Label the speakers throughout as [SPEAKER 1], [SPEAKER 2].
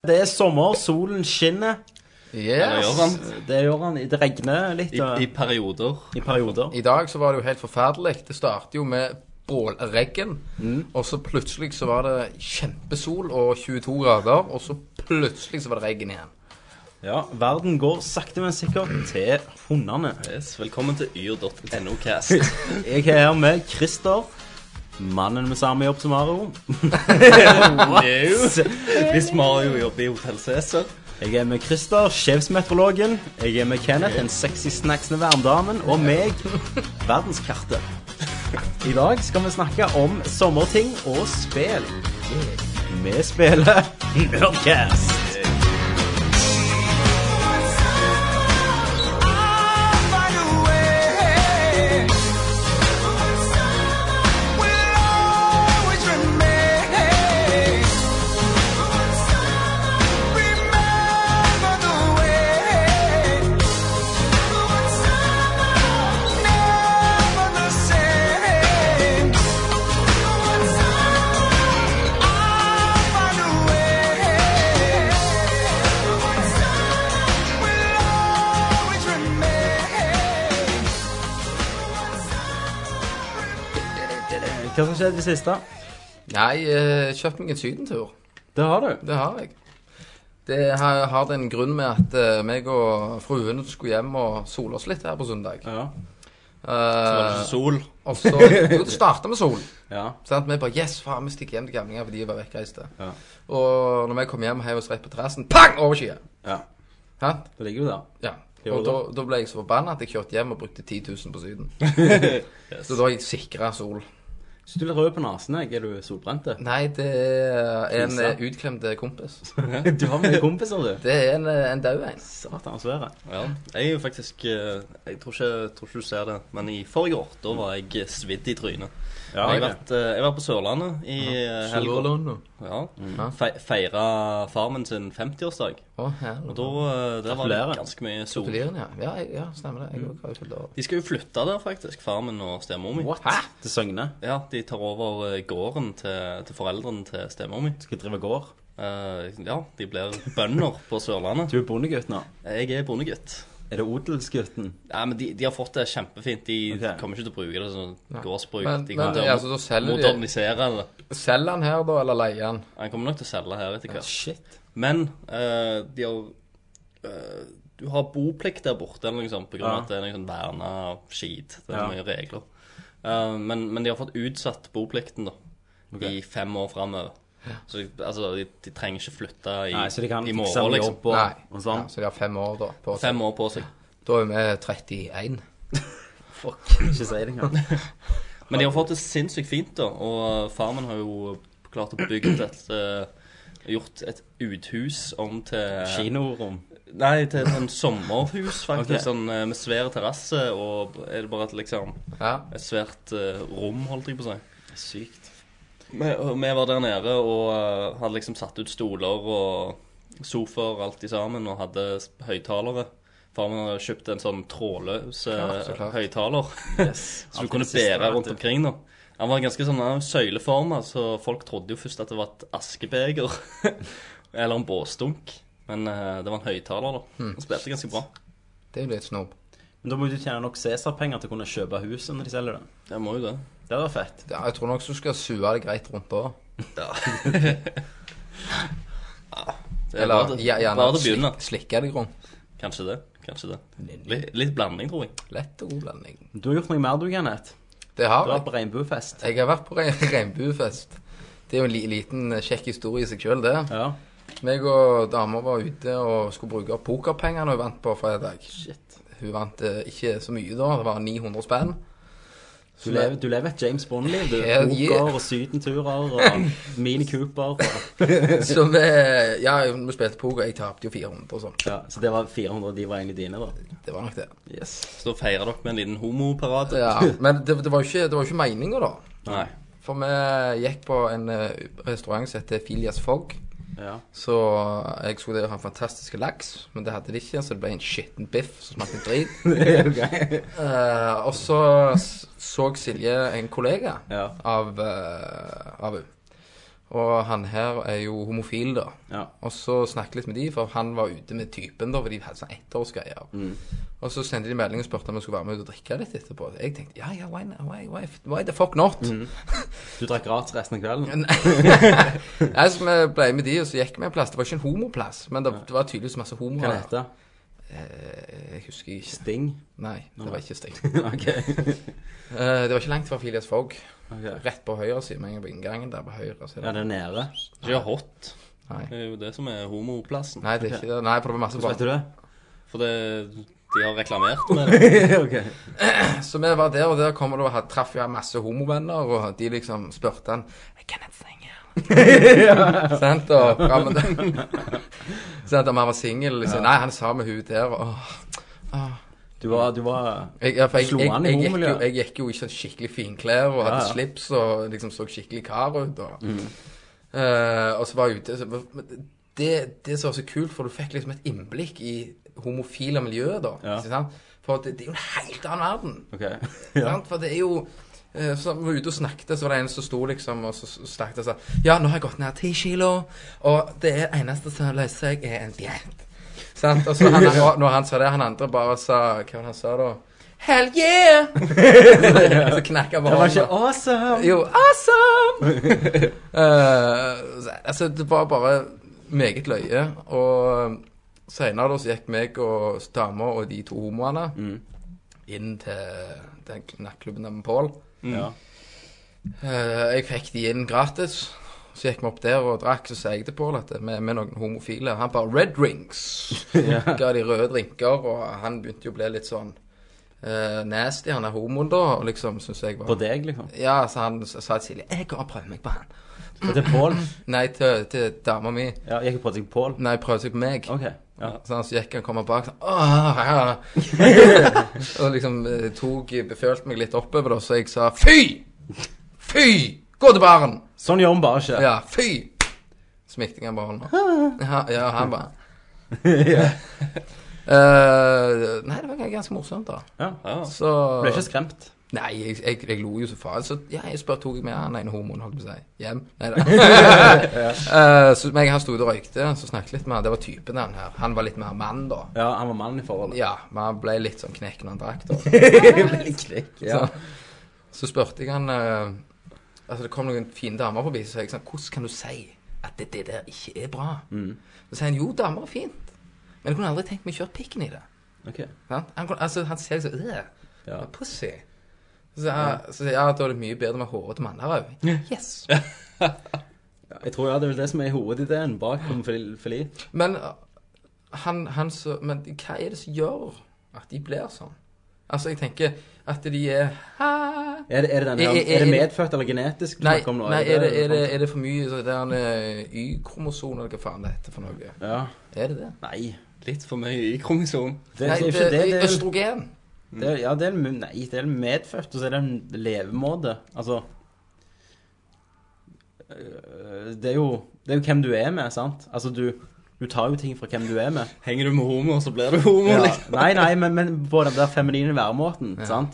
[SPEAKER 1] Det er sommer, solen skinner. Eh,
[SPEAKER 2] det gjør han.
[SPEAKER 3] Yes.
[SPEAKER 1] Det gjør han. Det regner litt
[SPEAKER 2] I,
[SPEAKER 1] og,
[SPEAKER 2] I perioder.
[SPEAKER 1] i perioder.
[SPEAKER 3] I dag så var det jo helt forferdelig. Det startet jo med bålregn, og så plutselig så var det kjempesol og 22 grader, og så plutselig så var det regn igjen.
[SPEAKER 1] Ja, verden går sakte, men sikkert til hundene.
[SPEAKER 2] Yes. Velkommen til yr.no Cast.
[SPEAKER 1] Jeg er her med Christer, mannen med samme jobb som Mario.
[SPEAKER 2] Hvis Mario jobber i Hotell Cæsar.
[SPEAKER 1] Jeg er med Christer, sjefsmeteorologen. Jeg er med Kenneth, den sexy snacksende verndamen. Og meg, verdenskartet. I dag skal vi snakke om sommerting og spill. Vi spiller Nerdcast. Hva som skjedde i det siste?
[SPEAKER 3] Nei, eh, kjøpt meg en sydentur.
[SPEAKER 1] Det har du.
[SPEAKER 3] Det har jeg. Det har, har den grunn med at eh, meg og fruen skulle hjem og sole oss litt her på søndag.
[SPEAKER 1] Ja.
[SPEAKER 3] Eh,
[SPEAKER 2] Sol.
[SPEAKER 3] og så Jo, det starta med sol.
[SPEAKER 1] ja.
[SPEAKER 3] Sant? Vi bare Yes, faen, vi stikker hjem til gamlinger fordi de var vekkreiste.
[SPEAKER 1] Ja.
[SPEAKER 3] Og når vi kom hjem, heiv oss rett på terrassen. Pang! Overskya.
[SPEAKER 1] Ja.
[SPEAKER 3] Sant?
[SPEAKER 1] Det ligger jo der.
[SPEAKER 3] Ja.
[SPEAKER 1] Jo,
[SPEAKER 3] Og da,
[SPEAKER 1] da-
[SPEAKER 3] da ble jeg så forbanna at jeg kjørte hjem og brukte 10 000 på Syden. Så da har jeg sikra sol.
[SPEAKER 1] Hvis du er rød på nesen, jeg, er du solbrente?
[SPEAKER 3] Nei, det er en
[SPEAKER 1] Krise.
[SPEAKER 3] eh, utklemt eh, kompis.
[SPEAKER 1] Du har mye kompiser, du.
[SPEAKER 3] Det er en, eh, en daud en.
[SPEAKER 1] Satan, så er det.
[SPEAKER 2] Ja. Jeg er jo faktisk eh, Jeg tror ikke, tror ikke du ser det, men i forrige år da var jeg svidd i trynet.
[SPEAKER 1] Ja,
[SPEAKER 2] jeg,
[SPEAKER 1] ok.
[SPEAKER 2] vært, eh, jeg var på Sørlandet i eh, helga. Ja.
[SPEAKER 1] Mm.
[SPEAKER 2] Fe Feira far min sin 50-årsdag.
[SPEAKER 3] Å, ja.
[SPEAKER 2] Og da eh, der var det
[SPEAKER 1] Gratulerer.
[SPEAKER 2] ganske mye sol.
[SPEAKER 3] Gratulerer, ja. Ja, jeg- ja, stemmer
[SPEAKER 2] Mm.
[SPEAKER 3] det. Jeg også har jo fylt år.
[SPEAKER 2] De skal jo flytte der, faktisk. Far min og stemor mi.
[SPEAKER 1] Hæ? Til Søgne.
[SPEAKER 2] Ja, de tar over eh, gården til, til foreldrene til stemor mi.
[SPEAKER 1] Skal drive gård.
[SPEAKER 2] Eh, ja, de blir bønder på Sørlandet.
[SPEAKER 1] Du er bondegutt nå.
[SPEAKER 2] Jeg er bondegutt.
[SPEAKER 1] Er det odelsgutten?
[SPEAKER 2] Nei, men de, de har fått det kjempefint. De
[SPEAKER 1] Ok.
[SPEAKER 2] kommer ikke til å bruke det som gårdsbruk.
[SPEAKER 3] Men-
[SPEAKER 2] de kommer
[SPEAKER 3] men,
[SPEAKER 2] til å
[SPEAKER 3] altså, da selger de-
[SPEAKER 2] modernisere det.
[SPEAKER 3] Selger han her, da, eller leier han?
[SPEAKER 2] Han kommer nok til å selge her etter hvert.
[SPEAKER 1] Shit.
[SPEAKER 2] Men eh, de har eh, Du har boplikt der borte eller noe sånt, på grunn av
[SPEAKER 1] Ja.
[SPEAKER 2] at det er noe sånn verna skit. Det er
[SPEAKER 1] Ja.
[SPEAKER 2] mye regler. Eh, men, men de har fått utsatt boplikten da i fem år framover. Så de, altså, de, de trenger ikke flytte i,
[SPEAKER 1] Nei, så de kan
[SPEAKER 2] i
[SPEAKER 1] fikse
[SPEAKER 2] morgen,
[SPEAKER 1] med
[SPEAKER 2] liksom.
[SPEAKER 1] jobb og,
[SPEAKER 3] Nei.
[SPEAKER 1] og sånn.
[SPEAKER 3] Ja, så de har fem år, da. På seg.
[SPEAKER 2] Fem år på seg.
[SPEAKER 3] Da er vi 31.
[SPEAKER 1] Fuck, ikke si det engang.
[SPEAKER 2] Men de har fått det sinnssykt fint, da. Og eh, far min har jo klart å bygge et eh, Gjort et uthus om til
[SPEAKER 1] Kinorom.
[SPEAKER 2] Nei, til et sånn sommerhus, faktisk.
[SPEAKER 1] Ok.
[SPEAKER 2] Sånn eh, med svær terrasse, og er det bare et liksom
[SPEAKER 3] Ja.
[SPEAKER 2] Et svært eh, rom, holdt jeg på å si.
[SPEAKER 1] Sykt.
[SPEAKER 2] Vi, og vi var der nede og eh, hadde liksom satt ut stoler og sofaer alt i sammen, og hadde s- høyttalere. Far min hadde kjøpt en sånn trådløs
[SPEAKER 3] Klart, så
[SPEAKER 2] eh,
[SPEAKER 3] klart.
[SPEAKER 2] høyttaler.
[SPEAKER 1] Yes.
[SPEAKER 2] Som du kunne bære rundt omkring da Han var ganske sånn han var søyleformet Så folk trodde jo først at det var et askebeger Eller en båsdunk Men eh, det var en høyttaler da Han spilte ganske bra
[SPEAKER 3] Det er jo litt snobb.
[SPEAKER 1] Men da må du tjene nok Cæsar-penger til å kunne kjøpe huset når de selger det.
[SPEAKER 2] Jeg må jo det
[SPEAKER 1] Det hadde vært fett.
[SPEAKER 3] Ja, jeg tror nok du skal sue det greit rundt da.
[SPEAKER 2] Det er
[SPEAKER 3] Eller
[SPEAKER 2] bare det-
[SPEAKER 3] ja,
[SPEAKER 2] bare
[SPEAKER 3] gjerne
[SPEAKER 2] det begynner
[SPEAKER 3] slik, slikke deg rundt.
[SPEAKER 2] Kanskje det, kanskje det Litt, litt blanding tror jeg
[SPEAKER 3] Lett og god blanding.
[SPEAKER 1] Du har gjort noe mer, du, Kenneth.
[SPEAKER 3] Det
[SPEAKER 1] Du
[SPEAKER 3] har
[SPEAKER 1] har
[SPEAKER 3] jeg.
[SPEAKER 1] vært på regnbuefest.
[SPEAKER 3] Jeg har vært på re- regnbuefest. Det er jo en li liten eh, kjekk historie i seg sjøl, det.
[SPEAKER 1] Ja.
[SPEAKER 3] Meg og dama var ute og skulle bruke opp pokerpengene hun vant på fredag.
[SPEAKER 1] Shit.
[SPEAKER 3] Hun vant eh, ikke så mye da, det var 900 spenn.
[SPEAKER 1] Du lever, du lever et James Bond-liv. Du
[SPEAKER 3] Hell
[SPEAKER 1] Poker
[SPEAKER 3] yeah.
[SPEAKER 1] og sydenturer og Mini Cooper. Og,
[SPEAKER 3] Så vi Ja, vi spilte poker, jeg tapte jo 400 og sånn.
[SPEAKER 1] ja, så det var 400, de var egentlig dine, da.
[SPEAKER 3] Det var nok det.
[SPEAKER 1] Yes.
[SPEAKER 2] Så da feirer dere med en liten homoparade
[SPEAKER 3] Ja, Men det, det var jo ikke, det var jo ikke meninga, da.
[SPEAKER 2] Nei
[SPEAKER 3] For vi gikk på en eh, restaurant som heter Filias Fogg.
[SPEAKER 1] Ja.
[SPEAKER 3] Så jeg skulle ha en fantastisk laks, men det hadde de ikke, så det ble en skitten biff som smakte drit. Eh, og så s- så Silje en kollega
[SPEAKER 1] Ja.
[SPEAKER 3] av, eh, av henne. Og han her er jo homofil, da.
[SPEAKER 1] Ja.
[SPEAKER 3] Og så snakket jeg litt med de, for han var ute med typen, da, for de hadde sånn ettårsgreier.
[SPEAKER 1] Mm.
[SPEAKER 3] Og så sendte de melding og spurte om jeg skulle være med ut og drikke litt etterpå. Jeg tenkte ja, ja, why, not? why, why, why the fuck not?
[SPEAKER 1] Mm. Du drakk gratis resten av kvelden?
[SPEAKER 3] Nei, så vi ble med de, og så gikk vi en plass. Det var ikke en homoplass, men det, det var tydeligvis masse homoer.
[SPEAKER 1] Hva
[SPEAKER 3] der.
[SPEAKER 1] heter det?
[SPEAKER 3] Eh, Jeg husker ikke.
[SPEAKER 1] Sting?
[SPEAKER 3] Nei, det var ikke stengt.
[SPEAKER 1] OK.
[SPEAKER 3] Eh, det var ikke langt fra Filias Fogg.
[SPEAKER 1] Ok.
[SPEAKER 3] Rett på høyre side, men jeg er på inngangen der på høyre
[SPEAKER 1] Ja,
[SPEAKER 3] side.
[SPEAKER 1] det er nede.
[SPEAKER 2] Ikke hot.
[SPEAKER 3] Nei.
[SPEAKER 2] Det er jo det som er homoplassen.
[SPEAKER 3] Nei, det er ikke det. Nei, for det var masse
[SPEAKER 1] Vet
[SPEAKER 3] barn.
[SPEAKER 1] du det?
[SPEAKER 2] For det, de har reklamert med det.
[SPEAKER 1] OK.
[SPEAKER 3] Så vi var der, og der kommer det, og her traff jeg masse homovenner, og de liksom spurte han «Jeg kan ikke synge». Sant, og ja, men, Sant, om han var singel, liksom. Nei, han sa med hun der, og åh,
[SPEAKER 1] Du var, du var
[SPEAKER 3] jeg, ja, for jeg,
[SPEAKER 1] Slo
[SPEAKER 3] jeg,
[SPEAKER 1] han i
[SPEAKER 3] jeg, gikk jo,
[SPEAKER 1] homomiljøet?
[SPEAKER 3] jeg gikk jo ikke skikkelig finklær og hadde
[SPEAKER 1] Ja, Mm. ja.
[SPEAKER 3] slips og liksom så skikkelig kar ut. Og, Eh, og så var jeg ute. Så, men det, det som var så kult, for du fikk liksom et innblikk i homofile miljøer, da.
[SPEAKER 1] Ja.
[SPEAKER 3] ikke sant? For det, det er jo en helt annen verden.
[SPEAKER 1] OK. Ja.
[SPEAKER 3] Sant? For det er jo eh, så vi var ute og snakket, så var det en som sto liksom og så så snakket og sa Ja, nå har jeg gått ned ti kilo, og det er eneste som løser seg, er en diett. Sant? Og så han, og når han sa det, han andre bare sa Hva var det han sa da? Hell yeah! så, så knakk han på
[SPEAKER 1] Det var ikke
[SPEAKER 3] hånda.
[SPEAKER 1] awesome!
[SPEAKER 3] Jo, awesome! Eh, så- altså, det var bare meget løye. Og um, senere da så gikk meg og dama og de to homoene inn til den nattklubben der med Pål.
[SPEAKER 1] Ja.
[SPEAKER 3] Eh, jeg fikk de inn gratis. Så gikk vi opp der og drakk, så sa jeg til Pål at med, med noen homofile Han bare 'Red drinks'. Ga de røde drinker, og han begynte jo å bli litt sånn eh, nasty, han er homoen, da, og liksom syns jeg var
[SPEAKER 1] På deg, liksom.
[SPEAKER 3] ja, så han s- sa til Silje Jeg går og prøver meg på han.
[SPEAKER 1] Og til Pål.
[SPEAKER 3] Nei, til, til dama mi.
[SPEAKER 1] Ja, gikk jo på deg Pål.
[SPEAKER 3] Nei, prøvde seg på meg.
[SPEAKER 1] OK. Ja.
[SPEAKER 3] Så han så gikk han kommer bak sånn «Åh, ja. Og liksom eh, tok Befølte meg litt oppover, da, så jeg sa fy! Fy! Gå til baren!
[SPEAKER 1] Sånn gjør vi bare ikke.
[SPEAKER 3] Ja, fy! Smikte jeg han bare hånda. Ja, ja, han bare Eh, Nei, det var ganske morsomt, da.
[SPEAKER 1] Ja.
[SPEAKER 2] Ja.
[SPEAKER 3] Så
[SPEAKER 1] Ble ikke skremt.
[SPEAKER 3] Nei, jeg, jeg, jeg lo jo så faen. Så ja, jeg spør, tok jeg med ah, han ene homoen, holdt jeg på å si, hjem? Nei da. så meg og han sto ute og røykte, så snakket litt med han. Det var typen han her. Han var litt mer mann, da.
[SPEAKER 1] Ja, han var mannen i forholdet.
[SPEAKER 3] Ja, men han ble litt sånn knekk når han drakk, da.
[SPEAKER 1] Klikk. Ja.
[SPEAKER 3] Så spurte jeg han eh, Altså, det kom noen fine damer forbi, så sa jeg sånn Hvordan kan du si at det, det der ikke er bra? Så sier han jo, damer er fint, men jeg kunne aldri tenkt meg å kjøre pikken i det.
[SPEAKER 1] OK.
[SPEAKER 3] Sant? Han, kunne, altså, han ser liksom øh,
[SPEAKER 1] Ja.
[SPEAKER 3] Pussy. Så sier jeg, så sier jeg at da er det mye bedre med håret til manner òg. Yes.
[SPEAKER 1] Jeg tror ja, det er vel det som er hovedideen bak homofili.
[SPEAKER 3] Men uh, han, han så, Men hva er det som gjør at de blir sånn? Altså, jeg tenker at de er ha,
[SPEAKER 1] Er det, er det, den her,
[SPEAKER 3] Er- er-
[SPEAKER 1] er det
[SPEAKER 3] er-
[SPEAKER 1] medfødt eller genetisk? du
[SPEAKER 3] Nei,
[SPEAKER 1] snakker om nå?
[SPEAKER 3] nei er, det, er, det, er det for mye sånn der en Y-kromoson, eller hva faen det heter for noe?
[SPEAKER 1] Ja.
[SPEAKER 3] Er det det?
[SPEAKER 1] Nei.
[SPEAKER 2] Litt for mye Y-kromosom.
[SPEAKER 1] Det, det er
[SPEAKER 3] Nei,
[SPEAKER 1] jo ikke det. Det er,
[SPEAKER 3] østrogen.
[SPEAKER 1] Mm. det er, ja, det er, nei, det er medfødt, og så er det en levemåte. Altså øh, det er, jo, det er jo hvem du er med, sant? Altså, du, du tar jo ting fra hvem du er med.
[SPEAKER 2] Henger du med homo, så blir du homo.
[SPEAKER 1] Ja.
[SPEAKER 2] liksom.
[SPEAKER 1] Nei, nei, men, men på den der feminine væremåten, sant?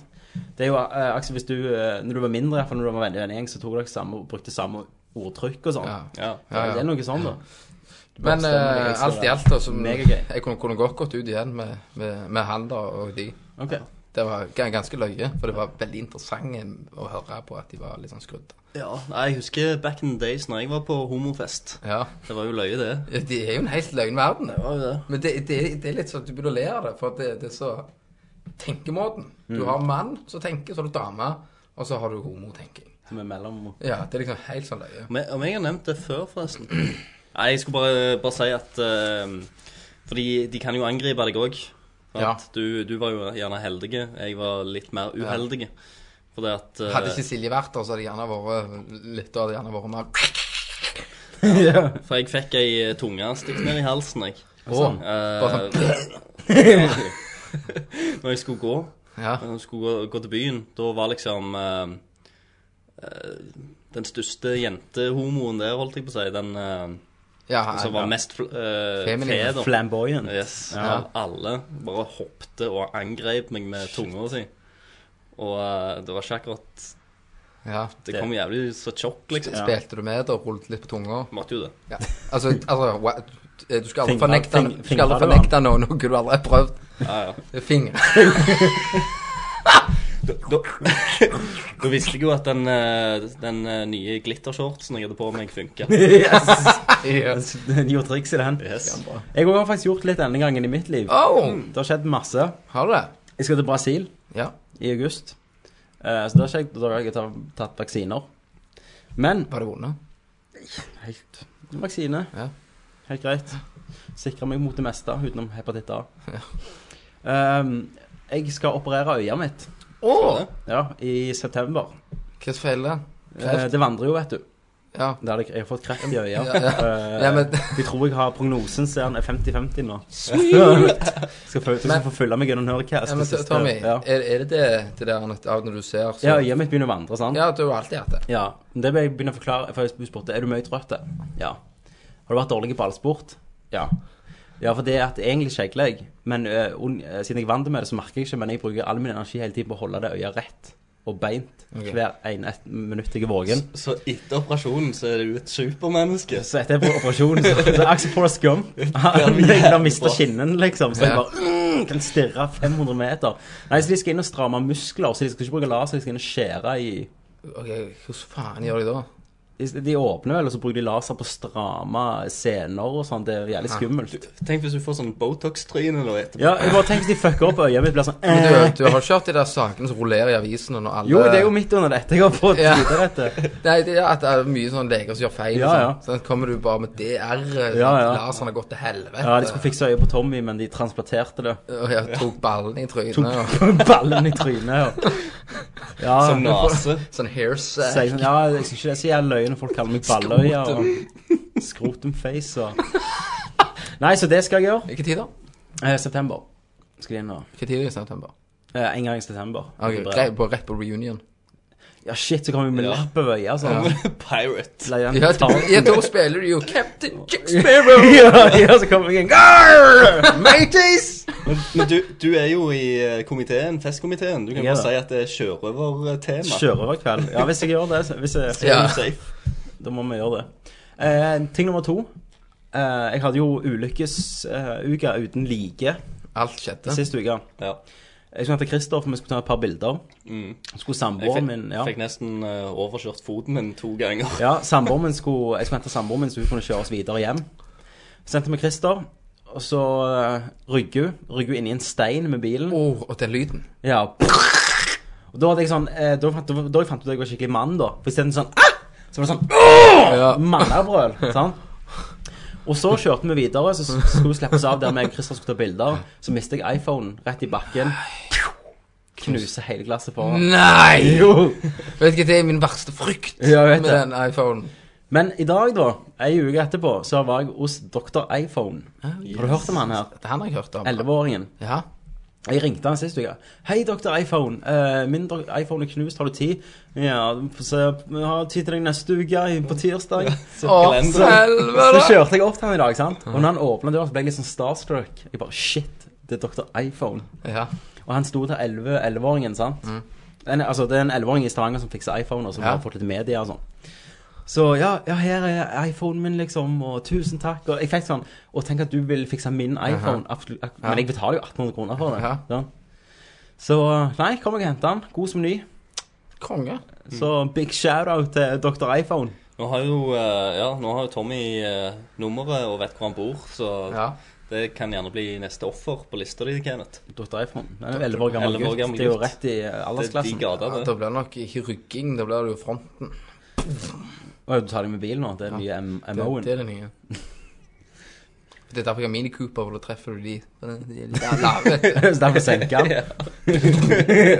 [SPEAKER 1] Det er jo, eh, Aksel, hvis du, eh, når du var mindre, i hvert fall når du var veldig venn gjeng, så tok dere samme, brukte samme ordtrykk og sånn.
[SPEAKER 3] Ja.
[SPEAKER 2] Ja.
[SPEAKER 3] Ja, ja.
[SPEAKER 1] Det er noe sånn, da.
[SPEAKER 3] Men
[SPEAKER 1] Bare stemmer, jeg
[SPEAKER 3] eh,
[SPEAKER 1] ser
[SPEAKER 3] alt i
[SPEAKER 1] det.
[SPEAKER 3] alt, da, som
[SPEAKER 1] Megagøy.
[SPEAKER 3] Jeg kunne, kunne godt gått ut igjen med, med, med han da og de.
[SPEAKER 1] Ok.
[SPEAKER 3] Det var ga- ganske løye, for det var veldig interessant å høre på at de var litt sånn skrudd.
[SPEAKER 2] Ja, nei, Jeg husker back in the days når jeg var på homofest.
[SPEAKER 3] Ja.
[SPEAKER 2] Det var jo løye, det.
[SPEAKER 3] De er jo en helt løgn verden.
[SPEAKER 2] Det var jo det.
[SPEAKER 3] Men det, det, det er litt sånn at du begynner å le av det, for det, det er så tenkemåten. Du
[SPEAKER 2] Mm.
[SPEAKER 3] har mann som tenker, så har du dame, og så har du homotenking.
[SPEAKER 1] Som er mellom
[SPEAKER 3] Ja, det er liksom helt sånn løye.
[SPEAKER 2] Om jeg, om jeg har nevnt det før, forresten Nei, jeg skulle bare, bare si at eh, Fordi de kan jo angripe deg òg.
[SPEAKER 3] Ja.
[SPEAKER 2] Du, du var jo gjerne heldig. Jeg var litt mer uheldig. Fordi at eh,
[SPEAKER 3] Hadde ikke Silje vært der, så hadde det gjerne vært litt, da hadde det gjerne vært mer
[SPEAKER 2] For jeg fikk ei eh, tunge stikket ned i halsen, jeg.
[SPEAKER 3] Åh,
[SPEAKER 2] Eh,
[SPEAKER 3] bare sånn
[SPEAKER 2] når jeg skulle gå,
[SPEAKER 3] Ja.
[SPEAKER 2] når jeg skulle gå, gå til byen, da var liksom eh, eh, Den største jentehomoen der, holdt jeg på å si, den eh,
[SPEAKER 3] Ah, Ja,
[SPEAKER 2] som var mest fl eh,
[SPEAKER 3] Feminin.
[SPEAKER 2] fe, da.
[SPEAKER 1] Flamboyant.
[SPEAKER 2] Yes.
[SPEAKER 1] Ja.
[SPEAKER 2] Av Alle bare hoppte og angrep meg med tunga si. Og eh, det var ikke akkurat
[SPEAKER 3] Ja.
[SPEAKER 2] Det kom jævlig så tjokk, liksom.
[SPEAKER 3] Spilte du med det og rullet litt på tunga?
[SPEAKER 2] Måtte jo det.
[SPEAKER 3] Ja. Altså, altså hva- du skal aldri
[SPEAKER 1] Fingre-
[SPEAKER 3] fornekte,
[SPEAKER 1] fing-
[SPEAKER 3] du skal aldri
[SPEAKER 1] fingre,
[SPEAKER 3] fornekte noe, noe du aldri har prøvd.
[SPEAKER 2] Ja, ja.
[SPEAKER 3] Det er Fingre.
[SPEAKER 2] Da, da visste jeg jo at den, eh, den eh, nye glittershortsen jeg hadde på meg, funka.
[SPEAKER 3] Yes.
[SPEAKER 1] Nye triks i den.
[SPEAKER 2] Yes.
[SPEAKER 1] Jeg har faktisk gjort litt denne gangen i mitt liv.
[SPEAKER 3] Oh,
[SPEAKER 1] Det har skjedd masse.
[SPEAKER 3] har du det?
[SPEAKER 1] Jeg skal til Brasil
[SPEAKER 3] Ja.
[SPEAKER 1] i august. Eh, så da har ikke jeg, da har jeg tatt, tatt vaksiner. Men
[SPEAKER 3] Var det vondt?
[SPEAKER 1] helt vaksine.
[SPEAKER 3] Ja.
[SPEAKER 1] Helt greit. Sikrer meg mot det meste utenom hepatitt A.
[SPEAKER 3] Ja.
[SPEAKER 1] Ehm, jeg skal operere øyet mitt
[SPEAKER 3] Å!
[SPEAKER 1] ja, i september.
[SPEAKER 3] Hva som feiler? Kreft?
[SPEAKER 1] Eh, det vandrer jo, vet du.
[SPEAKER 3] Ja.
[SPEAKER 1] Det er det- jeg har fått kreft i øyet.
[SPEAKER 3] Ja, ja.
[SPEAKER 1] Eh,
[SPEAKER 3] Ja, men-
[SPEAKER 1] de tror jeg har prognosen, ser han er 50-50 nå. skal få, men,
[SPEAKER 3] Men-
[SPEAKER 1] få følge meg gjennom Nerdcast.
[SPEAKER 3] ja men
[SPEAKER 1] det siste-
[SPEAKER 3] Tommy,
[SPEAKER 1] ja.
[SPEAKER 3] er, er det det, det der at av når du ser så
[SPEAKER 1] ja, øyet mitt begynner å vandre, sant?
[SPEAKER 3] Ja, du har jo alltid hatt det.
[SPEAKER 1] Ja, men det vil jeg begynne å forklare For jeg spurte, er du mye trøtt? Ja Har du vært dårlig i ballsport? Ja Ja, for det er at egentlig kjegler jeg Men ø, un- ø, siden jeg vant det med det så merker jeg ikke Men jeg bruker all min energi hele tiden på å holde det øya rett Og beint
[SPEAKER 3] Ok.
[SPEAKER 1] hver ene et minutt jeg er vågen
[SPEAKER 2] Så etter operasjonen så er du et supermenneske.
[SPEAKER 1] Så etter operasjonen så, så er Axel Forrest Gump Han har mistet skinnen liksom Så jeg
[SPEAKER 3] Ja.
[SPEAKER 1] bare mm, kan stirre 500 meter Nei, så de skal inn og stramme muskler Så de skal ikke bruke laser, de skal inn og skjære i
[SPEAKER 3] Ok, Hvordan faen gjør de da?
[SPEAKER 1] De, de åpner vel, og så bruker de laser på å stramme scener og sånn. Det er jævlig skummelt.
[SPEAKER 2] Tenk hvis du får sånn Botox-tryne nå etterpå.
[SPEAKER 1] Ja, jeg bare tenk hvis de fucker opp øyet mitt blir sånn
[SPEAKER 3] Men
[SPEAKER 1] eh.
[SPEAKER 3] du, du har ikke hørt de der sakene som rullerer i avisene når alle
[SPEAKER 1] Jo, det er jo midt under dette. Jeg har fått
[SPEAKER 3] Ja.
[SPEAKER 1] vite dette.
[SPEAKER 3] Nei, det er at det er mye sånn leger som gjør feil.
[SPEAKER 1] Ja,
[SPEAKER 3] og
[SPEAKER 1] ja.
[SPEAKER 3] sånn. Så kommer du bare med sånn DR. Ja,
[SPEAKER 1] Ja, ja.
[SPEAKER 3] Laseren har gått til helvete.
[SPEAKER 1] Ja, de skulle fikse øyet på Tommy, men de transplanterte det.
[SPEAKER 3] Og jeg tok ballen i trynet. og
[SPEAKER 1] Ballen i trynet. Og. Ja.
[SPEAKER 2] Som nase.
[SPEAKER 3] Sånn
[SPEAKER 1] Så
[SPEAKER 3] hairsack.
[SPEAKER 1] jeg sånn, ja, jeg syns ikke det er så jævlig løye når folk kaller meg balløye og skrotumface og Nei, så det skal jeg gjøre.
[SPEAKER 3] Hvilken tid da?
[SPEAKER 1] Eh, september skal de inn nå.
[SPEAKER 3] Hvilken tid er det i september?
[SPEAKER 1] Eh, en gang i september.
[SPEAKER 3] Ok, grei, på, rett på reunion.
[SPEAKER 1] Ja, shit, så kommer vi med
[SPEAKER 2] Ja.
[SPEAKER 1] lapp over øyet. Sånn.
[SPEAKER 2] Pirate.
[SPEAKER 1] Leier en
[SPEAKER 3] Ja, da,
[SPEAKER 1] gitar.
[SPEAKER 3] ja, da spiller du jo Captain Jack Sparrow.
[SPEAKER 1] ja, ja, så kommer jeg inn Grrr! Mateys!
[SPEAKER 2] Men, men du, du er jo i eh, komiteen, festkomiteen. Du kan
[SPEAKER 1] Ja.
[SPEAKER 2] bare si at det er sjørøvertema.
[SPEAKER 1] Sjørøverkveld. Ja, hvis jeg gjør det, så- hvis jeg,
[SPEAKER 2] Ja.
[SPEAKER 3] Ja.
[SPEAKER 2] Safe.
[SPEAKER 1] da må vi gjøre det. Eh, ting nummer to. Eh, jeg hadde jo ulykkesuke uten like
[SPEAKER 3] Alt skjedde.
[SPEAKER 1] sist uke.
[SPEAKER 2] Ja.
[SPEAKER 1] Jeg skulle til Kristoffer, vi skulle ta et par bilder. Skulle
[SPEAKER 2] Jeg
[SPEAKER 1] samboeren min
[SPEAKER 2] fikk,
[SPEAKER 1] ja.
[SPEAKER 2] fikk nesten eh, overkjørt foten min to ganger.
[SPEAKER 1] Ja, samboeren min skulle, Jeg skulle hente samboeren min, så hun kunne kjøre oss videre hjem. Så sendte vi Christer, og så eh, rygger hun. Rygger hun inni en stein med bilen.
[SPEAKER 3] Åh, og den lyden.
[SPEAKER 1] Ja. Og da hadde jeg sånn eh, Da, fant- da, da jeg fant ut at jeg var skikkelig mann, da. For isteden sånn ah! Så var det sånn
[SPEAKER 3] Ja.
[SPEAKER 1] mannebrøl. sant? Og så kjørte vi videre, så s- skulle vi slippes av der meg og Christer skulle ta bilder. Så mistet jeg iPhonen rett i bakken. Knuse hele glasset foran.
[SPEAKER 3] Nei!
[SPEAKER 1] Jo.
[SPEAKER 3] Vet ikke, det er min verste frykt
[SPEAKER 1] Ja, jeg vet
[SPEAKER 3] med
[SPEAKER 1] det.
[SPEAKER 3] den iPhonen.
[SPEAKER 1] Men i dag, da, ei uke etterpå, så var jeg hos doktor iPhone. Har du hørt om han her?
[SPEAKER 3] Dette han har jeg hørt om.
[SPEAKER 1] 11-åringen.
[SPEAKER 3] Ja.
[SPEAKER 1] Jeg ringte han sist uke. 'Hei, doktor iPhone. Eh, min dok- iPhone er knust. Har du tid?' 'Ja, vi får se. Vi har tid til deg neste uke, på tirsdag.' Så,
[SPEAKER 3] Å,
[SPEAKER 2] Glendon.
[SPEAKER 1] så
[SPEAKER 3] helvete!
[SPEAKER 1] kjørte jeg opp til han i dag, sant? Og når han åpna døra, så ble jeg litt sånn starstruck. Jeg bare 'Shit, det er doktor iPhone'.
[SPEAKER 3] Ja.
[SPEAKER 1] Og han sto til 11 11-åringen, sant?
[SPEAKER 2] Mm.
[SPEAKER 1] En, altså, det er en 11-åring i Stavanger som fikser iPhone, og som
[SPEAKER 3] Ja.
[SPEAKER 1] har fått litt media og sånn. Så ja, ja, her er iPhonen min, liksom, og tusen takk. Og jeg fikk sånn Og tenk at du vil fikse min iPhone. absolutt, ak- Men jeg betaler jo 1800 kroner for det.
[SPEAKER 3] Ja.
[SPEAKER 1] Ja. Så nei, kom og hent den. God som ny.
[SPEAKER 3] Konge.
[SPEAKER 2] Mm.
[SPEAKER 1] Så big shout-out til Dr. iPhone.
[SPEAKER 2] Nå har jo, eh, ja, nå har jo Tommy eh, nummeret og vet hvor han bor, så
[SPEAKER 3] Ja.
[SPEAKER 2] det kan gjerne bli neste offer på lista di, Kenneth.
[SPEAKER 1] Dr. iPhone. Den er jo 11 år gammel
[SPEAKER 2] 11 år
[SPEAKER 1] gutt.
[SPEAKER 2] gammel
[SPEAKER 1] Det er jo
[SPEAKER 2] gutt.
[SPEAKER 1] rett i eh,
[SPEAKER 2] Det er de
[SPEAKER 1] aldersklassen.
[SPEAKER 3] ja.
[SPEAKER 2] gater,
[SPEAKER 3] Da
[SPEAKER 2] det.
[SPEAKER 3] blir det nok ikke rygging, da blir det jo fronten.
[SPEAKER 1] Å, du tar deg med bil nå? Det er den nye M-
[SPEAKER 3] Det,
[SPEAKER 1] MO-en.
[SPEAKER 3] det er det nye. Det er derfor jeg har Mini Cooper, for da treffer du de. De er litt lave.
[SPEAKER 1] Så derfor senker han.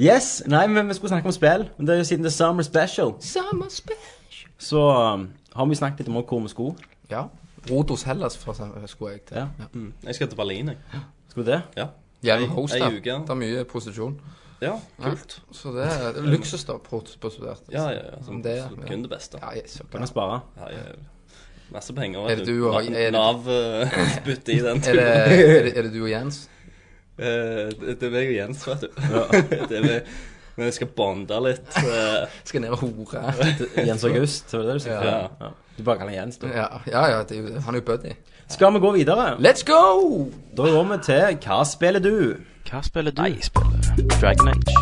[SPEAKER 1] Yes, nei, men vi skulle snakke om spill. Men det er jo siden det er Summer Special,
[SPEAKER 3] Summer special.
[SPEAKER 1] så um, har vi snakket litt om hvor vi skulle.
[SPEAKER 3] Ja. Rodos Hellas, for eksempel, skulle jeg til.
[SPEAKER 1] Ja.
[SPEAKER 2] Mm. Jeg skal til Berlin, jeg.
[SPEAKER 1] Skulle vi det?
[SPEAKER 2] Ja.
[SPEAKER 3] Gjennom
[SPEAKER 2] Ei-
[SPEAKER 3] host,
[SPEAKER 2] ei
[SPEAKER 3] da.
[SPEAKER 2] uke, ja.
[SPEAKER 3] Det er mye prostitusjon.
[SPEAKER 2] ja, kult.
[SPEAKER 3] Så det er det er luksus, da, pro- på studert.
[SPEAKER 2] Ja, ja, ja. Som,
[SPEAKER 3] Om det,
[SPEAKER 2] så
[SPEAKER 3] ja.
[SPEAKER 2] Kun det beste.
[SPEAKER 3] Ja, yes, så
[SPEAKER 1] Kan vi
[SPEAKER 3] klart.
[SPEAKER 1] spare?
[SPEAKER 2] Ja, ja, ja. Masse penger.
[SPEAKER 3] Er det du og-
[SPEAKER 2] Na-
[SPEAKER 3] er det-
[SPEAKER 2] Nav eh, spytte i den
[SPEAKER 3] Er det,
[SPEAKER 2] turen.
[SPEAKER 3] er, det, er det du og Jens?
[SPEAKER 2] Eh, Det det er meg og Jens, vet du. Det er meg. Men jeg skal bonde litt. eh,
[SPEAKER 3] Skal ned og hore.
[SPEAKER 1] Jens August, var det det du sa?
[SPEAKER 2] Ja.
[SPEAKER 1] Ja. Du bare kaller han Jens, du.
[SPEAKER 3] Ja, ja, ja det, er jo- han er jo buddy.
[SPEAKER 1] Skal vi gå videre?
[SPEAKER 3] Let's go!
[SPEAKER 1] Da går vi til Hva spiller du?
[SPEAKER 4] Hva spiller du? Jeg spiller Dragon Age.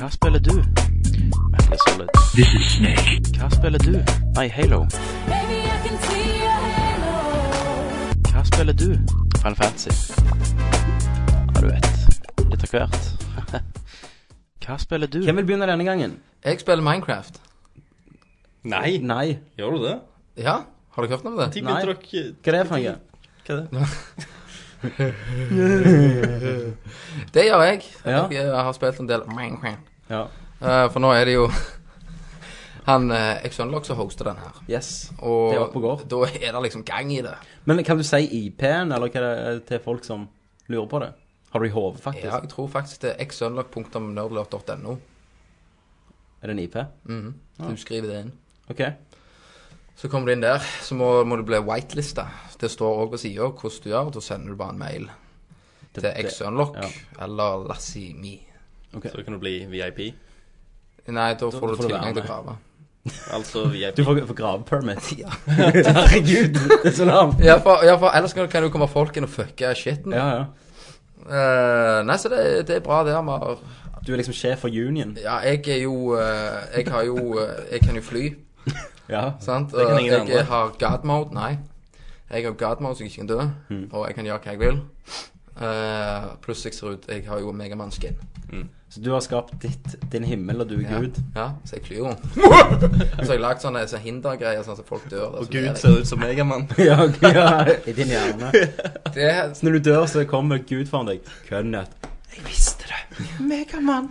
[SPEAKER 4] Hva spiller du? Metal Gear Solid. This is Snake. Hva spiller du? Nei, Halo.
[SPEAKER 5] Baby, I can see your halo.
[SPEAKER 4] Hva spiller du? Final Fantasy. Ja, du vet. Litt av hvert. Hva spiller du?
[SPEAKER 1] Hvem vil begynne denne gangen?
[SPEAKER 3] Jeg spiller Minecraft.
[SPEAKER 2] Nei,
[SPEAKER 1] Nei.
[SPEAKER 2] gjør du det?
[SPEAKER 3] Ja, har du hørt om det?
[SPEAKER 2] De
[SPEAKER 1] Nei.
[SPEAKER 2] begynte dere
[SPEAKER 1] Hva er det for noe?
[SPEAKER 2] Hva er det?
[SPEAKER 3] Det gjør jeg.
[SPEAKER 1] Ja.
[SPEAKER 3] Jeg, eh, har spilt en del Minecraft.
[SPEAKER 1] Ja.
[SPEAKER 3] Eh, for nå er det jo han uh, Exunlock som hoster den her.
[SPEAKER 1] Yes.
[SPEAKER 3] Og
[SPEAKER 1] Det er opp og går.
[SPEAKER 3] da er det liksom gang i det.
[SPEAKER 1] Men kan du si IP-en, eller hva er det til folk som lurer på det? Har du i hodet, faktisk?
[SPEAKER 3] Ja, jeg tror faktisk det er exunlock.nerdlurt.no.
[SPEAKER 1] Er det en IP?
[SPEAKER 3] Mhm. Du skriver det inn.
[SPEAKER 1] OK.
[SPEAKER 3] Så kommer du inn der, så må, må du bli whitelista. Det står òg på sida hvordan du gjør, og da sender du bare en mail til
[SPEAKER 1] det-
[SPEAKER 3] Exunlock
[SPEAKER 1] ja.
[SPEAKER 3] eller Lassie Me.
[SPEAKER 2] Så kan du bli VIP.
[SPEAKER 3] Nei, da får du
[SPEAKER 1] får du være
[SPEAKER 3] tilgang til
[SPEAKER 1] med.
[SPEAKER 3] å grave.
[SPEAKER 2] Altså VIP.
[SPEAKER 1] Du får, får gravepermit. Ja. Herregud, det er så lavt.
[SPEAKER 3] Ja, for, ja, for ellers kan, kan jo komme folk inn og fucke shiten.
[SPEAKER 1] Ja, ja.
[SPEAKER 3] Eh, nei, så det, det er bra det. Vi har
[SPEAKER 1] Du er liksom sjef for union.
[SPEAKER 3] Ja, jeg er jo eh, Jeg har jo eh, Jeg kan jo fly,
[SPEAKER 1] Ja.
[SPEAKER 3] sant?
[SPEAKER 2] Det kan
[SPEAKER 3] Og
[SPEAKER 2] ingen
[SPEAKER 3] jeg
[SPEAKER 2] andre.
[SPEAKER 3] har god mode. Nei. Jeg har god mode, så jeg ikke kan dø. Og jeg kan gjøre hva jeg vil. Eh, pluss jeg ser ut Jeg har jo megamann-skin.
[SPEAKER 1] Så du har skapt ditt, din himmel, og du er
[SPEAKER 3] Ja.
[SPEAKER 1] gud.
[SPEAKER 3] ja, så jeg flyr jo. så har jeg lagd sånne så hindergreier, sånn at folk dør.
[SPEAKER 2] Og
[SPEAKER 3] så
[SPEAKER 2] Gud
[SPEAKER 3] dør jeg.
[SPEAKER 2] ser ut som Megamann.
[SPEAKER 1] Ja, ja, i din hjerne.
[SPEAKER 3] det,
[SPEAKER 1] Så når du dør, så kommer Gud foran deg. Kenneth. Jeg visste det. Megamann.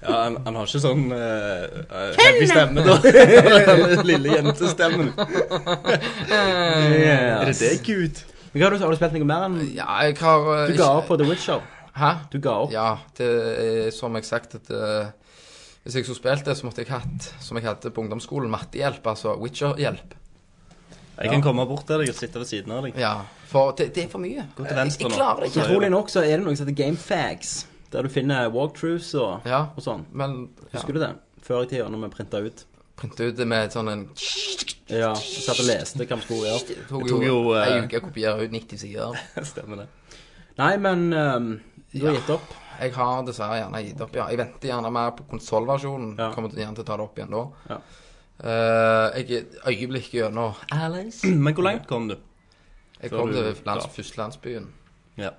[SPEAKER 2] Ja, han, han har ikke sånn uh, heavy stemme, da. Den lille jentestemmen.
[SPEAKER 3] Eh,
[SPEAKER 2] Er det
[SPEAKER 1] Yes.
[SPEAKER 2] det, Gud?
[SPEAKER 1] Men hva Har, du, har du spilt noe mer enn
[SPEAKER 3] Ja, jeg har eh,
[SPEAKER 1] Du ga opp på The Witcher.
[SPEAKER 3] Hæ?
[SPEAKER 1] Du ga opp.
[SPEAKER 3] Ja, det er som jeg sagt at eh, Hvis jeg skulle spilt det, så måtte jeg hatt, som jeg hadde på ungdomsskolen, mattehjelp, altså Witcher-hjelp.
[SPEAKER 2] Jeg kan komme bort til deg og sitte ved siden av deg.
[SPEAKER 3] Ja, for det, det er for mye.
[SPEAKER 2] Gå til venstre
[SPEAKER 3] jeg,
[SPEAKER 2] nå.
[SPEAKER 3] jeg klarer det
[SPEAKER 2] Så
[SPEAKER 3] ikke.
[SPEAKER 2] er det-
[SPEAKER 1] Utrolig nok så er det noe som heter Gamefags, der du finner walkthroughs og,
[SPEAKER 3] Ja,
[SPEAKER 1] og sånn.
[SPEAKER 3] men ja.
[SPEAKER 1] Husker du det? Før i tida, når vi printa ut.
[SPEAKER 3] printe ut det med sånn en
[SPEAKER 1] Ja, så satt og leste hva vi skulle gjøre.
[SPEAKER 3] Det tok
[SPEAKER 2] Jeg
[SPEAKER 3] jo,
[SPEAKER 2] tok jo, eh,
[SPEAKER 3] en uke å kopiere ut 90 sider.
[SPEAKER 2] Stemmer det.
[SPEAKER 1] Nei, men um, du har
[SPEAKER 3] Ja.
[SPEAKER 1] gitt opp.
[SPEAKER 3] Jeg har dessverre gjerne gitt opp, ja. Jeg venter gjerne mer på konsollversjonen.
[SPEAKER 1] Ja.
[SPEAKER 3] Kommer til- gjerne til å ta det opp igjen da.
[SPEAKER 1] Ja.
[SPEAKER 3] Eh, jeg er øyeblikket gjennom Alice.
[SPEAKER 2] Men hvor langt kom du?
[SPEAKER 3] Jeg
[SPEAKER 2] Før
[SPEAKER 3] kom
[SPEAKER 2] du-
[SPEAKER 3] til lands,
[SPEAKER 2] ja.
[SPEAKER 3] første landsbyen.
[SPEAKER 2] Ja.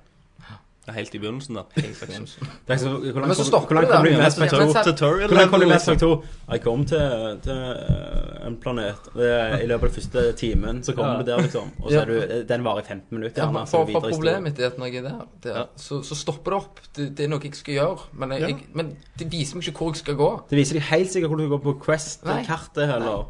[SPEAKER 2] Helt i begynnelsen, da.
[SPEAKER 1] Det er ikke så- Hvor
[SPEAKER 3] Men
[SPEAKER 1] langt
[SPEAKER 3] så
[SPEAKER 1] kom-
[SPEAKER 3] stopper
[SPEAKER 1] hvor langt
[SPEAKER 3] det
[SPEAKER 1] kom
[SPEAKER 3] der.
[SPEAKER 1] du i Mass
[SPEAKER 3] Ja,
[SPEAKER 1] Effect 2?
[SPEAKER 3] men så-
[SPEAKER 2] Tutorial
[SPEAKER 1] Hvordan kom du med
[SPEAKER 2] level,
[SPEAKER 1] Sagt 2? Jeg kom til, til eh, en planet eh, I løpet av den første timen Så kommer
[SPEAKER 2] Ja.
[SPEAKER 1] du der liksom Og så er du, den varer i 15 minutter
[SPEAKER 3] Ja,
[SPEAKER 1] gjerne,
[SPEAKER 3] men
[SPEAKER 1] så er
[SPEAKER 3] for,
[SPEAKER 1] du
[SPEAKER 3] for
[SPEAKER 1] videre i
[SPEAKER 3] problemet mitt er at når jeg er der, der
[SPEAKER 2] Ja.
[SPEAKER 3] så, så stopper det opp. Det, det er noe jeg skal gjøre, men, jeg,
[SPEAKER 2] Ja.
[SPEAKER 3] jeg, men det viser meg ikke hvor jeg skal gå.
[SPEAKER 1] historien. Det viser deg helt sikkert hvor du skal gå på Quest
[SPEAKER 3] Nei.
[SPEAKER 1] Kartet eller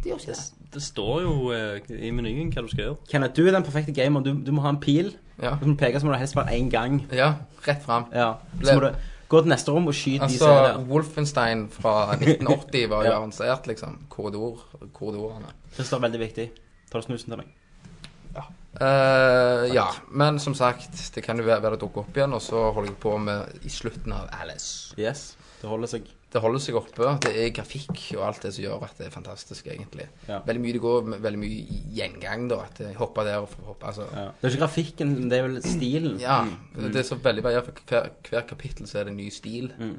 [SPEAKER 3] Det gjør ikke det.
[SPEAKER 2] Det står jo eh, i menyen hva du skal gjøre.
[SPEAKER 1] Kenneth, du er den perfekte gamer Du, du må ha en pil
[SPEAKER 3] Ja,
[SPEAKER 1] Hvis du peker så må du helst bare en gang
[SPEAKER 3] ja rett fram.
[SPEAKER 1] ja. Så må du gå til neste rom og skyte de
[SPEAKER 3] Altså,
[SPEAKER 1] som er der
[SPEAKER 3] Wolfenstein fra 1980 var jo
[SPEAKER 1] Ja.
[SPEAKER 3] avansert, liksom. Korridor, korridorene.
[SPEAKER 1] Det står veldig viktig Ta snusen til meg
[SPEAKER 3] Eh, ja, men som sagt, det kan jo være være det dukker opp igjen, og så holder jeg på med i slutten av Alice.
[SPEAKER 1] Yes, det holder seg
[SPEAKER 3] Det holder seg oppe. Det er grafikk og alt det som gjør at det er fantastisk, egentlig.
[SPEAKER 1] Ja.
[SPEAKER 3] Veldig mye det går med veldig mye gjengang, da. At jeg hopper der og hopper altså.
[SPEAKER 1] ja. Mm. Det er ikke grafikken, det er vel stilen
[SPEAKER 3] Ja. Det er så veldig variert. for Hver, hver kapittel så er det en ny stil.
[SPEAKER 1] Mm.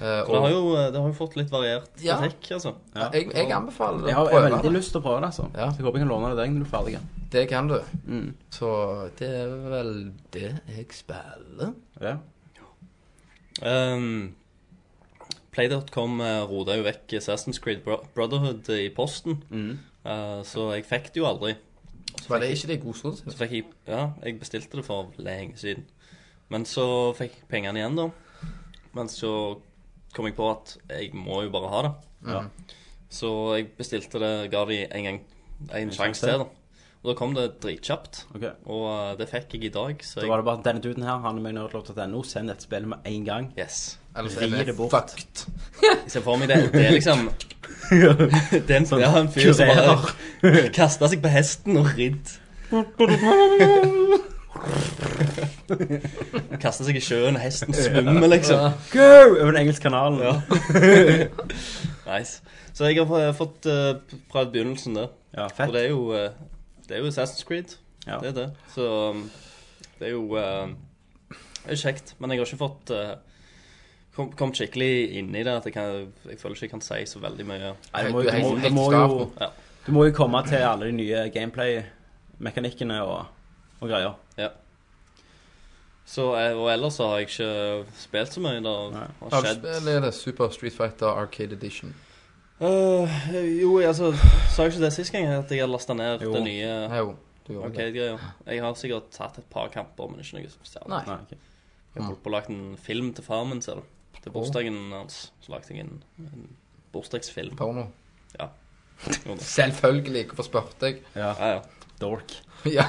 [SPEAKER 3] Eh,
[SPEAKER 2] Det
[SPEAKER 3] og
[SPEAKER 2] har jo, eh, det har jo fått litt variert
[SPEAKER 3] Ja.
[SPEAKER 2] trekk, altså.
[SPEAKER 3] jeg, jeg anbefaler
[SPEAKER 1] Jeg
[SPEAKER 3] å
[SPEAKER 1] har jeg har
[SPEAKER 3] prøve
[SPEAKER 1] veldig
[SPEAKER 3] det.
[SPEAKER 1] lyst til å prøve det altså
[SPEAKER 3] Ja.
[SPEAKER 1] Så jeg håper jeg kan låne det deg når du er ferdig
[SPEAKER 3] Det kan du.
[SPEAKER 1] Mm.
[SPEAKER 3] Så det er vel det jeg spiller.
[SPEAKER 1] Ja
[SPEAKER 2] Um, Play.com eh, roda jo vekk Assassin's Creed Bro Brotherhood i posten,
[SPEAKER 1] Mm.
[SPEAKER 2] Eh, så jeg fikk det jo aldri.
[SPEAKER 3] Var det ikke det god stund siden?
[SPEAKER 2] Så fikk jeg, ja, jeg bestilte det for lenge siden. Men så fikk jeg pengene igjen, da. Men så kom jeg på at jeg må jo bare ha det.
[SPEAKER 1] Ja.
[SPEAKER 2] Så jeg bestilte det, ga de en gang en sjanse til, da. Og da kom det dritkjapt.
[SPEAKER 1] Ok.
[SPEAKER 2] Og eh, det fikk jeg i dag, så
[SPEAKER 1] Da
[SPEAKER 2] jeg
[SPEAKER 1] var det bare denne duden her, han er med i nerdlov.no, send dette spillet med en gang.
[SPEAKER 2] Yes.
[SPEAKER 3] Eller så
[SPEAKER 1] Vri
[SPEAKER 3] er det
[SPEAKER 1] det bort.
[SPEAKER 3] fucked.
[SPEAKER 2] Jeg ser for meg det. Det er liksom Det er en, sånn det er en fyr som bare kasta seg på hesten og ridd. Kaster seg i sjøen, og hesten svømmer, liksom.
[SPEAKER 1] Go! Over den engelske kanalen.
[SPEAKER 2] Ja. nice. Så jeg har eh, fått uh, prøvd begynnelsen der.
[SPEAKER 1] Ja,
[SPEAKER 2] For
[SPEAKER 1] fett.
[SPEAKER 2] det er jo, eh, det er jo Assassin's Creed.
[SPEAKER 1] Ja.
[SPEAKER 2] Det er det. Så um, det er jo eh, det er kjekt. Men jeg har ikke fått eh, kom- kommet skikkelig inn i det. At jeg, kan, jeg føler ikke jeg kan si så veldig mye.
[SPEAKER 1] Nei, det
[SPEAKER 3] Du
[SPEAKER 1] må,
[SPEAKER 3] er
[SPEAKER 1] det
[SPEAKER 3] helt-
[SPEAKER 1] må, det
[SPEAKER 3] helt
[SPEAKER 1] må
[SPEAKER 3] skarp
[SPEAKER 1] jo,
[SPEAKER 3] nå.
[SPEAKER 2] Ja.
[SPEAKER 1] du må jo komme til alle de nye gameplay-mekanikkene og, og greier.
[SPEAKER 2] Så, eh, og ellers så har jeg ikke spilt så mye. Det
[SPEAKER 1] Nei.
[SPEAKER 2] har skjedd
[SPEAKER 3] Eller er det Super Street Fighter Arcade Edition?
[SPEAKER 2] Eh, Jo, altså Sa jeg ikke det sist gang at jeg hadde lasta ned
[SPEAKER 1] Jo.
[SPEAKER 2] det nye
[SPEAKER 3] Nei, jo. Du gjorde det.
[SPEAKER 2] Arcade-greia? Jeg har sikkert tatt et par kamper, men ikke noe stjerne.
[SPEAKER 3] Nei.
[SPEAKER 1] Nei, ok.
[SPEAKER 2] Jeg holdt på å lage en film til faren min, ser du. Til bursdagen hans så lagde jeg en, en bursdagsfilm.
[SPEAKER 3] Porno.
[SPEAKER 2] Jo da.
[SPEAKER 3] Selvfølgelig. Hvorfor spurte jeg?
[SPEAKER 1] Ja,
[SPEAKER 2] Ja, ja.
[SPEAKER 1] dork.
[SPEAKER 3] Ja.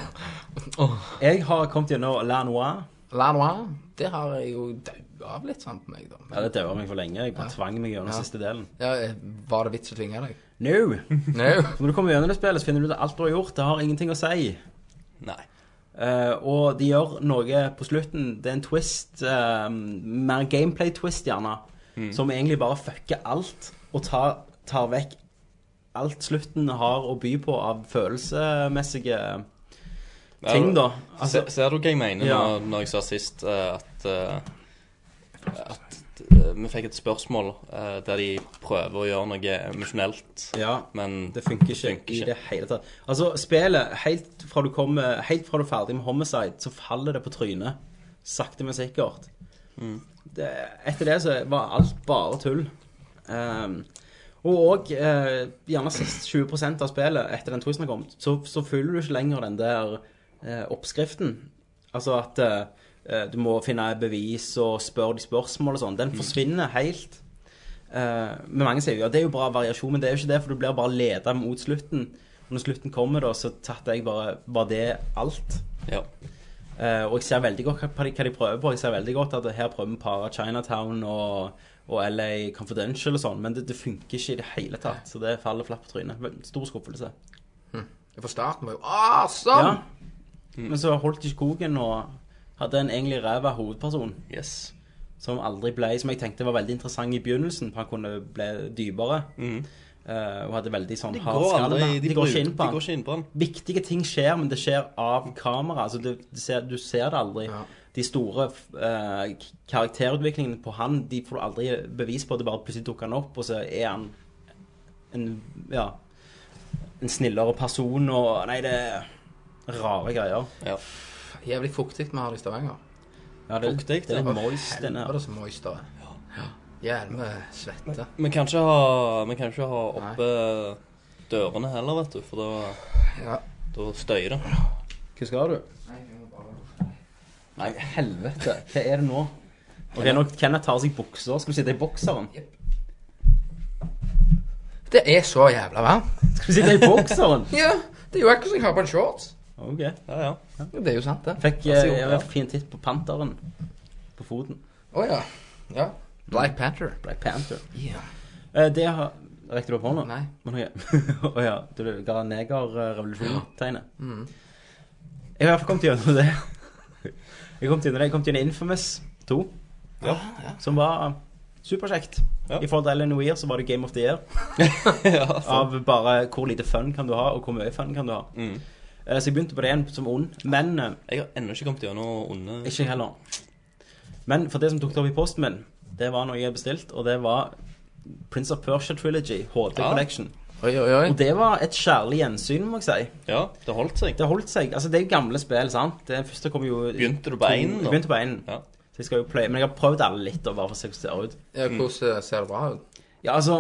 [SPEAKER 1] Jeg har kommet gjennom La Noire.
[SPEAKER 3] La Noir, det har jeg jo daua av litt sånn på meg, da.
[SPEAKER 1] Ja, det daua meg for lenge. Jeg bare tvang meg gjennom
[SPEAKER 3] Ja.
[SPEAKER 1] siste delen.
[SPEAKER 3] Ja, eh, var det vits å tvinge deg?
[SPEAKER 1] No!
[SPEAKER 3] Nei.
[SPEAKER 1] Når du kommer gjennom det spillet, så finner du ut at alt du har gjort, det har ingenting å si.
[SPEAKER 2] Nei.
[SPEAKER 1] Eh, og de gjør noe på slutten. Det er en twist, eh, mer gameplay-twist, gjerne, som egentlig bare fucker alt og tar, tar vekk alt slutten har å by på av følelsesmessige ting, da. Altså,
[SPEAKER 2] Se- ser du hva jeg mener
[SPEAKER 1] Ja.
[SPEAKER 2] når, når jeg sa sist eh, at eh, At eh, vi fikk et spørsmål eh, der de prøver å gjøre noe emosjonelt,
[SPEAKER 1] ja.
[SPEAKER 2] men
[SPEAKER 1] Det funker ikke
[SPEAKER 2] Mm. Funker
[SPEAKER 1] i
[SPEAKER 2] ikke.
[SPEAKER 1] det hele tatt. Altså, spillet, helt fra du kommer Helt fra du er ferdig med Homicide, så faller det på trynet. Sakte, men sikkert.
[SPEAKER 2] Mm.
[SPEAKER 1] Det, etter det så var alt bare tull. Ehm, og òg eh, gjerne sist 20 av spillet etter den twisten har kommet, så, så følger du ikke lenger den der eh, oppskriften. Altså at eh, eh, du må finne bevis og spørre de spørsmål og sånn.
[SPEAKER 2] Mm.
[SPEAKER 1] Den forsvinner helt. Eh, men mange sier jo at det er jo bra variasjon, men det er jo ikke det, for du blir bare leda mot slutten. Og når slutten kommer, da, så tatte jeg bare Var det alt?
[SPEAKER 2] Ja.
[SPEAKER 1] Eh, og jeg ser veldig godt hva de, hva de prøver på. Jeg ser veldig godt at her prøver vi å pare Chinatown og, og LA Confidential og sånn, men det, det funker ikke i det hele tatt. Så det faller flatt på trynet. Men Stor skuffelse.
[SPEAKER 3] For starten var jo awesome!
[SPEAKER 1] Ja. Men så holdt de ikke koken og hadde en egentlig ræva hovedperson
[SPEAKER 2] Yes.
[SPEAKER 1] som aldri ble Som jeg tenkte var veldig interessant i begynnelsen, for han kunne bli dypere. eh, og hadde veldig sånn
[SPEAKER 2] De
[SPEAKER 1] hard
[SPEAKER 2] Mm. går
[SPEAKER 1] skalle.
[SPEAKER 2] aldri
[SPEAKER 1] De, de går ikke inn på
[SPEAKER 2] De
[SPEAKER 1] han.
[SPEAKER 2] går ikke inn på han.
[SPEAKER 1] Viktige ting skjer, men det skjer av kamera. Altså, du, du, ser, du ser det aldri.
[SPEAKER 3] Ja.
[SPEAKER 1] De store eh, k- karakterutviklingene på han De får du aldri bevis på. Det bare plutselig dukker han opp, og så er han en Ja. En snillere person og Nei, det er rare greier.
[SPEAKER 2] Ja.
[SPEAKER 3] Jævlig fuktig vi har det i Stavanger.
[SPEAKER 1] Ja, det, det
[SPEAKER 2] Fuktig,
[SPEAKER 1] er
[SPEAKER 2] det.
[SPEAKER 1] moist, denne.
[SPEAKER 3] Helvete så moist det er. Ja. Jævlig svette.
[SPEAKER 2] Vi kan ikke ha, vi kan ikke ha oppe dørene heller, vet du, for da,
[SPEAKER 3] Ja.
[SPEAKER 2] da støyer det.
[SPEAKER 1] Hva skal du? Nei, helvete. Hva er det nå? Ok, nå Kenneth tar av seg bukser. Skal du sitte i bokseren?
[SPEAKER 3] Det er så jævla varmt.
[SPEAKER 1] Skal du sitte i bokseren?
[SPEAKER 3] Ja, det er jo akkurat som jeg har på en shorts.
[SPEAKER 1] Ok.
[SPEAKER 2] Ja, ja.
[SPEAKER 3] Jo, Det er jo sant, det.
[SPEAKER 1] Fikk
[SPEAKER 2] Vær så
[SPEAKER 1] eh,
[SPEAKER 2] god,
[SPEAKER 1] jeg
[SPEAKER 2] ja.
[SPEAKER 1] fikk fin titt på Panteren på foten.
[SPEAKER 3] Å ja. Ja. Black Panther.
[SPEAKER 1] Black Panther.
[SPEAKER 3] Ja.
[SPEAKER 1] Eh, det har Rekte du opp hånda?
[SPEAKER 3] Nei.
[SPEAKER 1] Men ok. Å ja. Du ga negerrevolusjon-tegnet. Jeg har i hvert fall kommet gjennom det. Jeg kom gjennom det. Jeg kom gjennom Infamous 2,
[SPEAKER 2] Ja.
[SPEAKER 1] som var eh, superkjekt.
[SPEAKER 2] Ja.
[SPEAKER 1] I forhold til Ellen Weir så var det Game of the Year. Av bare hvor lite fun kan du ha, og hvor mye fun kan du ha.
[SPEAKER 2] Mm.
[SPEAKER 1] Eh, Så jeg begynte på det igjen som ond, men eh,
[SPEAKER 2] Jeg har ennå ikke kommet gjennom onde
[SPEAKER 1] ikke jeg heller. Men for det som tok det opp i posten min, det var noe jeg hadde bestilt, og det var Prince of Persia Trilogy, HD
[SPEAKER 2] Ja.
[SPEAKER 1] Collection.
[SPEAKER 3] Oi, oi, oi.
[SPEAKER 1] Og det var et kjærlig gjensyn, må jeg si.
[SPEAKER 2] Ja, det holdt seg.
[SPEAKER 1] Det holdt seg. Altså, det er jo gamle spill, sant? Det første kom jo
[SPEAKER 2] Begynte du på
[SPEAKER 1] to-
[SPEAKER 2] én, da?
[SPEAKER 1] Jeg Begynte på én.
[SPEAKER 2] Ja.
[SPEAKER 1] Så jeg skal jo play, men jeg har prøvd alle litt, og bare for å se hvordan det ser ut.
[SPEAKER 3] Ja, hvordan eh, ser det bra ut?
[SPEAKER 1] Ja, altså,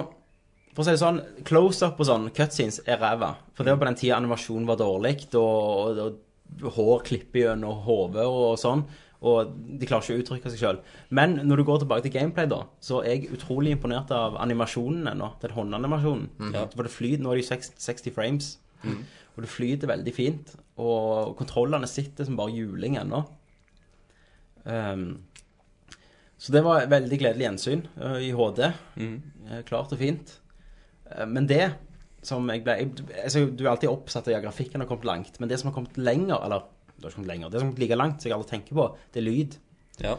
[SPEAKER 1] for å si det sånn, close-up og sånn, cutscenes er ræva. For det var på den tida animasjonen var dårlig, og, og, og hår klipper gjennom hodet og sånn. Og de klarer ikke å uttrykke seg sjøl. Men når du går tilbake til gameplay, da, så er jeg utrolig imponert av animasjonen ennå. Den håndanimasjonen. For det flyter, Nå er det jo 60, 60 frames, og det flyter veldig fint. Og kontrollene sitter som bare juling ennå. Ehm, så det var et veldig gledelig gjensyn eh, i HD. Eh, Klart og fint. Eh, Men det som jeg ble jeg, altså, Du er alltid oppsatt av grafikken har kommet langt, men det som har kommet lenger, eller Det har ikke kommet lenger. Det som er like langt, som jeg aldri tenker på, det er lyd.
[SPEAKER 2] Ja.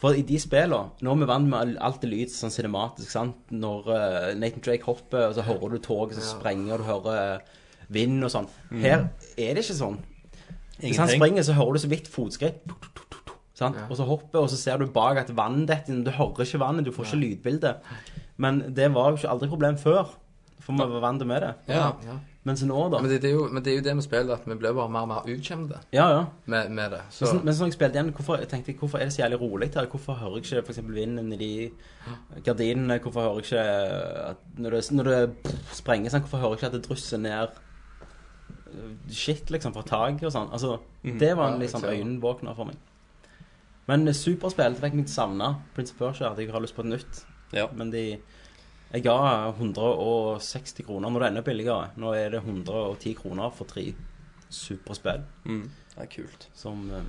[SPEAKER 1] For i de spillene, nå er vi vant med alt det lyd sånn cinematisk, sant? Når eh, Nathan Drake hopper, og så hører du toget som sprenger, og du hører eh, vind og sånn. Her er det ikke sånn. Hvis han
[SPEAKER 2] Ingenting.
[SPEAKER 1] springer, så hører du så vidt fotskritt. tuk, tuk, tuk, tuk, Sant? Og så hopper, og så ser du bak at vannet detter inn. Du hører ikke vannet, du får ikke lydbilde. Men det var jo ikke aldri et problem før, for vi var vant med det.
[SPEAKER 3] Ja, ja.
[SPEAKER 1] Mens nå, da
[SPEAKER 3] Men, det, det er jo, men det er jo det med spillet, at vi blir bare mer og mer utkjente
[SPEAKER 1] Ja, ja.
[SPEAKER 3] med, med det. Så,
[SPEAKER 1] Men sånn- Men sånn jeg spilte igjen, hvorfor, jeg tenkte jeg, hvorfor er det så jævlig rolig her? Hvorfor hører jeg ikke for eksempel vinden i de gardinene? Hvorfor hører jeg ikke at når det, når det sprenger sånn, hvorfor hører jeg ikke at det drysser ned øh, shit liksom fra taket og sånn? Altså, det var
[SPEAKER 3] Mm. Ja,
[SPEAKER 1] en liksom
[SPEAKER 3] jeg ser.
[SPEAKER 1] øyenvåkner for meg. Men eh, superspill det fikk meg til å savne Prince of Persia, at jeg har lyst på et nytt.
[SPEAKER 2] Ja.
[SPEAKER 1] Men de Jeg ga 160 kroner når det er enda billigere. Nå er det 110 kroner for tre superspill
[SPEAKER 2] Mm. Det er kult.
[SPEAKER 1] som øh,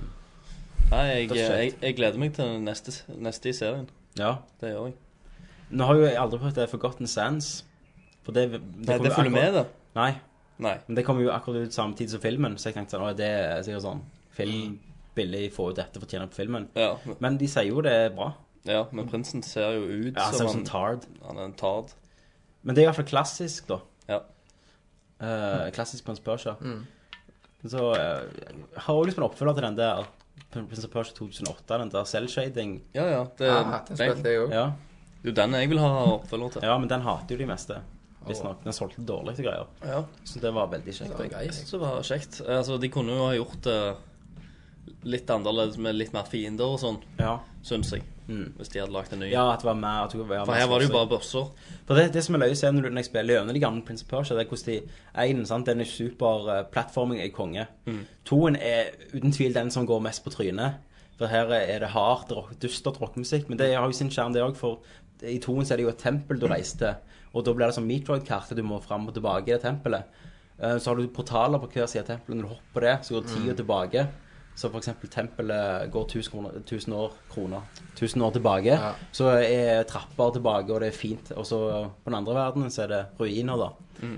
[SPEAKER 2] Nei, jeg,
[SPEAKER 1] Det er
[SPEAKER 2] jeg,
[SPEAKER 1] skjønt.
[SPEAKER 2] jeg gleder meg til neste, neste i serien.
[SPEAKER 1] Ja.
[SPEAKER 2] Det gjør jeg.
[SPEAKER 1] Nå har jo jeg aldri prøvd det Forgotten Sands. For det, det,
[SPEAKER 2] Nei,
[SPEAKER 1] kommer
[SPEAKER 2] det
[SPEAKER 1] jo
[SPEAKER 2] følger
[SPEAKER 1] akkurat-
[SPEAKER 2] med, det.
[SPEAKER 1] Nei,
[SPEAKER 2] Nei.
[SPEAKER 1] men det kommer jo akkurat ut samtidig som filmen, så jeg tenkte sånn, å, det er sikkert sånn film, billig, få ut dette, fortjener på filmen.
[SPEAKER 2] Ja, men-
[SPEAKER 1] Men de sier jo det er bra.
[SPEAKER 2] ja, men prinsen ser jo ut
[SPEAKER 1] Ja,
[SPEAKER 2] som
[SPEAKER 1] ser ut som
[SPEAKER 2] han,
[SPEAKER 1] Tard.
[SPEAKER 2] han er en tard.
[SPEAKER 1] Men det er i hvert fall klassisk, da.
[SPEAKER 2] Ja.
[SPEAKER 1] Eh, klassisk Prince of Persia. Så eh, jeg har jo lyst på en oppfølger til den der Prince of Persia 2008, den der selvshading.
[SPEAKER 2] Ja, ja. Det,
[SPEAKER 1] Ah,
[SPEAKER 3] ja, den spilte jeg òg.
[SPEAKER 1] Ja.
[SPEAKER 2] Det er jo den jeg vil ha oppfølger til.
[SPEAKER 1] ja, men den hater jo de meste. Visstnok. Den solgte dårlig til greier.
[SPEAKER 2] Ja.
[SPEAKER 1] Så det var veldig kjekt.
[SPEAKER 3] Det var greit. liksom.
[SPEAKER 2] Jeg synes det var kjekt. Altså, de kunne jo ha gjort det litt annerledes med litt mer fiender og sånn,
[SPEAKER 1] Ja.
[SPEAKER 2] syns jeg.
[SPEAKER 1] Mm.
[SPEAKER 2] Hvis de hadde lagd en ny.
[SPEAKER 1] ja, at det var mer at det var
[SPEAKER 2] For
[SPEAKER 1] mer
[SPEAKER 2] her var det jo
[SPEAKER 1] slåssing.
[SPEAKER 2] bare bøsser.
[SPEAKER 1] For det, det som er løye å se når, du- når jeg spiller gjennom de gamle Prince of Persia, det er hvordan de én, sant, den er super eh, plattforming er konge.
[SPEAKER 2] Mm.
[SPEAKER 1] Toen er uten tvil den som går mest på trynet. For her er det hardt, rock, dystert rockemusikk. Men det har jo sin skjerm, det òg, for i toen så er det jo et tempel du reiser til. Og da blir det som Metroid-kartet, du må fram og tilbake i det tempelet. Eh, Så har du portaler på hver side av tempelet. Når du hopper det, så går
[SPEAKER 2] Mm.
[SPEAKER 1] tida tilbake. Så for eksempel tempelet går 1000 kroner, 1000 år, kroner, 1000 år tilbake.
[SPEAKER 3] Ja.
[SPEAKER 1] Så er trapper tilbake, og det er fint. Og så på den andre verdenen så er det ruiner, da.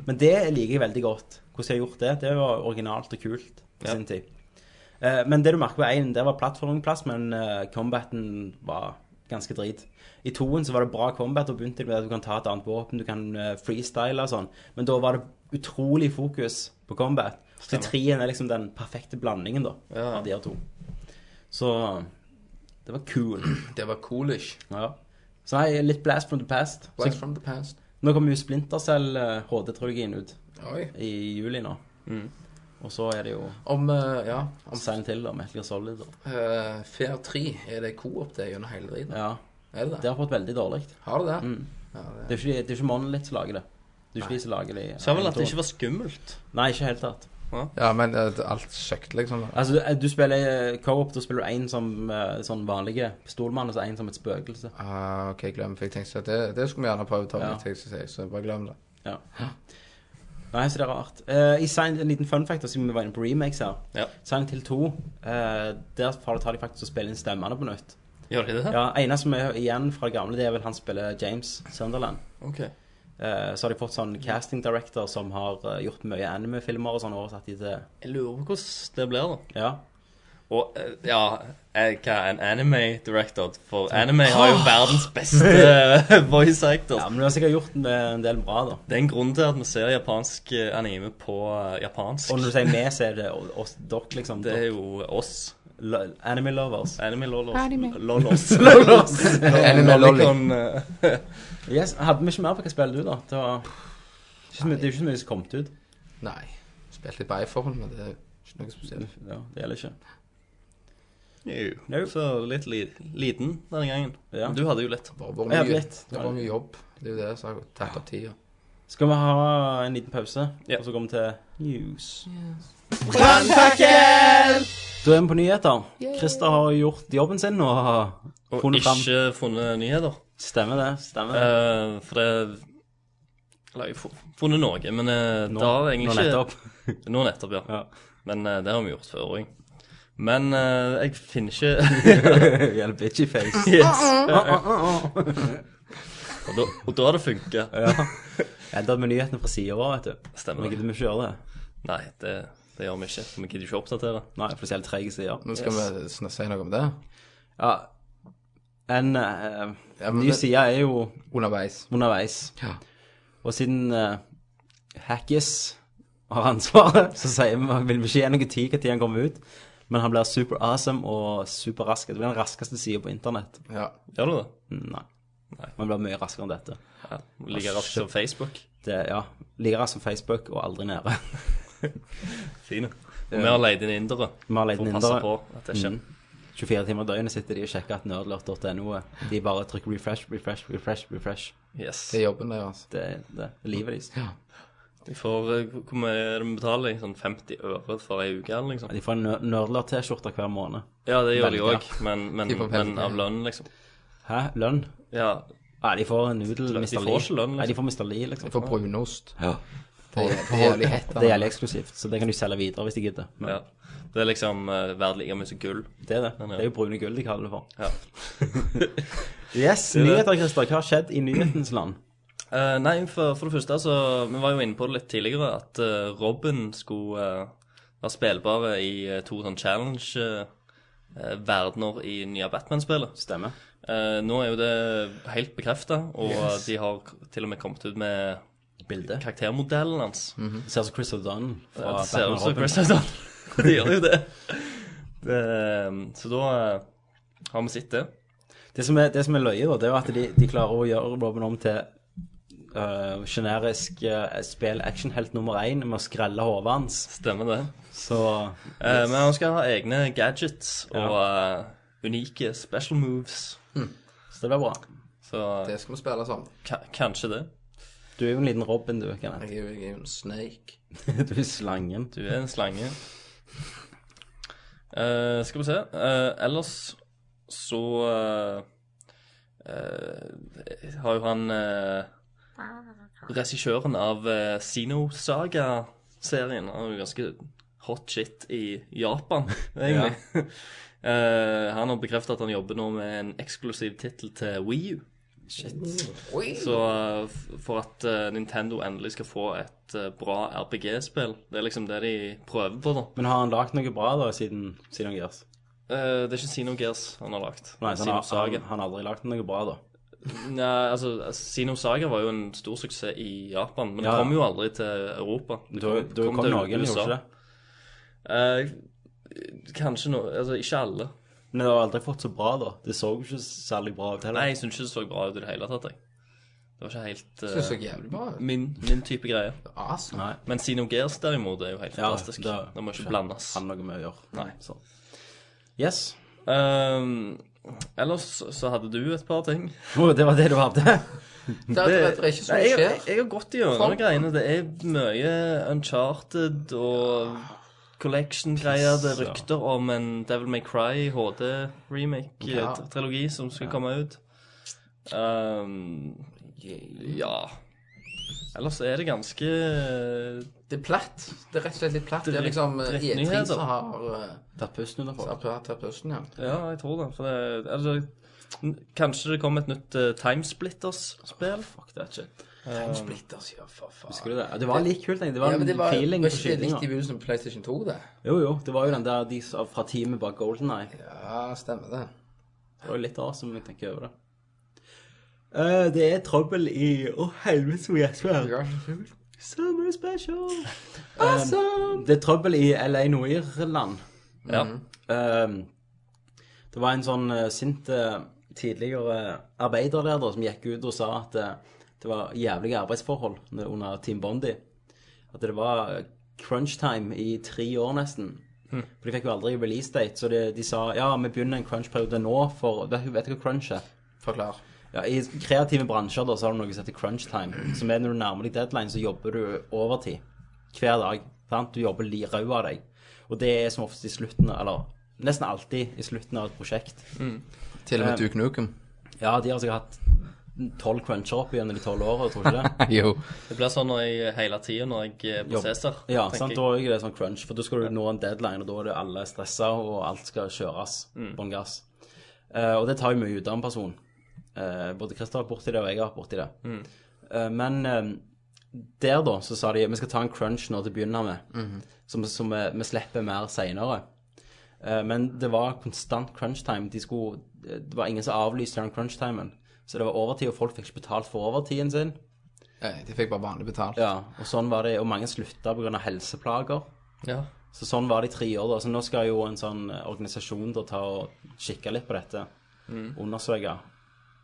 [SPEAKER 1] Men det liker jeg veldig godt. Hvordan de har gjort det. Det var originalt og kult på
[SPEAKER 2] Ja.
[SPEAKER 1] sin tid. Eh, Men det du merker på én, der var plattformplass, men eh, combaten var ganske drit. I toen så var det bra combat, og begynte med at du kan ta et annet våpen, du kan eh, freestyle og sånn. Men da var det utrolig fokus på combat. Så
[SPEAKER 2] Stemmer.
[SPEAKER 1] treen er liksom den perfekte blandingen, da,
[SPEAKER 2] Ja.
[SPEAKER 1] av de her to. Så det var cool.
[SPEAKER 3] Det var coolish.
[SPEAKER 1] Ja. Så nei, litt blast from the past. Så,
[SPEAKER 3] Blast from the past.
[SPEAKER 1] nå kommer jo Splintercell HD-trilogien ut
[SPEAKER 3] Oi.
[SPEAKER 1] i juli nå.
[SPEAKER 2] Mm.
[SPEAKER 1] Og så er det jo
[SPEAKER 3] Om eh, ja, om
[SPEAKER 1] Silent Hill og Metal Gear Solid. og-
[SPEAKER 3] eh, Fair 3 er det co-op det gjennom hele driten.
[SPEAKER 1] Ja,
[SPEAKER 3] Er det
[SPEAKER 1] det
[SPEAKER 3] det?
[SPEAKER 1] har fått veldig dårlig.
[SPEAKER 3] Har det det?
[SPEAKER 1] Mm.
[SPEAKER 3] Ja, det?
[SPEAKER 1] Det er jo ikke, det er ikke Monolith som lager det. Det er jo ikke de som lager det.
[SPEAKER 2] Ser vel at det ikke var skummelt.
[SPEAKER 1] Nei, ikke helt tatt.
[SPEAKER 3] ja, men eh, alt søkt, liksom.
[SPEAKER 1] Altså, du- du spiller eh, co-op, da spiller du en som eh, sånn vanlige pistolmann, og så en som et spøkelse.
[SPEAKER 3] Ah, OK, glem for jeg tenkte at det, det skulle vi gjerne prøvd, Tommy,
[SPEAKER 1] Ja.
[SPEAKER 3] tenkte jeg skulle si, så bare glem det.
[SPEAKER 1] Nei, så det er rart. Eh, I Silent, en liten fun fact, da, siden vi var inne på remakes her.
[SPEAKER 2] Ja.
[SPEAKER 1] Silent Hill 2, eh, der tar de faktisk og spiller inn stemmene på nytt.
[SPEAKER 2] Gjør de det?
[SPEAKER 1] Ja, ene som er igjen fra det gamle, det er vel han spiller James Sunderland.
[SPEAKER 2] Ok.
[SPEAKER 1] Eh, så har de fått sånn casting director som har eh, gjort mye anime-filmer og sånn, oversatt de til
[SPEAKER 2] Jeg lurer på hvordan det blir, da.
[SPEAKER 1] Ja.
[SPEAKER 2] Og eh, ja, eh, hva en anime director For anime har jo verdens beste eh, voice actors.
[SPEAKER 1] ja men du har sikkert gjort en en del bra, da.
[SPEAKER 2] Det er en grunn til at vi ser japansk eh, anime på eh, japansk.
[SPEAKER 1] Og når du sier vi, så er det oss dere, liksom.
[SPEAKER 2] Det er jo oss.
[SPEAKER 1] Lo- Anime lovers.
[SPEAKER 2] Anime lollos.
[SPEAKER 5] Anime.
[SPEAKER 2] Lollos.
[SPEAKER 3] Anime lolly.
[SPEAKER 2] Lollicon, eh,
[SPEAKER 1] Yes, hadde vi ikke mer på hva spiller du, da? Det, var... ikke så mye, det er jo ikke så mye som kom ut.
[SPEAKER 3] Nei. Spilte litt Bifold, men det er ikke noe spesielt.
[SPEAKER 1] Ja, det gjelder ikke.
[SPEAKER 2] jo.
[SPEAKER 1] Jo.
[SPEAKER 2] Så litt li liten denne gangen.
[SPEAKER 1] Ja.
[SPEAKER 2] Du hadde jo lett.
[SPEAKER 3] Det var bare
[SPEAKER 1] Ja,
[SPEAKER 3] mye,
[SPEAKER 1] litt.
[SPEAKER 3] det var mye jobb. Det er jo det som har tatt opp tida.
[SPEAKER 1] Skal vi ha en liten pause,
[SPEAKER 2] Ja.
[SPEAKER 1] og så går vi til news?
[SPEAKER 5] Brannfakkel!
[SPEAKER 1] Da er vi på nyheter. Christer har gjort jobben sin og har
[SPEAKER 2] Og
[SPEAKER 1] funnet fram.
[SPEAKER 2] ikke funnet nyheter.
[SPEAKER 1] Stemmer det. stemmer det.
[SPEAKER 2] Eh, for det Eller jeg har fu- funnet noe, men eh,
[SPEAKER 1] Nå-
[SPEAKER 2] det har egentlig
[SPEAKER 1] nå
[SPEAKER 2] ikke
[SPEAKER 1] nettopp.
[SPEAKER 2] Nå nettopp, ja.
[SPEAKER 1] Ja.
[SPEAKER 2] Men eh, det har vi gjort før òg. Men eh, jeg finner ikke
[SPEAKER 1] Gjelder bitchy face.
[SPEAKER 2] Yes. og, da, og da har det funka.
[SPEAKER 1] Endret med nyhetene fra sida vår, vet du.
[SPEAKER 2] Stemmer
[SPEAKER 1] Men
[SPEAKER 2] det.
[SPEAKER 1] gidder vi ikke gjøre det.
[SPEAKER 2] Nei, det Det gjør vi ikke. Vi gidder ikke oppdatere.
[SPEAKER 1] Nei, for det er helt treige sider.
[SPEAKER 3] Nå skal
[SPEAKER 2] Yes.
[SPEAKER 3] vi sn- si noe om det
[SPEAKER 1] Ja, en eh,
[SPEAKER 3] Ja, men
[SPEAKER 1] ny
[SPEAKER 3] det-
[SPEAKER 1] side er jo
[SPEAKER 3] underveis.
[SPEAKER 1] underveis.
[SPEAKER 3] Ja.
[SPEAKER 1] Og siden eh, Hackis har ansvaret, så sier vi, vil vi ikke gi noen tid når han kommer ut. Men han blir super awesome og super rask. Det blir den raskeste sida på internett.
[SPEAKER 3] ja.
[SPEAKER 2] Gjør du det?
[SPEAKER 1] Nei.
[SPEAKER 2] Nei.
[SPEAKER 1] Man blir mye raskere enn dette.
[SPEAKER 2] Ja. Like raskt som Facebook.
[SPEAKER 1] Det, ja, Like rask som Facebook og aldri nede.
[SPEAKER 2] Fine. Og vi har leid inn indere Mm.
[SPEAKER 1] Vi har leid
[SPEAKER 2] for
[SPEAKER 1] inn
[SPEAKER 2] å passe
[SPEAKER 1] indere.
[SPEAKER 2] på at det skjer.
[SPEAKER 1] 24 timer i døgnet sitter de og sjekker at nerdlort.no er- De bare trykker refresh, refresh, refresh, refresh.
[SPEAKER 2] Yes.
[SPEAKER 3] Det er jobben der, altså.
[SPEAKER 1] Det er det, er livet deres.
[SPEAKER 2] Vi får eh, Hvor mye er det vi betaler? Sånn 50 øre for ei uke, eller liksom?
[SPEAKER 1] De får en nør- nerdlort-T-skjorte hver måned.
[SPEAKER 2] Ja, det gjør de
[SPEAKER 1] Velger.
[SPEAKER 2] òg, men, men,
[SPEAKER 3] De får
[SPEAKER 2] men
[SPEAKER 3] penger.
[SPEAKER 2] av lønn, liksom.
[SPEAKER 1] Hæ? Lønn?
[SPEAKER 2] Ja,
[SPEAKER 1] Nei, de får nudel,
[SPEAKER 2] De
[SPEAKER 1] Mr.
[SPEAKER 2] får
[SPEAKER 1] Lee.
[SPEAKER 2] ikke lønn, liksom.
[SPEAKER 1] Nei, de får Mr. Lee, liksom.
[SPEAKER 3] For brunost.
[SPEAKER 1] Ja.
[SPEAKER 3] Det er det er jævlig hett. da.
[SPEAKER 1] Det er jævlig eksklusivt, så det kan du selge videre hvis de gidder. Men
[SPEAKER 2] ja. Det er liksom uh, verdt like mye som gull.
[SPEAKER 1] det er det.
[SPEAKER 2] Men ja.
[SPEAKER 1] Det er jo brune gull de kaller det for.
[SPEAKER 2] Ja.
[SPEAKER 1] Yes, nyheter, Christer. Hva har skjedd i nyhetens land?
[SPEAKER 2] Eh, nei, for, for det første, så Vi var jo inne på det litt tidligere, at eh, Robin skulle eh, være spillbar i eh, to sånn challenge-verdener i nye Batman-spillet.
[SPEAKER 1] Stemmer.
[SPEAKER 2] Eh, nå er jo det helt bekrefta, og eh, de har k- til og med kommet ut med
[SPEAKER 1] Bildet.
[SPEAKER 2] karaktermodellen hans.
[SPEAKER 1] Det ser ut som Chris O'Donnell
[SPEAKER 2] Ja,
[SPEAKER 1] fra
[SPEAKER 2] det ser
[SPEAKER 1] Batman
[SPEAKER 2] ut som
[SPEAKER 1] Robin.
[SPEAKER 2] Chris O'Donnell. det gjør jo det. det. Så da eh, har vi sett det.
[SPEAKER 1] Det som er, det som er løye, da, det er jo at de, de klarer å gjøre Robin om til øh, generisk øh, spill-actionhelt nummer én med å skrelle hodet hans.
[SPEAKER 2] Stemmer det.
[SPEAKER 1] Så
[SPEAKER 2] Eh, men han skal ha egne gadgets og
[SPEAKER 1] Ja.
[SPEAKER 2] eh, unike special moves.
[SPEAKER 1] Så det blir bra.
[SPEAKER 2] Så
[SPEAKER 3] Det skal vi spille sammen.
[SPEAKER 2] ka kanskje det.
[SPEAKER 1] Du er jo en liten Robin, du, Kenneth.
[SPEAKER 3] Jeg er jo jeg er jo en snake.
[SPEAKER 1] Du er slangen.
[SPEAKER 2] Du er en slange. Eh, skal vi se. Eh, ellers så eh, eh, har jo han eh, regissøren av eh, Sino-saga-serien. Han er jo ganske hot shit i Japan, egentlig. Eh, han har bekreftet at han jobber nå med en eksklusiv tittel til Wii U. Så eh, f- for at eh, Nintendo endelig skal få et eh, bra RPG-spill Det er liksom det de prøver på, da.
[SPEAKER 1] Men har han lagd noe bra da siden Sino Gears?
[SPEAKER 2] Eh, det er ikke Xenogears han har lagt.
[SPEAKER 1] Nei, så han, har-
[SPEAKER 2] Xenosaga.
[SPEAKER 1] han, han har aldri lagd noe bra, da.
[SPEAKER 2] Nei, altså, Xenosaga var jo en stor suksess i Japan, men
[SPEAKER 1] Ja.
[SPEAKER 2] det kom jo aldri til Europa.
[SPEAKER 1] Da, da kom, noen, gjorde ikke det?
[SPEAKER 2] Eh, kanskje noe Altså, ikke alle.
[SPEAKER 1] Men det har aldri fått så bra, da. Det så jo ikke særlig bra ut
[SPEAKER 2] Nei,
[SPEAKER 1] heller.
[SPEAKER 2] jeg syns ikke det så bra ut i det hele tatt, jeg. Det var ikke helt eh,
[SPEAKER 3] Det så jævlig bra ut.
[SPEAKER 2] min, min type greie.
[SPEAKER 3] Awesome.
[SPEAKER 1] Nei.
[SPEAKER 2] Men Xenogears derimot er jo helt
[SPEAKER 1] Ja,
[SPEAKER 2] fantastisk. Det,
[SPEAKER 1] det-
[SPEAKER 2] må ikke blandes.
[SPEAKER 1] Han har noe med å gjøre.
[SPEAKER 2] Nei. sånn.
[SPEAKER 1] Så. Yes.
[SPEAKER 2] Ehm, ellers så hadde du et par ting.
[SPEAKER 1] Å, det var det du hadde?
[SPEAKER 3] Det, er- det, er- det er ikke så mye
[SPEAKER 2] Nei, jeg,
[SPEAKER 3] skjer.
[SPEAKER 2] jeg har gått gjennom greiene. Det er mye Uncharted og Collection-greier. Det er
[SPEAKER 1] Piss, ja.
[SPEAKER 2] rykter om en Devil May Cry
[SPEAKER 3] Ja.
[SPEAKER 2] HD-remake-trilogi eh, som skal komme ut. Ehm, ja Ellers er det ganske eh,
[SPEAKER 3] Det er platt. Det er rett og slett litt platt. Det er
[SPEAKER 2] Dritt-
[SPEAKER 3] liksom eh, E3
[SPEAKER 2] drittnyheter.
[SPEAKER 3] som har eh,
[SPEAKER 1] Tatt pusten under folk.
[SPEAKER 3] har tatt pusten, ja.
[SPEAKER 2] Ja, jeg tror det. For det altså, n- kanskje det kommer et nytt eh, Timesplitters-spill?
[SPEAKER 1] Fuck that shit.
[SPEAKER 3] Time Splitters, ja, for faen.
[SPEAKER 1] Husker du det? Ja, Det var litt kult, egentlig. Det var
[SPEAKER 3] Ja, men det
[SPEAKER 1] en
[SPEAKER 3] var, var ikke
[SPEAKER 1] feeling
[SPEAKER 3] det
[SPEAKER 1] på skytinga.
[SPEAKER 3] litt i begynnelsen på PlayStation 2, det?
[SPEAKER 1] Jo, jo. Det var jo den der de sa- fra teamet bak Golden Eye.
[SPEAKER 3] Ja, stemmer det.
[SPEAKER 1] Det var jo litt awesome, når jeg tenker over det. Eh, det er trøbbel i Å, helvete, så gjesper. Summer special. awesome! det er trøbbel Um, i LA Noir-land.
[SPEAKER 2] Ja.
[SPEAKER 1] Ehm, det var en sånn eh, sint eh, tidligere eh, arbeider der da, som gikk ut og sa at eh, det var jævlige arbeidsforhold når- under Team Bondi. At det var eh, crunch time i tre år nesten. For de fikk jo aldri release date, så de, de sa ja, vi begynner en crunch-periode nå, for vet, vet du hva crunch er?
[SPEAKER 3] Forklar.
[SPEAKER 1] Ja, I kreative bransjer da, så har du noe som heter crunch time, som er når du nærmer deg deadline, så jobber du overtid hver dag. Sant? Du jobber li rau av deg. Og det er som oftest i slutten, eller nesten alltid i slutten av et prosjekt.
[SPEAKER 3] Til og med Duke Nukem.
[SPEAKER 1] Ja, de har sikkert hatt tolv cruncher opp igjen i de tolv åra, tror du ikke det?
[SPEAKER 3] Jo.
[SPEAKER 2] Det blir sånn når jeg, hele tida når jeg er
[SPEAKER 1] Jobb.
[SPEAKER 2] prosessor.
[SPEAKER 1] Ja,
[SPEAKER 2] tenker
[SPEAKER 1] sant,
[SPEAKER 2] jeg.
[SPEAKER 1] da er det sånn crunch, for da skal du nå en deadline, og da er det alle stressa, og alt skal kjøres
[SPEAKER 2] Mm.
[SPEAKER 1] på en gass. Eh, og det tar jo mye ut av en
[SPEAKER 2] Mm.
[SPEAKER 1] person. Eh, både Christer har vært borti det, og jeg har vært borti det. Eh, men eh, der, da, så sa de vi skal ta en crunch nå til å begynne med, som, som vi, vi slipper mer seinere. Men det var konstant crunchtime. De skulle, det var ingen som avlyste den crunchtimen. Så det var overtid, og folk fikk ikke betalt for overtiden sin.
[SPEAKER 3] Eh, De fikk bare vanlig betalt.
[SPEAKER 1] Ja, og sånn var det, og mange slutta pga. helseplager.
[SPEAKER 2] Ja.
[SPEAKER 1] Så sånn var det i tre år. da, Så nå skal jo en sånn organisasjon da ta og kikke litt på dette. Undersøke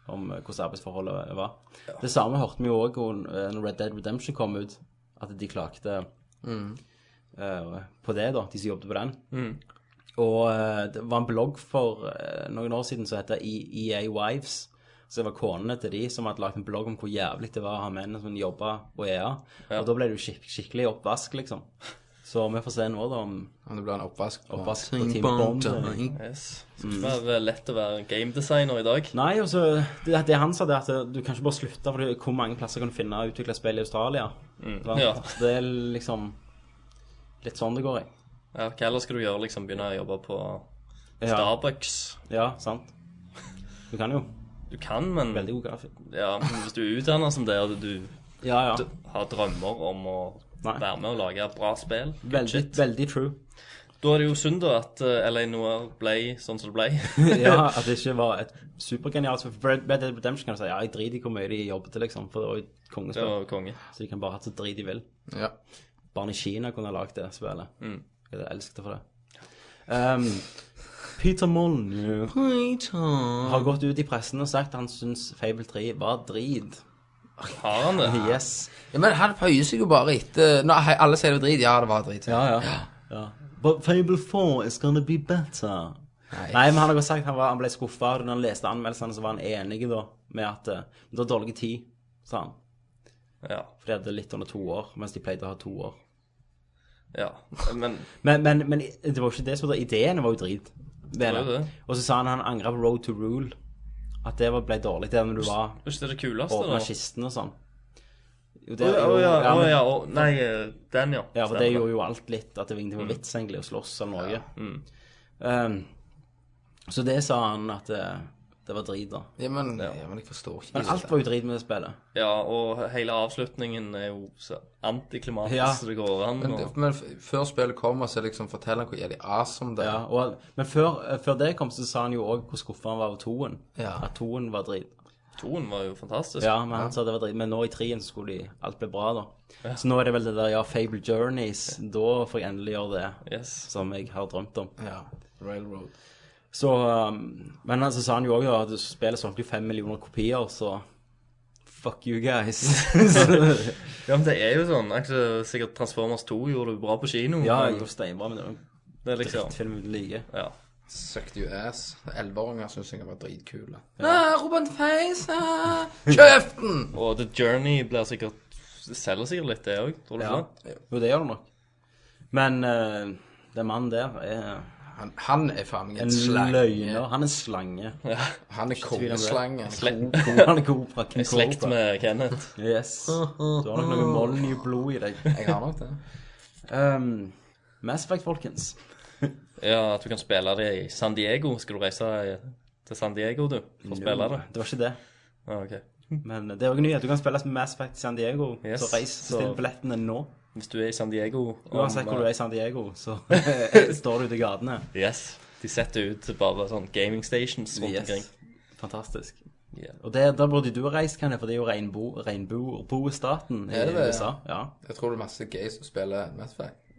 [SPEAKER 1] om eh, hvordan arbeidsforholdet var. Det samme hørte vi jo òg når Red Dead Redemption kom ut, at de klagde eh, på det, da, de som jobbet på den. Og eh, det var en blogg for eh, noen år siden som heter EA Wives. Så det var konene til de som hadde lagd en blogg om hvor jævlig det var å ha menn som jobba på EA. Og da ble det jo skik skikkelig oppvask, liksom. Så vi får se nå, da, om
[SPEAKER 3] Om det blir en oppvask. på-
[SPEAKER 1] Oppvask på Team Bond.
[SPEAKER 2] Yes.
[SPEAKER 1] Mm.
[SPEAKER 2] Skal ikke være lett å være gamedesigner i dag.
[SPEAKER 1] Nei, altså, det, det han sa, det er at du kan ikke bare slutte, for det- hvor mange plasser kan du finne å utvikle spill i Australia? Sant?
[SPEAKER 2] Ja.
[SPEAKER 1] Det er liksom litt sånn det går i.
[SPEAKER 2] Ja, hva ellers skal du gjøre? liksom Begynne å jobbe på
[SPEAKER 1] Ja,
[SPEAKER 2] Starbucks?
[SPEAKER 1] ja, sant. Du kan jo.
[SPEAKER 2] Du kan, men
[SPEAKER 1] Veldig god grafikk.
[SPEAKER 2] ja, men hvis du er utdannet som det, og du
[SPEAKER 1] Ja, ja.
[SPEAKER 2] har drømmer om å
[SPEAKER 1] Nei.
[SPEAKER 2] være med og lage bra spill good
[SPEAKER 1] Veldig,
[SPEAKER 2] shit.
[SPEAKER 1] veldig true.
[SPEAKER 2] Da er det jo synd da at eh, LA Noir ble sånn som det ble.
[SPEAKER 1] Ja, At det ikke var et supergenialt For Red Red Dead Redemption kan du si ja, jeg driter i hvor mye de jobber til, liksom, for det var jo et
[SPEAKER 2] Det
[SPEAKER 1] kongespill.
[SPEAKER 2] var konge.
[SPEAKER 1] Så de kan bare ha så drit de vil.
[SPEAKER 3] Ja.
[SPEAKER 1] Barn i Kina kunne ha lagd det spillet. Jeg hadde elsket det for det. Um, Peter Molyneux har gått ut i pressen og sagt han syns Fable 3 var drit.
[SPEAKER 2] Har han det?
[SPEAKER 1] Yes.
[SPEAKER 3] ja, Men han føyer seg jo bare etter Nå, hei, Alle sier det var drit. Ja, det var drit.
[SPEAKER 1] Ja, ja. But Fable 4 is gonna be better. Nei, men han har godt sagt han, var, han ble skuffa. Når han leste anmeldelsene, så var han enig da, med at eh, det var dårlig tid, sa han.
[SPEAKER 2] Ja.
[SPEAKER 1] For de hadde litt under to år, mens de pleide å ha to år.
[SPEAKER 2] ja. Men
[SPEAKER 1] Men, men, men det var jo ikke det som var Ideene var jo drit. Det er
[SPEAKER 2] var jo
[SPEAKER 1] det.
[SPEAKER 2] det.
[SPEAKER 1] Og så sa han han angra på Road to Rule. At det var- ble dårlig. Det er når du var
[SPEAKER 2] var ikke det det kuleste,
[SPEAKER 1] åpna
[SPEAKER 2] da?
[SPEAKER 1] kisten og sånn. Jo,
[SPEAKER 2] Å
[SPEAKER 1] det,
[SPEAKER 2] ja,
[SPEAKER 1] jo,
[SPEAKER 2] å ja,
[SPEAKER 1] ja,
[SPEAKER 2] å
[SPEAKER 1] men-
[SPEAKER 2] ja. å- Nei, eh, den, ja.
[SPEAKER 1] ja, for det
[SPEAKER 2] Stemmer.
[SPEAKER 1] gjorde jo alt litt at det var ingenting var vits egentlig å slåss eller noe. Um, så det sa han at det, det var drit, da.
[SPEAKER 3] Ja, men, ja, men jeg forstår ikke
[SPEAKER 1] Men alt var jo drit med det spillet.
[SPEAKER 2] Ja, og hele avslutningen er jo så antiklimatisk
[SPEAKER 1] Ja.
[SPEAKER 2] så det går an.
[SPEAKER 3] Men,
[SPEAKER 2] Og...
[SPEAKER 3] men f- før spillet kommer, så liksom forteller han hvor jævlig awesome det er.
[SPEAKER 1] Ja, og, men før, eh, før det kom, så sa han jo òg hvor skuffa han var over toen.
[SPEAKER 3] Ja.
[SPEAKER 1] At toen var drit.
[SPEAKER 2] Toen var jo fantastisk.
[SPEAKER 1] Ja, men han sa det var drit. Men nå i treen så skulle de alt ble bra, da. Så nå er det vel det der ja, Fable Journeys. Da får jeg endelig gjøre det
[SPEAKER 2] Yes.
[SPEAKER 1] som jeg har drømt om.
[SPEAKER 3] Ja. Railroad.
[SPEAKER 1] Så um, Men altså, sa han jo òg at spillet solgte jo fem millioner kopier, så Fuck you guys.
[SPEAKER 2] Ja, men det er jo sånn. Altså, sikkert Transformers 2 gjorde det bra på kino.
[SPEAKER 1] ja, jeg
[SPEAKER 2] men
[SPEAKER 1] går steinbra med det.
[SPEAKER 2] det er liksom
[SPEAKER 1] Drittfilm uten like.
[SPEAKER 2] Ja.
[SPEAKER 3] Sucked you ass. Elleveåringer syns jeg var dritkule. Ja. Robin Face! ah, Kjeften!
[SPEAKER 2] Og The Journey blir sikkert det selger sikkert litt, det òg. Tror du
[SPEAKER 1] Ja.
[SPEAKER 2] ikke?
[SPEAKER 1] Jo, det gjør det nok. Men eh, den mannen der er
[SPEAKER 3] Han, han er faen meg
[SPEAKER 1] en
[SPEAKER 3] en slange.
[SPEAKER 1] løgner. Han er en slange.
[SPEAKER 3] Han er kongeslange.
[SPEAKER 2] Slett.
[SPEAKER 1] Han er god fra
[SPEAKER 2] I slekt med Kenneth.
[SPEAKER 1] Yes. Du har nok noe Molly blod i deg.
[SPEAKER 3] Jeg har nok det.
[SPEAKER 1] Um, Mass Effect, folkens.
[SPEAKER 2] Ja, at du kan spille det i San Diego. Skal du reise i- til San Diego, du, for å spille det?
[SPEAKER 1] Det var ikke det.
[SPEAKER 2] Ja, ok.
[SPEAKER 1] Men det er òg nyhet. Du kan spille som Mass Effect i San Diego.
[SPEAKER 2] Yes,
[SPEAKER 1] Så reis
[SPEAKER 2] så-
[SPEAKER 1] still billettene nå.
[SPEAKER 2] Hvis du er i San Diego
[SPEAKER 1] Uansett hvor du er i San Diego, så står du ute i gatene.
[SPEAKER 2] eh, Yes. De setter ut bare sånn gaming stations rundt omkring.
[SPEAKER 1] Fantastisk.
[SPEAKER 2] Ja.
[SPEAKER 1] Og det, der burde du ha reist, kan jeg, for det er jo regnbo- regnbuestaten i
[SPEAKER 3] Er det det, ja?
[SPEAKER 1] USA. Ja.
[SPEAKER 3] Jeg tror det er masse gays som spiller Mass Effect.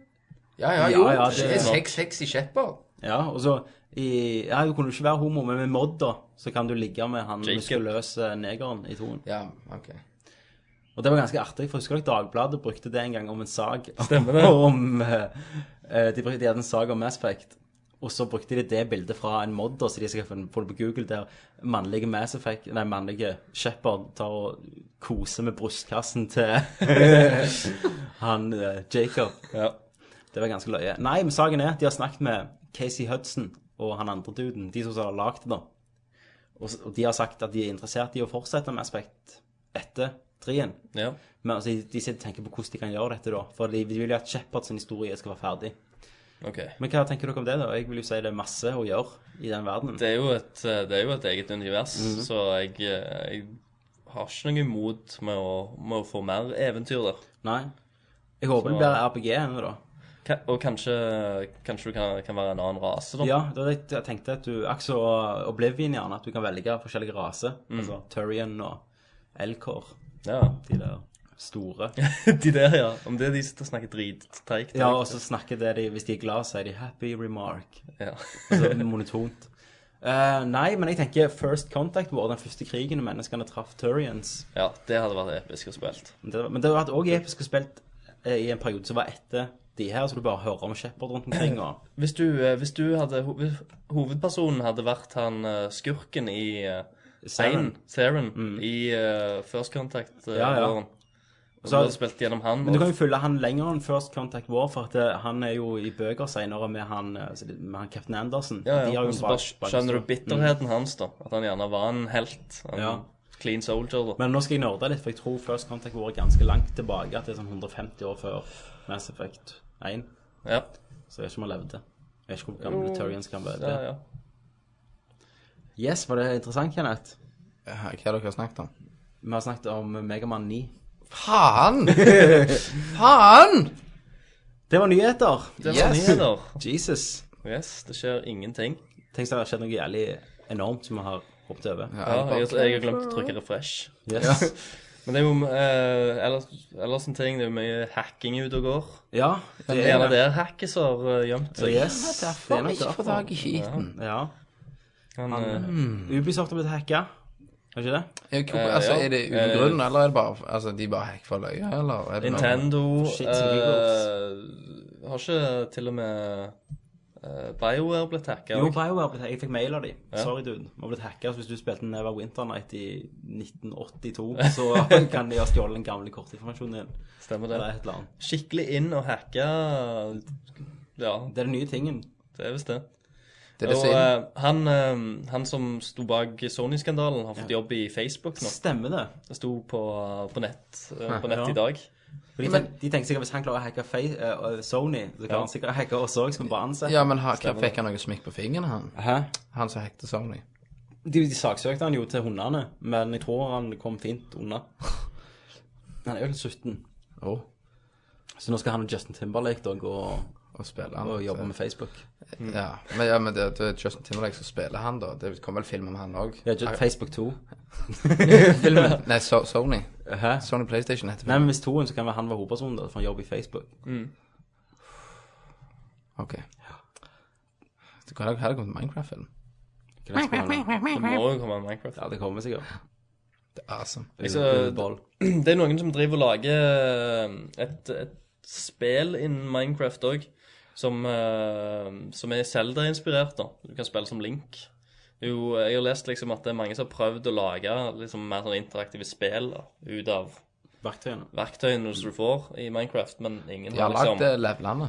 [SPEAKER 3] Ja, ja, jo.
[SPEAKER 1] ja,
[SPEAKER 3] det,
[SPEAKER 1] det
[SPEAKER 3] er
[SPEAKER 1] er nok.
[SPEAKER 3] seks, seks i Shepherd.
[SPEAKER 1] ja, og så i, Ja, du kunne jo ikke være homo, men med Mod, da, så kan du ligge med han
[SPEAKER 2] Jacob.
[SPEAKER 1] muskuløse negeren i toen.
[SPEAKER 3] Ja, OK.
[SPEAKER 1] Og det var ganske artig, for husker dere Dagbladet brukte det en gang om en sag
[SPEAKER 2] Stemmer det.
[SPEAKER 1] om eh, eh, de, brukte, de hadde en sag om Mass Effect, og så brukte de det bildet fra en mod, da, så de skal få det på Google, der mannlige Mass Effect, nei, mannlige Shepard tar og koser med brystkassen til han eh, Jacob.
[SPEAKER 2] Ja.
[SPEAKER 1] Det var ganske løye. Nei, men saken er, de har snakket med Casey Hudson og han andre duden, de som har lagd det da. Og, s- og de har sagt at de er interessert i å fortsette med Aspect etter trien.
[SPEAKER 2] ja.
[SPEAKER 1] Men altså, de- de sitter og tenker på hvordan de kan gjøre dette da, for de de vil jo at Shepard sin historie skal være ferdig.
[SPEAKER 2] OK.
[SPEAKER 1] Men hva tenker dere om det da? Jeg vil jo si det er masse å gjøre i den verdenen. Mhm.
[SPEAKER 2] Det er jo et, eh, det er jo et eget univers, så jeg, eh, jeg har ikke noe imot med å, med å få mer eventyr der.
[SPEAKER 1] Nei. Jeg håper det blir RPG ennå, da.
[SPEAKER 2] Ka- Og kanskje, kanskje du kan, kan være en annen rase, da.
[SPEAKER 1] Ja, det var det jeg- jeg tenkte at du Akkurat som Oblivion, gjerne, at du kan velge forskjellige raser. Altså Turian og Elcor.
[SPEAKER 2] Ja.
[SPEAKER 1] De der store.
[SPEAKER 2] De der, ja. Om det er de som snakker drittreigt.
[SPEAKER 1] Ja, og så snakker det de Hvis de er glad, så er de 'happy remark'.
[SPEAKER 2] Ja.
[SPEAKER 1] Altså monotont. Eh, nei, men jeg tenker First Contact var den første krigen når menneskene traff Turians.
[SPEAKER 2] ja, det hadde vært episk å spille.
[SPEAKER 1] Men det, men det har vært også episk å spille eh, i en periode som var etter de her, så du bare hører om Shepherd rundt omkring. og...
[SPEAKER 2] Hvis du, eh, hvis du hadde ho- hvis Hovedpersonen hadde vært han eh, skurken i eh,
[SPEAKER 1] Saren. Mm.
[SPEAKER 2] Ein, Saren i eh, First Contact. Uh,
[SPEAKER 1] Ja, ja.
[SPEAKER 2] Og
[SPEAKER 1] Så-
[SPEAKER 2] så hadde du spilt gjennom han.
[SPEAKER 1] Men du kan
[SPEAKER 2] Og,
[SPEAKER 1] jo følge han lenger enn First Contact War, for at eh, han er jo i bøker senere med han, eh, med han Captain Anderson.
[SPEAKER 2] ja,
[SPEAKER 1] De
[SPEAKER 2] ja.
[SPEAKER 1] har jo
[SPEAKER 2] og så
[SPEAKER 1] en
[SPEAKER 2] bare
[SPEAKER 1] bak- bak-
[SPEAKER 2] skjønner du
[SPEAKER 1] Mm.
[SPEAKER 2] bitterheten hans, da. At han gjerne var en helt. En
[SPEAKER 1] Ja.
[SPEAKER 2] clean soldier, da.
[SPEAKER 1] Men nå skal jeg nerde litt, for jeg tror First Contact War er ganske langt tilbake. At det er sånn 150 år før Mass Effect 1.
[SPEAKER 2] Ja,
[SPEAKER 1] Så jeg vet ikke om han levde. Jeg vet ikke hvor gamle Turians kan være.
[SPEAKER 2] ja, ja.
[SPEAKER 1] Yes, var det interessant, Kenneth?
[SPEAKER 3] Eh, Hva er det dere har snakket om?
[SPEAKER 1] Vi har snakket om Megaman 9.
[SPEAKER 3] Faen! Faen!
[SPEAKER 1] Det var nyheter!
[SPEAKER 2] Det var
[SPEAKER 3] Yes!
[SPEAKER 2] nyheter.
[SPEAKER 1] Jesus.
[SPEAKER 2] Yes, det skjer ingenting.
[SPEAKER 1] Tenk så det har skjedd noe jævlig enormt som vi har hoppet over.
[SPEAKER 2] Ja, jeg, jeg har glemt å trykke refresh.
[SPEAKER 1] Yes.
[SPEAKER 2] Men det er jo eh, ellers, ellers en ting, det er jo mye hacking ute og går.
[SPEAKER 1] Ja, det
[SPEAKER 2] Det er gjerne der hackes har eh, gjemt seg.
[SPEAKER 1] Yes, det er nok derfor.
[SPEAKER 3] tak i skiten.
[SPEAKER 1] Ja.
[SPEAKER 2] Han, eh,
[SPEAKER 1] Ubisoft har blitt hacka. Har ikke det?
[SPEAKER 3] Er, hvor, altså,
[SPEAKER 2] ja.
[SPEAKER 3] er det
[SPEAKER 2] Eh,
[SPEAKER 3] uten grunn, eller er det bare altså, de bare hack for løye, eller? Er det noe-
[SPEAKER 2] Nintendo
[SPEAKER 1] Shit,
[SPEAKER 2] eh,
[SPEAKER 1] som
[SPEAKER 2] Har ikke til og med eh, BioWare blitt hacka?
[SPEAKER 1] Jo, BioWare ble Jeg fikk mail av de. Sorry, dude. Vi har blitt hacka. Så hvis du spilte Never Winter Night i 1982, så kan de ha stjålet den gamle kortinformasjonen din.
[SPEAKER 2] Stemmer det.
[SPEAKER 1] Eller et eller annet.
[SPEAKER 2] Skikkelig inn og hacka Ja,
[SPEAKER 1] Det er den nye tingen.
[SPEAKER 2] det er visst det.
[SPEAKER 3] Det er det
[SPEAKER 2] og
[SPEAKER 3] som er inn.
[SPEAKER 2] eh, han, eh, han som sto bak Sony-skandalen, har fått jobb i Facebook nå.
[SPEAKER 1] Stemmer det.
[SPEAKER 2] Det sto på, på nett, eh, på nett
[SPEAKER 1] Ja.
[SPEAKER 2] i dag.
[SPEAKER 1] For de, tenk, de tenker sikkert hvis han klarer å hacke fe eh, Sony, så kan
[SPEAKER 2] Ja.
[SPEAKER 1] han sikkert hacke oss òg, skal vi bare ansette.
[SPEAKER 3] Ja, men har, fikk han noe smikk på fingeren, han?
[SPEAKER 1] Hæ?
[SPEAKER 3] Han som hekte Sony.
[SPEAKER 1] De, de saksøkte han jo til hundene, men jeg tror han kom fint unna. Han er jo litt 17,
[SPEAKER 3] Å,
[SPEAKER 1] så nå skal han og Justin Timberlake da gå og,
[SPEAKER 3] og spiller han.
[SPEAKER 1] og jobbe
[SPEAKER 3] så-
[SPEAKER 1] med Facebook.
[SPEAKER 3] Ja, men, ja, men det, det er Justin Timberlake som spiller han, da. Det kommer vel film om han òg?
[SPEAKER 1] Ja, just Facebook 2.
[SPEAKER 3] Filmen? Nei, so Sony.
[SPEAKER 1] Hæ?
[SPEAKER 3] Sony PlayStation heter
[SPEAKER 1] Nei,
[SPEAKER 3] filmen.
[SPEAKER 1] men hvis toen, så kan være han være hovedpersonen, da, for han jobber i Facebook.
[SPEAKER 3] Ok. Det kunne heller kommet Minecraft-film.
[SPEAKER 1] Kan jeg spørre han?
[SPEAKER 2] Det må jo komme en Minecraft.
[SPEAKER 1] Ja, det kommer sikkert.
[SPEAKER 3] Det er awesome.
[SPEAKER 2] Jeg så-
[SPEAKER 1] Ball.
[SPEAKER 2] Det er noen som driver og lager eh, et, et spill innen Minecraft òg, som, eh, som er Zelda-inspirert. da. Du kan spille som Link. Det er Jo, jeg har lest liksom at det er mange som har prøvd å lage liksom mer sånn interaktive spill da, ut av
[SPEAKER 1] Verktøyene.
[SPEAKER 2] verktøyene som du får i Minecraft, men ingen
[SPEAKER 3] De har
[SPEAKER 2] har,
[SPEAKER 3] lagd
[SPEAKER 2] liksom,
[SPEAKER 3] det levelene.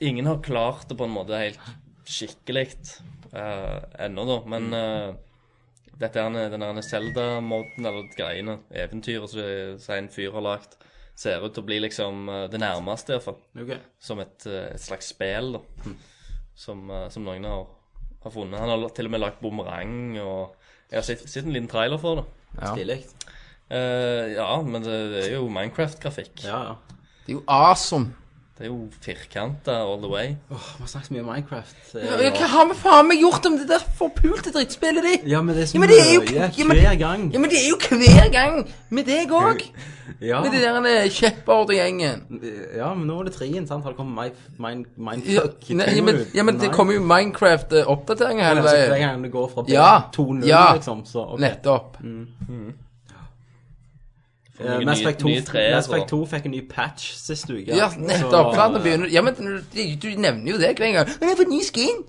[SPEAKER 2] ingen har klart det på en måte helt skikkelig eh, ennå, da. Men
[SPEAKER 1] Mm.
[SPEAKER 2] eh, dette er den- den derne Zelda-moden eller greiene, eventyret som- som en fyr har lagd, ser ut til å bli liksom eh, det nærmeste, iallfall.
[SPEAKER 1] Ok.
[SPEAKER 2] Som et, eh, et slags spill, da.
[SPEAKER 1] Mm.
[SPEAKER 2] Som, eh, som noen har, har funnet. Han har la- til og med lagd bumerang og Jeg har sett, sett en liten trailer for det.
[SPEAKER 3] Ja.
[SPEAKER 1] Stilig.
[SPEAKER 2] Eh, ja, men det er jo Minecraft-grafikk.
[SPEAKER 1] Ja, ja.
[SPEAKER 3] Det er jo awesome!
[SPEAKER 2] Det er jo firkanta all the way.
[SPEAKER 1] Åh, vi har snakket så mye om Minecraft. eh,
[SPEAKER 3] Ja, Hva har vi faen meg gjort om det der er forpulte drittspillet ditt?
[SPEAKER 1] Ja, men det er så
[SPEAKER 3] Ja, men det er jo-
[SPEAKER 1] mye
[SPEAKER 3] ja, men-
[SPEAKER 1] hver gang.
[SPEAKER 3] Ja, men det er jo hver gang med deg òg!
[SPEAKER 1] Ja.
[SPEAKER 3] Med de der eh, kjepphordergjengen.
[SPEAKER 1] ja, men nå er det treen, sant? Har det kommet Mi- Min-
[SPEAKER 3] Ja,
[SPEAKER 1] Mindfuck?
[SPEAKER 3] nei, ja, men, ja, men det kommer jo Minecraft-oppdateringer hele
[SPEAKER 1] Hver
[SPEAKER 3] veien.
[SPEAKER 1] gang det går fra
[SPEAKER 3] Ja.
[SPEAKER 1] 2-0,
[SPEAKER 3] Ja.
[SPEAKER 1] liksom, så ok.
[SPEAKER 3] Nettopp.
[SPEAKER 1] Eh,
[SPEAKER 2] Nye-
[SPEAKER 1] Mass Effect 2,
[SPEAKER 2] nye treer,
[SPEAKER 1] Mass Effect
[SPEAKER 2] så-
[SPEAKER 1] 2 fikk en ny patch sist uke.
[SPEAKER 3] Ja,
[SPEAKER 1] så-
[SPEAKER 3] nettopp. sant? Det begynner, ja, men du, du nevner jo det hver gang. 'Men jeg har fått ny skin!'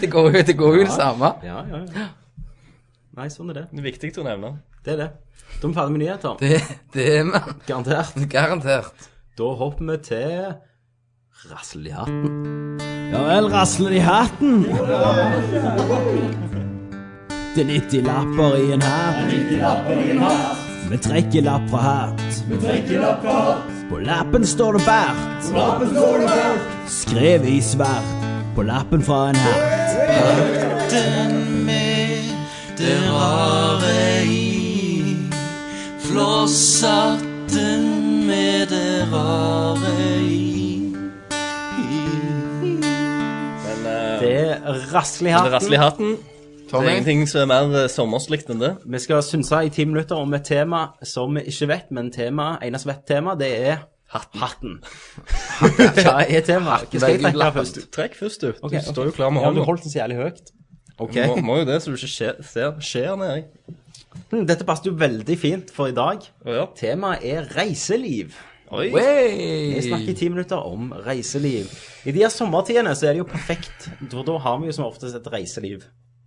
[SPEAKER 3] det går jo det, går jo det samme.
[SPEAKER 1] Ja, ja, ja. Nei, sånn er det.
[SPEAKER 2] Det er viktig å nevne.
[SPEAKER 1] Det er det. Da er vi ferdig med nyheter.
[SPEAKER 3] Det, det er man
[SPEAKER 1] Garantert.
[SPEAKER 3] garantert.
[SPEAKER 1] Da hopper vi til Rassel i hatten. Ja vel, rasler de i hatten. Det er 90 lapper i en hatt. Vi trekker lapp fra hatt. På lappen står det bart. Skrevet i svart på lappen fra en hatt. Hatten min
[SPEAKER 6] det rare i Flosshatten med det rare i
[SPEAKER 2] Men eh,
[SPEAKER 1] Det er rasslig
[SPEAKER 2] det
[SPEAKER 1] hatten.
[SPEAKER 2] rasler i hatten. Det er
[SPEAKER 3] Tommy?
[SPEAKER 2] ingenting som er mer eh, sommerslikt enn det.
[SPEAKER 1] Vi skal synse i ti minutter om et tema som vi ikke vet, men tema, eneste vet tema, det er hatten. Hva er temaet? Hva skal jeg trekke her først?
[SPEAKER 2] Trekk først, du.
[SPEAKER 1] Ok, ok.
[SPEAKER 2] Du står jo klar med
[SPEAKER 1] Ja, du
[SPEAKER 2] hånda.
[SPEAKER 1] holdt den så jævlig høyt. Ok.
[SPEAKER 2] Må, må jo det, så du ikke skje- ser skjer nedi.
[SPEAKER 1] Hm, Dette passet jo veldig fint for i dag.
[SPEAKER 2] Å, Ja.
[SPEAKER 1] Temaet er reiseliv.
[SPEAKER 2] Oi.
[SPEAKER 1] Vi snakker i ti minutter om reiseliv. I de her sommertidene så er det jo perfekt, for da har vi jo som oftest et reiseliv.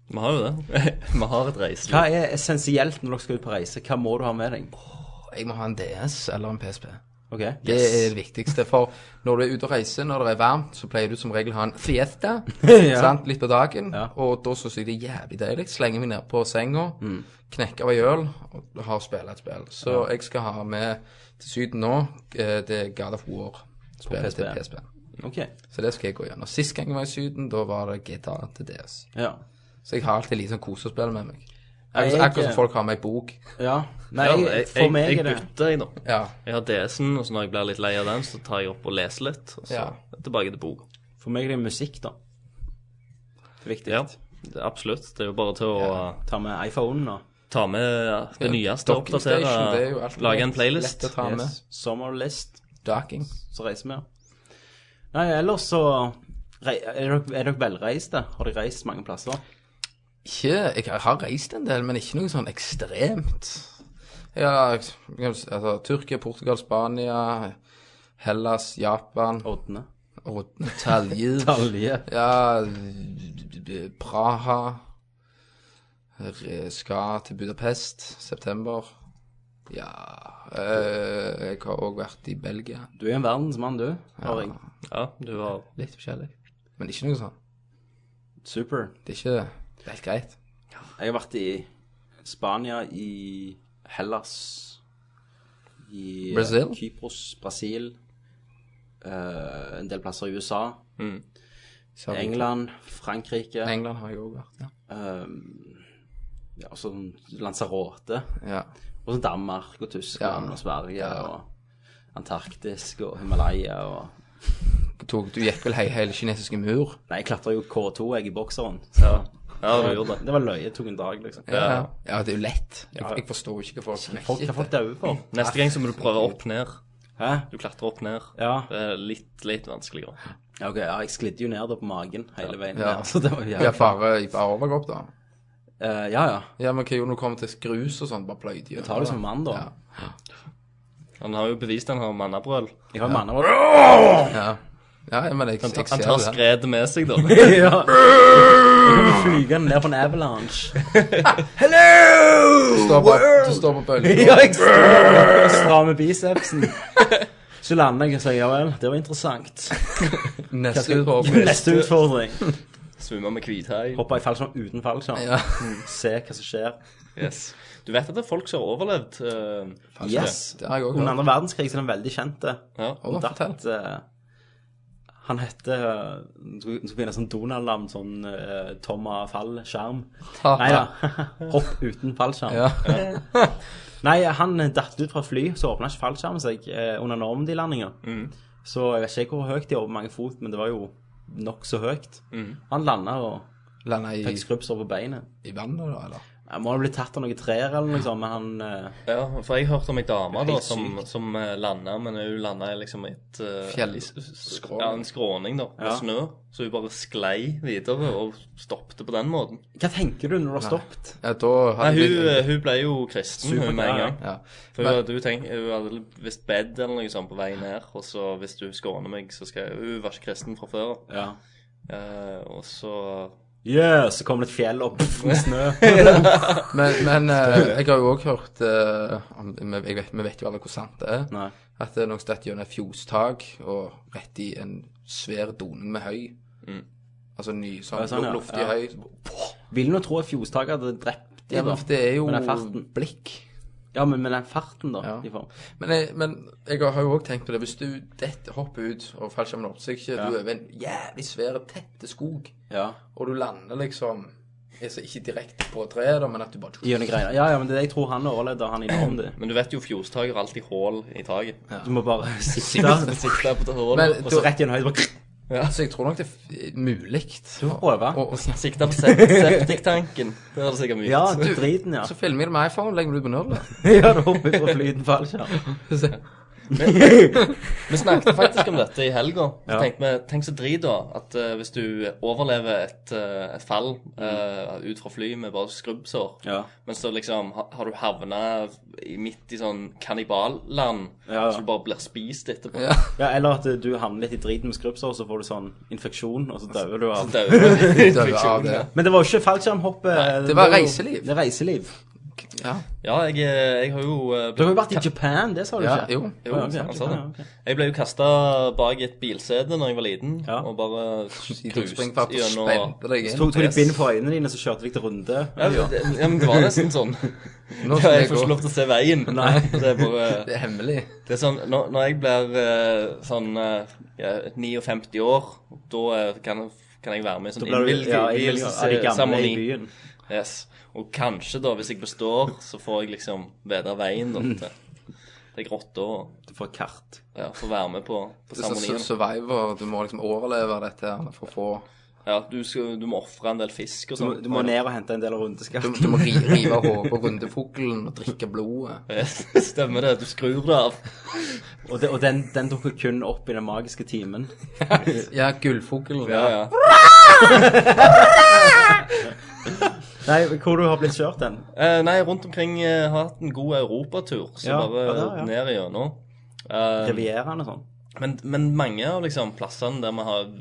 [SPEAKER 2] Vi har jo det. Vi har et reiseliv.
[SPEAKER 1] Hva er essensielt når dere skal ut på reise? Hva må du ha med deg?
[SPEAKER 3] Jeg må ha en DS eller en PSP.
[SPEAKER 1] Ok,
[SPEAKER 3] Det er det viktigste. For når du er ute og reiser, når det er varmt, så pleier du som regel å ha en fiesta.
[SPEAKER 1] Ja.
[SPEAKER 3] sant? Litt på dagen.
[SPEAKER 1] Ja.
[SPEAKER 3] Og da syns jeg det er jævlig deilig. Slenger meg ned på senga,
[SPEAKER 1] Mm.
[SPEAKER 3] knekker av ei øl og har spille et spill. Så jeg skal ha med til Syden nå eh, det er God of War. Spillet til
[SPEAKER 1] PSP.
[SPEAKER 3] PSP.
[SPEAKER 1] ok.
[SPEAKER 3] Så det skal jeg gå gjennom. Sist gang jeg var i Syden, da var det GTA til DS.
[SPEAKER 1] Ja.
[SPEAKER 3] Så jeg har alltid litt sånn kosespill med meg.
[SPEAKER 1] Jeg-
[SPEAKER 3] Akkurat akkurat som folk har med ei bok.
[SPEAKER 1] Ja. Nei,
[SPEAKER 2] Ja,
[SPEAKER 1] for meg
[SPEAKER 2] jeg,
[SPEAKER 1] er det
[SPEAKER 2] jeg bytter, jeg, nå.
[SPEAKER 3] Ja.
[SPEAKER 2] Jeg har DS-en, og så når jeg blir litt lei av den, så tar jeg opp og leser litt. Og så
[SPEAKER 3] Ja.
[SPEAKER 2] tilbake til boka.
[SPEAKER 1] For meg er det musikk, da. Det er viktig.
[SPEAKER 2] Ja, det er absolutt. Det er jo bare til å uh,
[SPEAKER 1] Ta med iPhonen nå.
[SPEAKER 2] ta med ja, det
[SPEAKER 3] Ja,
[SPEAKER 2] nyeste og
[SPEAKER 3] docking station, det er jo
[SPEAKER 2] oppdatere.
[SPEAKER 3] alt
[SPEAKER 2] Lage en
[SPEAKER 3] lett-
[SPEAKER 2] playlist.
[SPEAKER 3] lett å ta. med.
[SPEAKER 1] Yes. Sommerlist,
[SPEAKER 3] Docking.
[SPEAKER 1] så reiser vi. ja. Nei, ellers så rei- Er dere, er dere velreiste? Har dere reist mange plasser?
[SPEAKER 3] Ikke, jeg har- har reist en del, men ikke noe sånn ekstremt. Ja, altså Tyrkia, Portugal, Spania, Hellas, Japan,
[SPEAKER 1] Oddene?
[SPEAKER 3] og Talje,
[SPEAKER 1] Talje.
[SPEAKER 3] ja, Praha, Re- skal til Budapest, september, ja, eh, jeg har også vært i Belgia,
[SPEAKER 1] Du er en verdensmann, du. Haring.
[SPEAKER 2] Ja, du har
[SPEAKER 3] litt forskjellig, men ikke noe sånn,
[SPEAKER 1] Super.
[SPEAKER 3] det er ikke, det er helt greit.
[SPEAKER 1] Jeg har vært i Spania, i Hellas, i eh,
[SPEAKER 3] Brasil?
[SPEAKER 1] Kypros, Brasil, eh, en del plasser i USA,
[SPEAKER 3] Så-
[SPEAKER 1] England, Frankrike.
[SPEAKER 3] England har jeg også vært, ja.
[SPEAKER 1] Ehm, ja, sånn Lanzarote,
[SPEAKER 3] ja.
[SPEAKER 1] og så Danmark og Tyskland
[SPEAKER 3] Ja.
[SPEAKER 1] og Sverige
[SPEAKER 3] Ja.
[SPEAKER 1] og Antarktis og Himalaya og
[SPEAKER 3] Tok, du gikk vel hei, hele kinesiske mur?
[SPEAKER 1] Nei, jeg klatra jo K2, jeg, i bokseren. Så
[SPEAKER 2] Ja, du gjorde det.
[SPEAKER 1] det var løye. Det tok en dag, liksom.
[SPEAKER 3] Ja, ja det er jo lett. Jeg, jeg forstår ikke hva folk
[SPEAKER 1] Folk, hva folk dauer for.
[SPEAKER 2] Neste gang så må du prøve opp ned.
[SPEAKER 1] Hæ?
[SPEAKER 2] Du klatrer opp ned.
[SPEAKER 1] Ja.
[SPEAKER 2] Det er litt, litt vanskeligere.
[SPEAKER 1] Ja, Ok, ja, jeg sklidde jo ned da på magen hele veien.
[SPEAKER 3] Ja.
[SPEAKER 1] ned, så det var jævlig.
[SPEAKER 3] Ja, bare, bare overgå opp, da.
[SPEAKER 1] Eh, ja, ja.
[SPEAKER 3] Ja, men hva gjorde du når det kommer til grus og sånn? Bare pløyde gjennom.
[SPEAKER 1] Ta det som en mann, da.
[SPEAKER 3] Ja.
[SPEAKER 2] Han har jo bevist han har mannabrøl.
[SPEAKER 1] Jeg har jo manner
[SPEAKER 3] Ja. ja, ja, men jeg,
[SPEAKER 2] Han,
[SPEAKER 3] jeg,
[SPEAKER 2] ta-
[SPEAKER 3] jeg
[SPEAKER 2] han tar
[SPEAKER 3] ser det.
[SPEAKER 2] skredet med seg, da.
[SPEAKER 1] Ja. Jeg kommer flygende ned på en avalanche.
[SPEAKER 3] Du står på, du står på bølgen.
[SPEAKER 1] Ja, jeg strammer- strammer bicepsen. Så lander jeg og sier ja vel, det var interessant.
[SPEAKER 3] Neste utfordring.
[SPEAKER 1] Neste utfordring.
[SPEAKER 2] Svømmer med hvithai.
[SPEAKER 1] Hopper i fallskjerm uten fallskjerm.
[SPEAKER 3] Ja.
[SPEAKER 1] Se hva som skjer.
[SPEAKER 2] Yes. Du vet at det er folk som har overlevd? eh,
[SPEAKER 1] Yes.
[SPEAKER 3] Det har jeg også
[SPEAKER 1] Under
[SPEAKER 3] hørt.
[SPEAKER 1] andre verdenskrig så er den veldig kjente.
[SPEAKER 2] ja.
[SPEAKER 3] Å, fortell.
[SPEAKER 1] Datt, eh, han hette eh, Nå skal vi- nå skal vi finne sånn Donald-navn, sånn uh, Tomma Fall-skjerm.
[SPEAKER 3] Ha, ha.
[SPEAKER 1] Nei da. Hopp uten fallskjerm.
[SPEAKER 3] Ja.
[SPEAKER 1] Nei, han eh, datt ut fra et fly, så åpna ikke fallskjermen seg eh, under Normandy-landinga. Så jeg vet ikke hvor høyt de er, over mange fot, men det var jo nokså høyt. Han landa og
[SPEAKER 3] Landa i,
[SPEAKER 1] fikk skrubbsår på beinet.
[SPEAKER 3] i vannet, da, eller?
[SPEAKER 1] Jeg må ha blitt tatt av noen trær eller noe sånt, men han eh,
[SPEAKER 2] Ja, for jeg hørte om ei dame da,
[SPEAKER 1] Helt
[SPEAKER 2] som, som eh, landa, men hun landa liksom i et eh,
[SPEAKER 3] Fjell-
[SPEAKER 2] i s- s-
[SPEAKER 3] skråning.
[SPEAKER 2] Ja, en skråning, da, med
[SPEAKER 1] Ja.
[SPEAKER 2] snø. Så hun bare sklei videre og stoppte på den måten.
[SPEAKER 1] Hva tenker du når du har stoppet?
[SPEAKER 3] Ja, da
[SPEAKER 2] Nei,
[SPEAKER 3] hadde
[SPEAKER 2] hun,
[SPEAKER 3] jeg blitt-
[SPEAKER 2] eh, hun ble jo kristen hun, med en gang.
[SPEAKER 3] ja.
[SPEAKER 2] For hun, hadde- hun, tenk, hun hadde visst bedt eller noe sånt på vei ned, og så hvis du skåner meg, så skal jeg Hun var ikke kristen fra før av.
[SPEAKER 1] Ja.
[SPEAKER 2] Eh, og så
[SPEAKER 1] Yeah, så kom det et fjell opp med snø.
[SPEAKER 3] Men, men eh, jeg har jo også hørt eh, om, jeg vet, Vi vet jo alle hvor sant det er.
[SPEAKER 1] Nei.
[SPEAKER 3] At det er noen støtt gjennom et fjostak og rett i en svær doning med høy. Altså ny, sånn,
[SPEAKER 1] Ja, sånn, ja.
[SPEAKER 3] luftig
[SPEAKER 1] Ja.
[SPEAKER 3] høy. så-
[SPEAKER 1] Vil nå tro at Fjostaket hadde drept
[SPEAKER 3] Ja,
[SPEAKER 1] dem, da.
[SPEAKER 3] men det er jo
[SPEAKER 1] Med den farten.
[SPEAKER 3] blikk.
[SPEAKER 1] Ja, men med den farten, da.
[SPEAKER 3] Ja.
[SPEAKER 1] De får.
[SPEAKER 3] Men jeg, men jeg har jo òg tenkt på det. Hvis du detter, hopper ut og fallskjermen åpner seg ikke, du er over en jævlig svær, tette skog,
[SPEAKER 1] Ja.
[SPEAKER 3] og du lander liksom altså, ikke direkte på treet, da, men at du bare
[SPEAKER 1] Gjennom greiene. Ja, ja, men det er det jeg tror han overlevde, han innom det.
[SPEAKER 2] Men du vet jo fjordstager har alltid hull i taket.
[SPEAKER 1] Du må bare sikte,
[SPEAKER 2] Sitte- sitte på det hullet,
[SPEAKER 3] Men
[SPEAKER 2] og
[SPEAKER 1] og
[SPEAKER 2] så
[SPEAKER 1] så rett gjennom høyden. bare-
[SPEAKER 3] Så jeg tror nok det er mulig.
[SPEAKER 1] prøve.
[SPEAKER 3] Og, og,
[SPEAKER 2] sikte på sept- septiktanken. Det er det sikkert mye.
[SPEAKER 1] Ja,
[SPEAKER 2] ut.
[SPEAKER 1] du driten, ja.
[SPEAKER 3] så filmer jeg det med iPhone og legger det ut på nødlet.
[SPEAKER 1] Ja, du hopper fra flyten fallskjerm.
[SPEAKER 2] Vi snakket faktisk om dette i helga. Så
[SPEAKER 1] Ja.
[SPEAKER 2] tenkte vi, Tenk så drit, da, at eh, hvis du overlever et, eh, et fall
[SPEAKER 1] Mm.
[SPEAKER 2] eh, ut fra fly med bare skrubbsår,
[SPEAKER 1] Ja.
[SPEAKER 2] men så liksom ha- har du havna i- midt i sånn kanniballand,
[SPEAKER 1] Ja, ja.
[SPEAKER 2] så du bare blir spist etterpå.
[SPEAKER 3] Ja.
[SPEAKER 1] Ja, eller at eh, du havner litt i driten med skrubbsår, så får du sånn infeksjon, og så dauer du av
[SPEAKER 2] Døde.
[SPEAKER 3] Døde av det.
[SPEAKER 1] Men det var jo ikke fallskjermhoppet.
[SPEAKER 3] det var
[SPEAKER 1] jo-
[SPEAKER 3] reiseliv.
[SPEAKER 1] Det er reiseliv.
[SPEAKER 3] Ja.
[SPEAKER 2] Ja, jeg, jeg har jo eh,
[SPEAKER 1] Du har jo vært i Japan, det sa du
[SPEAKER 3] ja,
[SPEAKER 1] ikke?
[SPEAKER 3] jo.
[SPEAKER 2] Jo,
[SPEAKER 1] Ja, ok,
[SPEAKER 2] han sa
[SPEAKER 1] ja,
[SPEAKER 2] det.
[SPEAKER 1] ok.
[SPEAKER 2] Jeg ble jo kasta bak et bilsete da jeg var liten,
[SPEAKER 1] Ja.
[SPEAKER 2] og bare
[SPEAKER 3] I
[SPEAKER 2] cruist
[SPEAKER 3] tungspringfart og
[SPEAKER 2] gjennom
[SPEAKER 3] spente deg
[SPEAKER 1] Så
[SPEAKER 3] inn.
[SPEAKER 1] tok, tok de bind på øynene dine, så kjørte vi til runde.
[SPEAKER 2] ja, det, ja, men det var nesten sånn.
[SPEAKER 3] Nå
[SPEAKER 2] Ja,
[SPEAKER 3] skal
[SPEAKER 2] jeg
[SPEAKER 3] jeg
[SPEAKER 2] får ikke
[SPEAKER 3] gå.
[SPEAKER 2] lov til å se veien.
[SPEAKER 1] Nei.
[SPEAKER 2] Det er bare
[SPEAKER 3] Det er hemmelig.
[SPEAKER 2] Det er sånn Når, når jeg blir eh, sånn eh, ja, 59 år, da eh, kan, kan jeg være med i sånn
[SPEAKER 1] Da ble du ja, innvilget av de gamle i
[SPEAKER 2] innvielsesseremoni.
[SPEAKER 1] byen.
[SPEAKER 2] yes. Og kanskje, da, hvis jeg består, så får jeg liksom vite veien
[SPEAKER 3] Mm.
[SPEAKER 2] da, til, til grotta og
[SPEAKER 1] Du får kart.
[SPEAKER 2] ja, får være med på, på
[SPEAKER 3] Det er sånn
[SPEAKER 2] seremonien.
[SPEAKER 3] survivor. Du må liksom overleve dette her for å få
[SPEAKER 2] Ja, du, skal, du må ofre en del fisk og
[SPEAKER 1] Du,
[SPEAKER 2] sånn.
[SPEAKER 1] må- du må ned og hente en del av rundeskatten.
[SPEAKER 3] Du, du må ri- rive hodet på rundefuglen og drikke blodet.
[SPEAKER 2] Stemmer det. Du skrur det av.
[SPEAKER 1] Og, det, og den, den dukker kun opp i den magiske timen.
[SPEAKER 3] Ja, gullfuglen.
[SPEAKER 2] Ja, ja.
[SPEAKER 1] Nei, hvor du har blitt kjørt den.
[SPEAKER 2] Eh, nei, rundt omkring eh, har hatt en god europatur, så
[SPEAKER 1] Ja,
[SPEAKER 2] bare
[SPEAKER 1] ja, det har jeg.
[SPEAKER 2] ned igjennom. Eh,
[SPEAKER 1] Rivieraen og sånn.
[SPEAKER 2] men, men mange av liksom plassene der vi har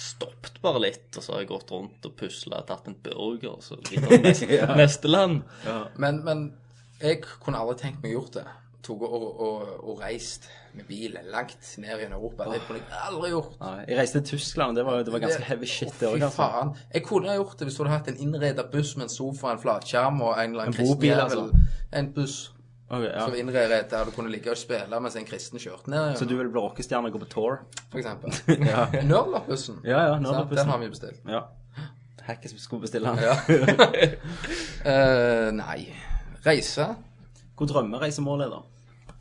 [SPEAKER 2] stoppet bare litt, og så har jeg gått rundt og pusla, tatt en burger, og så videre til neste, neste land.
[SPEAKER 3] Men, men jeg kunne aldri tenkt meg gjort det. Tok og, og, og, og reist med bil langt ned gjennom Europa. Det kunne jeg aldri gjort.
[SPEAKER 1] Nei, jeg reiste til Tyskland, og det var, det var ganske heavy shit, det
[SPEAKER 3] Å,
[SPEAKER 1] òg.
[SPEAKER 3] Fy
[SPEAKER 1] Altså.
[SPEAKER 3] faen. Jeg kunne ha gjort det hvis du hadde hatt en innredet buss med en sofa, en flatskjerm og en eller annen
[SPEAKER 1] En bobil,
[SPEAKER 3] jævel. En buss
[SPEAKER 1] Ok, ja.
[SPEAKER 3] som innredet der du kunne ligge og spille mens en kristen kjørte ned,
[SPEAKER 1] Så du vil bli rockestjerne og gå på tour?
[SPEAKER 3] for eksempel.
[SPEAKER 1] Ja.
[SPEAKER 3] Nørlapp-bussen.
[SPEAKER 1] Ja, ja,
[SPEAKER 3] Sant?
[SPEAKER 1] nerdlappussen.
[SPEAKER 3] Den har vi bestilt.
[SPEAKER 1] ja. Hacket som skulle bestille den.
[SPEAKER 3] Ja. Eh, nei. Reise,
[SPEAKER 1] Hvor drømmereisemålet er, da?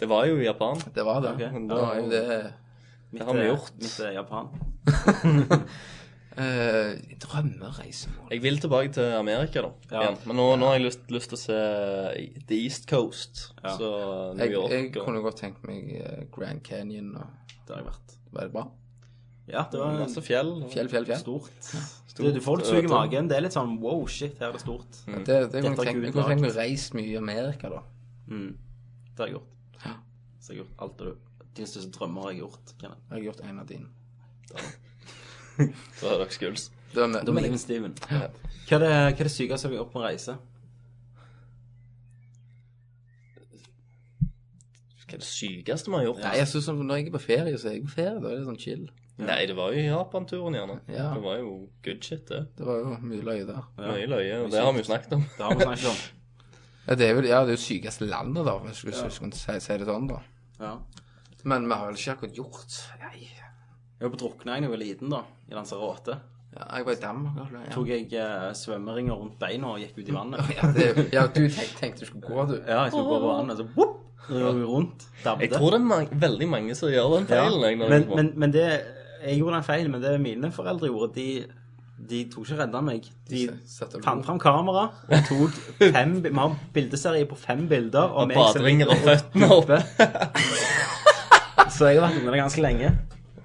[SPEAKER 2] Det var jo i Japan.
[SPEAKER 3] det var det.
[SPEAKER 1] Ok.
[SPEAKER 3] Det var jo det
[SPEAKER 1] Mitt,
[SPEAKER 2] har vi
[SPEAKER 1] eh,
[SPEAKER 2] gjort.
[SPEAKER 1] Mitt eh, Japan.
[SPEAKER 3] Eh, drømmereisemål
[SPEAKER 2] Jeg vil tilbake til Amerika, da.
[SPEAKER 1] Ja.
[SPEAKER 2] Igjen. Men nå, nå har jeg lyst, lyst til å se The East Coast.
[SPEAKER 1] Ja.
[SPEAKER 2] Så New
[SPEAKER 3] jeg,
[SPEAKER 2] York
[SPEAKER 3] jeg
[SPEAKER 2] og-
[SPEAKER 3] kunne godt tenkt meg eh, Grand Canyon og
[SPEAKER 1] Det har jeg vært.
[SPEAKER 3] Var det bra?
[SPEAKER 1] Mm. Ja, det var
[SPEAKER 2] Masse fjell. og-
[SPEAKER 3] Fjell, fjell, fjell.
[SPEAKER 1] stort. Du, du får litt sug i magen. Det er litt sånn wow, shit, her er det stort.
[SPEAKER 3] Ja, Det, det kunne
[SPEAKER 1] Dette er
[SPEAKER 3] jeg tenkt, jeg
[SPEAKER 1] Gud
[SPEAKER 3] kunne tenkt meg å reise mye i Amerika, da.
[SPEAKER 1] Mm. Det har jeg gjort. Så jeg har gjort alt det du Dine største drømmer har jeg gjort. Kenneth.
[SPEAKER 3] Jeg har gjort en av dine.
[SPEAKER 2] Så er dere skuls.
[SPEAKER 3] Det var med,
[SPEAKER 1] Da med
[SPEAKER 3] med,
[SPEAKER 1] Even Steven. Hva er det, hva er det sykeste vi har gjort på en reise?
[SPEAKER 2] Hva er det sykeste vi har gjort?
[SPEAKER 3] nei, jeg synes som Når jeg er på ferie, så er jeg på ferie. Da er det sånn chill.
[SPEAKER 2] Nei, det var jo Japan-turen, gjerne.
[SPEAKER 3] Ja.
[SPEAKER 2] Det var jo good shit, det.
[SPEAKER 3] Det var jo mye løye der.
[SPEAKER 2] Mye løye. og Det har vi jo snakket om.
[SPEAKER 1] Det har vi snakket om.
[SPEAKER 3] Ja, det er vel ja, det er jo sykeste landet, da, hvis du skulle si, si det sånn, da.
[SPEAKER 1] Ja.
[SPEAKER 3] Men vi har vel ikke akkurat gjort Nei.
[SPEAKER 1] Jeg var på drukning da jeg var liten, da. I Lanzarote.
[SPEAKER 3] Ja, jeg var i Danmark. altså. Ja.
[SPEAKER 1] Tok jeg eh, svømmeringer rundt beina og gikk ut i vannet.
[SPEAKER 3] Ja, det, ja, du tenkte, tenkte du skulle gå, du.
[SPEAKER 1] Ja, jeg skulle gå over vannet, så whoop, røg rundt.
[SPEAKER 2] Jeg
[SPEAKER 1] Dabbet.
[SPEAKER 2] tror det er mang- veldig mange som gjør den
[SPEAKER 1] Ja.
[SPEAKER 2] feilen. jeg, når
[SPEAKER 1] Men,
[SPEAKER 2] jeg går.
[SPEAKER 1] men, men det Jeg gjorde den feilen, men det mine foreldre gjorde, de, de tok ikke redda meg. De
[SPEAKER 3] De satte og lo.
[SPEAKER 1] fant fram kamera og tok fem bi- Vi har en bildeserie på fem bilder. Og meg som-
[SPEAKER 2] Baderinger og føttene opp.
[SPEAKER 1] oppe. Så jeg har vært under det ganske lenge.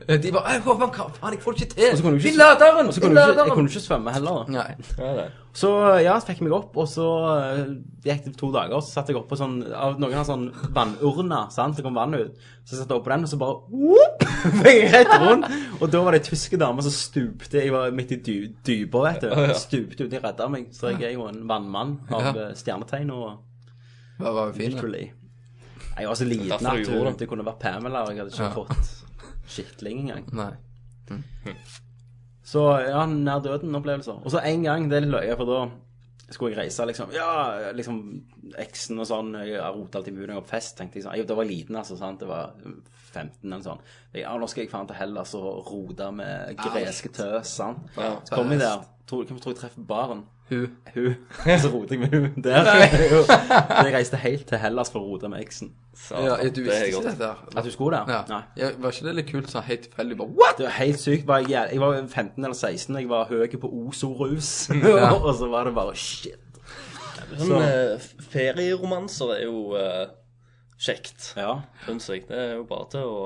[SPEAKER 3] De bare «Ei, Håvard, hva faen, jeg får det ikke til!
[SPEAKER 1] så kunne du ikke-
[SPEAKER 3] Finn
[SPEAKER 1] Og
[SPEAKER 3] laderen!
[SPEAKER 1] så kunne
[SPEAKER 3] Finn
[SPEAKER 1] du ikke, jeg
[SPEAKER 3] laderen!
[SPEAKER 1] kunne ikke svømme heller. da.
[SPEAKER 3] Nei.
[SPEAKER 2] Ja, det.
[SPEAKER 1] Så ja, så fikk jeg meg opp, og så eh, gikk det to dager, og så satt jeg oppå sånn av Noen har sånn vannurne, sant, det kom vann ut. Så satte jeg oppå den, og så bare whoop, fikk jeg rett rundt. Og da var det ei tysk dame som stupte. Jeg var midt i dy dypa, vet du. Stupte uten å redde meg. Så jeg er jo en vannmann av
[SPEAKER 3] Ja.
[SPEAKER 1] eh, stjernetegn og
[SPEAKER 3] Det var jo fint. da.
[SPEAKER 1] literally. Jeg var så liten
[SPEAKER 2] Derfor du
[SPEAKER 1] at
[SPEAKER 2] gjorde
[SPEAKER 1] hun,
[SPEAKER 2] det.
[SPEAKER 1] det kunne vært Pamela, og jeg hadde ikke
[SPEAKER 3] Ja.
[SPEAKER 1] fått skitling engang.
[SPEAKER 3] Nei.
[SPEAKER 1] Så ja, nær døden-opplevelser. Og så en gang, det er litt løye, for da skulle jeg reise, liksom. Ja, liksom eksen og sånn. Jeg rotet alltid mulig opp fest, tenkte jeg sånn. Jeg, da var jeg liten, altså. sant? Det var 15 eller sånn. Jeg, Ja, nå skal jeg faen til Hellas og rote med greske tøs, sant.
[SPEAKER 3] Ah, Ja,
[SPEAKER 1] så kom jeg der.
[SPEAKER 2] tror, Hvem tror jeg treffer baren?
[SPEAKER 3] Hun.
[SPEAKER 2] Hun. Så roter jeg med hun der. Jeg reiste helt til Hellas for å rote med eksen.
[SPEAKER 3] Ja, du
[SPEAKER 2] det er
[SPEAKER 3] visste ikke
[SPEAKER 2] godt.
[SPEAKER 3] dette? her?
[SPEAKER 1] At du skulle der?
[SPEAKER 3] Ja.
[SPEAKER 1] Nei.
[SPEAKER 3] ja. Var ikke det litt kult sånn helt tilfeldig? Bare what?!
[SPEAKER 1] Det var helt sykt. Var jeg, jæv- jeg var 15 eller 16, jeg var høy på Oso-rus. og så var det bare shit.
[SPEAKER 2] Men eh, ferieromanser er jo eh, kjekt,
[SPEAKER 1] Ja.
[SPEAKER 2] syns jeg. Det er jo bare til å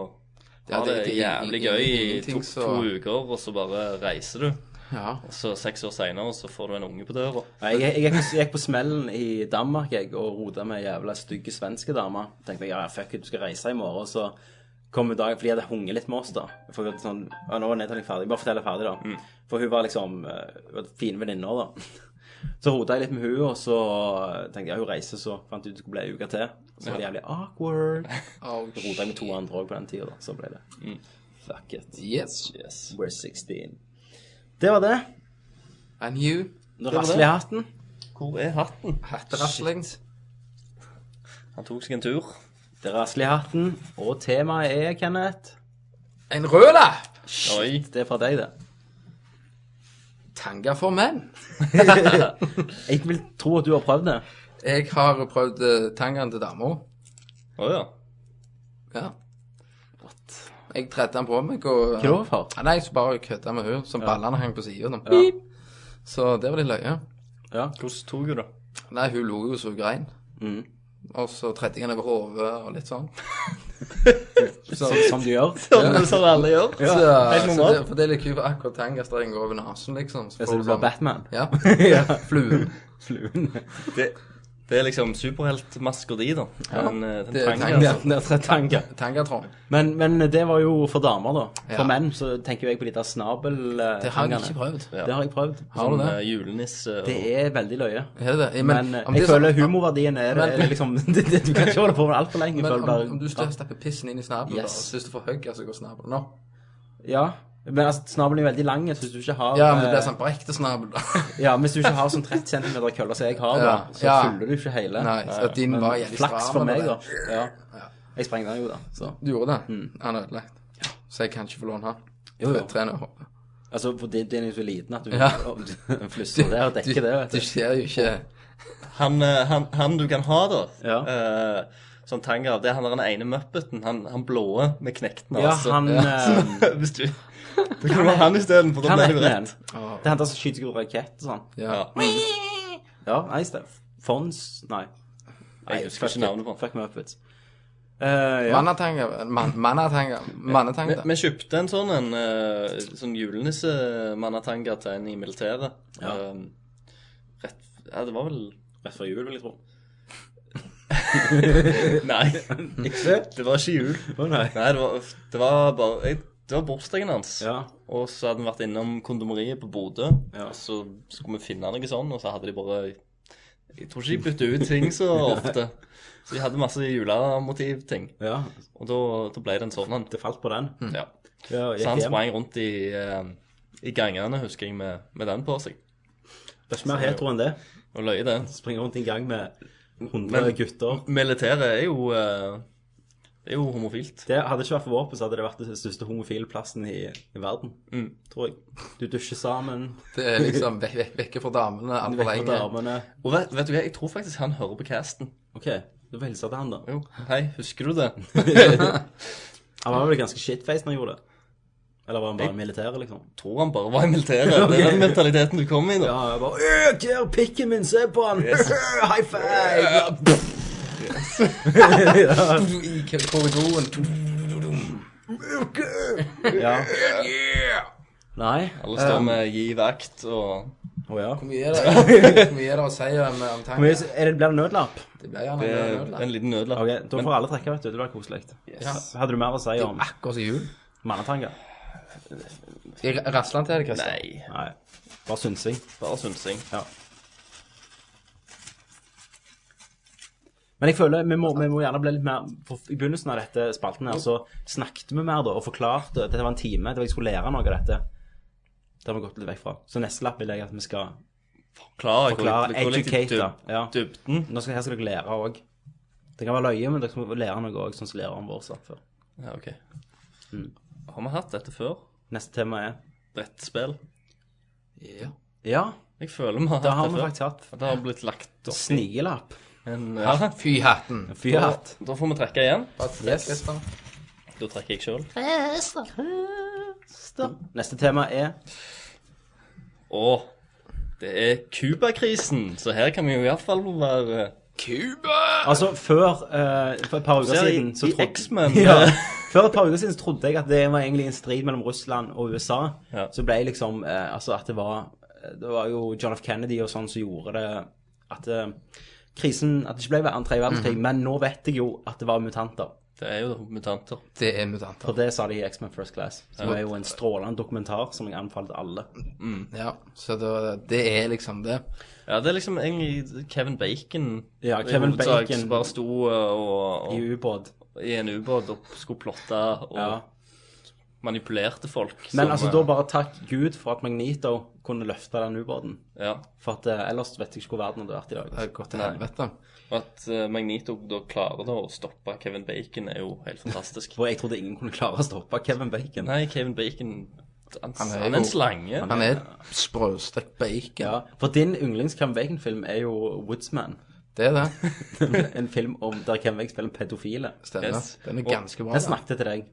[SPEAKER 3] Ja,
[SPEAKER 2] ha det,
[SPEAKER 3] det- det-
[SPEAKER 2] jævlig
[SPEAKER 3] ingen-
[SPEAKER 2] gøy i
[SPEAKER 3] ingenting
[SPEAKER 2] to,
[SPEAKER 3] så-
[SPEAKER 2] to uker, og så bare reiser du.
[SPEAKER 3] Ja.
[SPEAKER 2] Så seks år seinere så får du en unge på døra.
[SPEAKER 1] Nei, Jeg, jeg, gikk- gikk på smellen i Danmark jeg, og rota med ei jævla stygge svenske dame. Tenkte jeg, ja, fuck it, du skal reise i morgen. Så kom jo dagen fordi jeg hadde hunget litt med oss, da. For jeg var sånn, ja, nå var nedtelling ferdig. Bare fortell det ferdig, da. For hun var liksom eh, hun var fine venninner, da. Så rota jeg litt med hun, og så tenkte jeg ja, hun reiser, så fant jeg ut det skulle bli ei uke til. Så var det jævlig awkward.
[SPEAKER 3] Oh,
[SPEAKER 1] Så rota jeg med to andre òg på den tida, da. Så ble det fuck it.
[SPEAKER 3] Mm. yes.
[SPEAKER 1] We're 16. Det var det.
[SPEAKER 3] And you?
[SPEAKER 1] Nå rasler jeg hatten.
[SPEAKER 2] Hvor er hatten?
[SPEAKER 3] Hatterasling?
[SPEAKER 2] Han tok seg en tur.
[SPEAKER 1] Det er Rasle i hatten, og temaet er, Kenneth
[SPEAKER 3] En rød lapp!
[SPEAKER 2] Oi.
[SPEAKER 1] Det er fra deg, det.
[SPEAKER 3] Tanga for menn.
[SPEAKER 1] Jeg vil tro at du har prøvd det.
[SPEAKER 3] Jeg har prøvd eh, tangaen til dama.
[SPEAKER 2] Å ja.
[SPEAKER 3] Ja. Jeg tredde den på meg, og
[SPEAKER 1] Hva er det for?
[SPEAKER 3] Nei, så bare kødda med hun, som ballene hang på sida. Så det var litt løye.
[SPEAKER 2] Hvordan tok hun det?
[SPEAKER 3] Nei, hun lo jo så hun grein.
[SPEAKER 1] Mm.
[SPEAKER 3] Og så tredde jeg henne over hodet og litt sånn. så,
[SPEAKER 1] Som du gjør.
[SPEAKER 2] Som sånn alle gjør.
[SPEAKER 3] så,
[SPEAKER 2] helt
[SPEAKER 3] så
[SPEAKER 2] normalt.
[SPEAKER 3] det, for det er litt kult, for akkurat tangastreken går over nesen, liksom.
[SPEAKER 1] Jeg
[SPEAKER 3] får
[SPEAKER 1] ser
[SPEAKER 3] du
[SPEAKER 1] du var
[SPEAKER 3] sånn-
[SPEAKER 1] Batman.
[SPEAKER 3] Ja. Fluen.
[SPEAKER 1] Fluen.
[SPEAKER 2] Det, det er liksom superheltmasker, de, da. Men eh, den
[SPEAKER 3] det er
[SPEAKER 2] trenger
[SPEAKER 3] tanga.
[SPEAKER 2] altså.
[SPEAKER 1] Nedtretttanke.
[SPEAKER 3] Tangatron.
[SPEAKER 1] Men, men det var jo for damer, da. For
[SPEAKER 3] Ja.
[SPEAKER 1] menn så tenker jo jeg på de der snabeltangene.
[SPEAKER 3] Det har jeg ikke prøvd.
[SPEAKER 1] Det har jeg prøvd.
[SPEAKER 3] Har du
[SPEAKER 2] Sånn,
[SPEAKER 3] det?
[SPEAKER 2] eh, julenisse og
[SPEAKER 1] Det er veldig løye.
[SPEAKER 3] Er det det? Ja,
[SPEAKER 1] Men,
[SPEAKER 3] om
[SPEAKER 1] eh,
[SPEAKER 3] det
[SPEAKER 1] jeg
[SPEAKER 3] er
[SPEAKER 1] føler
[SPEAKER 3] sånn-
[SPEAKER 1] humorverdien er,
[SPEAKER 3] Men-
[SPEAKER 1] er liksom det, det, Du kan ikke holde på med altfor lenge.
[SPEAKER 3] Men
[SPEAKER 1] føler
[SPEAKER 3] om,
[SPEAKER 1] bare-
[SPEAKER 3] om du stø- stapper pissen inn i snabelen
[SPEAKER 1] Yes.
[SPEAKER 3] yes. og syns du får hugg, så går snabelen opp.
[SPEAKER 1] Ja. Men altså, snabelen er veldig lang, så hvis du ikke har
[SPEAKER 3] Ja, men det blir
[SPEAKER 1] eh,
[SPEAKER 3] sånn på ekte snabel, da.
[SPEAKER 1] Ja, hvis du ikke har sånn 30 cm kølle som jeg har, da,
[SPEAKER 3] Ja,
[SPEAKER 1] så
[SPEAKER 3] ja.
[SPEAKER 1] fyller du ikke hele. Eh,
[SPEAKER 3] Nei, så at din
[SPEAKER 1] Men
[SPEAKER 3] var jævlig
[SPEAKER 1] Flaks
[SPEAKER 3] stram,
[SPEAKER 1] for meg, da.
[SPEAKER 3] eller?
[SPEAKER 1] Ja. Jeg sprengte den jo, da. Så.
[SPEAKER 3] Du gjorde det? Mm, Han er ødelagt. Så jeg kan ikke få låne han.
[SPEAKER 1] Jo, jo.
[SPEAKER 3] Trener hoppet.
[SPEAKER 1] Altså, for det, den er jo så liten at du
[SPEAKER 3] Ja.
[SPEAKER 1] flusser der og dekker det, vet
[SPEAKER 3] Du
[SPEAKER 1] du.
[SPEAKER 3] ser jo ikke
[SPEAKER 2] han, eh, han, han du kan ha, da.
[SPEAKER 1] Ja.
[SPEAKER 2] eh, som tanga, det er han der den ene muppeten. Han, han blåe med knekten.
[SPEAKER 1] Ja,
[SPEAKER 2] altså.
[SPEAKER 1] han eh,
[SPEAKER 2] Hvis du Da kan du ha han isteden, for da
[SPEAKER 1] Han
[SPEAKER 2] blir
[SPEAKER 1] er
[SPEAKER 2] det jo
[SPEAKER 1] den.
[SPEAKER 2] rett.
[SPEAKER 1] Det er han der som skyter seg ut rakett og sånn.
[SPEAKER 3] Ja.
[SPEAKER 1] Ja, nei, Steff. Fons Nei.
[SPEAKER 2] Jeg husker ikke navnet på han.
[SPEAKER 1] Fuck me up, vet Eh, ja.
[SPEAKER 3] Mannatanga man, Mannatanga Mannatanga.
[SPEAKER 2] Vi- Vi kjøpte en sånn en eh, sånn julenissemannatanga til en i militæret. Eh, rett Ja, det var vel
[SPEAKER 1] Rett før jul, vil jeg tro.
[SPEAKER 2] Nei. det var ikke jul.
[SPEAKER 1] Å, nei.
[SPEAKER 2] Nei, det var, det var bare jeg, Det var bursdagen hans.
[SPEAKER 1] Ja.
[SPEAKER 2] Og så hadde vi vært innom kondomeriet på Bodø.
[SPEAKER 1] Ja.
[SPEAKER 2] Og så skulle vi finne noe sånn, og så hadde de bare Jeg tror ikke de bytter ut ting så ofte. Så de hadde masse julemotivting.
[SPEAKER 1] ja.
[SPEAKER 2] Og da, da ble det en sånn en.
[SPEAKER 1] Det falt på den.
[SPEAKER 2] Ja.
[SPEAKER 1] Ja,
[SPEAKER 2] Så
[SPEAKER 1] Mm. gikk
[SPEAKER 2] han
[SPEAKER 1] hjem.
[SPEAKER 2] sprang rundt i, eh, i gangene, husker jeg, med, med den på seg.
[SPEAKER 1] Det er ikke mer hetero enn det.
[SPEAKER 2] Og løy det.
[SPEAKER 1] Springer rundt i en gang med 100
[SPEAKER 2] Men-
[SPEAKER 1] gutter.
[SPEAKER 2] Militæret er jo eh, Det er jo homofilt.
[SPEAKER 1] Det hadde ikke vært for våpen, så hadde det vært den største homofile plassen i, i verden. Tror jeg. Du dusjer sammen,
[SPEAKER 3] Det er liksom vekk, vekk, vekke fra
[SPEAKER 1] du
[SPEAKER 3] damene altfor
[SPEAKER 1] vekker
[SPEAKER 3] lenge.
[SPEAKER 1] damene.
[SPEAKER 2] Og vet, vet du hva, jeg tror faktisk han hører på casten.
[SPEAKER 1] OK, du får hilse til han, da.
[SPEAKER 2] Jo, hei, husker du det?
[SPEAKER 1] Han var vel ganske shitface når han gjorde det? Eller var han bare militær, liksom?
[SPEAKER 2] tror han bare var i militæret. Det er den mentaliteten du kom i da.
[SPEAKER 1] Ja, jeg bare «Øh, Der, pikken min! Se på han! Øh, High five!
[SPEAKER 3] Du, I k- korridoren du,
[SPEAKER 1] Ja. Nei.
[SPEAKER 2] Alle står med giv akt og
[SPEAKER 1] Å ja.
[SPEAKER 3] Hvor mye er det Hvor mye er det å si om, om
[SPEAKER 1] Hvor mye
[SPEAKER 3] tanga?
[SPEAKER 1] er det, blir det nødlapp?
[SPEAKER 3] Det blir gjerne
[SPEAKER 2] Det
[SPEAKER 3] en
[SPEAKER 2] er
[SPEAKER 3] øl.
[SPEAKER 2] en liten
[SPEAKER 1] Ok,
[SPEAKER 2] nødlapp.
[SPEAKER 1] Da får alle trekke, vet du. Det blir koselig.
[SPEAKER 3] Yes. ah.
[SPEAKER 1] Hadde du mer å si om
[SPEAKER 3] Akkurat som jul.
[SPEAKER 1] mannetanga?
[SPEAKER 3] Skal jeg rasle den til deg, Christian?
[SPEAKER 2] Nei,
[SPEAKER 1] Nei. Bare synsing.
[SPEAKER 2] bare synsing.
[SPEAKER 1] Ja. Men jeg føler vi må, vi må gjerne bli litt mer for I begynnelsen av dette spalten her så snakket vi mer da og forklarte. Dette var en time. Det var jeg skulle lære noe av dette. Det har vi gått litt vekk fra. Så neste lapp vil jeg at vi skal
[SPEAKER 2] Klar,
[SPEAKER 1] Forklare, educate,
[SPEAKER 2] educate.
[SPEAKER 1] da. Ja.
[SPEAKER 2] Dybden.
[SPEAKER 1] Nå skal, Her skal dere lære òg. Det kan være løye, men dere må lære noe òg, sånn som læreren vår sa før.
[SPEAKER 2] Ja, ok. Har Mm. vi hatt dette før?
[SPEAKER 1] Neste tema er
[SPEAKER 2] Brettspill?
[SPEAKER 3] Ja.
[SPEAKER 1] Ja,
[SPEAKER 2] Jeg føler vi har
[SPEAKER 1] det har
[SPEAKER 2] hatt
[SPEAKER 1] vi
[SPEAKER 2] det før.
[SPEAKER 1] faktisk hatt.
[SPEAKER 2] At Det har blitt lagt opp i
[SPEAKER 1] Snikelapp.
[SPEAKER 2] en ja.
[SPEAKER 3] Fy hatten.
[SPEAKER 2] da,
[SPEAKER 1] Fyrt.
[SPEAKER 2] da får vi trekke igjen.
[SPEAKER 3] Yes. Christian.
[SPEAKER 2] Da trekker jeg sjøl.
[SPEAKER 1] Neste tema er
[SPEAKER 2] Og det er Cuba-krisen, så her kan vi jo iallfall være
[SPEAKER 1] Altså, før eh, For et par uker
[SPEAKER 2] Ser i-
[SPEAKER 1] siden så
[SPEAKER 2] i
[SPEAKER 1] trodde-
[SPEAKER 2] X-Men.
[SPEAKER 1] ja. Før et par uker siden så trodde jeg at det var egentlig en strid mellom Russland og USA.
[SPEAKER 2] Ja.
[SPEAKER 1] Så ble jeg liksom eh, Altså at det var Det var jo John F. Kennedy og sånn som gjorde det At eh, krisen At det ikke ble en tredje verdenskrig.
[SPEAKER 2] Mhm.
[SPEAKER 1] Men nå vet jeg jo at det var mutanter.
[SPEAKER 2] Det er jo mutanter.
[SPEAKER 3] Det er mutanter.
[SPEAKER 1] For det sa de i X-Men First Class. Som er jo en strålende dokumentar som jeg anbefaler alle.
[SPEAKER 3] Ja, så da, det er liksom det.
[SPEAKER 2] Ja, det er liksom egentlig Kevin Bacon
[SPEAKER 1] Ja,
[SPEAKER 2] i
[SPEAKER 1] Kevin
[SPEAKER 2] hovedsak,
[SPEAKER 1] Bacon.
[SPEAKER 2] som bare sto uh, og,
[SPEAKER 1] I
[SPEAKER 2] og,
[SPEAKER 1] ubåt.
[SPEAKER 2] i en ubåt og skulle plotte og
[SPEAKER 1] Ja.
[SPEAKER 2] manipulerte folk.
[SPEAKER 1] Men
[SPEAKER 2] som,
[SPEAKER 1] altså,
[SPEAKER 2] uh,
[SPEAKER 1] da bare takk Gud for at Magnito kunne løfte den ubåten.
[SPEAKER 2] Ja,
[SPEAKER 1] For at, eh, ellers vet jeg ikke hvor verden hadde vært i dag.
[SPEAKER 3] Det har gått til helvete.
[SPEAKER 2] og At uh, Magneto da klarer da å stoppe Kevin Bacon, er jo helt fantastisk.
[SPEAKER 1] For jeg trodde ingen kunne klare å stoppe Kevin Bacon.
[SPEAKER 2] Nei, Kevin Bacon Han,
[SPEAKER 3] Han er
[SPEAKER 2] han er
[SPEAKER 3] jo-
[SPEAKER 2] en slange.
[SPEAKER 3] Han er sprøstekt bacon.
[SPEAKER 1] Ja, for din yndlings Kevin Bacon-film er jo Woodsman.
[SPEAKER 3] Det er det.
[SPEAKER 1] En film om der Kevin Bacon spiller en pedofile.
[SPEAKER 3] Stemmer.
[SPEAKER 2] Yes.
[SPEAKER 3] Den er
[SPEAKER 2] Og-
[SPEAKER 3] ganske bra.
[SPEAKER 1] Jeg
[SPEAKER 3] da.
[SPEAKER 1] snakket til deg.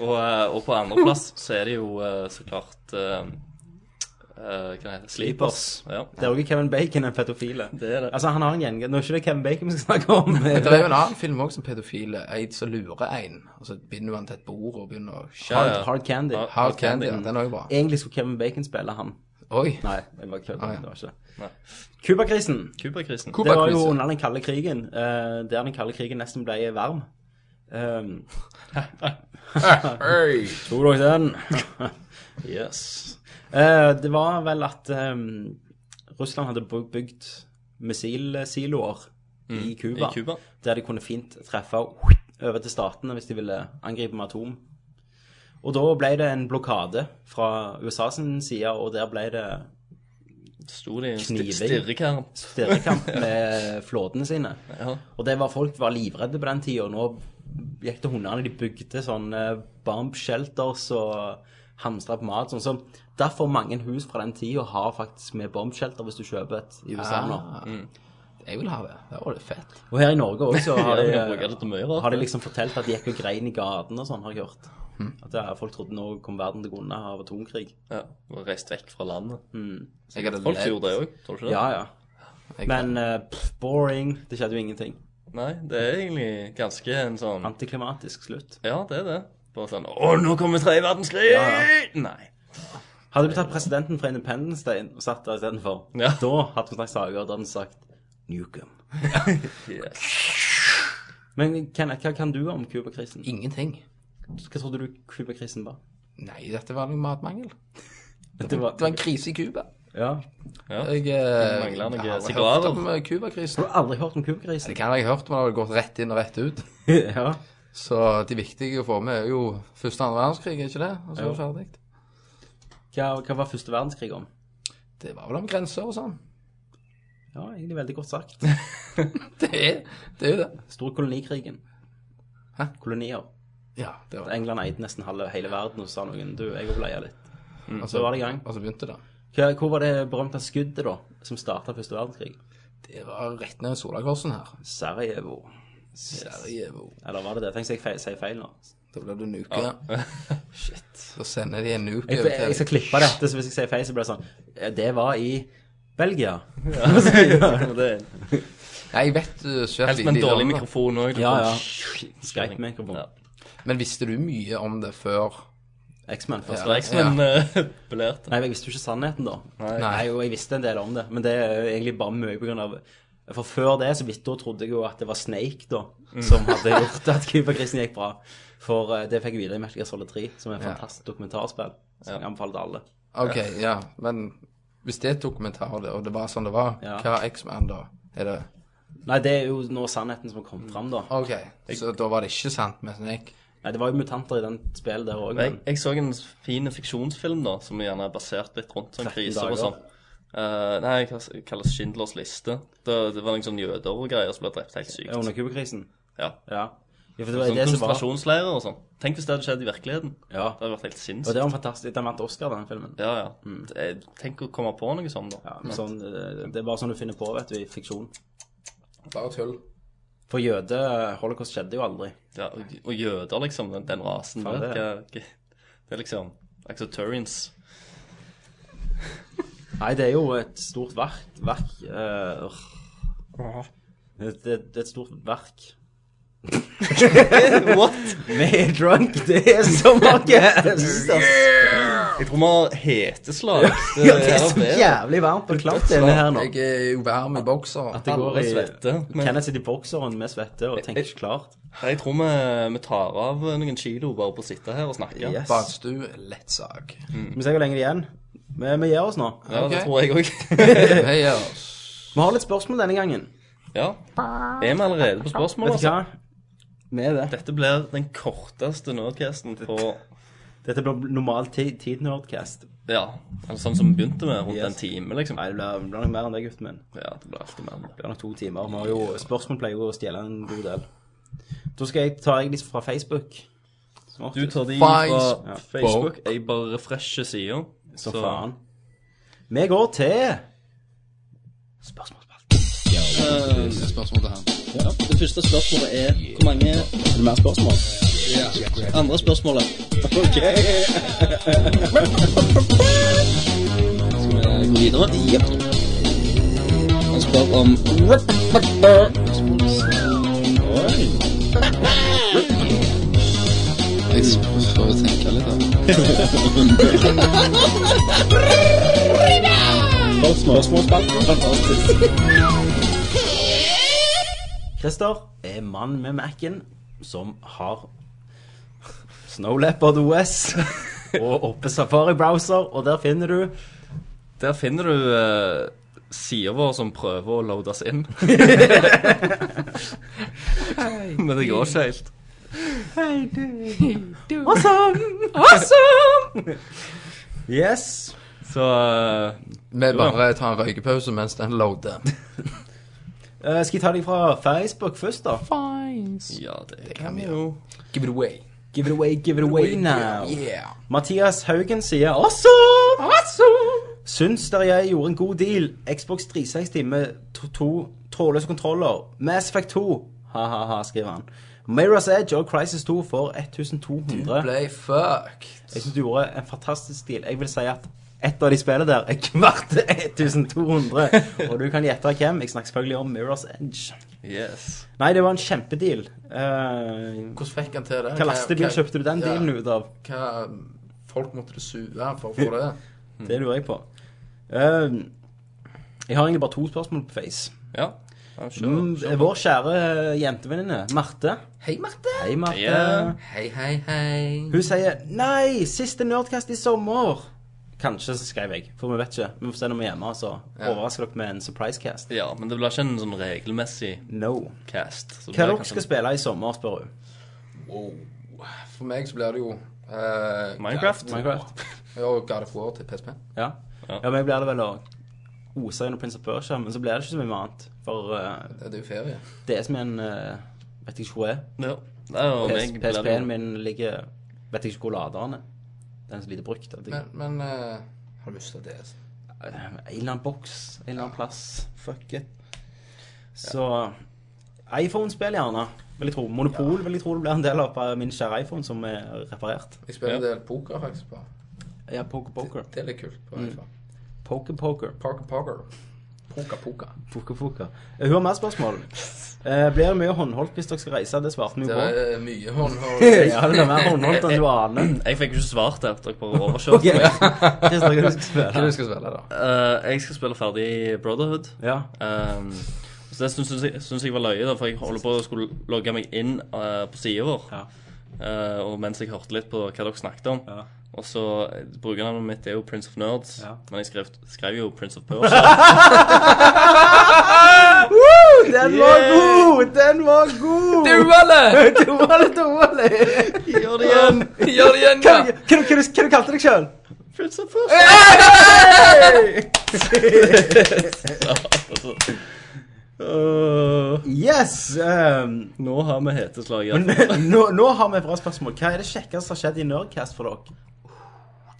[SPEAKER 2] Og, eh, og på andreplass så er det jo eh, så klart eh, eh, Hva heter det? Sleepers. Ja.
[SPEAKER 1] Der er også Kevin Bacon en pedofile.
[SPEAKER 2] Det er det.
[SPEAKER 1] Altså, han har en gjeng. Nå er ikke det Kevin Bacon vi skal snakke om.
[SPEAKER 3] Men det er jo en annen film også som pedofile. En som lurer en. Og så binder du han til et bord og begynner å skjære.
[SPEAKER 2] Ja, ja.
[SPEAKER 1] Hard, hard Candy.
[SPEAKER 2] Hard-
[SPEAKER 3] Hard Candy. ja, Den er jo bra.
[SPEAKER 1] Egentlig skulle Kevin Bacon spille han.
[SPEAKER 3] Oi.
[SPEAKER 1] Nei, jeg bare kødder.
[SPEAKER 3] Ah, ja.
[SPEAKER 1] Det var ikke
[SPEAKER 2] Nei.
[SPEAKER 1] det. Cuba-krisen.
[SPEAKER 2] Cuba-krisen.
[SPEAKER 3] Cuba-
[SPEAKER 1] Det var jo
[SPEAKER 3] Cuba-krise.
[SPEAKER 1] under den kalde krigen, eh, der den kalde krigen nesten ble varm. Um,
[SPEAKER 3] Hey.
[SPEAKER 1] Tok dere den? yes. Eh, det var vel at eh, Russland hadde bu- bygd missilsiloer i Cuba.
[SPEAKER 2] Mm. I Cuba.
[SPEAKER 1] Der de kunne fint treffe over til statene hvis de ville angripe med atom. Og da ble det en blokade fra USA sin side, og der ble det
[SPEAKER 2] Sto de i en
[SPEAKER 1] Kniving.
[SPEAKER 2] sti- stirrekamp.
[SPEAKER 1] stirrekamp med flåtene sine.
[SPEAKER 2] Ja.
[SPEAKER 1] Og det var folk var livredde på den tida. Nå gikk det hundene, de bygde sånne bomb shelters og hamstra på mat. Sånn som Derfor mange hus fra den tida har faktisk med bomb shelter hvis du kjøper et i USA nå.
[SPEAKER 3] Ah, jeg vil ha det. Det var litt fett.
[SPEAKER 1] Og her i Norge òg, så har
[SPEAKER 2] Ja,
[SPEAKER 1] de, eh,
[SPEAKER 2] vi kan bruke det til mye rart.
[SPEAKER 1] har de liksom fortalt at de gikk og grein i gaten og sånn, har jeg hørt.
[SPEAKER 2] Hmm.
[SPEAKER 1] At det er- folk trodde nå kom verden til grunne av atomkrig. Hmm.
[SPEAKER 2] Ja, og reist vekk fra landet.
[SPEAKER 3] Jeg hadde
[SPEAKER 2] Folk
[SPEAKER 3] ledd.
[SPEAKER 2] gjorde det òg, tror du ikke det?
[SPEAKER 1] Ja, ja.
[SPEAKER 3] Jeg-
[SPEAKER 1] Men eh, pff, boring. Det skjedde jo ingenting.
[SPEAKER 2] Nei, det er egentlig ganske en sånn
[SPEAKER 1] Antiklimatisk slutt.
[SPEAKER 2] Ja, det er det. Bare sånn Å, nå kommer tredje verdenskrig!
[SPEAKER 1] Ja.
[SPEAKER 2] Nei.
[SPEAKER 1] Hadde vi tatt presidenten fra Independence Day og satt der istedenfor,
[SPEAKER 2] Ja.
[SPEAKER 1] da hadde vi snakket saker, og da hadde vi sagt Newcom.
[SPEAKER 2] Yes.
[SPEAKER 1] Men Kenneth, hva kan du om Cuba-krisen?
[SPEAKER 3] Ingenting.
[SPEAKER 1] Hva trodde du Cuba-krisen var?
[SPEAKER 3] Nei, dette var en matmangel.
[SPEAKER 1] Det var,
[SPEAKER 3] Det var en krise i Cuba.
[SPEAKER 1] ja.
[SPEAKER 2] Ja.
[SPEAKER 3] Jeg
[SPEAKER 2] mangler noen
[SPEAKER 3] eh, har hørt
[SPEAKER 2] sigarer.
[SPEAKER 3] om eh, Cuba-krisen.
[SPEAKER 1] Har du aldri hørt om
[SPEAKER 3] Det
[SPEAKER 1] Cuba-krisen?
[SPEAKER 3] kan jeg ha hørt, men det har gått rett inn og rett ut.
[SPEAKER 1] ja.
[SPEAKER 3] Så de viktige å få med er jo første og andre verdenskrig, er ikke det? Og så er det ferdig.
[SPEAKER 1] Hva, hva var første verdenskrig om?
[SPEAKER 3] Det var vel om grenser og sånn.
[SPEAKER 1] Ja, egentlig veldig godt sagt.
[SPEAKER 3] Det er det. Er jo det.
[SPEAKER 1] Stor kolonikrigen.
[SPEAKER 3] Hæ?
[SPEAKER 1] Kolonier.
[SPEAKER 3] Ja, det var det.
[SPEAKER 1] England eide nesten halve hele verden og så sa noen du, jeg overleier litt.
[SPEAKER 3] Og
[SPEAKER 1] så var det i gang.
[SPEAKER 3] Og så altså, begynte det.
[SPEAKER 1] Hva, hvor var det berømte skuddet, da, som starta første verdenskrig?
[SPEAKER 3] Det var rett ned i Solakorsen her.
[SPEAKER 1] Sarajevo.
[SPEAKER 3] Sarajevo.
[SPEAKER 1] Eller var det det? Tenk så jeg feil, sier feil nå.
[SPEAKER 3] Da blir det nuke. Shit. Da sender de en nuke
[SPEAKER 1] Jeg,
[SPEAKER 3] over
[SPEAKER 1] jeg, jeg skal
[SPEAKER 3] til
[SPEAKER 1] klippe dette, så hvis jeg sier feil, så blir det sånn eh, Det var i Belgia.
[SPEAKER 2] Det er
[SPEAKER 3] Nei, jeg vet du ikke
[SPEAKER 2] Helst med en dårlig mikrofon òg.
[SPEAKER 1] Ja, ja. Skrekkmikrofon.
[SPEAKER 2] Ja.
[SPEAKER 3] Men visste du mye om det før?
[SPEAKER 1] X-Man først.
[SPEAKER 2] Reichsmann ja. eh, belærte.
[SPEAKER 1] Nei, jeg visste jo ikke sannheten da. Nei. jo, jeg visste en del om det, men det er jo egentlig bare mye på grunn av For før det så vidt da trodde jeg jo at det var Snake, da, som hadde gjort at Cuba-krisen gikk bra. For eh, det fikk jeg videre i Metal Gear Solid 3, som er et fantastisk dokumentarspill. Som jeg anbefaler til alle.
[SPEAKER 3] Ok, ja. Men hvis det er et dokumentar, det, og det var sånn det var,
[SPEAKER 1] Ja.
[SPEAKER 3] hva er X-Man da? Er det
[SPEAKER 1] Nei, det er jo nå sannheten som har kommet fram, da.
[SPEAKER 3] OK, så da var det ikke sant sånn med Snake?
[SPEAKER 1] Nei, det var jo mutanter i den spillet der òg,
[SPEAKER 2] Jeg,
[SPEAKER 1] men
[SPEAKER 2] jeg så en fin fiksjonsfilm da, som gjerne er basert litt rundt sånn
[SPEAKER 1] 13
[SPEAKER 2] kriser og
[SPEAKER 1] dager.
[SPEAKER 2] sånn. Eh, nei, hva s- kalles liksom Schindlers liste. Det, det var noen sånne jøder og greier som ble drept helt sykt.
[SPEAKER 1] under Cuba-krisen
[SPEAKER 2] Ja.
[SPEAKER 1] Ja. Ja, for det var
[SPEAKER 2] Sånn
[SPEAKER 1] det som var
[SPEAKER 2] konsentrasjonsleirer og sånn. Tenk hvis det hadde skjedd i virkeligheten.
[SPEAKER 1] Ja.
[SPEAKER 2] Det hadde vært helt
[SPEAKER 1] Og
[SPEAKER 2] sinnssykt.
[SPEAKER 1] det var en fantastisk Den vant Oscar, den filmen.
[SPEAKER 2] Ja, ja. Det- Tenk å komme på noe sånt, da.
[SPEAKER 1] Mm. Ja, men sånn, eh, det er bare sånn du finner på, vet du, i fiksjon.
[SPEAKER 3] Bare tull.
[SPEAKER 1] For jøde Holocaust skjedde jo aldri.
[SPEAKER 2] Ja, og, og jøder, liksom. Den, den rasen
[SPEAKER 1] Faen,
[SPEAKER 2] der.
[SPEAKER 1] det er-
[SPEAKER 2] hva- hva- Det er liksom Altså Turians.
[SPEAKER 1] Nei, det er jo et stort verk. verk eh, øh. det, det, det er et stort verk.
[SPEAKER 2] What?!
[SPEAKER 1] Vi er drunk, det er så mange
[SPEAKER 2] Jeg tror vi har heteslag. Det,
[SPEAKER 1] Ja, det er
[SPEAKER 2] her
[SPEAKER 1] så
[SPEAKER 2] bedre.
[SPEAKER 1] jævlig varmt og klart inne her nå.
[SPEAKER 3] Jeg er jo varm i bokser.
[SPEAKER 1] At det går
[SPEAKER 2] Alle
[SPEAKER 1] i
[SPEAKER 2] svetter. Men
[SPEAKER 1] Kenneth sitter i bokseren med svette og tenker ikke klart.
[SPEAKER 2] jeg tror vi, vi tar av noen kilo bare på å sitte her og snakke.
[SPEAKER 1] Yes.
[SPEAKER 3] Badstue, lett sak.
[SPEAKER 1] Vi ser hvor lenge det er igjen. Vi, vi gir oss nå.
[SPEAKER 2] Ja, det
[SPEAKER 3] Ok.
[SPEAKER 2] tror jeg òg.
[SPEAKER 3] Hei, ja.
[SPEAKER 1] Vi har litt spørsmål denne gangen.
[SPEAKER 2] ja. Er vi allerede på spørsmål,
[SPEAKER 1] Vet du
[SPEAKER 2] altså?
[SPEAKER 1] hva? Vi er det.
[SPEAKER 2] Dette blir den korteste Nerdcasten på
[SPEAKER 1] Dette blir normal tid, tid Nerdcast.
[SPEAKER 2] Ja, altså sånn som vi begynte med, rundt
[SPEAKER 1] Yes.
[SPEAKER 2] en time, liksom.
[SPEAKER 1] Nei, det blir, det blir nok mer enn det, gutten min.
[SPEAKER 2] Ja, det blir alltid mer enn
[SPEAKER 1] Det
[SPEAKER 2] det.
[SPEAKER 1] blir nok to timer. Vi har jo, spørsmål pleier jo å stjele en god del. Da skal jeg ta egentlig fra Facebook. Som
[SPEAKER 2] Du
[SPEAKER 1] oftest.
[SPEAKER 2] tar de
[SPEAKER 3] Facebook.
[SPEAKER 2] fra Facebook. Jeg bare refresher sida.
[SPEAKER 1] Så faen. Vi går til spørsmålsspalten.
[SPEAKER 6] Det første spørsmålet er hvor mange
[SPEAKER 1] Er det mer spørsmål?
[SPEAKER 6] andre spørsmålet. Ok. Skal vi gå videre? Jepp. Han spør om Jeg får tenke litt, da.
[SPEAKER 1] Christer er mann med Mac-en som har Snow Leopard OS og oppe Safari Browser, og der finner du
[SPEAKER 2] Der finner du uh, sida vår som prøver å loades inn. Men det går ikke helt.
[SPEAKER 1] Yes.
[SPEAKER 2] Så eh,
[SPEAKER 3] Vi bare tar en røykepause mens den loader.
[SPEAKER 1] Eh, skal jeg ta deg fra Facebook først, da?
[SPEAKER 2] Ja, det,
[SPEAKER 3] kan
[SPEAKER 2] kan vi
[SPEAKER 3] vi
[SPEAKER 2] jo.
[SPEAKER 3] Give it away.
[SPEAKER 1] Give it away, give it away now.
[SPEAKER 3] Yeah.
[SPEAKER 1] Mathias Haugen sier awesome! Syns dere jeg gjorde en god deal? Xbox 360 med to, to trådløse kontroller. Mass Effect 2. Ha-ha-ha, skriver han. Mirror's Edge og Crisis 2 for 1200.
[SPEAKER 3] Play fucked.
[SPEAKER 1] Jeg syns du gjorde en fantastisk deal. Jeg vil si at ett av de spillene der er kvart 1200. Og du kan gjette hvem. Jeg snakker selvfølgelig om Mirror's Edge.
[SPEAKER 2] Yes.
[SPEAKER 1] Nei, det var en kjempedeal. Eh,
[SPEAKER 3] Hvordan fikk han til det?
[SPEAKER 1] hva lastebil kjøpte du den
[SPEAKER 3] ja,
[SPEAKER 1] dealen ut av?
[SPEAKER 3] Hva folk måtte det suge for å få det? Mm.
[SPEAKER 1] Det lurer jeg på. Eh, jeg har egentlig bare to spørsmål på Face.
[SPEAKER 2] Ja. ja sure.
[SPEAKER 1] Mm, vår kjære jentevenninne Marte.
[SPEAKER 3] Hei, Marte.
[SPEAKER 1] Hei, Marte.
[SPEAKER 2] Yeah.
[SPEAKER 3] Hei, hei, hei.
[SPEAKER 1] Hun sier 'Nei, siste Nerdcast i sommer'. Kanskje, så skrev jeg. For vi vet ikke. Vi får se når vi er hjemme. Så
[SPEAKER 3] Ja.
[SPEAKER 1] overrasker dere med en surprise-cast.
[SPEAKER 2] ja, men det blir ikke en sånn regelmessig
[SPEAKER 1] No.
[SPEAKER 2] cast. så
[SPEAKER 1] Hva er
[SPEAKER 2] det
[SPEAKER 1] det
[SPEAKER 2] blir
[SPEAKER 1] dere
[SPEAKER 2] kanskje
[SPEAKER 1] skal spille i sommer, spør hun.
[SPEAKER 3] For meg så blir det jo eh,
[SPEAKER 2] Minecraft?
[SPEAKER 1] Minecraft.
[SPEAKER 3] Ja, og God of War til PSP.
[SPEAKER 1] Ja.
[SPEAKER 2] Ja.
[SPEAKER 1] Ja, men blir det vel å ose gjennom Prince of Persia, men så blir det ikke så mye annet. For eh,
[SPEAKER 3] Det er jo ferie.
[SPEAKER 1] det er som en eh, Vet ikke hvor jeg er.
[SPEAKER 2] Ja. Nei,
[SPEAKER 1] PS
[SPEAKER 2] og meg blir det-
[SPEAKER 1] PSP-en min ligger Vet ikke hvor laderen er. Den er så lite brukt. at jeg-
[SPEAKER 3] Men, men eh, har du mista det? altså?
[SPEAKER 1] Eh, En eller annen boks, en eller annen plass. Fuck it. Så iPhone-spill, gjerne. Vil jeg tro. Monopol vil jeg tro det blir en del av eh, min kjære iPhone som er reparert.
[SPEAKER 3] Jeg spiller
[SPEAKER 2] Ja.
[SPEAKER 3] en del poker faktisk på.
[SPEAKER 1] Ja, poker, poker.
[SPEAKER 3] Det er litt kult.
[SPEAKER 2] Mm.
[SPEAKER 3] på iPhone.
[SPEAKER 1] Poker, poker.
[SPEAKER 3] Poker, poker. Poker, poker.
[SPEAKER 1] Poker, poker. Eh, Hun har mer spørsmål. Eh, Blir det mye håndholdt hvis dere skal reise? Det svarte vi jo
[SPEAKER 3] Det
[SPEAKER 1] på.
[SPEAKER 3] er mye håndhold.
[SPEAKER 1] Ja, det blir mer håndholdt enn du aner.
[SPEAKER 2] Jeg fikk jo ikke svart der. Dere bare overkjørte
[SPEAKER 1] Ok.
[SPEAKER 2] meg.
[SPEAKER 1] Christer, hva er det du skal
[SPEAKER 3] Hva er
[SPEAKER 1] spille?
[SPEAKER 3] det du skal spille, da?
[SPEAKER 2] Eh, jeg skal spille ferdig Brotherhood.
[SPEAKER 1] Ja.
[SPEAKER 2] Um, så det syns jeg, synes jeg var løye, da, for jeg holder på å skulle logge meg inn eh, på sida vår.
[SPEAKER 1] Ja.
[SPEAKER 2] Eh, og mens jeg hørte litt på hva dere snakket om.
[SPEAKER 1] Ja.
[SPEAKER 2] Og så eh, Brukernavnet mitt er jo Prince of Nerds,
[SPEAKER 1] Ja.
[SPEAKER 2] men jeg skrev, skrev jo Prince of Persia.
[SPEAKER 1] Woo! Den var
[SPEAKER 2] Yeah!
[SPEAKER 1] god! Den var god!
[SPEAKER 3] Duelle!
[SPEAKER 1] Du var litt dårlig!
[SPEAKER 2] Gjør det igjen!
[SPEAKER 3] Gjør det igjen,
[SPEAKER 1] Hva
[SPEAKER 3] da!
[SPEAKER 1] hva- hva- hva du kalte du deg sjøl?
[SPEAKER 2] Prince of Persia! Øh,
[SPEAKER 1] Yes! ehm,
[SPEAKER 2] nå har vi heteslag.
[SPEAKER 1] men
[SPEAKER 2] iallfall.
[SPEAKER 1] nå, nå har vi et bra spørsmål. Hva er det kjekkeste som har skjedd i Nerdcast for dere?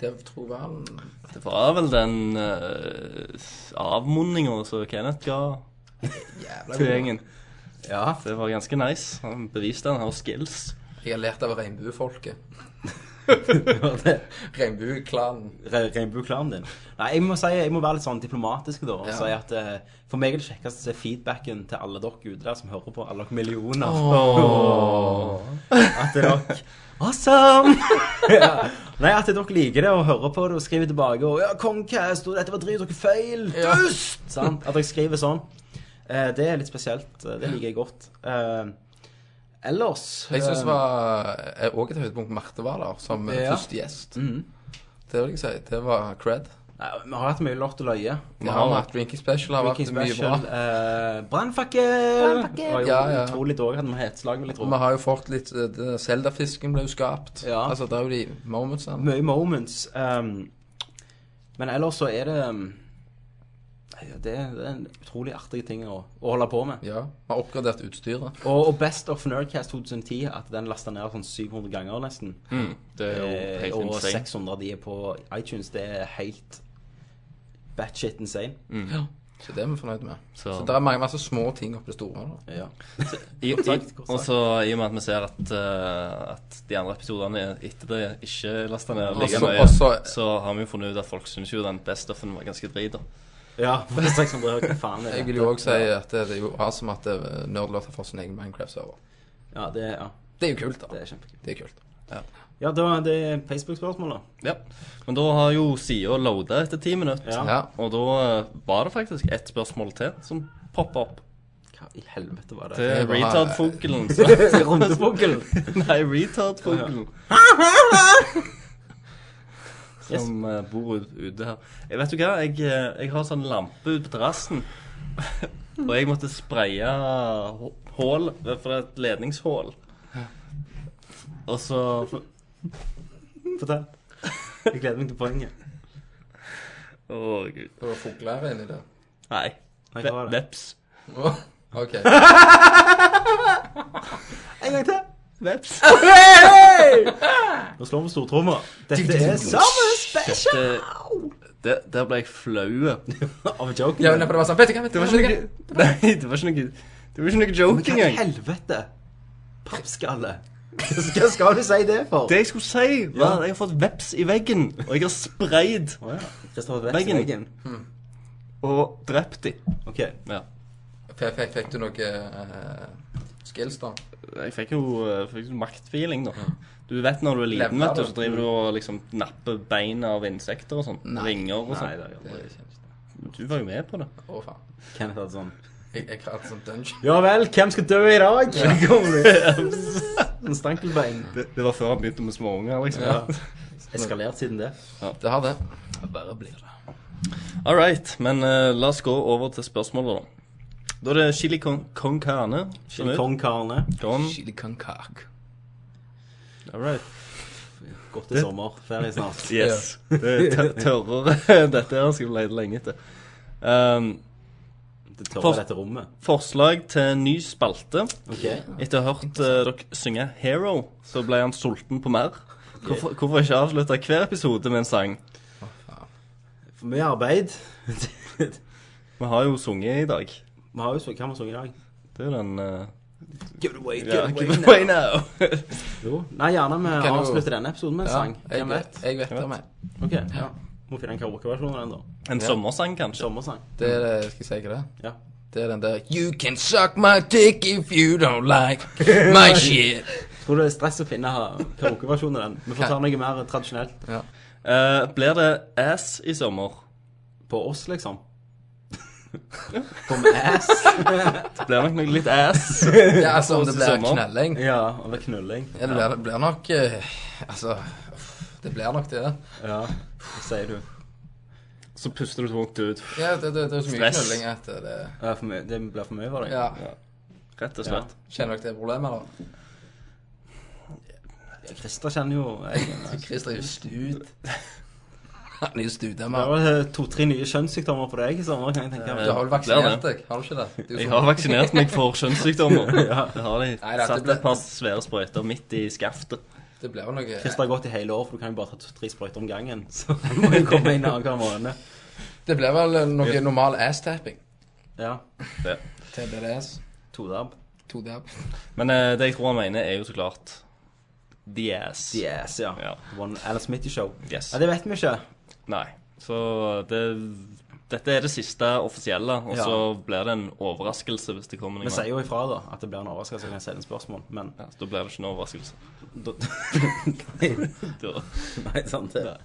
[SPEAKER 3] Det tror jeg var en-
[SPEAKER 2] Det var vel den uh, avmunninga som Kenneth ga
[SPEAKER 3] jævla
[SPEAKER 2] til
[SPEAKER 3] god.
[SPEAKER 2] gjengen.
[SPEAKER 1] Ja.
[SPEAKER 2] Det var ganske nice. Han beviste han har skills.
[SPEAKER 3] Jeg har lært av regnbuefolket.
[SPEAKER 1] var det.
[SPEAKER 3] Regnbueklanen.
[SPEAKER 1] Re- Regnbueklanen din. Nei, jeg må si, jeg må være litt sånn diplomatisk da. og
[SPEAKER 3] Ja.
[SPEAKER 1] si at eh, For meg er det kjekkeste å se feedbacken til alle dere ute der som hører på. Alle dere millioner. At dere Awesome! ja. Nei, at dere liker det og hører på det og skriver tilbake og 'Ja, Kongcast, og dette var drit, dere feil.
[SPEAKER 3] Ja.
[SPEAKER 1] Dust!' Sant? At dere skriver sånn. Eh, det er litt spesielt. eh, Det liker jeg godt. Eh, ellers
[SPEAKER 3] Jeg syns
[SPEAKER 1] eh,
[SPEAKER 3] det var eh, også et høydepunkt Marte var der, som eh,
[SPEAKER 1] Ja.
[SPEAKER 3] første gjest. Det vil jeg si. Det var cred.
[SPEAKER 1] nei, Vi har hatt mye lort og løye.
[SPEAKER 3] Vi har hatt Drinking Special, har vært
[SPEAKER 1] Breaking
[SPEAKER 3] mye bra.
[SPEAKER 1] Special, eh, Brannfakkel! Uh,
[SPEAKER 3] Ja, ja.
[SPEAKER 1] Utrolig dårlig hadde vi hetslag, vil jeg
[SPEAKER 3] Og
[SPEAKER 1] tro.
[SPEAKER 3] vi har jo fått litt eh, det- Zelda-fisken ble jo skapt.
[SPEAKER 1] Ja.
[SPEAKER 3] Altså, det er jo de momentsene.
[SPEAKER 1] Mye moments. ehm, men ellers så er det ehm, ja, det, er- det er en utrolig artig ting å, å holde på med.
[SPEAKER 3] Ja. Vi har oppgradert utstyret.
[SPEAKER 1] Og, og Best of Nerdcast 2010, at den lasta ned sånn 700 ganger nesten.
[SPEAKER 2] Det er jo
[SPEAKER 1] Eh,
[SPEAKER 2] helt
[SPEAKER 1] og
[SPEAKER 2] insane.
[SPEAKER 1] 600 av de er på iTunes. Det er helt batshit insane.
[SPEAKER 3] Så det er vi fornøyd med. Mm. Så,
[SPEAKER 2] Så-
[SPEAKER 3] det er mange masse små ting oppi det store. Da.
[SPEAKER 1] Ja.
[SPEAKER 2] I, i,
[SPEAKER 1] sagt, godt sagt.
[SPEAKER 2] og så i og med at vi ser at, eh, at de andre episodene etter det ikke lasta ned like
[SPEAKER 3] Også-
[SPEAKER 2] mye,
[SPEAKER 3] også-
[SPEAKER 2] så har vi jo funnet ut at folk syns jo den best of-en var ganske drit. da.
[SPEAKER 1] ja, for 600 hva faen er
[SPEAKER 3] Jeg
[SPEAKER 1] det?
[SPEAKER 3] vil jo òg si at det det er jo awesome at eh, Nerdlot har fått sin egen Minecraft-server.
[SPEAKER 1] Ja, det, er- ja,
[SPEAKER 3] Det er jo kult, da.
[SPEAKER 1] det er kjempekult.
[SPEAKER 3] Det er kult.
[SPEAKER 1] Ja, da er det Facebook-spørsmål, da.
[SPEAKER 2] Ja. Men da har jo sida loada etter ti minutter.
[SPEAKER 1] Ja.
[SPEAKER 3] Ja.
[SPEAKER 2] Og da eh, var det faktisk ett spørsmål til som poppa opp.
[SPEAKER 1] Hva i helvete var
[SPEAKER 2] Det
[SPEAKER 1] det?
[SPEAKER 2] er
[SPEAKER 3] var-
[SPEAKER 2] retard-fuglen.
[SPEAKER 1] Rundefuglen.
[SPEAKER 2] Nei, retard-fuglen. Som eh, bor ut- ute her. Jeg vet du hva, jeg, eh, jeg har sånn lampe ute på terrassen. Og jeg måtte spraye hå- hål, eh, for det er et ledningshål. Og så
[SPEAKER 1] Fortell. Jeg gleder meg til poenget.
[SPEAKER 2] Å, gud.
[SPEAKER 3] Det var fugler inni det.
[SPEAKER 2] Nei.
[SPEAKER 1] Nei, hva
[SPEAKER 2] ve-
[SPEAKER 1] var det?
[SPEAKER 2] Veps.
[SPEAKER 3] Åh, OK.
[SPEAKER 1] En gang til.
[SPEAKER 2] Veps.
[SPEAKER 1] Nå slår vi stortromma. Dette er sammen special
[SPEAKER 2] Det, det, der ble jeg flau.
[SPEAKER 1] av joken.
[SPEAKER 3] Ja, men det var sånn, vet du hva, vet du hva,
[SPEAKER 2] Det var
[SPEAKER 3] vet du hva?
[SPEAKER 2] ikke noe Nei, det var ikke noe Det var ikke noe
[SPEAKER 1] Men
[SPEAKER 2] joke
[SPEAKER 1] hva i
[SPEAKER 2] engang.
[SPEAKER 1] helvete? Pappskalle. Hva skal du si det for?
[SPEAKER 2] Det jeg skulle si, var
[SPEAKER 1] Ja.
[SPEAKER 2] at jeg har fått veps i veggen, og jeg har spreid
[SPEAKER 1] Å ja. Kristoffer
[SPEAKER 2] Veggen.
[SPEAKER 1] Veggen.
[SPEAKER 2] og drept de.
[SPEAKER 1] Ok.
[SPEAKER 2] Ja.
[SPEAKER 3] Fikk, fikk, fikk du noe eh, skills, da?
[SPEAKER 2] Jeg fikk jo eh, fikk jo maktfeeling, da. Du vet når du er liten,
[SPEAKER 3] Levna,
[SPEAKER 2] vet du,
[SPEAKER 3] da.
[SPEAKER 2] så driver du og liksom napper beina av insekter og sånn. Ringer og
[SPEAKER 1] Nei, det
[SPEAKER 2] sånn.
[SPEAKER 1] er jo
[SPEAKER 3] Det
[SPEAKER 1] aldri-
[SPEAKER 3] kjennes det.
[SPEAKER 2] Du var jo med på det.
[SPEAKER 3] Å, faen.
[SPEAKER 1] Kenneth hadde sånn
[SPEAKER 3] Jeg, jeg hadde sånn dungeon.
[SPEAKER 1] Ja vel, hvem skal dø i dag? En stankelbein.
[SPEAKER 2] det. Det var før han begynte med småunger, liksom.
[SPEAKER 3] Ja.
[SPEAKER 1] Eskalert siden det.
[SPEAKER 3] Det har det. Bare blir det.
[SPEAKER 2] All right, men eh, la oss gå over til spørsmålet, da. Da er det chili con, con carne. Skjønner du?
[SPEAKER 1] Kongkarene.
[SPEAKER 2] Con.
[SPEAKER 3] Chili con cock.
[SPEAKER 2] All right.
[SPEAKER 1] Godt i sommer. Ferie snart.
[SPEAKER 2] Yes. Det er tør- tørrere. Dette her skal vi lete lenge etter. Um,
[SPEAKER 1] Det
[SPEAKER 2] For-
[SPEAKER 1] tørre dette rommet.
[SPEAKER 2] forslag til ny spalte.
[SPEAKER 1] Ok.
[SPEAKER 2] Etter å ha hørt eh, dere synge 'Hero', så ble han sulten på mer. Hvorfor, hvorfor ikke avslutte hver episode med en sang?
[SPEAKER 1] For mye arbeid.
[SPEAKER 2] Vi har jo sunget i dag.
[SPEAKER 1] Vi har jo så- hva har vi sunget i dag.
[SPEAKER 2] Det er jo den eh,
[SPEAKER 1] Give it away, give
[SPEAKER 2] ja,
[SPEAKER 1] it away
[SPEAKER 2] Give it
[SPEAKER 1] now.
[SPEAKER 2] away now.
[SPEAKER 1] Jo. Nei, gjerne vi
[SPEAKER 3] Kan du-
[SPEAKER 1] avslutter denne episoden med en
[SPEAKER 3] Ja,
[SPEAKER 1] sang.
[SPEAKER 3] jeg
[SPEAKER 1] Hvem vet?
[SPEAKER 3] vet, jeg vet det, men.
[SPEAKER 1] Ok, ja. Må finne en karaokeversjon av den, da.
[SPEAKER 2] En sommersang, kanskje.
[SPEAKER 1] Sommersang.
[SPEAKER 3] Det er det, skal jeg si ikke det?
[SPEAKER 1] Ja.
[SPEAKER 3] Det er den der You can suck my dick if you don't like my shit.
[SPEAKER 1] Tror du det er stress å finne karaokeversjonen av den? Vi får ta noe mer tradisjonelt.
[SPEAKER 2] Eh, blir det ass i sommer?
[SPEAKER 1] På oss, liksom. På med ass.
[SPEAKER 2] Det blir nok noe litt ass.
[SPEAKER 3] Ja, altså, om det
[SPEAKER 2] Også
[SPEAKER 3] blir
[SPEAKER 2] sommer.
[SPEAKER 3] knelling.
[SPEAKER 1] Ja, eller knulling.
[SPEAKER 3] Ja, det blir, det blir nok eh, Altså, det blir nok det.
[SPEAKER 1] Ja, hva sier du?
[SPEAKER 2] Så puster du tungt ut.
[SPEAKER 3] Ja, det, det, det er så mye
[SPEAKER 2] Stress.
[SPEAKER 3] knulling at det
[SPEAKER 1] Ja, for mye- det blir for mye for deg?
[SPEAKER 3] Ja,
[SPEAKER 2] Rett og slett.
[SPEAKER 3] kjenner dere det problemet, da?
[SPEAKER 1] Christer kjenner jo jeg,
[SPEAKER 3] Chris driver stud. Han er jo
[SPEAKER 1] Det
[SPEAKER 3] studemann.
[SPEAKER 1] var eh, to-tre nye kjønnssykdommer på deg i sommer, kan jeg tenke
[SPEAKER 3] Du har vel
[SPEAKER 2] Blir
[SPEAKER 3] vaksinert
[SPEAKER 2] det.
[SPEAKER 3] deg, har du ikke det? det? er jo
[SPEAKER 2] Jeg
[SPEAKER 3] sånn-
[SPEAKER 2] har vaksinert meg for kjønnssykdommer. Jeg har de
[SPEAKER 3] Nei, dette
[SPEAKER 2] satt
[SPEAKER 3] ble-
[SPEAKER 2] et par svære sprøyter midt i skaftet.
[SPEAKER 3] Det blir vel noe
[SPEAKER 1] Christer har gått i hele år, for du kan jo bare ta tre sprøyter om gangen. Så han må jo komme inn annenhver måned.
[SPEAKER 3] Det blir vel noe normal ass-tapping.
[SPEAKER 1] Ja.
[SPEAKER 3] TBDS.
[SPEAKER 1] Todab.
[SPEAKER 3] To dab.
[SPEAKER 2] Men eh, det jeg tror han mener, er jo så klart the ass.
[SPEAKER 1] Yes, ja.
[SPEAKER 2] Ja.
[SPEAKER 1] One Alan Smithy Show.
[SPEAKER 2] Yes.
[SPEAKER 1] Ja, det vet vi ikke.
[SPEAKER 2] Nei. Så det, dette er det siste offisielle, og
[SPEAKER 1] Ja.
[SPEAKER 2] så blir det en overraskelse hvis det kommer
[SPEAKER 1] Vi
[SPEAKER 2] noe.
[SPEAKER 1] sier jo ifra da at det blir en overraskelse når jeg sender spørsmål, men
[SPEAKER 2] Ja, så da blir det ikke noen overraskelse.
[SPEAKER 1] da,
[SPEAKER 2] Da.
[SPEAKER 1] Nei, sant det.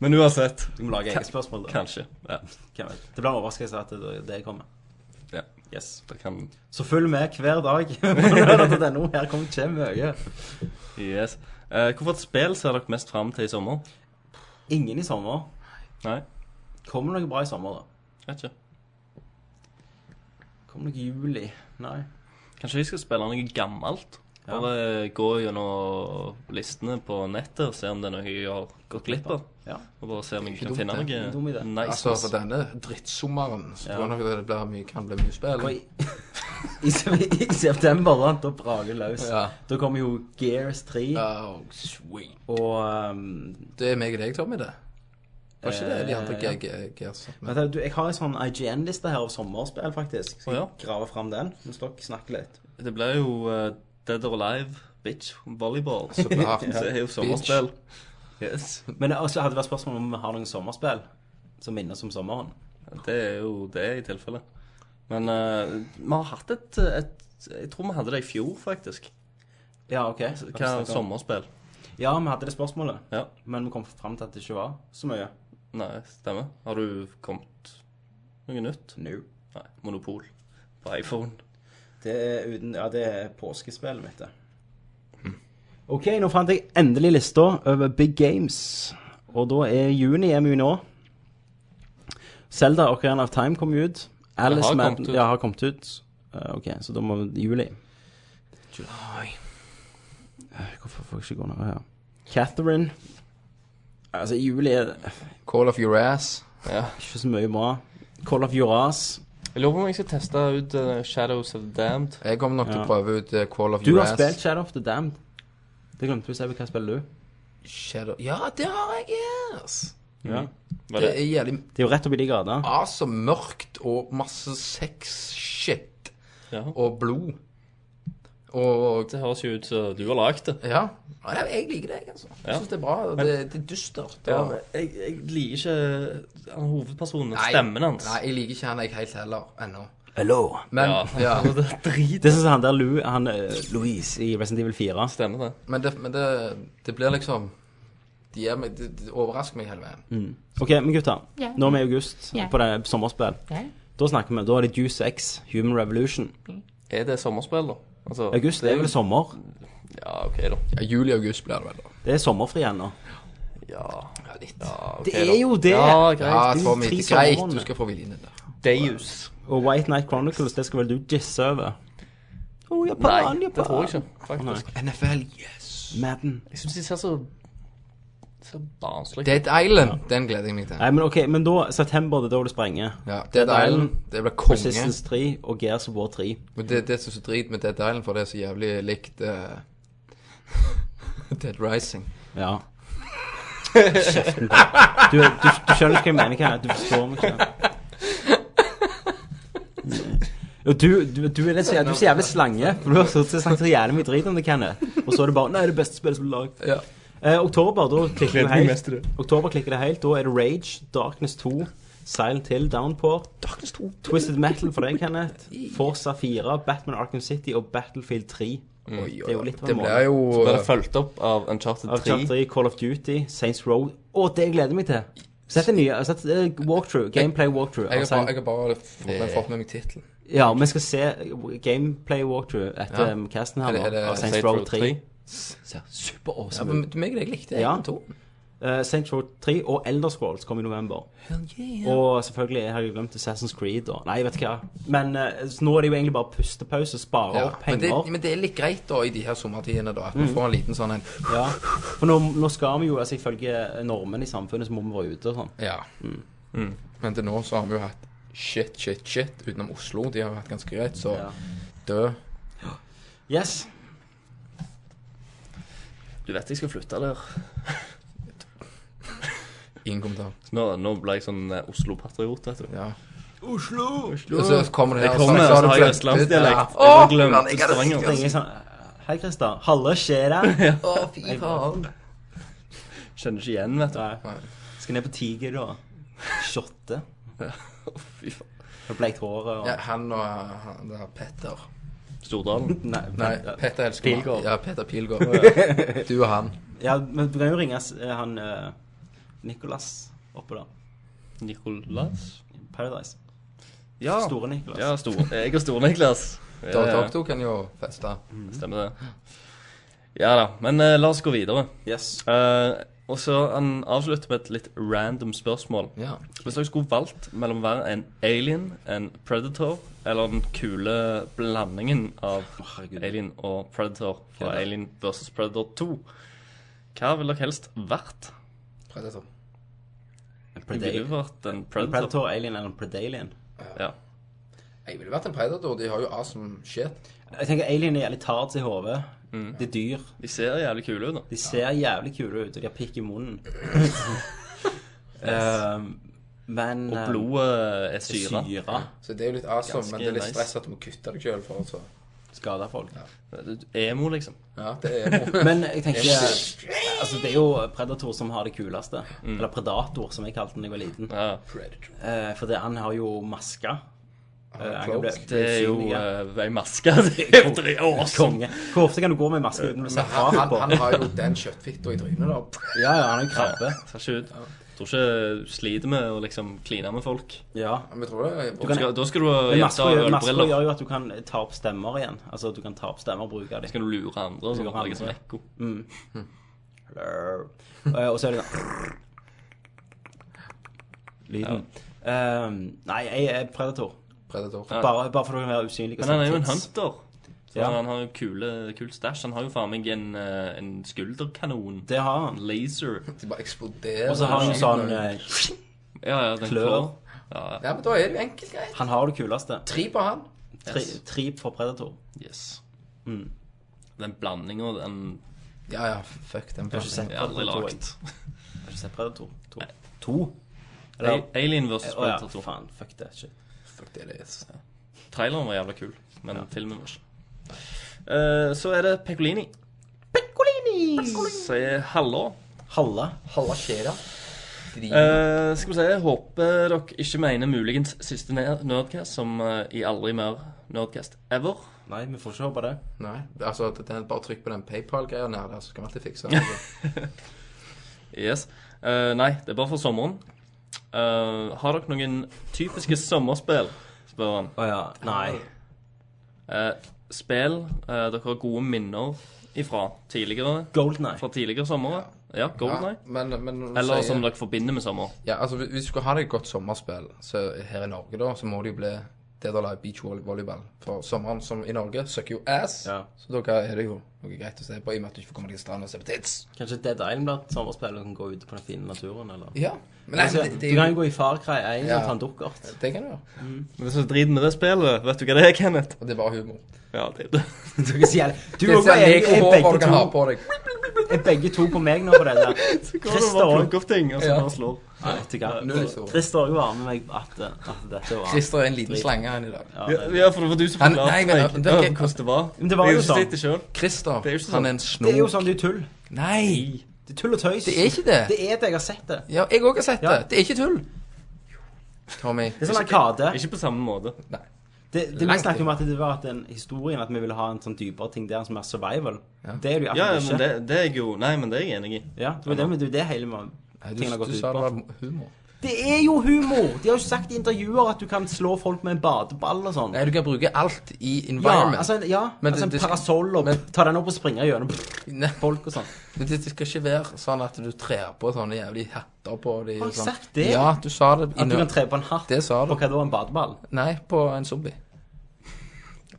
[SPEAKER 2] Men uansett,
[SPEAKER 1] Du må lage eget spørsmål, da.
[SPEAKER 2] kanskje. Ja.
[SPEAKER 1] Hvem vet. Det blir en overraskelse at det, det kommer.
[SPEAKER 2] Ja.
[SPEAKER 1] Yes.
[SPEAKER 2] Det kan
[SPEAKER 1] Så følg med hver dag. Nå, Her kommer det mye.
[SPEAKER 2] Yes. Eh, Hvorfor et spill ser dere mest fram til i sommer?
[SPEAKER 1] Ingen i sommer.
[SPEAKER 2] Nei,
[SPEAKER 1] Kommer det noe bra i sommer, da?
[SPEAKER 2] vet ikke.
[SPEAKER 1] Kommer det noe juli? Nei.
[SPEAKER 2] Kanskje jeg skal spille noe gammelt?
[SPEAKER 1] Ja.
[SPEAKER 2] Bare gå gjennom listene på nettet og se om det er noe jeg har gått glipp av.
[SPEAKER 1] Ja.
[SPEAKER 2] Og bare se om jeg
[SPEAKER 3] Ikke
[SPEAKER 2] kan
[SPEAKER 3] dumt,
[SPEAKER 2] finne
[SPEAKER 3] det.
[SPEAKER 2] noe
[SPEAKER 1] Ikke dum idé.
[SPEAKER 2] nice.
[SPEAKER 3] Altså, for denne drittsommeren så
[SPEAKER 1] Ja.
[SPEAKER 3] tror jeg nok det blir mye, kan bli mye spill.
[SPEAKER 1] Og i, i, i september, da, da braker det løs.
[SPEAKER 3] Ja.
[SPEAKER 1] Da kommer jo Gears 3
[SPEAKER 3] Oh, sweet.
[SPEAKER 1] og um,
[SPEAKER 3] Det er meg og deg, Tommy, det. Var ikke det de andre
[SPEAKER 1] Eh, ja.
[SPEAKER 3] GG-gears?
[SPEAKER 1] Vent, da, du, jeg har en sånn IGN-liste her av sommerspill, faktisk. Skal
[SPEAKER 2] Å,
[SPEAKER 1] jeg
[SPEAKER 2] ja.
[SPEAKER 1] grave fram den? Mens dere snakker litt.
[SPEAKER 2] Det blir jo eh, Dead or Alive, Bitch, Volleyball. Så
[SPEAKER 3] klart.
[SPEAKER 2] det er jo sommerspill. Yes.
[SPEAKER 1] Men det også hadde vært spørsmål om vi har noen sommerspill som minnes om sommeren.
[SPEAKER 2] Det er jo det i tilfelle. Men eh, vi har hatt et, et Jeg tror vi hadde det i fjor, faktisk.
[SPEAKER 1] Ja, ok.
[SPEAKER 2] Hva er sommerspill?
[SPEAKER 1] Ja, vi hadde det spørsmålet,
[SPEAKER 2] Ja.
[SPEAKER 1] men vi kom fram til at det ikke var så mye.
[SPEAKER 2] Nei, stemmer. Har du kommet noe nytt?
[SPEAKER 1] Nå.
[SPEAKER 2] Nei. Monopol på iPhone.
[SPEAKER 1] Det er uten Ja, det er påskespillet mitt, det.
[SPEAKER 2] Mm.
[SPEAKER 1] OK, nå fant jeg endelig lista over Big Games. Og da er juni er vi jo nå. Zelda Ocarina of Time kom ut. Alice
[SPEAKER 2] har
[SPEAKER 1] Madden-
[SPEAKER 2] kommet ut.
[SPEAKER 1] Ja, har kommet ut. Eh, OK, så da må vi juli. Eh, Hvorfor får jeg ikke gå ned her? Catherine. Altså, i juli er det
[SPEAKER 3] Call of your ass.
[SPEAKER 1] ikke så mye bra. Call of Juras.
[SPEAKER 2] Jeg lurer på om jeg skal teste ut eh, Shadows of the Damned.
[SPEAKER 3] Jeg kommer nok til
[SPEAKER 1] Ja.
[SPEAKER 3] å prøve ut eh, Call of
[SPEAKER 1] Du
[SPEAKER 3] your
[SPEAKER 1] har
[SPEAKER 3] ass.
[SPEAKER 1] spilt Shadow of the Damned. Det glemte vi å si. Hva spiller du?
[SPEAKER 3] Shadow Ja, det har jeg, yes!
[SPEAKER 1] Ja.
[SPEAKER 3] Det
[SPEAKER 2] Var det?
[SPEAKER 3] er jævlig
[SPEAKER 1] Det er jo rett oppi de gata.
[SPEAKER 3] altså mørkt og masse sex-shit
[SPEAKER 2] Ja.
[SPEAKER 3] og blod. Og
[SPEAKER 2] Det høres jo ut som du har lagd det.
[SPEAKER 3] Ja. Nei, Jeg liker det, jeg, altså. Jeg
[SPEAKER 2] Ja.
[SPEAKER 3] syns det er bra. og Det, det er dystert. og-
[SPEAKER 2] jeg, jeg liker ikke eh, han hovedpersonen,
[SPEAKER 3] Nei,
[SPEAKER 2] stemmen hans.
[SPEAKER 3] Nei, jeg liker ikke han jeg helt heller ennå.
[SPEAKER 1] Hello.
[SPEAKER 3] Men,
[SPEAKER 2] Ja.
[SPEAKER 3] ja.
[SPEAKER 2] Det er drit.
[SPEAKER 1] Det syns han der Lou, han eh, Louise i Resident Evil 4.
[SPEAKER 2] Stemmer det.
[SPEAKER 3] men, det, men det, det blir liksom De, gir meg, de, de overrasker meg hele veien.
[SPEAKER 1] Mm. OK, men gutter. Nå er vi i august på det sommerspill. Da snakker vi, da er det Juice X, Human Revolution.
[SPEAKER 2] Er det sommerspill, da? Altså,
[SPEAKER 1] August det er vel sommer?
[SPEAKER 2] Ja, OK, da.
[SPEAKER 3] Ja, Juli-august blir det vel, da.
[SPEAKER 1] Det er sommerfri ennå.
[SPEAKER 2] Ja,
[SPEAKER 3] Ja, litt.
[SPEAKER 2] ok,
[SPEAKER 1] Det er
[SPEAKER 2] da.
[SPEAKER 1] jo det!
[SPEAKER 2] Ja, greit.
[SPEAKER 3] Ja,
[SPEAKER 1] det er jo
[SPEAKER 3] Tommy,
[SPEAKER 1] tre
[SPEAKER 3] det er greit.
[SPEAKER 1] sommermåneder.
[SPEAKER 3] Du skal få viljen din der.
[SPEAKER 2] Deus.
[SPEAKER 1] Og White Night Chronicles, det skal vel du jizze over? Å,
[SPEAKER 2] Nei,
[SPEAKER 1] Japan,
[SPEAKER 2] det
[SPEAKER 1] Japan.
[SPEAKER 2] tror jeg ikke, faktisk.
[SPEAKER 3] NFL, yes!
[SPEAKER 1] Madden.
[SPEAKER 2] Jeg syns de ser så Så barnslige
[SPEAKER 3] Dead Island, den gleder jeg meg til.
[SPEAKER 1] Nei, men OK, men da september, det er da det sprenger.
[SPEAKER 3] Ja, Dead Island, det blir konge.
[SPEAKER 1] Resistance 3 og Gears of War 3.
[SPEAKER 3] Men det, det som er så drit med Dead Island, for det er så jævlig likt eh, Dead Rising.
[SPEAKER 1] Ja. Kjeften på deg. Du, du, du skjønner ikke hva jeg mener hva jeg- Du forstår meg ikke. Og du, du, du, er litt, så- du er så jævlig slange. For du har så- så snakket så jævlig mye drit om det, Kenneth. Og så er det bare Nei, det er det beste spillet som er lagd.
[SPEAKER 3] Ja.
[SPEAKER 1] Eh, oktober, da klikker det
[SPEAKER 2] meg
[SPEAKER 1] helt.
[SPEAKER 2] mest til det.
[SPEAKER 1] Oktober klikker det helt. Da er det Rage, Darkness 2, Silent Hill, Downpour, Twisted Metal for deg, Kenneth, Forza 4, Batman Arkham City og Battlefield 3. Det er jo litt av
[SPEAKER 3] Mm. Det
[SPEAKER 1] en
[SPEAKER 3] blir jo
[SPEAKER 2] Ble det fulgt opp av Uncharted 3?
[SPEAKER 1] Av Chapter 3, Call of Duty, Saints Row Å, det gleder jeg meg til! Sett en ny sett, eh, walkthrough. Gameplay walkthrough.
[SPEAKER 3] Jeg har
[SPEAKER 1] Altså,
[SPEAKER 3] bare, jeg har bare fått, med, fått med meg tittelen.
[SPEAKER 1] ja, vi skal se gameplay walkthrough etter um, casten her
[SPEAKER 2] eh,
[SPEAKER 3] Er det-
[SPEAKER 1] nå.
[SPEAKER 3] er det
[SPEAKER 1] Av Saints Row 3. Ser superawesome ut.
[SPEAKER 3] Men meg og deg likte
[SPEAKER 1] Ja.
[SPEAKER 3] jeg den tonen.
[SPEAKER 1] Eh, Saints Row 3 og Elder Scrolls kom i november. Og selvfølgelig har jeg glemt Assassin's Creed og Nei, vet du hva. Men eh, så nå er det jo egentlig bare pustepause, spare
[SPEAKER 3] Ja,
[SPEAKER 1] opp Mm.
[SPEAKER 3] men,
[SPEAKER 1] penger.
[SPEAKER 3] det, men det er litt greit da i de her sommertidene, da. At vi får en liten sånn en
[SPEAKER 1] Ja. For nå, nå skal vi jo, altså ifølge normene i samfunnet, så må vi være ute og sånn.
[SPEAKER 3] Ja. Mm. Men til nå så har vi jo hatt shit, shit, shit utenom Oslo. De har jo hatt ganske greit, så
[SPEAKER 1] Ja.
[SPEAKER 3] dø.
[SPEAKER 1] Yes.
[SPEAKER 2] Du vet jeg skal flytte der.
[SPEAKER 3] Ingen kommentar.
[SPEAKER 2] Så nå, nå ble jeg sånn eh, Oslo-patriot, vet du.
[SPEAKER 3] Ja.
[SPEAKER 1] Oslo!
[SPEAKER 3] Og så kommer det her
[SPEAKER 2] Jeg kommer,
[SPEAKER 3] så- så har
[SPEAKER 2] så
[SPEAKER 3] du
[SPEAKER 2] har jeg
[SPEAKER 3] glemt-
[SPEAKER 2] østlandsdialekt.
[SPEAKER 3] Ja.
[SPEAKER 2] Jeg har
[SPEAKER 3] Åh,
[SPEAKER 2] glemt
[SPEAKER 3] men jeg hadde-
[SPEAKER 2] Stavanger.
[SPEAKER 1] Ringer sånn Hei, Christer. Halle, skjer det?
[SPEAKER 3] Å, fy faen.
[SPEAKER 2] Kjenner ikke igjen, vet du.
[SPEAKER 1] Nei. Skal ned på Tiger, da. Shotte.
[SPEAKER 2] Fy faen.
[SPEAKER 1] Og bleikt håret og
[SPEAKER 3] Ja, han og eh, han der Petter.
[SPEAKER 2] Stordalen.
[SPEAKER 1] Nei,
[SPEAKER 3] Nei,
[SPEAKER 1] men-
[SPEAKER 3] Petter elsker meg.
[SPEAKER 1] Pilgaard.
[SPEAKER 3] Ja, Peter Pilgaard. Du og han.
[SPEAKER 1] Ja, men du kan jo ringe eh, han eh, Nicolas oppå der.
[SPEAKER 2] Nicolas?
[SPEAKER 1] Paradise.
[SPEAKER 2] Ja.
[SPEAKER 1] Store Nicolas.
[SPEAKER 2] Ja, stor. jeg og Stor-Niklas.
[SPEAKER 3] Da dere to kan jo feste.
[SPEAKER 2] Stemmer det. Ja da. Men eh, la oss gå videre.
[SPEAKER 1] Yes.
[SPEAKER 2] Eh, og så Han avslutter med et litt random spørsmål.
[SPEAKER 3] Ja.
[SPEAKER 2] Hvis dere skulle valgt mellom å være en alien, en predator eller den kule blandingen av
[SPEAKER 1] herregud.
[SPEAKER 2] alien og predator fra Alien versus Predator 2, hva ville dere helst vært?
[SPEAKER 3] Predator.
[SPEAKER 2] Ville du vært en predator?
[SPEAKER 1] Predator, Alien eller Predalien?
[SPEAKER 2] Ja.
[SPEAKER 3] Jeg ville vært en predator. De har jo awesome shit.
[SPEAKER 1] Jeg tenker Alien er jævlig tards i hodet.
[SPEAKER 2] Mm.
[SPEAKER 1] De er dyr.
[SPEAKER 2] De ser jævlig kule ut, da.
[SPEAKER 1] De ser jævlig kule ut, og de har pikk i munnen. Ehm, men
[SPEAKER 2] Og
[SPEAKER 1] eh,
[SPEAKER 2] blodet er syre.
[SPEAKER 1] syre
[SPEAKER 3] Så det er jo litt awesome,
[SPEAKER 2] Ganske
[SPEAKER 3] men det er litt
[SPEAKER 2] nice.
[SPEAKER 3] stress at du må kutte deg sjøl for altså.
[SPEAKER 1] skader folk.
[SPEAKER 2] Emo, liksom.
[SPEAKER 3] Ja, det er jo
[SPEAKER 1] Men jeg tenker Altså, det er jo Predator som har det kuleste. Eller Predator, som jeg kalte den da jeg var liten.
[SPEAKER 2] Ja.
[SPEAKER 3] Predator.
[SPEAKER 1] Eh, fordi han har jo maske. Eh, han kan bli-
[SPEAKER 3] Close.
[SPEAKER 2] Det er jo
[SPEAKER 1] Usynlige.
[SPEAKER 2] eh, ei maske. Det er jo dri- awesome.
[SPEAKER 1] Konge. Hvor ofte kan du gå med maske uten å bli
[SPEAKER 3] Men
[SPEAKER 1] sett
[SPEAKER 3] han,
[SPEAKER 1] rart
[SPEAKER 3] han,
[SPEAKER 1] på?
[SPEAKER 3] han har jo den kjøttfitta i trynet, da.
[SPEAKER 1] Ja, ja, han er jo krabbe.
[SPEAKER 2] Tar ikke ut. Tror ikke du sliter med å liksom kline med folk.
[SPEAKER 1] Ja.
[SPEAKER 3] Men jeg tror det er
[SPEAKER 1] kan-
[SPEAKER 2] Skal, da skal du ha
[SPEAKER 1] Men
[SPEAKER 2] jenter
[SPEAKER 1] masker,
[SPEAKER 2] og
[SPEAKER 1] gjør- masker
[SPEAKER 2] ølbriller.
[SPEAKER 1] gjør jo at du kan ta opp stemmer igjen. Altså at du kan ta opp stemmer og bruke
[SPEAKER 2] Skal
[SPEAKER 1] dem.
[SPEAKER 2] du lure andre og sånn?
[SPEAKER 1] Lure
[SPEAKER 2] Lage sånn
[SPEAKER 1] andre.
[SPEAKER 2] ekko.
[SPEAKER 1] Eh, Og så er det sånn Lyden. Eh, nei, jeg er predator.
[SPEAKER 3] predator.
[SPEAKER 2] Ja.
[SPEAKER 1] Bare, bare for å være usynlig. og
[SPEAKER 2] Men han er jo en
[SPEAKER 1] samtidig-
[SPEAKER 2] hunter. Så
[SPEAKER 1] Ja.
[SPEAKER 2] Han har jo kule, kul stæsj. Han har jo faen meg en, eh, en skulderkanon.
[SPEAKER 1] Det har han.
[SPEAKER 2] Laser.
[SPEAKER 3] De bare eksploderer.
[SPEAKER 1] Og så har han jo sånn eh,
[SPEAKER 2] Ja, ja, den
[SPEAKER 1] Klør.
[SPEAKER 2] klør. Ja, ja.
[SPEAKER 3] Ja, men da er det jo enkelt greit.
[SPEAKER 1] Han har det kuleste.
[SPEAKER 3] Tre på han.
[SPEAKER 1] Tri, trip for predator.
[SPEAKER 2] Yes.
[SPEAKER 1] Mm.
[SPEAKER 2] Den blandinga, den
[SPEAKER 3] Ja, ja, fuck den
[SPEAKER 1] Jeg har ikke sett
[SPEAKER 2] er aldri
[SPEAKER 1] Predator 2. Jeg
[SPEAKER 2] lagd.
[SPEAKER 1] Jeg har ikke sett Predator 2. Eh, To? Eller
[SPEAKER 2] A- Alien versus
[SPEAKER 1] Å ja,
[SPEAKER 2] Predator 2.
[SPEAKER 1] faen. Fuck det. Shit.
[SPEAKER 3] Fuck det, det er
[SPEAKER 2] Traileren var jævla kul, men filmen var ikke. Eh, så er det Pecolini. Pecolini! Sier hallo.
[SPEAKER 1] Halla.
[SPEAKER 3] Halla skjer'a.
[SPEAKER 2] Eh, skal vi se, håper dere ikke mener muligens siste ne- Nerdcast som eh, i aldri mer Nerdcast ever.
[SPEAKER 1] Nei, vi får ikke håpe det.
[SPEAKER 3] Nei, altså det er bare trykk på den PayPal-greia nær der, så kan vi alltid fikse det.
[SPEAKER 1] Oh,
[SPEAKER 2] Yes. Eh, nei, det er bare for sommeren. Eh, har dere noen typiske sommerspill? spør han.
[SPEAKER 1] Å ja. Nei.
[SPEAKER 2] Eh, spill eh, dere har gode minner ifra tidligere,
[SPEAKER 1] Golden Eye.
[SPEAKER 2] fra tidligere somre. Ja, Golden Eye.
[SPEAKER 3] men, men når du
[SPEAKER 2] Eller
[SPEAKER 3] sier-
[SPEAKER 2] som dere forbinder med sommer.
[SPEAKER 3] Ja, altså hvis- Hvis du skal ha deg et godt sommerspill så her i Norge, da, så må det jo bli det der like beachvolleyball. For sommeren som i Norge søker jo ass,
[SPEAKER 1] Ja.
[SPEAKER 3] så da er det jo noe greit å se på i og med at du ikke får komme deg til stranda og se på tits.
[SPEAKER 1] Kanskje Dead Island blir et sommerspill og kan gå ute på den fine naturen, eller
[SPEAKER 3] Ja, men nei,
[SPEAKER 1] altså,
[SPEAKER 3] det,
[SPEAKER 1] Du
[SPEAKER 3] det,
[SPEAKER 1] kan
[SPEAKER 3] det,
[SPEAKER 1] jo gå i Far Cry 1
[SPEAKER 3] Ja.
[SPEAKER 1] og ta en dukkert.
[SPEAKER 3] det kan du gjøre.
[SPEAKER 2] Men det som er driten med det spillet, vet du hva det er, Kenneth?
[SPEAKER 3] Og det er bare humor.
[SPEAKER 2] Ja, det er det.
[SPEAKER 1] Du kan si jævlig Du
[SPEAKER 3] Det er
[SPEAKER 1] og jeg er, er,
[SPEAKER 3] sånn
[SPEAKER 1] begge
[SPEAKER 3] du kan ha
[SPEAKER 1] to,
[SPEAKER 3] på deg.
[SPEAKER 1] er begge to på meg nå på det der. Christer òg.
[SPEAKER 2] opp ting, og
[SPEAKER 3] Ja.
[SPEAKER 2] slår.
[SPEAKER 3] Null historie.
[SPEAKER 1] Christer òg var med meg at, at dette var
[SPEAKER 3] Christer er en liten slange han i dag.
[SPEAKER 2] Ja, ja, for det var du som
[SPEAKER 3] Han-
[SPEAKER 2] forklarte
[SPEAKER 3] nei,
[SPEAKER 2] meg
[SPEAKER 3] men, det er
[SPEAKER 2] ja,
[SPEAKER 3] ikke-
[SPEAKER 2] hvordan det var.
[SPEAKER 1] Men det var
[SPEAKER 2] Jeg
[SPEAKER 1] jo
[SPEAKER 2] har ikke
[SPEAKER 1] sånn.
[SPEAKER 2] sett det selv.
[SPEAKER 3] Christer,
[SPEAKER 2] Det er jo ikke
[SPEAKER 3] han
[SPEAKER 2] sånn.
[SPEAKER 3] er en
[SPEAKER 1] Det er jo
[SPEAKER 3] snok.
[SPEAKER 1] sånn, det er tull.
[SPEAKER 3] Nei,
[SPEAKER 1] Det er tull og tøys.
[SPEAKER 3] det er ikke det.
[SPEAKER 1] Det er det, jeg har sett det.
[SPEAKER 3] Ja, jeg òg har sett
[SPEAKER 1] Ja.
[SPEAKER 3] det. Det er ikke tull. Tommy.
[SPEAKER 1] Det er sånn arkade.
[SPEAKER 2] Ikke på samme måte.
[SPEAKER 3] Nei.
[SPEAKER 1] Det, det vi
[SPEAKER 3] Langt
[SPEAKER 1] snakker om at det var at den historien at vi ville ha en sånn dypere ting der som er survival. Det er det jo
[SPEAKER 2] Ja, ja,
[SPEAKER 1] absolutt Ah,
[SPEAKER 2] men
[SPEAKER 1] ikke.
[SPEAKER 2] det, det er jeg jo Nei, men det er jeg enig i.
[SPEAKER 1] Ja, det var det, men det, er jo det hele man,
[SPEAKER 3] Nei, du,
[SPEAKER 1] tingene har
[SPEAKER 3] du
[SPEAKER 1] gått ut
[SPEAKER 3] sa det
[SPEAKER 1] på.
[SPEAKER 3] var humor.
[SPEAKER 1] Det er jo humor! De har jo sagt i intervjuer at du kan slå folk med en badeball og sånn.
[SPEAKER 3] Nei, du kan bruke alt i
[SPEAKER 1] Ja,
[SPEAKER 3] environment.
[SPEAKER 1] altså, en- ja,
[SPEAKER 3] Men
[SPEAKER 1] altså
[SPEAKER 3] det- det
[SPEAKER 1] en
[SPEAKER 3] skal-
[SPEAKER 1] parasoll og
[SPEAKER 3] men-
[SPEAKER 1] ta den opp og springe gjennom
[SPEAKER 3] Nei,
[SPEAKER 1] folk og sånn.
[SPEAKER 3] men det, det skal ikke være sånn at du trer på sånne jævlig hatter
[SPEAKER 1] Har
[SPEAKER 3] på de
[SPEAKER 1] jeg
[SPEAKER 3] og sånn.
[SPEAKER 1] sagt det?
[SPEAKER 3] Ja, du sa det.
[SPEAKER 1] At du kan tre på en hatt
[SPEAKER 3] Det sa du.
[SPEAKER 1] på hva da, en badeball?
[SPEAKER 3] Nei, på en zombie.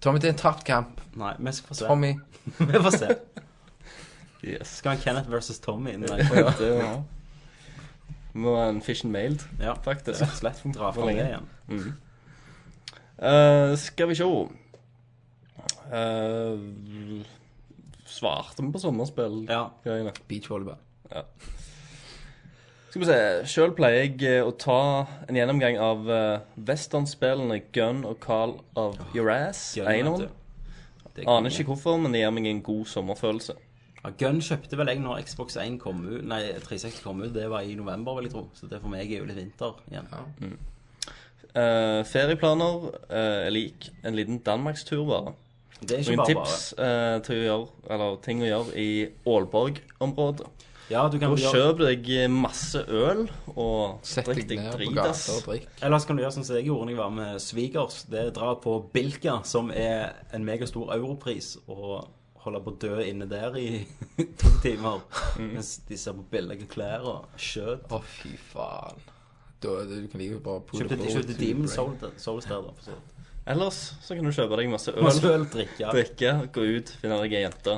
[SPEAKER 3] Tommy, det er en tapt kamp.
[SPEAKER 1] Nei, vi skal få se.
[SPEAKER 3] Tommy.
[SPEAKER 1] Vi får se.
[SPEAKER 2] Yes.
[SPEAKER 1] Skal han Kenneth versus Tommy inn der?
[SPEAKER 2] Ja, det var Må ha en fish and mailed.
[SPEAKER 1] Ja, rett
[SPEAKER 2] Faktisk.
[SPEAKER 1] og slett. Dra fra
[SPEAKER 2] For
[SPEAKER 1] det
[SPEAKER 2] lenge.
[SPEAKER 1] igjen.
[SPEAKER 2] Eh, skal vi sjå Eh, Svarte vi på sommerspill?
[SPEAKER 1] Ja.
[SPEAKER 2] Greiene.
[SPEAKER 3] Beach volleyball.
[SPEAKER 2] Skal vi se. Sjøl pleier jeg eh, å ta en gjennomgang av eh, westernspillene Gun og Carl of Your Ass.
[SPEAKER 1] Gun,
[SPEAKER 2] Einhorn.
[SPEAKER 1] vet Det er
[SPEAKER 2] Aner
[SPEAKER 1] konge.
[SPEAKER 2] ikke hvorfor, men det gir meg en god sommerfølelse.
[SPEAKER 1] Ja, Gun kjøpte vel jeg når Xbox 1 kom ut, nei, 360 kom ut. Det var i november, vil jeg tro. Så det for meg er jo litt vinter igjen.
[SPEAKER 2] Eh, ferieplaner eh, er lik en liten danmarkstur, bare.
[SPEAKER 1] Det er ikke
[SPEAKER 2] Noen
[SPEAKER 1] bare
[SPEAKER 2] tips eh, til å gjøre, eller ting å gjøre i Aalborg-området.
[SPEAKER 1] bare. Ja, du kan
[SPEAKER 2] Og
[SPEAKER 1] gjøre,
[SPEAKER 2] kjøp deg eh, masse øl, og
[SPEAKER 3] Sett
[SPEAKER 2] drikk
[SPEAKER 3] deg
[SPEAKER 2] deg
[SPEAKER 3] ned på
[SPEAKER 2] dritas.
[SPEAKER 3] gata og drikk.
[SPEAKER 1] ellers kan du gjøre sånn som jeg gjorde da jeg var med svigers. Det er å dra på Bilka, som er en megastor europris, og holde på å dø inne der i to timer.
[SPEAKER 2] Mm.
[SPEAKER 1] Mens de ser på billige klær og skjøt.
[SPEAKER 3] Å, fy faen. Da, du kan like bare putte
[SPEAKER 1] Kjøpte,
[SPEAKER 3] blod
[SPEAKER 1] jeg kjøpte
[SPEAKER 3] til
[SPEAKER 1] Demon
[SPEAKER 3] brain.
[SPEAKER 1] Souls der, Souls der, da. for så vidt.
[SPEAKER 2] Ellers så kan du kjøpe deg masse
[SPEAKER 1] Og
[SPEAKER 2] øl,
[SPEAKER 1] så øl, drikke.
[SPEAKER 2] drikke, gå ut, finne deg ei jente.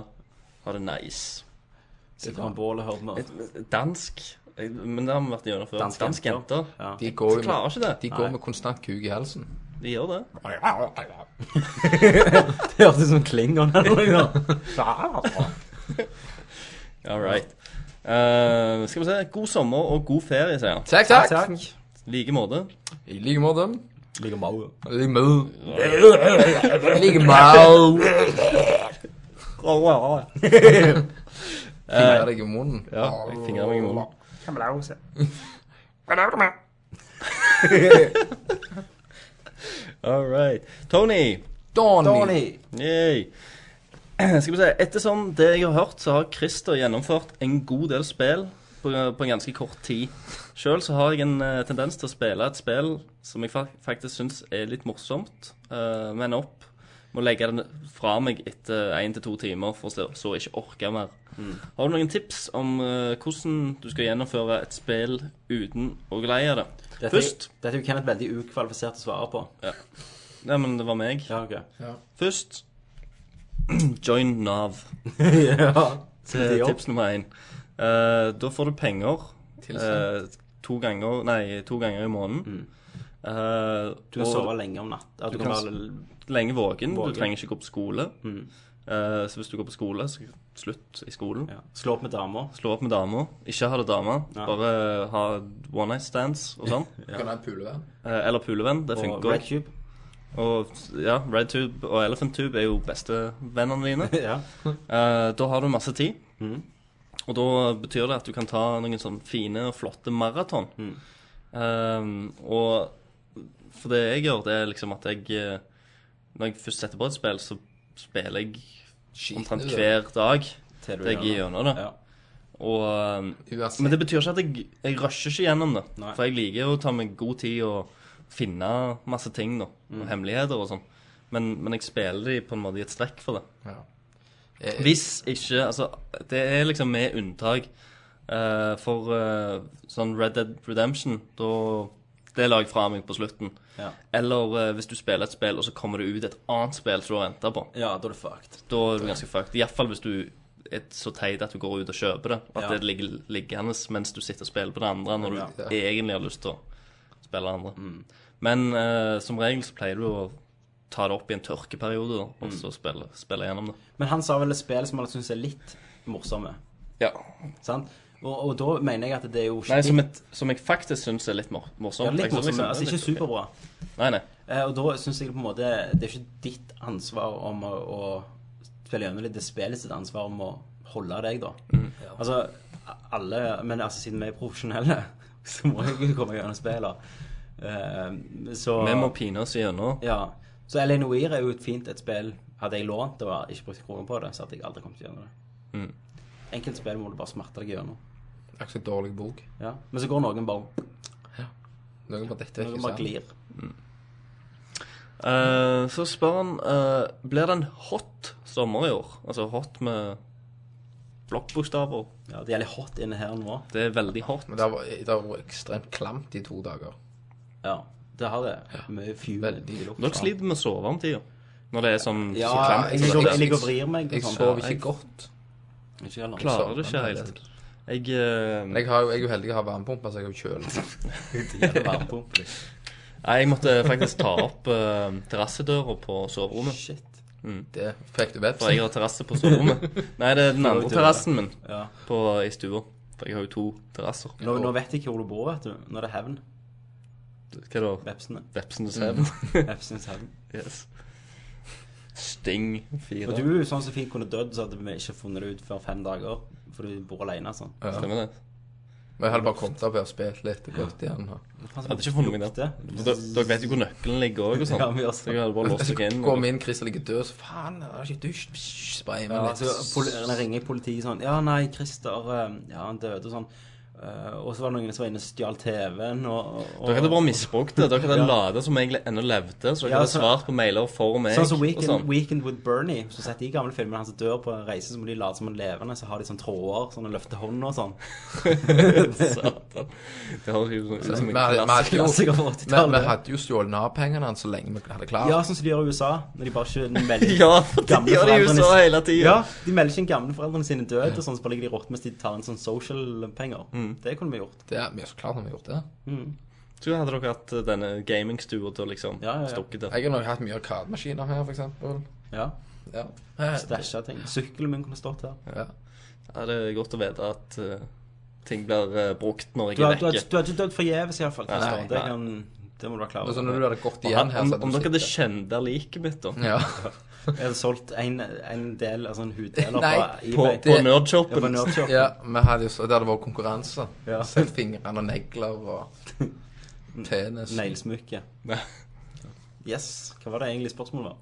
[SPEAKER 2] Ha det nice.
[SPEAKER 1] Sitte på en bål og høre på meg.
[SPEAKER 2] Dansk eh, Men det har vi vært gjennom før.
[SPEAKER 1] Dansk
[SPEAKER 2] Dansk, jenter.
[SPEAKER 1] Ja.
[SPEAKER 3] De går jo
[SPEAKER 2] De
[SPEAKER 3] med,
[SPEAKER 2] klarer ikke det.
[SPEAKER 3] de går med konstant kuk i halsen.
[SPEAKER 2] De gjør det.
[SPEAKER 1] Det hørtes ut som Klingon eller noe. da.
[SPEAKER 2] All right. Eh, skal vi se. God sommer og god ferie, sier han.
[SPEAKER 3] Takk, takk.
[SPEAKER 1] Takk.
[SPEAKER 2] I like måte.
[SPEAKER 3] I like måte.
[SPEAKER 1] Ligger mau.
[SPEAKER 3] I like måte. I like måte. Fingrer deg i munnen.
[SPEAKER 2] Ja, jeg fingrer meg i munnen. All right. Tony.
[SPEAKER 3] Donny.
[SPEAKER 1] Donny.
[SPEAKER 2] Yay. Skal vi se. Ettersom det jeg har hørt, så har Christer gjennomført en god del spill på, på en ganske kort tid. Sjøl så har jeg en eh, tendens til å spille et spill som jeg fa faktisk syns er litt morsomt, eh, men opp må legge den fra meg etter én til to timer, for så, så ikke orke mer. Har du noen tips om eh, hvordan du skal gjennomføre et spill uten å gleie det?
[SPEAKER 1] Dette,
[SPEAKER 2] Først
[SPEAKER 1] Dette er jo Kenneth veldig ukvalifisert til å svare på.
[SPEAKER 2] Nei, men det var meg.
[SPEAKER 1] Ja, ok.
[SPEAKER 2] Først join Nav.
[SPEAKER 1] ja.
[SPEAKER 2] Det er tips nummer én. Eh, da får du penger eh, to, ganger, nei, to ganger i måneden. Eh,
[SPEAKER 1] Mm. Du kan
[SPEAKER 2] og
[SPEAKER 1] sove lenge om natt. Ja, du,
[SPEAKER 2] Du
[SPEAKER 1] kan
[SPEAKER 2] kan
[SPEAKER 1] være
[SPEAKER 2] lenge
[SPEAKER 1] Våken.
[SPEAKER 2] våken.
[SPEAKER 1] Mm.
[SPEAKER 2] Du trenger ikke gå på skole. Eh, så hvis du går på skole, så slutt i skolen.
[SPEAKER 1] ja. slå opp med damer.
[SPEAKER 2] Slå opp med dama. Ikke ha det dama.
[SPEAKER 1] Nei.
[SPEAKER 2] Bare ha one night stands og sånn.
[SPEAKER 3] Kan du ha en pulevenn?
[SPEAKER 2] Eh, eller pulevenn. Det
[SPEAKER 1] Og
[SPEAKER 2] funker.
[SPEAKER 1] Red Cube.
[SPEAKER 2] Og ja, Red Tube og Elephant Tube er jo bestevennene dine.
[SPEAKER 1] ja.
[SPEAKER 2] Eh, da har du masse tid.
[SPEAKER 1] Mm.
[SPEAKER 2] Og da betyr det at du kan ta noen sånn fine og flotte maraton.
[SPEAKER 1] Mm.
[SPEAKER 2] Eh, og for det jeg gjør, det er liksom at jeg eh, Når jeg først setter på et spill, så spiller jeg omtrent hver dag
[SPEAKER 1] Til du
[SPEAKER 2] til jeg
[SPEAKER 1] gjør
[SPEAKER 2] er
[SPEAKER 1] det.
[SPEAKER 2] gjennom det.
[SPEAKER 1] Ja.
[SPEAKER 2] Og, eh,
[SPEAKER 3] Uansett.
[SPEAKER 2] men det betyr ikke at jeg, jeg rusher ikke gjennom det.
[SPEAKER 1] Nei.
[SPEAKER 2] For jeg liker å ta meg god tid og finne masse ting da, og hemmeligheter og sånn. Men, men jeg spiller de på en måte i et strekk for det.
[SPEAKER 3] Ja. Eh,
[SPEAKER 2] Hvis ikke Altså, det er liksom med unntak. eh, for eh, sånn Red Dead Redemption, da Det la jeg fra meg på slutten.
[SPEAKER 1] Ja.
[SPEAKER 2] Eller eh, hvis du spiller et spill, og så kommer det ut et annet spill som du har venta på.
[SPEAKER 1] ja, da er du fucked.
[SPEAKER 2] Da er du ganske fucked. Iallfall hvis du er så teit at du går ut og kjøper det. At
[SPEAKER 1] Ja.
[SPEAKER 2] det ligger liggende mens du sitter og spiller på det andre, når du
[SPEAKER 3] Ja.
[SPEAKER 2] egentlig har lyst til å spille det andre. Men eh, som regel så pleier du å ta det opp i en tørkeperiode, da, og så spille, spille gjennom det.
[SPEAKER 1] Men han sa vel et spill som han syns er litt morsomme.
[SPEAKER 2] Ja,
[SPEAKER 1] Sant? Og, og da mener jeg at det er jo
[SPEAKER 2] Nei,
[SPEAKER 1] skitt-
[SPEAKER 2] som, et, som jeg faktisk syns er litt mor morsomt.
[SPEAKER 1] ja, litt
[SPEAKER 2] Jeg synes
[SPEAKER 1] morsomme. Altså
[SPEAKER 2] liksom-
[SPEAKER 1] ikke superbra.
[SPEAKER 2] Nei, nei.
[SPEAKER 1] Eh, og da syns jeg på en måte Det er ikke ditt ansvar om å, å spille gjennom det. Det er spillet sitt ansvar om å holde deg, da.
[SPEAKER 2] Mm.
[SPEAKER 1] Altså alle Men altså, siden vi er profesjonelle, så må jeg jo komme gjennom spillet. Eh, så
[SPEAKER 2] Vi må pine oss gjennom.
[SPEAKER 1] Ja. Så Elaine Weir er jo et fint et spill. Hadde jeg lånt det og ikke brukt kroner på det, så hadde jeg aldri kommet gjennom det.
[SPEAKER 2] Mm.
[SPEAKER 1] Enkelte spill må du bare smerte deg gjennom.
[SPEAKER 3] Ikke så dårlig bok.
[SPEAKER 1] Ja. Men så går noen bare
[SPEAKER 3] Noen bare dette
[SPEAKER 1] Noen bare
[SPEAKER 3] vekk.
[SPEAKER 1] glir.
[SPEAKER 2] Eh, så spør han eh, Blir det en hot sommer i år? Altså hot med blokkbokstaver.
[SPEAKER 1] Ja, det gjelder hot inne her nå.
[SPEAKER 2] Det er veldig hot.
[SPEAKER 3] Men det har vært- det har vært ekstremt klamt i to dager.
[SPEAKER 1] Ja, det har det. Mye fuel.
[SPEAKER 3] Veldig
[SPEAKER 2] Dere sliter med å sove om tida. Når det er sånn
[SPEAKER 1] Ja,
[SPEAKER 2] så klamt.
[SPEAKER 1] jeg
[SPEAKER 3] så
[SPEAKER 1] ligger-
[SPEAKER 3] det-
[SPEAKER 1] jeg ligger og vrir meg.
[SPEAKER 3] Jeg
[SPEAKER 1] og sånn.
[SPEAKER 3] sover
[SPEAKER 1] Ja,
[SPEAKER 3] ikke godt.
[SPEAKER 1] jeg- ikke heller.
[SPEAKER 2] Klarer det ikke liksom.
[SPEAKER 3] sover
[SPEAKER 2] helt. Jeg, eh,
[SPEAKER 3] Men jeg, har jo, jeg er jo heldig å ha varmepumpe, så jeg har jo kjølig.
[SPEAKER 1] Det er varmepumpe.
[SPEAKER 2] nei, jeg måtte faktisk ta opp eh, terrassedøra på soverommet.
[SPEAKER 1] Shit.
[SPEAKER 3] Det fikk du
[SPEAKER 2] For jeg
[SPEAKER 3] vepsen.
[SPEAKER 2] har terrasse på soverommet. Nei, det er den andre terrassen min
[SPEAKER 1] Ja.
[SPEAKER 2] på, i stua. For jeg har jo to terrasser.
[SPEAKER 1] Nå, nå vet jeg ikke hvor du bor, vet du. Nå er det hevn.
[SPEAKER 2] Hva da?
[SPEAKER 1] Vepsene.
[SPEAKER 2] Vepsenes hevn?
[SPEAKER 1] Mm. Vepsenes hevn.
[SPEAKER 2] Yes. Sting fire.
[SPEAKER 1] Og du er jo sånn som fint kunne dødd, så hadde vi ikke funnet det ut før fem dager. For du bor alene, sånn.
[SPEAKER 2] Stemmer det?
[SPEAKER 3] Men jeg hadde bare kommet opp her og spilt litt og gått igjen. og-
[SPEAKER 2] Jeg hadde ikke funnet meg der. For Dere dere vet jo hvor nøkkelen ligger òg og sånn.
[SPEAKER 1] Ja, vi også.
[SPEAKER 2] Så jeg hadde bare låst dere inn.
[SPEAKER 3] Altså, Går vi inn, Chris ligger død, så faen, jeg har ikke dusj, psh, sprayer
[SPEAKER 1] Ja,
[SPEAKER 3] meg
[SPEAKER 1] altså, poli-
[SPEAKER 3] litt.
[SPEAKER 1] eller ringer politiet sånn Ja, nei, Christer eh, Ja, han døde og sånn. Eh, og så var det noen som var inne og stjal TV-en, og, og
[SPEAKER 2] Dere hadde bare misbrukt det. Dere hadde
[SPEAKER 1] Ja.
[SPEAKER 2] ladet som egentlig ennå levde. Så dere
[SPEAKER 1] Ja,
[SPEAKER 2] hadde
[SPEAKER 1] så-
[SPEAKER 2] svart på mailer for meg.
[SPEAKER 1] Sånn som
[SPEAKER 2] og
[SPEAKER 1] Weekend,
[SPEAKER 2] sånn.
[SPEAKER 1] Weekend with Bernie. Så sett de gamle filmene han som dør på en reise, så må de late som han er levende. Så har de sånn tråder, sånn og løfter hånda og sånn.
[SPEAKER 2] Satan. Det høres jo ut som
[SPEAKER 3] Vi
[SPEAKER 2] en
[SPEAKER 3] hadde- vi hadde
[SPEAKER 2] klassiker.
[SPEAKER 3] jo-
[SPEAKER 1] Klassiker fra
[SPEAKER 3] men vi
[SPEAKER 1] 80-tallet.
[SPEAKER 3] hadde jo stjålet Nav-pengene hans så lenge vi hadde klart.
[SPEAKER 1] Ja, sånn som de gjør i USA, når de bare ikke melder
[SPEAKER 2] Ja, for det
[SPEAKER 1] gamle
[SPEAKER 2] gjør de jo
[SPEAKER 1] foreldrene-
[SPEAKER 2] så hele tida.
[SPEAKER 1] Ja, de melder ikke inn gamleforeldrene sine død, og sånn så bare ligger de rått mens de tar en sånn social-penger.
[SPEAKER 2] Mm.
[SPEAKER 1] Det kunne vi gjort.
[SPEAKER 3] Det er vi er så klart når vi har gjort det.
[SPEAKER 2] Så hadde dere hatt eh, denne gamingstua til å liksom
[SPEAKER 1] Ja, ja, ja.
[SPEAKER 2] stukket det.
[SPEAKER 3] Jeg har nok hatt mye arkademaskiner her, for eksempel.
[SPEAKER 1] Ja,
[SPEAKER 3] Ja.
[SPEAKER 1] Stæsja ting. Sykkelen min kunne stått her.
[SPEAKER 3] Ja.
[SPEAKER 2] Ja, det er godt å vite at eh, ting blir eh, brukt når
[SPEAKER 1] Du
[SPEAKER 2] jeg
[SPEAKER 1] har,
[SPEAKER 2] er
[SPEAKER 1] du, har,
[SPEAKER 2] vekke.
[SPEAKER 1] du har ikke dødd forgjeves, iallfall.
[SPEAKER 2] Nei,
[SPEAKER 1] Det,
[SPEAKER 2] nei.
[SPEAKER 1] kan- det må du være klar
[SPEAKER 3] Og så
[SPEAKER 1] over.
[SPEAKER 3] når du hadde gått
[SPEAKER 2] Og sånn-
[SPEAKER 3] igjen
[SPEAKER 2] han-
[SPEAKER 3] her,
[SPEAKER 2] Om,
[SPEAKER 3] så hadde
[SPEAKER 2] om
[SPEAKER 3] du
[SPEAKER 2] dere hadde
[SPEAKER 3] sittet.
[SPEAKER 2] kjent liket mitt, da.
[SPEAKER 3] Ja.
[SPEAKER 1] Jeg hadde solgt en, en del, altså en huddeler
[SPEAKER 3] Nei,
[SPEAKER 1] fra
[SPEAKER 2] På,
[SPEAKER 1] eBay.
[SPEAKER 2] på
[SPEAKER 3] Det-
[SPEAKER 1] Ja, på
[SPEAKER 2] nerdshopen.
[SPEAKER 1] Nerdshop.
[SPEAKER 3] ja, vi hadde jo så Det hadde vært konkurranse.
[SPEAKER 1] Ja.
[SPEAKER 3] Sett fingrene og negler og penis.
[SPEAKER 1] Neglesmykke. Yes. Hva var det egentlig spørsmålet var?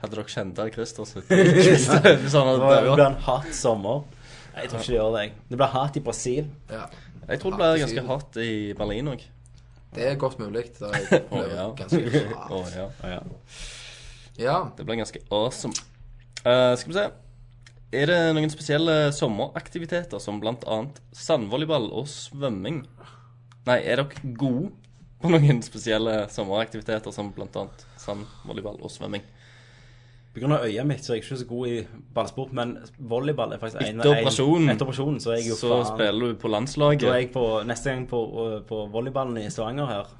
[SPEAKER 2] Hadde dere kjent der Christer sitt Hvis han
[SPEAKER 1] Det
[SPEAKER 2] hadde
[SPEAKER 1] var- det
[SPEAKER 2] dødd?
[SPEAKER 1] blir en hot sommer. Nei, Jeg tror ikke det gjør det. jeg. Det blir hot i Brasil.
[SPEAKER 3] Ja.
[SPEAKER 2] Jeg tror det ble ganske hardt i Berlin òg.
[SPEAKER 3] Det er godt mulig. Det har jeg opplevd
[SPEAKER 2] Å, ja.
[SPEAKER 3] ganske bra.
[SPEAKER 2] Å ja.
[SPEAKER 3] Ja.
[SPEAKER 2] Det ble ganske awesome. Eh, skal vi se. Er det noen spesielle sommeraktiviteter som bl.a. sandvolleyball og svømming? Nei, er dere gode på noen spesielle sommeraktiviteter som bl.a. sandvolleyball og svømming?
[SPEAKER 1] På grunn av øyet mitt så er jeg ikke så god i ballsport, men volleyball er faktisk en
[SPEAKER 2] Etter operasjonen.
[SPEAKER 1] Etter operasjonen så er jeg jo
[SPEAKER 2] Så
[SPEAKER 1] faen
[SPEAKER 2] spiller du på
[SPEAKER 1] da er
[SPEAKER 2] landslaget.
[SPEAKER 1] jeg på, Neste gang på, eh, på volleyballen i Stavanger her,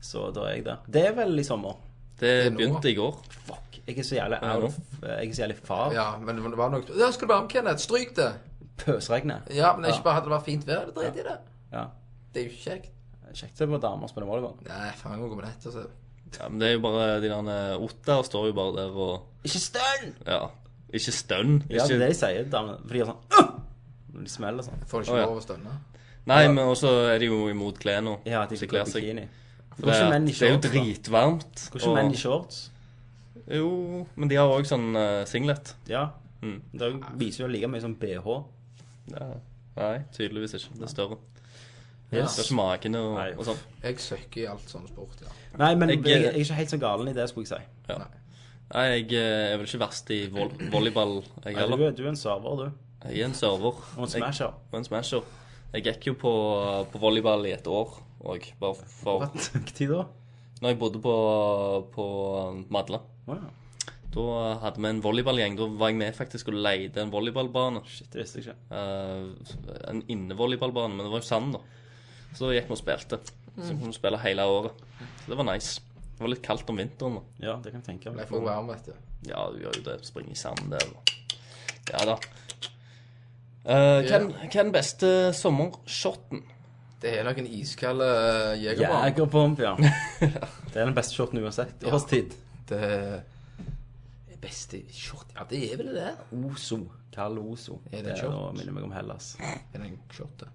[SPEAKER 1] så da er jeg der. Det er vel i sommer.
[SPEAKER 2] Det
[SPEAKER 3] er nå.
[SPEAKER 2] begynte i går.
[SPEAKER 1] Fuck. Jeg er så jævlig out of eh, Jeg er så jævlig far.
[SPEAKER 3] ja, men det var nok Ja, skal du være med, Kenneth? Stryk det.
[SPEAKER 1] Pøsregnet.
[SPEAKER 3] Ja, men det er ikke bare hadde det vært fint vær. Det drit i det.
[SPEAKER 1] Ja.
[SPEAKER 3] Det er jo ikke kjekt.
[SPEAKER 1] Kjekt å se på damer spille volleyball.
[SPEAKER 3] Nei, faen, jeg må gå med dette. Så.
[SPEAKER 2] Ja, men det er jo bare de der Otter står jo bare der og
[SPEAKER 1] Ikke stønn!
[SPEAKER 2] Ja. Ikke stønn.
[SPEAKER 1] Ja, det er
[SPEAKER 2] Ikke
[SPEAKER 1] det de sier, damene. For de gjør sånn «Åh!» Når de smeller sånn.
[SPEAKER 3] Jeg får
[SPEAKER 2] Å,
[SPEAKER 3] ikke
[SPEAKER 2] ja.
[SPEAKER 3] lov å stønne.
[SPEAKER 2] Nei, men også er de jo imot klærne.
[SPEAKER 1] Ja, at de
[SPEAKER 2] som
[SPEAKER 1] ikke går
[SPEAKER 2] kler
[SPEAKER 1] i
[SPEAKER 2] seg.
[SPEAKER 1] bikini.
[SPEAKER 2] Det
[SPEAKER 1] Går ikke
[SPEAKER 2] er,
[SPEAKER 1] menn i
[SPEAKER 2] det er jo
[SPEAKER 1] shorts, da?
[SPEAKER 2] dritvarmt.
[SPEAKER 1] Går ikke menn i shorts?
[SPEAKER 2] Jo, men de har òg sånn eh, singlet.
[SPEAKER 1] Ja. Det viser jo like mye som BH.
[SPEAKER 2] Ja. Nei, tydeligvis ikke. Det er større.
[SPEAKER 1] Yes.
[SPEAKER 2] Det er ikke makene og,
[SPEAKER 1] Nei.
[SPEAKER 2] og sånn.
[SPEAKER 3] Jeg søkker i alt sånn sport, ja.
[SPEAKER 1] Nei, men jeg,
[SPEAKER 2] Jeg-
[SPEAKER 1] jeg er ikke helt så galen i det, skulle jeg si.
[SPEAKER 2] Ja. Nei, jeg eh, er vel ikke verst i vol volleyball, jeg
[SPEAKER 1] Nei, du,
[SPEAKER 2] heller.
[SPEAKER 1] er- du er en server, du.
[SPEAKER 2] Jeg er en server.
[SPEAKER 1] Og en smasher.
[SPEAKER 2] Jeg, og en smasher. Jeg gikk jo på, eh, på volleyball i et år òg, bare for
[SPEAKER 1] Hva tid da?
[SPEAKER 2] Når jeg bodde på, på eh, Madla.
[SPEAKER 1] Å ja.
[SPEAKER 2] Da hadde vi en volleyballgjeng. Da var jeg med faktisk og leide en volleyballbane.
[SPEAKER 1] Shit, det visste jeg ikke.
[SPEAKER 2] Eh, en innevolleyballbane, men det var jo sand, da. Så da gikk vi og spilte. Så kunne vi spille hele året. Så det var nice. Det var litt kaldt om vinteren. da.
[SPEAKER 1] Ja, det kan jeg tenke
[SPEAKER 3] Jeg
[SPEAKER 1] meg.
[SPEAKER 3] får varm, vet du.
[SPEAKER 2] Ja, du gjør jo det. Springe i sand der. og- Ja da. Eh, hva er- hva er den beste sommershoten?
[SPEAKER 3] Det er nok en iskald eh, jegerbomb.
[SPEAKER 1] Jegerpomp, ja. Det er den beste shorten uansett. Årstid.
[SPEAKER 3] Det det beste short Ja, det er vel det.
[SPEAKER 1] Ozo. Kald Ozo.
[SPEAKER 3] Er det en
[SPEAKER 1] er-
[SPEAKER 3] short?
[SPEAKER 1] Nå minner jeg meg om Hellas.
[SPEAKER 3] Er det en short, det?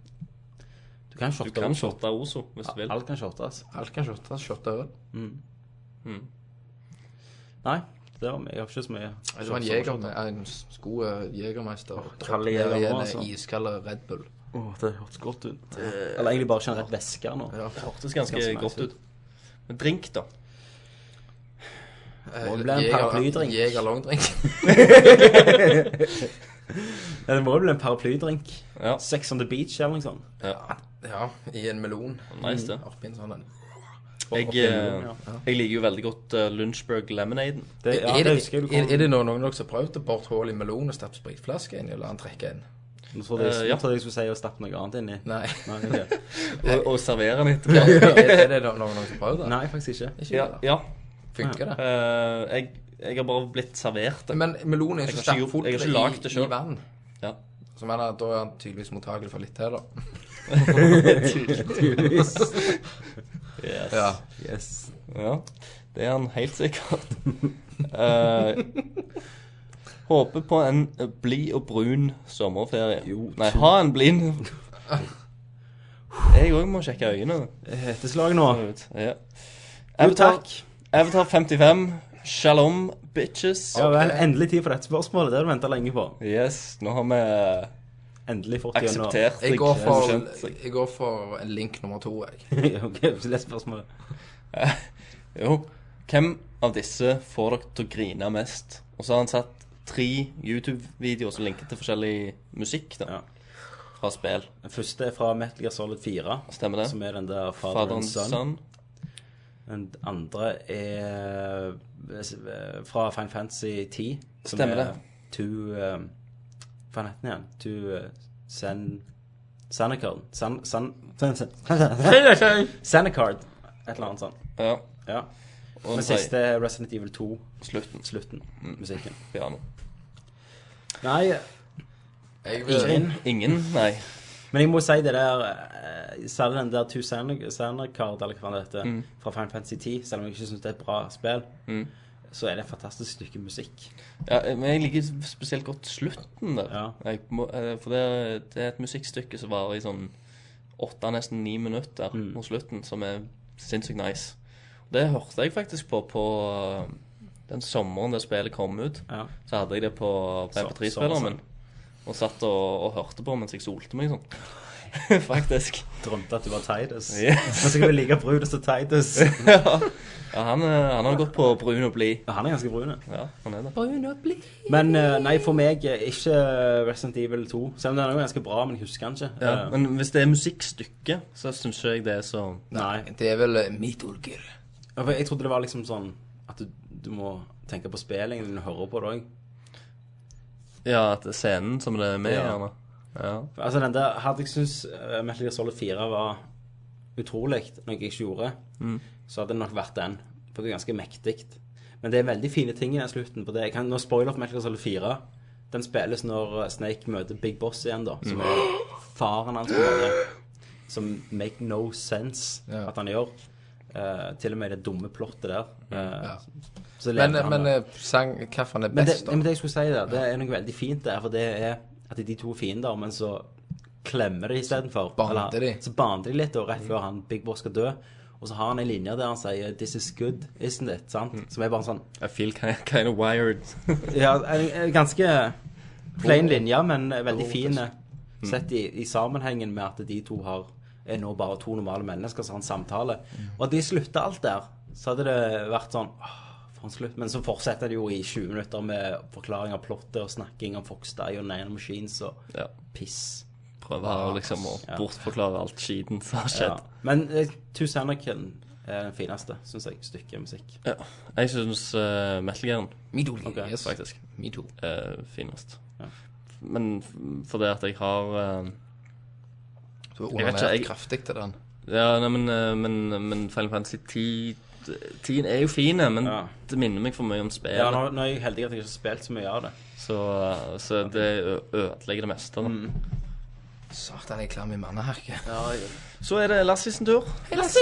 [SPEAKER 1] Du kan shotte.
[SPEAKER 2] Du kan shotte Ozo hvis du vil.
[SPEAKER 1] Alt kan shottes.
[SPEAKER 3] Alt kan shotte. Shotte øl.
[SPEAKER 1] Nei, det var, jeg har ikke så mye
[SPEAKER 3] Det var en jeger, en s- god eh, jegermeister. Dropp ned
[SPEAKER 1] jeger
[SPEAKER 3] i en
[SPEAKER 2] altså.
[SPEAKER 1] også.
[SPEAKER 3] iskald Red Bull.
[SPEAKER 7] Åh, det hørtes godt ut.
[SPEAKER 1] Eller egentlig bare generelt væske nå.
[SPEAKER 7] Ja.
[SPEAKER 2] Hørtes
[SPEAKER 7] Ganske
[SPEAKER 2] ganske,
[SPEAKER 7] nice
[SPEAKER 2] godt
[SPEAKER 7] ut.
[SPEAKER 2] ut. Men drink, da.
[SPEAKER 3] Eh,
[SPEAKER 1] Må det bli en
[SPEAKER 3] Jeger-
[SPEAKER 1] paraplydrink?
[SPEAKER 3] Jegerlongdrink.
[SPEAKER 1] Ja, det må jo bli en paraplydrink.
[SPEAKER 2] Ja.
[SPEAKER 1] Sex on the beach eller noe sånt.
[SPEAKER 3] Ja, i en melon.
[SPEAKER 2] Nice, det.
[SPEAKER 3] Oppi en sånn en.
[SPEAKER 2] Jeg, eh, jeg liker jo veldig godt eh, Lunchburg Lemonaden.
[SPEAKER 1] Det, ja,
[SPEAKER 3] er,
[SPEAKER 1] det
[SPEAKER 3] det,
[SPEAKER 1] husker jeg du
[SPEAKER 3] er,
[SPEAKER 1] kom
[SPEAKER 3] er det noen, noen av dere som har prøvd å bore hull i melon og stappe spritflaske inn, eller han trekker en?
[SPEAKER 1] Nå trodde jeg,
[SPEAKER 2] Eh, ja.
[SPEAKER 1] nå trodde jeg skulle si å stappe noe annet inni.
[SPEAKER 3] Nei.
[SPEAKER 1] Nei, ok.
[SPEAKER 2] Og, og servere den etterpå.
[SPEAKER 3] er, er det noen, noen som har prøvd det?
[SPEAKER 1] Nei, faktisk ikke.
[SPEAKER 3] Ikke
[SPEAKER 2] Ja.
[SPEAKER 3] det?
[SPEAKER 2] ja.
[SPEAKER 3] Funker det?
[SPEAKER 2] Eh, jeg, jeg har bare blitt servert det.
[SPEAKER 3] Men melon er
[SPEAKER 2] Jeg
[SPEAKER 3] jo så
[SPEAKER 2] har ikke gjort-
[SPEAKER 3] stappfullt
[SPEAKER 2] jeg har ikke lagt det
[SPEAKER 3] i,
[SPEAKER 2] selv.
[SPEAKER 3] i vann.
[SPEAKER 2] Ja.
[SPEAKER 3] Så mener, jeg at da er han tydeligvis mottakelig for litt til, da.
[SPEAKER 2] Yes.
[SPEAKER 3] Ja.
[SPEAKER 1] Yes.
[SPEAKER 2] Ja, det er han helt sikkert. Eh, håper på en blid og brun sommerferie.
[SPEAKER 1] Jo,
[SPEAKER 2] Nei,
[SPEAKER 1] så-
[SPEAKER 2] ha en blid Jeg òg må sjekke øynene.
[SPEAKER 1] Heteslag nå.
[SPEAKER 2] Mm. Ja.
[SPEAKER 1] Jo, takk.
[SPEAKER 2] Avatar 55. Shalom, bitches.
[SPEAKER 1] Ja vel, endelig tid for dette spørsmålet. Det har du venta lenge på.
[SPEAKER 2] Yes, nå har vi
[SPEAKER 1] Endelig fått gjennom.
[SPEAKER 2] akseptert
[SPEAKER 3] Jeg går for,
[SPEAKER 2] Skjønt seg.
[SPEAKER 3] jeg går for en link nummer to, jeg.
[SPEAKER 1] ok, så les spørsmålet.
[SPEAKER 2] Jo. Hvem av disse får dere til å grine mest? Og så har han satt tre YouTube-videoer som linker til forskjellig musikk da,
[SPEAKER 1] Ja.
[SPEAKER 2] fra spill.
[SPEAKER 1] Den første er fra Metal Gear Solid 4,
[SPEAKER 2] Stemmer det?
[SPEAKER 1] som er den der Father and
[SPEAKER 2] Faderens
[SPEAKER 1] Son.
[SPEAKER 2] sønn.
[SPEAKER 1] Den andre er eh, fra Fine Fantasy 10. som
[SPEAKER 2] Stemmer
[SPEAKER 1] er
[SPEAKER 2] det.
[SPEAKER 1] To um, Hva heter den igjen? To uh, San... Sanacard. San... San... San... San... Sanacard. Et eller annet sånt.
[SPEAKER 2] Ja.
[SPEAKER 1] Ja.
[SPEAKER 2] Og
[SPEAKER 1] Den
[SPEAKER 2] den
[SPEAKER 1] siste
[SPEAKER 2] sier
[SPEAKER 1] er Resident Evil 2,
[SPEAKER 2] slutten.
[SPEAKER 1] slutten. Musikken.
[SPEAKER 2] Piano.
[SPEAKER 1] Mm. Nei, eh,
[SPEAKER 3] jeg
[SPEAKER 1] ingen.
[SPEAKER 2] Ingen? Nei.
[SPEAKER 1] Men jeg må si det der eh, Særlig den der Two Sandercard, eller hva faen det heter, fra Final Fantasy 10, selv om jeg ikke syns det er et bra spill, så er det et fantastisk stykke musikk.
[SPEAKER 2] Ja, men jeg liker spesielt godt slutten der.
[SPEAKER 1] Ja.
[SPEAKER 2] Jeg må, eh, for det er, det er et musikkstykke som varer i sånn åtte, nesten ni minutter
[SPEAKER 1] Mm.
[SPEAKER 2] mot slutten, som er sinnssykt nice. Det hørte jeg faktisk på på eh, den sommeren det spillet kom ut.
[SPEAKER 1] Ja.
[SPEAKER 2] Så hadde jeg det på
[SPEAKER 1] Så-
[SPEAKER 2] MP3-spilleren
[SPEAKER 1] sommersang.
[SPEAKER 2] min. Og satt og, og hørte på mens jeg solte meg sånn. faktisk.
[SPEAKER 1] Drømte at du var Titus.
[SPEAKER 2] Ja.
[SPEAKER 1] Men så kan vi like brun som Titus.
[SPEAKER 2] Ja, han, eh, han har gått på brun og blid.
[SPEAKER 1] Han er ganske brun. ja.
[SPEAKER 2] Ja, han er det.
[SPEAKER 1] Men eh, nei, for meg eh, ikke Resident Evil 2. Selv om den er jo ganske bra, men jeg husker den ikke.
[SPEAKER 2] Ja,
[SPEAKER 1] Eh,
[SPEAKER 2] men hvis det er musikkstykke, så syns jeg det er så
[SPEAKER 1] nei.
[SPEAKER 3] Det er vel eh, Midulger.
[SPEAKER 1] Ja, for Jeg trodde det var liksom sånn at du, du må tenke på spillingen din og høre på det òg.
[SPEAKER 2] Ja, at det er scenen som det er med,
[SPEAKER 1] Ja.
[SPEAKER 2] gjerne. Ja.
[SPEAKER 1] Altså, den der hadde jeg syntes eh, Metal Gear Solid 4 var utrolig, noe jeg ikke gjorde,
[SPEAKER 3] Mm.
[SPEAKER 1] så hadde det nok vært den. For det er ganske mektig. Men det er veldig fine ting i den slutten på det. Jeg kan nå spoiler for Metal Gear Solid 4. Den spilles når eh, Snake møter Big Boss igjen, da, som er faren hans. på en måte. Som make no sense
[SPEAKER 3] Ja.
[SPEAKER 1] at han gjør. Eh, til og med det dumme plottet der. eh,
[SPEAKER 3] Ja.
[SPEAKER 1] så lever
[SPEAKER 3] Men,
[SPEAKER 1] han
[SPEAKER 3] men
[SPEAKER 1] med.
[SPEAKER 3] eh, sang, hvilken er
[SPEAKER 1] Men det,
[SPEAKER 3] best,
[SPEAKER 1] men
[SPEAKER 3] da?
[SPEAKER 1] det jeg skulle si der, det er noe veldig fint der, for det er at de to er fiender, men så klemmer de istedenfor.
[SPEAKER 3] bander
[SPEAKER 1] Eller-
[SPEAKER 3] de.
[SPEAKER 1] Så bander de litt, og rett før han Big Boss skal dø. Og så har han en linje der han sier 'This is good, isn't it?' sant?
[SPEAKER 3] Mm.
[SPEAKER 1] Som er bare en sånn
[SPEAKER 2] I feel ki- kind of wired.
[SPEAKER 1] Ja, en, en ganske plain linje, men veldig fin
[SPEAKER 2] altså. Mm.
[SPEAKER 1] sett i, i sammenhengen med at de to har er nå bare to normale mennesker som har en samtale.
[SPEAKER 2] Mm.
[SPEAKER 1] Og at de slutter alt der, så hadde det vært sånn «Åh, for en slutt. Men så fortsetter det jo i 20 minutter med forklaring av plottet og snakking om Foxdie og Nine Machines og
[SPEAKER 2] Ja.
[SPEAKER 1] piss.
[SPEAKER 2] Prøver å liksom å
[SPEAKER 1] Ja.
[SPEAKER 2] bortforklare alt skiten som har
[SPEAKER 1] Ja.
[SPEAKER 2] skjedd.
[SPEAKER 1] Men eh, Tusen Anakin er den fineste, syns jeg, stykket musikk.
[SPEAKER 2] Ja. Jeg syns uh, Metal Gearen
[SPEAKER 3] Midulger,
[SPEAKER 1] Ok,
[SPEAKER 3] yes.
[SPEAKER 2] faktisk
[SPEAKER 3] Midul.
[SPEAKER 2] er finest.
[SPEAKER 1] Ja.
[SPEAKER 2] Men f- fordi at jeg har eh,
[SPEAKER 3] Du har
[SPEAKER 2] Jeg vet ikke,
[SPEAKER 3] onanert
[SPEAKER 2] jeg-
[SPEAKER 3] kraftig til den.
[SPEAKER 2] Ja, nei, men, eh, men, men Final Fantasy 10 10 er jo fine, men
[SPEAKER 1] Ja.
[SPEAKER 2] det minner meg for mye om spillet.
[SPEAKER 1] Ja, nå, nå er jeg heldig at jeg ikke har spilt så mye av det.
[SPEAKER 2] Så, eh, så det ø- ødelegger det meste. Da.
[SPEAKER 3] Satan, jeg er klam i manneherket.
[SPEAKER 2] Så er det Lassie sin tur. Yes.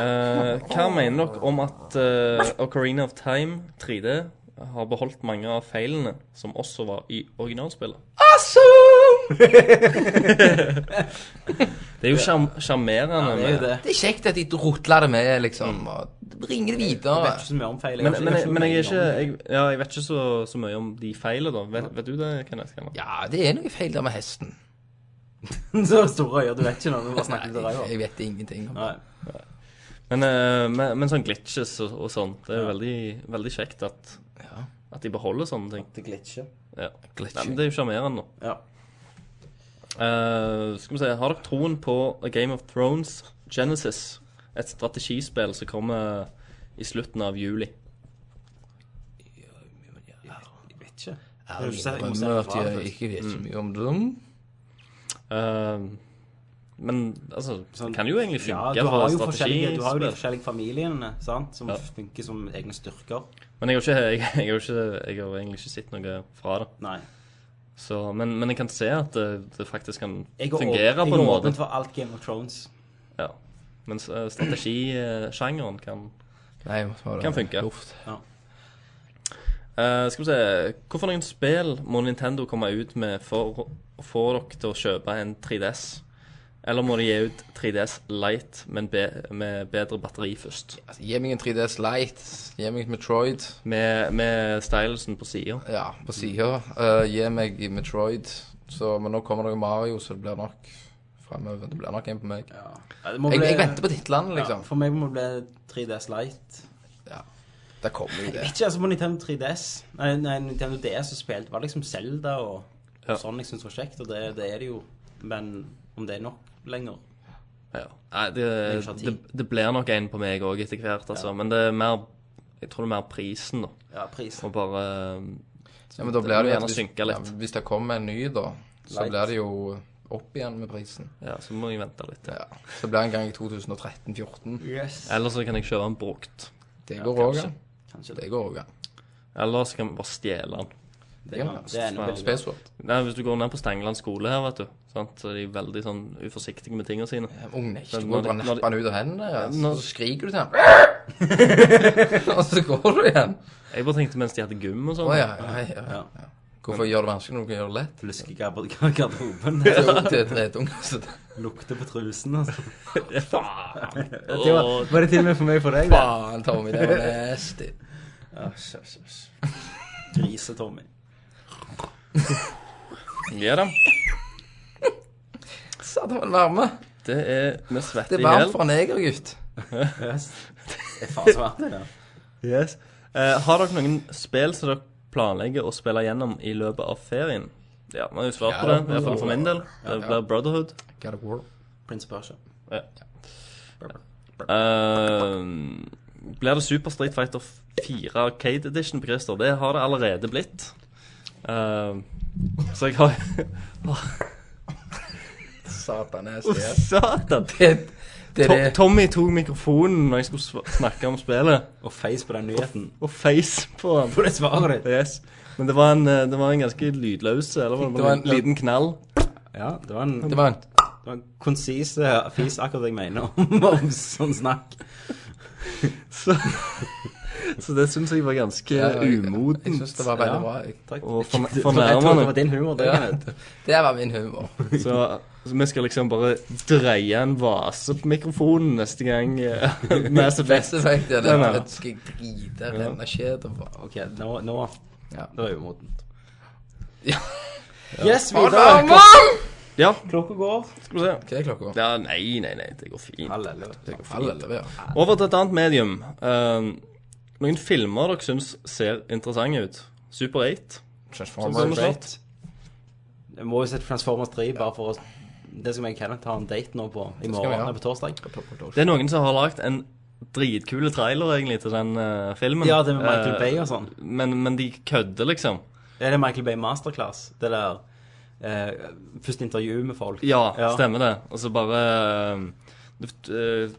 [SPEAKER 2] Eh, hva mener dere om at eh, Ocarina of Time 3D har beholdt mange av feilene som også var i originalspillet? Awesome! det er jo sjarm- sjarmerende
[SPEAKER 1] Det er jo
[SPEAKER 2] med
[SPEAKER 1] det.
[SPEAKER 3] Det er kjekt at de rotler det med, liksom. Og bringe det
[SPEAKER 1] Mm. Jeg
[SPEAKER 3] videre.
[SPEAKER 1] vet ikke så mye om feil.
[SPEAKER 2] Men,
[SPEAKER 1] har
[SPEAKER 2] men,
[SPEAKER 1] ikke-
[SPEAKER 2] men jeg, er ikke, jeg, ja, jeg vet ikke så, så mye om de feilene, da. Vet, vet du det, Kenneth? Hva
[SPEAKER 3] Ja, det er noe feil der med hesten.
[SPEAKER 1] Så store øyne, du vet ikke når du bare snakker til deg.
[SPEAKER 3] Jeg vet ingenting om det.
[SPEAKER 1] Nei.
[SPEAKER 2] Men, eh, men, men sånn glitches og, og sånn, det er jo veldig, veldig kjekt at, at de beholder sånne ting.
[SPEAKER 1] Det glitcher.
[SPEAKER 2] Ja.
[SPEAKER 3] Glitching.
[SPEAKER 2] Nei, men det er jo sjarmerende. nå.
[SPEAKER 1] Ja.
[SPEAKER 2] Eh, skal vi se, Har dere troen på A Game of Thrones Genesis? Et strategispill som kommer i slutten av juli.
[SPEAKER 1] Jeg vet ikke.
[SPEAKER 3] Jeg
[SPEAKER 1] du sett- jeg
[SPEAKER 3] innrømmer
[SPEAKER 1] må se
[SPEAKER 3] at
[SPEAKER 1] det
[SPEAKER 3] jeg ikke vet så mye om dem.
[SPEAKER 2] Eh, men altså,
[SPEAKER 1] Sånn-
[SPEAKER 2] det kan jo egentlig
[SPEAKER 1] Ja,
[SPEAKER 2] funke
[SPEAKER 1] du har jo
[SPEAKER 2] for
[SPEAKER 1] forskjellige, du har jo de
[SPEAKER 2] strategispill.
[SPEAKER 1] forskjellige familiene sant? som
[SPEAKER 2] Ja.
[SPEAKER 1] funker som egne styrker.
[SPEAKER 2] Men jeg har, ikke, jeg, jeg, har ikke, jeg har egentlig ikke sett noe fra det.
[SPEAKER 1] Nei.
[SPEAKER 2] Så, men, men jeg kan se at det, det faktisk kan
[SPEAKER 1] Jeg er
[SPEAKER 2] fungere
[SPEAKER 1] åpen,
[SPEAKER 2] på en
[SPEAKER 1] jeg er
[SPEAKER 2] måte.
[SPEAKER 1] åpen for alt Game of Thrones.
[SPEAKER 2] Ja. Mens eh, strategisjangeren kan
[SPEAKER 3] Nei, jeg må ta det.
[SPEAKER 2] Kan funke.
[SPEAKER 3] Luft.
[SPEAKER 2] Eh, Skal vi se Hvorfor noen spill må Nintendo komme ut med for å få dere til å kjøpe en 3DS? Eller må de gi ut 3DS Lite med, en be med bedre batteri først?
[SPEAKER 3] Altså, gi meg en 3DS Lite. Gi meg et Metroid.
[SPEAKER 2] Med, med stylelsen på sida.
[SPEAKER 3] Ja, på sida. Eh, gi meg Metroid. Så, men nå kommer det jo Mario, så det blir nok fremover. Det blir nok en på meg.
[SPEAKER 1] Det må
[SPEAKER 3] Jeg,
[SPEAKER 1] bli-
[SPEAKER 3] jeg venter på titlene,
[SPEAKER 1] ja,
[SPEAKER 3] liksom.
[SPEAKER 1] For meg må det bli 3DS Lite.
[SPEAKER 3] Ja. Der kommer jo det.
[SPEAKER 1] Ikke altså på Nintendo 3DS. Nei, nei Nintendo DS som spilte, var liksom Zelda og
[SPEAKER 2] Ja.
[SPEAKER 1] sånn jeg syns var kjekt, og det, det er det jo. Men om det er nok lenger
[SPEAKER 2] Ja. Nei, det,
[SPEAKER 1] Jeg har tid.
[SPEAKER 2] det, det blir nok en på meg òg etter hvert, altså. Men det er mer Jeg tror det er mer prisen, da.
[SPEAKER 1] Ja, prisen.
[SPEAKER 2] Og bare
[SPEAKER 3] Ja, men da
[SPEAKER 2] Det
[SPEAKER 3] blir
[SPEAKER 2] må
[SPEAKER 3] det jo
[SPEAKER 2] gjerne
[SPEAKER 3] hvis-
[SPEAKER 2] synke litt.
[SPEAKER 3] Ja, hvis det kommer en ny, da, så
[SPEAKER 1] Lite.
[SPEAKER 3] blir det jo opp igjen med prisen.
[SPEAKER 2] Ja, så må jeg vente litt.
[SPEAKER 3] Ja. Så blir det en gang i 2013-14.
[SPEAKER 1] Yes.
[SPEAKER 2] Eller så kan jeg kjøpe en brukt.
[SPEAKER 3] Det går òg
[SPEAKER 2] kanskje.
[SPEAKER 3] an.
[SPEAKER 1] Kanskje det.
[SPEAKER 3] Det går òg an.
[SPEAKER 2] Eller så kan vi bare stjele den.
[SPEAKER 1] Det, kan- det er enda
[SPEAKER 2] Ja.
[SPEAKER 1] bedre.
[SPEAKER 3] Spaceword.
[SPEAKER 2] Nei, Hvis du går ned på Stengeland skole her, vet du, sant? så er de veldig sånn uforsiktige med tingene sine.
[SPEAKER 3] Ungen er ikke
[SPEAKER 2] Men
[SPEAKER 3] god
[SPEAKER 2] når
[SPEAKER 3] til å
[SPEAKER 2] de- når de-
[SPEAKER 3] nappe han ut av hendene. Ja.
[SPEAKER 2] når-
[SPEAKER 3] Så skriker du til han Og så går du igjen.
[SPEAKER 2] Jeg bare tenkte mens de hadde gym og sånn.
[SPEAKER 3] Å ja, ja, ja, ja. Hvorfor gjør det vanskelig når du kan gjøre det lett?
[SPEAKER 1] Plutselig garder- garderoben
[SPEAKER 3] Det er jo- Det er drittunger. så det-
[SPEAKER 1] lukter på trusen, altså.
[SPEAKER 2] Faen!
[SPEAKER 1] Det var, var det til og med for meg for deg? det?
[SPEAKER 3] Faen, Tommy, det var nasty.
[SPEAKER 1] Æsj, æsj, æsj. Grise-Tommy.
[SPEAKER 2] Ja da.
[SPEAKER 3] Satan, varme.
[SPEAKER 2] Det er Vi
[SPEAKER 3] Det
[SPEAKER 2] svetter
[SPEAKER 3] er
[SPEAKER 2] i hjel.
[SPEAKER 3] varmt for en negergutt.
[SPEAKER 1] Yes. Det er faen svært, det der.
[SPEAKER 2] Yes. Eh, har dere noen spill som dere planlegger å spille gjennom i løpet av ferien? Ja, vi har jo svart på det,
[SPEAKER 3] Ja.
[SPEAKER 2] i hvert fall for min del. Det blir Brotherhood.
[SPEAKER 3] God of War.
[SPEAKER 1] Prince Persia.
[SPEAKER 2] Eh, blir det Super Street Fighter 4 Arcade Edition på Christer? Det har det allerede blitt. Eh, så jeg har
[SPEAKER 3] Satan, nasty. ja.
[SPEAKER 2] Satan!
[SPEAKER 3] Det det er
[SPEAKER 2] To
[SPEAKER 3] det.
[SPEAKER 2] Tommy tok mikrofonen når jeg skulle sva- snakke om spillet,
[SPEAKER 1] Og face på den nyheten.
[SPEAKER 2] og face på den.
[SPEAKER 1] På det svaret ditt.
[SPEAKER 2] Yes. Men det var en, eh, det var en ganske lydløs Eller var det,
[SPEAKER 3] Det
[SPEAKER 2] bare
[SPEAKER 3] var
[SPEAKER 2] en
[SPEAKER 3] en-
[SPEAKER 2] liten knall?
[SPEAKER 1] Ja, det var en,
[SPEAKER 3] Det var en
[SPEAKER 1] det var en konsis eh, fis, akkurat det jeg mener om, om sånn snakk.
[SPEAKER 2] Så, så det syns jeg var ganske
[SPEAKER 3] Ja, jeg- Jeg
[SPEAKER 2] umodent
[SPEAKER 3] syns det var veldig
[SPEAKER 1] Ja.
[SPEAKER 3] bra. jeg.
[SPEAKER 1] Takk.
[SPEAKER 2] og forn-
[SPEAKER 1] Jeg trodde det var
[SPEAKER 2] fornærmende.
[SPEAKER 1] din humor. Det,
[SPEAKER 3] Ja.
[SPEAKER 1] Kenneth.
[SPEAKER 3] Det var min humor.
[SPEAKER 2] Så, så vi skal liksom bare dreie en vase på mikrofonen neste gang. eh, Mass Effect.
[SPEAKER 3] Beste effekt er
[SPEAKER 2] Den
[SPEAKER 3] det.
[SPEAKER 2] er det.
[SPEAKER 3] Det skal jeg drite renne skjed og bare
[SPEAKER 1] OK, nå, nå
[SPEAKER 3] Ja.
[SPEAKER 1] Det var umodent.
[SPEAKER 3] Ja.
[SPEAKER 1] Yes,
[SPEAKER 3] Å,
[SPEAKER 1] videre.
[SPEAKER 3] Norman!
[SPEAKER 2] Ja,
[SPEAKER 1] Klokka går.
[SPEAKER 2] skal vi se.
[SPEAKER 3] Hva er klokka?
[SPEAKER 2] Ja, nei, nei, nei, det går fint.
[SPEAKER 1] Halleluja.
[SPEAKER 2] Det går
[SPEAKER 3] Halv
[SPEAKER 2] fint.
[SPEAKER 3] elleve, ja.
[SPEAKER 2] Over til et annet medium. Ehm, noen filmer dere syns ser interessante ut. Super 8.
[SPEAKER 3] Transformers.
[SPEAKER 2] Great.
[SPEAKER 1] Jeg må jo se Transformers 3 bare for å Det skal jeg og Kenneth ha en date nå på i
[SPEAKER 3] vi
[SPEAKER 1] morgen.
[SPEAKER 3] ha.
[SPEAKER 1] Nei, på torsdag.
[SPEAKER 2] Det er noen som har lagd en dritkule trailer egentlig til den eh, filmen.
[SPEAKER 1] Ja, det med Michael
[SPEAKER 2] Eh,
[SPEAKER 1] Bay og sånn.
[SPEAKER 2] Men, men de kødder, liksom.
[SPEAKER 1] Er det Michael Bay Masterclass? Det der eh, første intervju med folk?
[SPEAKER 2] Ja,
[SPEAKER 1] Ja.
[SPEAKER 2] stemmer det. Og så bare eh, du- eh,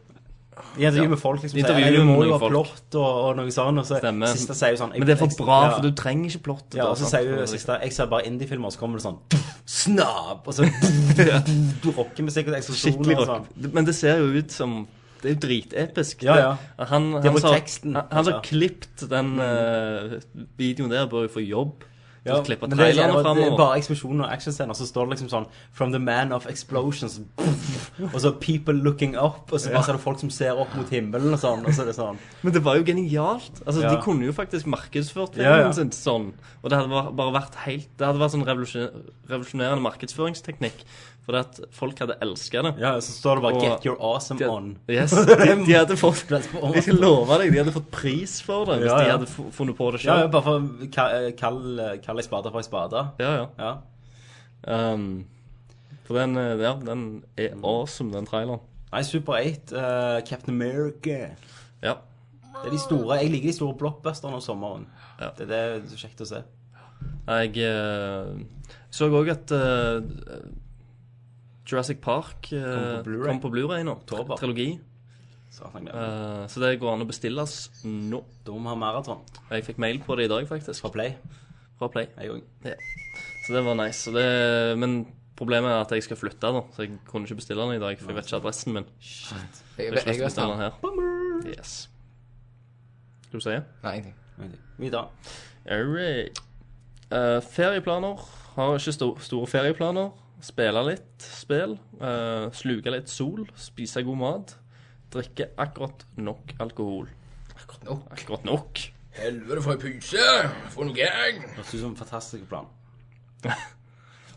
[SPEAKER 1] I intervju
[SPEAKER 2] Ja.
[SPEAKER 1] med folk liksom
[SPEAKER 2] Intervju
[SPEAKER 1] sier, «Nei, du må
[SPEAKER 2] med
[SPEAKER 1] jo
[SPEAKER 2] noen
[SPEAKER 1] ha
[SPEAKER 2] folk».
[SPEAKER 1] plott og, og noe sånn, og så
[SPEAKER 2] Stemmer.
[SPEAKER 1] siste sier jo sånn
[SPEAKER 2] Men det er for bra,
[SPEAKER 1] ja.
[SPEAKER 2] for du Sånn, trenger ikke plottet.
[SPEAKER 1] Ja,
[SPEAKER 2] da,
[SPEAKER 1] og så
[SPEAKER 2] sant?
[SPEAKER 1] sier jo siste Jeg ser bare indiefilmer, og så kommer det sånn Snap! Og så Du rocker musikk og eksplosjoner
[SPEAKER 2] Skikkelig
[SPEAKER 1] og sånn.
[SPEAKER 2] rock. Men det ser jo ut som Det er jo dritepisk.
[SPEAKER 1] Ja, ja.
[SPEAKER 2] Det- Han,
[SPEAKER 1] Det er
[SPEAKER 2] han,
[SPEAKER 1] på
[SPEAKER 2] som-
[SPEAKER 1] teksten,
[SPEAKER 2] han, han som har
[SPEAKER 1] altså.
[SPEAKER 2] klippet den eh, videoen der, bør jo få jobb. Ja,
[SPEAKER 1] Ja,
[SPEAKER 2] klippe
[SPEAKER 1] men det, er-
[SPEAKER 2] trailerne
[SPEAKER 1] det er
[SPEAKER 2] fremover.
[SPEAKER 1] bare eksplosjoner og actionscener, så står det liksom sånn From the man of explosions. Og så people looking up, og så bare ser du folk som ser opp mot himmelen og sånn. Og så er det sånn
[SPEAKER 2] Men det var jo genialt. Altså,
[SPEAKER 1] Ja.
[SPEAKER 2] De kunne jo faktisk markedsført filmen
[SPEAKER 1] Ja, ja.
[SPEAKER 2] sin sånn. Og det hadde var- bare vært helt Det hadde vært sånn revolusjon- revolusjonerende markedsføringsteknikk. Fordi at folk hadde elska det.
[SPEAKER 1] Ja, så står det bare
[SPEAKER 2] Og-
[SPEAKER 1] 'Get your awesome
[SPEAKER 2] De-
[SPEAKER 1] on'.
[SPEAKER 2] Yes, de, de hadde fått
[SPEAKER 1] Press på on.
[SPEAKER 2] Jeg skal love deg, de hadde fått pris for det hvis
[SPEAKER 1] Ja,
[SPEAKER 2] de
[SPEAKER 1] ja.
[SPEAKER 2] hadde fu- funnet på det
[SPEAKER 1] Ja, ja,
[SPEAKER 2] sjøl.
[SPEAKER 1] bare for å ka- kall eh, kall ei spade for ei spade.
[SPEAKER 2] Ja, ja.
[SPEAKER 1] Ja.
[SPEAKER 2] Um, for den, eh, ja, den er
[SPEAKER 1] Mm.
[SPEAKER 2] awesome, den traileren.
[SPEAKER 1] Nei, Super 8, eh, Captain America.
[SPEAKER 2] Ja.
[SPEAKER 1] Det er de store, Jeg liker de store blockbusterne om sommeren.
[SPEAKER 2] Ja.
[SPEAKER 1] Det, det er så kjekt å se.
[SPEAKER 2] Jeg eh, så òg at eh, Jurassic Park eh,
[SPEAKER 1] Kom på Blu-ray.
[SPEAKER 2] kom på Blueray nå.
[SPEAKER 1] Oktober.
[SPEAKER 2] Trilogi.
[SPEAKER 1] Satan, jeg glemmer.
[SPEAKER 2] Eh, så det går an å bestilles nå.
[SPEAKER 1] Da må vi ha maraton
[SPEAKER 2] Jeg fikk mail på det i dag, faktisk.
[SPEAKER 1] fra Play.
[SPEAKER 2] Fra Play.
[SPEAKER 1] Jeg òg.
[SPEAKER 2] Så det var nice. Så det, men problemet er at jeg skal flytte, da. Så jeg kunne ikke bestille den i dag, for jeg vet ikke adressen min.
[SPEAKER 3] Jeg,
[SPEAKER 2] Jeg har ikke lyst
[SPEAKER 3] jeg,
[SPEAKER 2] til å bestille
[SPEAKER 3] jeg,
[SPEAKER 2] den her. Yes. Skal du si?
[SPEAKER 3] nei, ingenting.
[SPEAKER 1] Vi da.
[SPEAKER 2] Alright. Eh, ferieplaner. Har ikke sto store ferieplaner. Spille litt spill. eh, sluke litt sol. Spise god mat. Drikke akkurat nok alkohol.
[SPEAKER 3] Akkurat nok.
[SPEAKER 2] Akkurat nok.
[SPEAKER 3] Helvete, for ei pyse! For noe gang!
[SPEAKER 1] Høres ut som en fantastisk plan.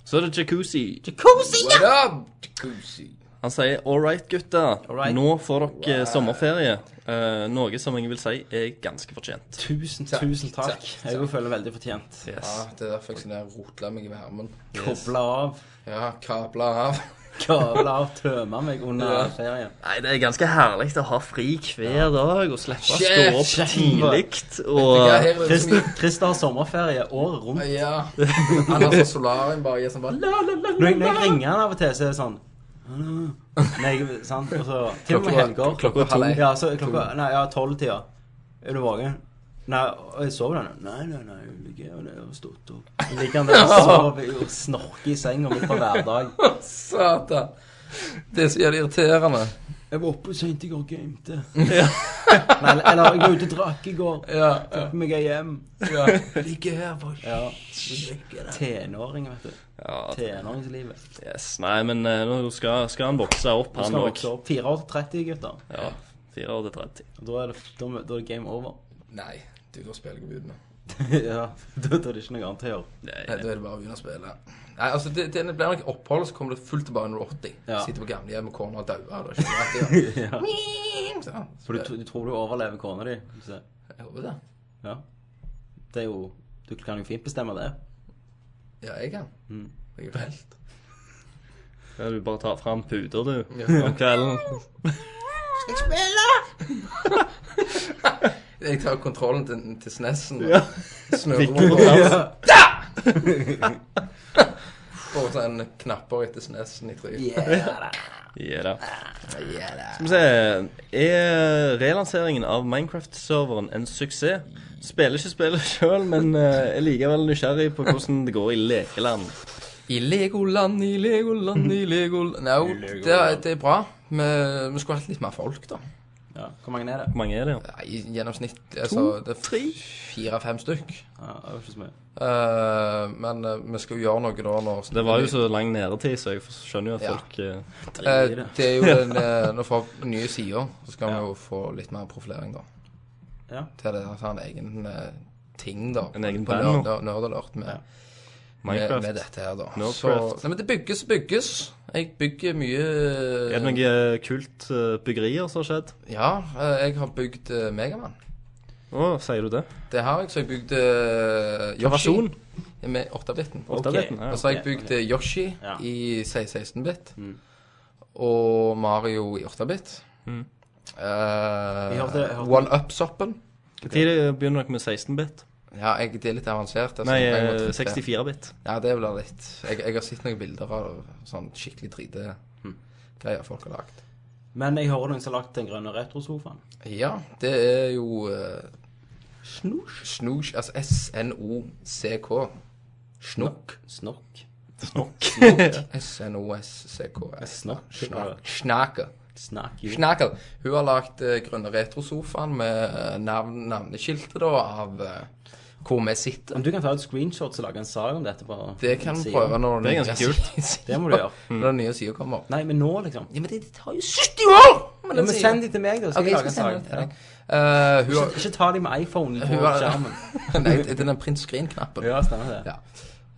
[SPEAKER 2] Så er det jacuzzi.
[SPEAKER 3] What up, jacuzzi?
[SPEAKER 2] Han sier 'all right, gutta'.
[SPEAKER 1] right.
[SPEAKER 2] Nå får dere sommerferie. Eh, noe som jeg vil si er ganske fortjent.
[SPEAKER 1] Tusen,
[SPEAKER 3] Takk,
[SPEAKER 1] tusen takk.
[SPEAKER 3] takk,
[SPEAKER 1] Jeg òg føler veldig fortjent.
[SPEAKER 3] Ja,
[SPEAKER 2] Yes.
[SPEAKER 3] det er derfor jeg sånn der rotla meg i varmen.
[SPEAKER 1] Koble av.
[SPEAKER 3] Ja, kabla av.
[SPEAKER 1] Kable av. Tømme meg under
[SPEAKER 3] Ja.
[SPEAKER 1] ferien.
[SPEAKER 2] Nei, det er ganske herlig å ha fri hver dag og slippe å
[SPEAKER 3] Shit,
[SPEAKER 2] stå opp tidlig
[SPEAKER 3] Ja,
[SPEAKER 2] og
[SPEAKER 3] her er det så
[SPEAKER 1] Christer,
[SPEAKER 3] mye.
[SPEAKER 1] Christer har sommerferie året rundt.
[SPEAKER 3] Ja. Han har sånn solarium bare i, sånn bare la, la, la,
[SPEAKER 1] Når jeg, når jeg ringer han av og til, så er det sånn Nei, sant? Og så Til og med helger.
[SPEAKER 3] klokka halv ett.
[SPEAKER 1] Ja, så klokka Nei, ja, tolvtida. Er du våken? Nei, og jeg sover den. Nei, nei, nei, jeg ligger og jeg har stått opp. Så Ligger han der og sover og snorker i senga midt på hverdag.
[SPEAKER 3] Satan. Det er så jævlig irriterende.
[SPEAKER 1] Jeg var oppe sent i går og gamete. Nei, eller jeg var ute og drakk i går.
[SPEAKER 3] Ja. ja,
[SPEAKER 1] Tok meg hjem.
[SPEAKER 3] ja. Ligge her, bare
[SPEAKER 1] Ja. Tenåring, vet du.
[SPEAKER 2] Ja,
[SPEAKER 1] Tenåringslivet.
[SPEAKER 2] Yes, nei, men eh, nå skal, skal han vokse opp,
[SPEAKER 1] Nå
[SPEAKER 2] han
[SPEAKER 1] skal vi
[SPEAKER 2] òg.
[SPEAKER 1] også opp. 4 år til 30, gutter.
[SPEAKER 2] Ja, 4 år til 30.
[SPEAKER 1] Og Da er det, da, da er det game over.
[SPEAKER 3] Nei, du, da spiller jeg uten.
[SPEAKER 1] ja, da, da er det ikke noe annet å gjøre.
[SPEAKER 2] Nei,
[SPEAKER 3] Nei, da er det bare å begynne å spille. Nei, altså, det, det blir nok opphold, så kommer det fullt tilbake når du er 80.
[SPEAKER 1] Ja.
[SPEAKER 3] Sitter på gamlehjem med kona og dauer. og skjønner at
[SPEAKER 1] Ja.
[SPEAKER 3] det- Så,
[SPEAKER 1] For du, tro- du tror du overlever kona di. hvis det-
[SPEAKER 3] Jeg håper det.
[SPEAKER 1] Ja. Det er jo Du kan jo fint bestemme det.
[SPEAKER 3] Ja, jeg kan.
[SPEAKER 1] Mm.
[SPEAKER 3] Jeg er jo helt.
[SPEAKER 2] ja, du bare tar fram puter, du, om kvelden.
[SPEAKER 3] Jeg tar kontrollen til, til snesen.
[SPEAKER 2] Ja.
[SPEAKER 3] Ja. Snurrer
[SPEAKER 2] Fikk du
[SPEAKER 3] rundt
[SPEAKER 2] det?
[SPEAKER 3] og
[SPEAKER 2] Ja.
[SPEAKER 3] får sånn knapper etter snesen i trynet.
[SPEAKER 2] Ja da. Skal vi se Er relanseringen av Minecraft-serveren en suksess? Spiller ikke spillet sjøl, men eh, er likevel nysgjerrig på hvordan det går i lekeland.
[SPEAKER 3] I Legoland, i Legoland, i Legoland Nei, jo, det, er- det er bra. Vi, vi skulle hatt litt mer folk, da.
[SPEAKER 1] Ja. Hvor mange er det?
[SPEAKER 2] Hvor mange er det? ja?
[SPEAKER 3] Nei, I gjennomsnitt altså, det er
[SPEAKER 2] tre?
[SPEAKER 3] Fire-fem stykk.
[SPEAKER 1] Ja, det er jo ikke så mye.
[SPEAKER 3] Eh, men eh, vi skal jo gjøre noe da når
[SPEAKER 2] Det var jo så lang nedetid, så jeg skjønner jo at
[SPEAKER 3] Ja.
[SPEAKER 2] folk eh,
[SPEAKER 3] Eh, Det er jo den eh, Når vi får nye sider, så skal vi jo få litt mer profilering, da.
[SPEAKER 1] Ja.
[SPEAKER 3] Til det altså, en egen eh, ting, da.
[SPEAKER 2] En egen
[SPEAKER 3] på
[SPEAKER 2] banner.
[SPEAKER 3] Nerd- Nerd Alert med, med, med
[SPEAKER 2] Minecraft.
[SPEAKER 3] dette her, da. Så,
[SPEAKER 2] Nerdcraft.
[SPEAKER 3] nei, men det bygges, bygges. Jeg bygger mye eh,
[SPEAKER 2] Er det noe kult eh, byggerier som har skjedd?
[SPEAKER 3] Ja, eh, jeg har bygd eh, Megaman.
[SPEAKER 2] Å, sier du det?
[SPEAKER 3] Det har jeg, så jeg bygde eh, Yoshi.
[SPEAKER 2] Versjon?
[SPEAKER 3] Med 8-biten.
[SPEAKER 2] Åtte av
[SPEAKER 1] Ok.
[SPEAKER 2] liten, ja.
[SPEAKER 3] Og så har jeg
[SPEAKER 1] ok,
[SPEAKER 3] bygd eh, Yoshi
[SPEAKER 1] Ja. Mm.
[SPEAKER 3] i 16-bit. Og Mario i Eh, 8-bit.
[SPEAKER 2] Mm.
[SPEAKER 1] Jeg hørte- jeg hørte-
[SPEAKER 3] One-up-soppen.
[SPEAKER 2] Når begynner dere med 16-bit?
[SPEAKER 3] Ja, jeg, det er litt avansert. altså.
[SPEAKER 2] Nei, eh,
[SPEAKER 3] Jeg må trykke.
[SPEAKER 2] 64-bit.
[SPEAKER 3] Ja, det blir litt jeg, jeg har sett noen bilder av sånn skikkelig 3D-greier folk har lagd.
[SPEAKER 1] Men jeg hører noen som har lagt den grønne retrosofaen.
[SPEAKER 3] Ja, det er jo eh,
[SPEAKER 1] Snusj.
[SPEAKER 3] Snoosh, altså S-N-O-C-K. Snokk.
[SPEAKER 1] Snokk.
[SPEAKER 3] S-N-O-S-C-K-S.
[SPEAKER 1] Snokk.
[SPEAKER 3] Snaker.
[SPEAKER 1] Snakk. jo.
[SPEAKER 3] Snakker. Hun har lagd eh, grønne retrosofaen med eh, navn, navneskiltet da av eh, hvor vi sitter.
[SPEAKER 1] Om du kan ta et screenshot så lage en sak om dette på
[SPEAKER 3] Det kan vi
[SPEAKER 1] siden.
[SPEAKER 3] prøve når
[SPEAKER 2] Det er
[SPEAKER 3] nye
[SPEAKER 2] ganske
[SPEAKER 3] siden-
[SPEAKER 1] Det må du gjøre.
[SPEAKER 3] Når den nye sida kommer.
[SPEAKER 1] Nei, men nå, liksom.
[SPEAKER 3] Ja, men det, det tar jo 70 år! Men
[SPEAKER 1] Ja,
[SPEAKER 3] den
[SPEAKER 1] men
[SPEAKER 3] siden-
[SPEAKER 1] send de til meg, da, så skal
[SPEAKER 3] Ok,
[SPEAKER 1] jeg lage
[SPEAKER 3] jeg skal
[SPEAKER 1] en sak.
[SPEAKER 3] sende den til
[SPEAKER 1] Ja.
[SPEAKER 3] deg. Eh, hun
[SPEAKER 1] Ikke, ikke ta de med iPhone på
[SPEAKER 3] Hun har-
[SPEAKER 1] skjermen.
[SPEAKER 3] har Nei, det er den print screen-knappen.
[SPEAKER 1] Ja, stemmer det.
[SPEAKER 3] Ja.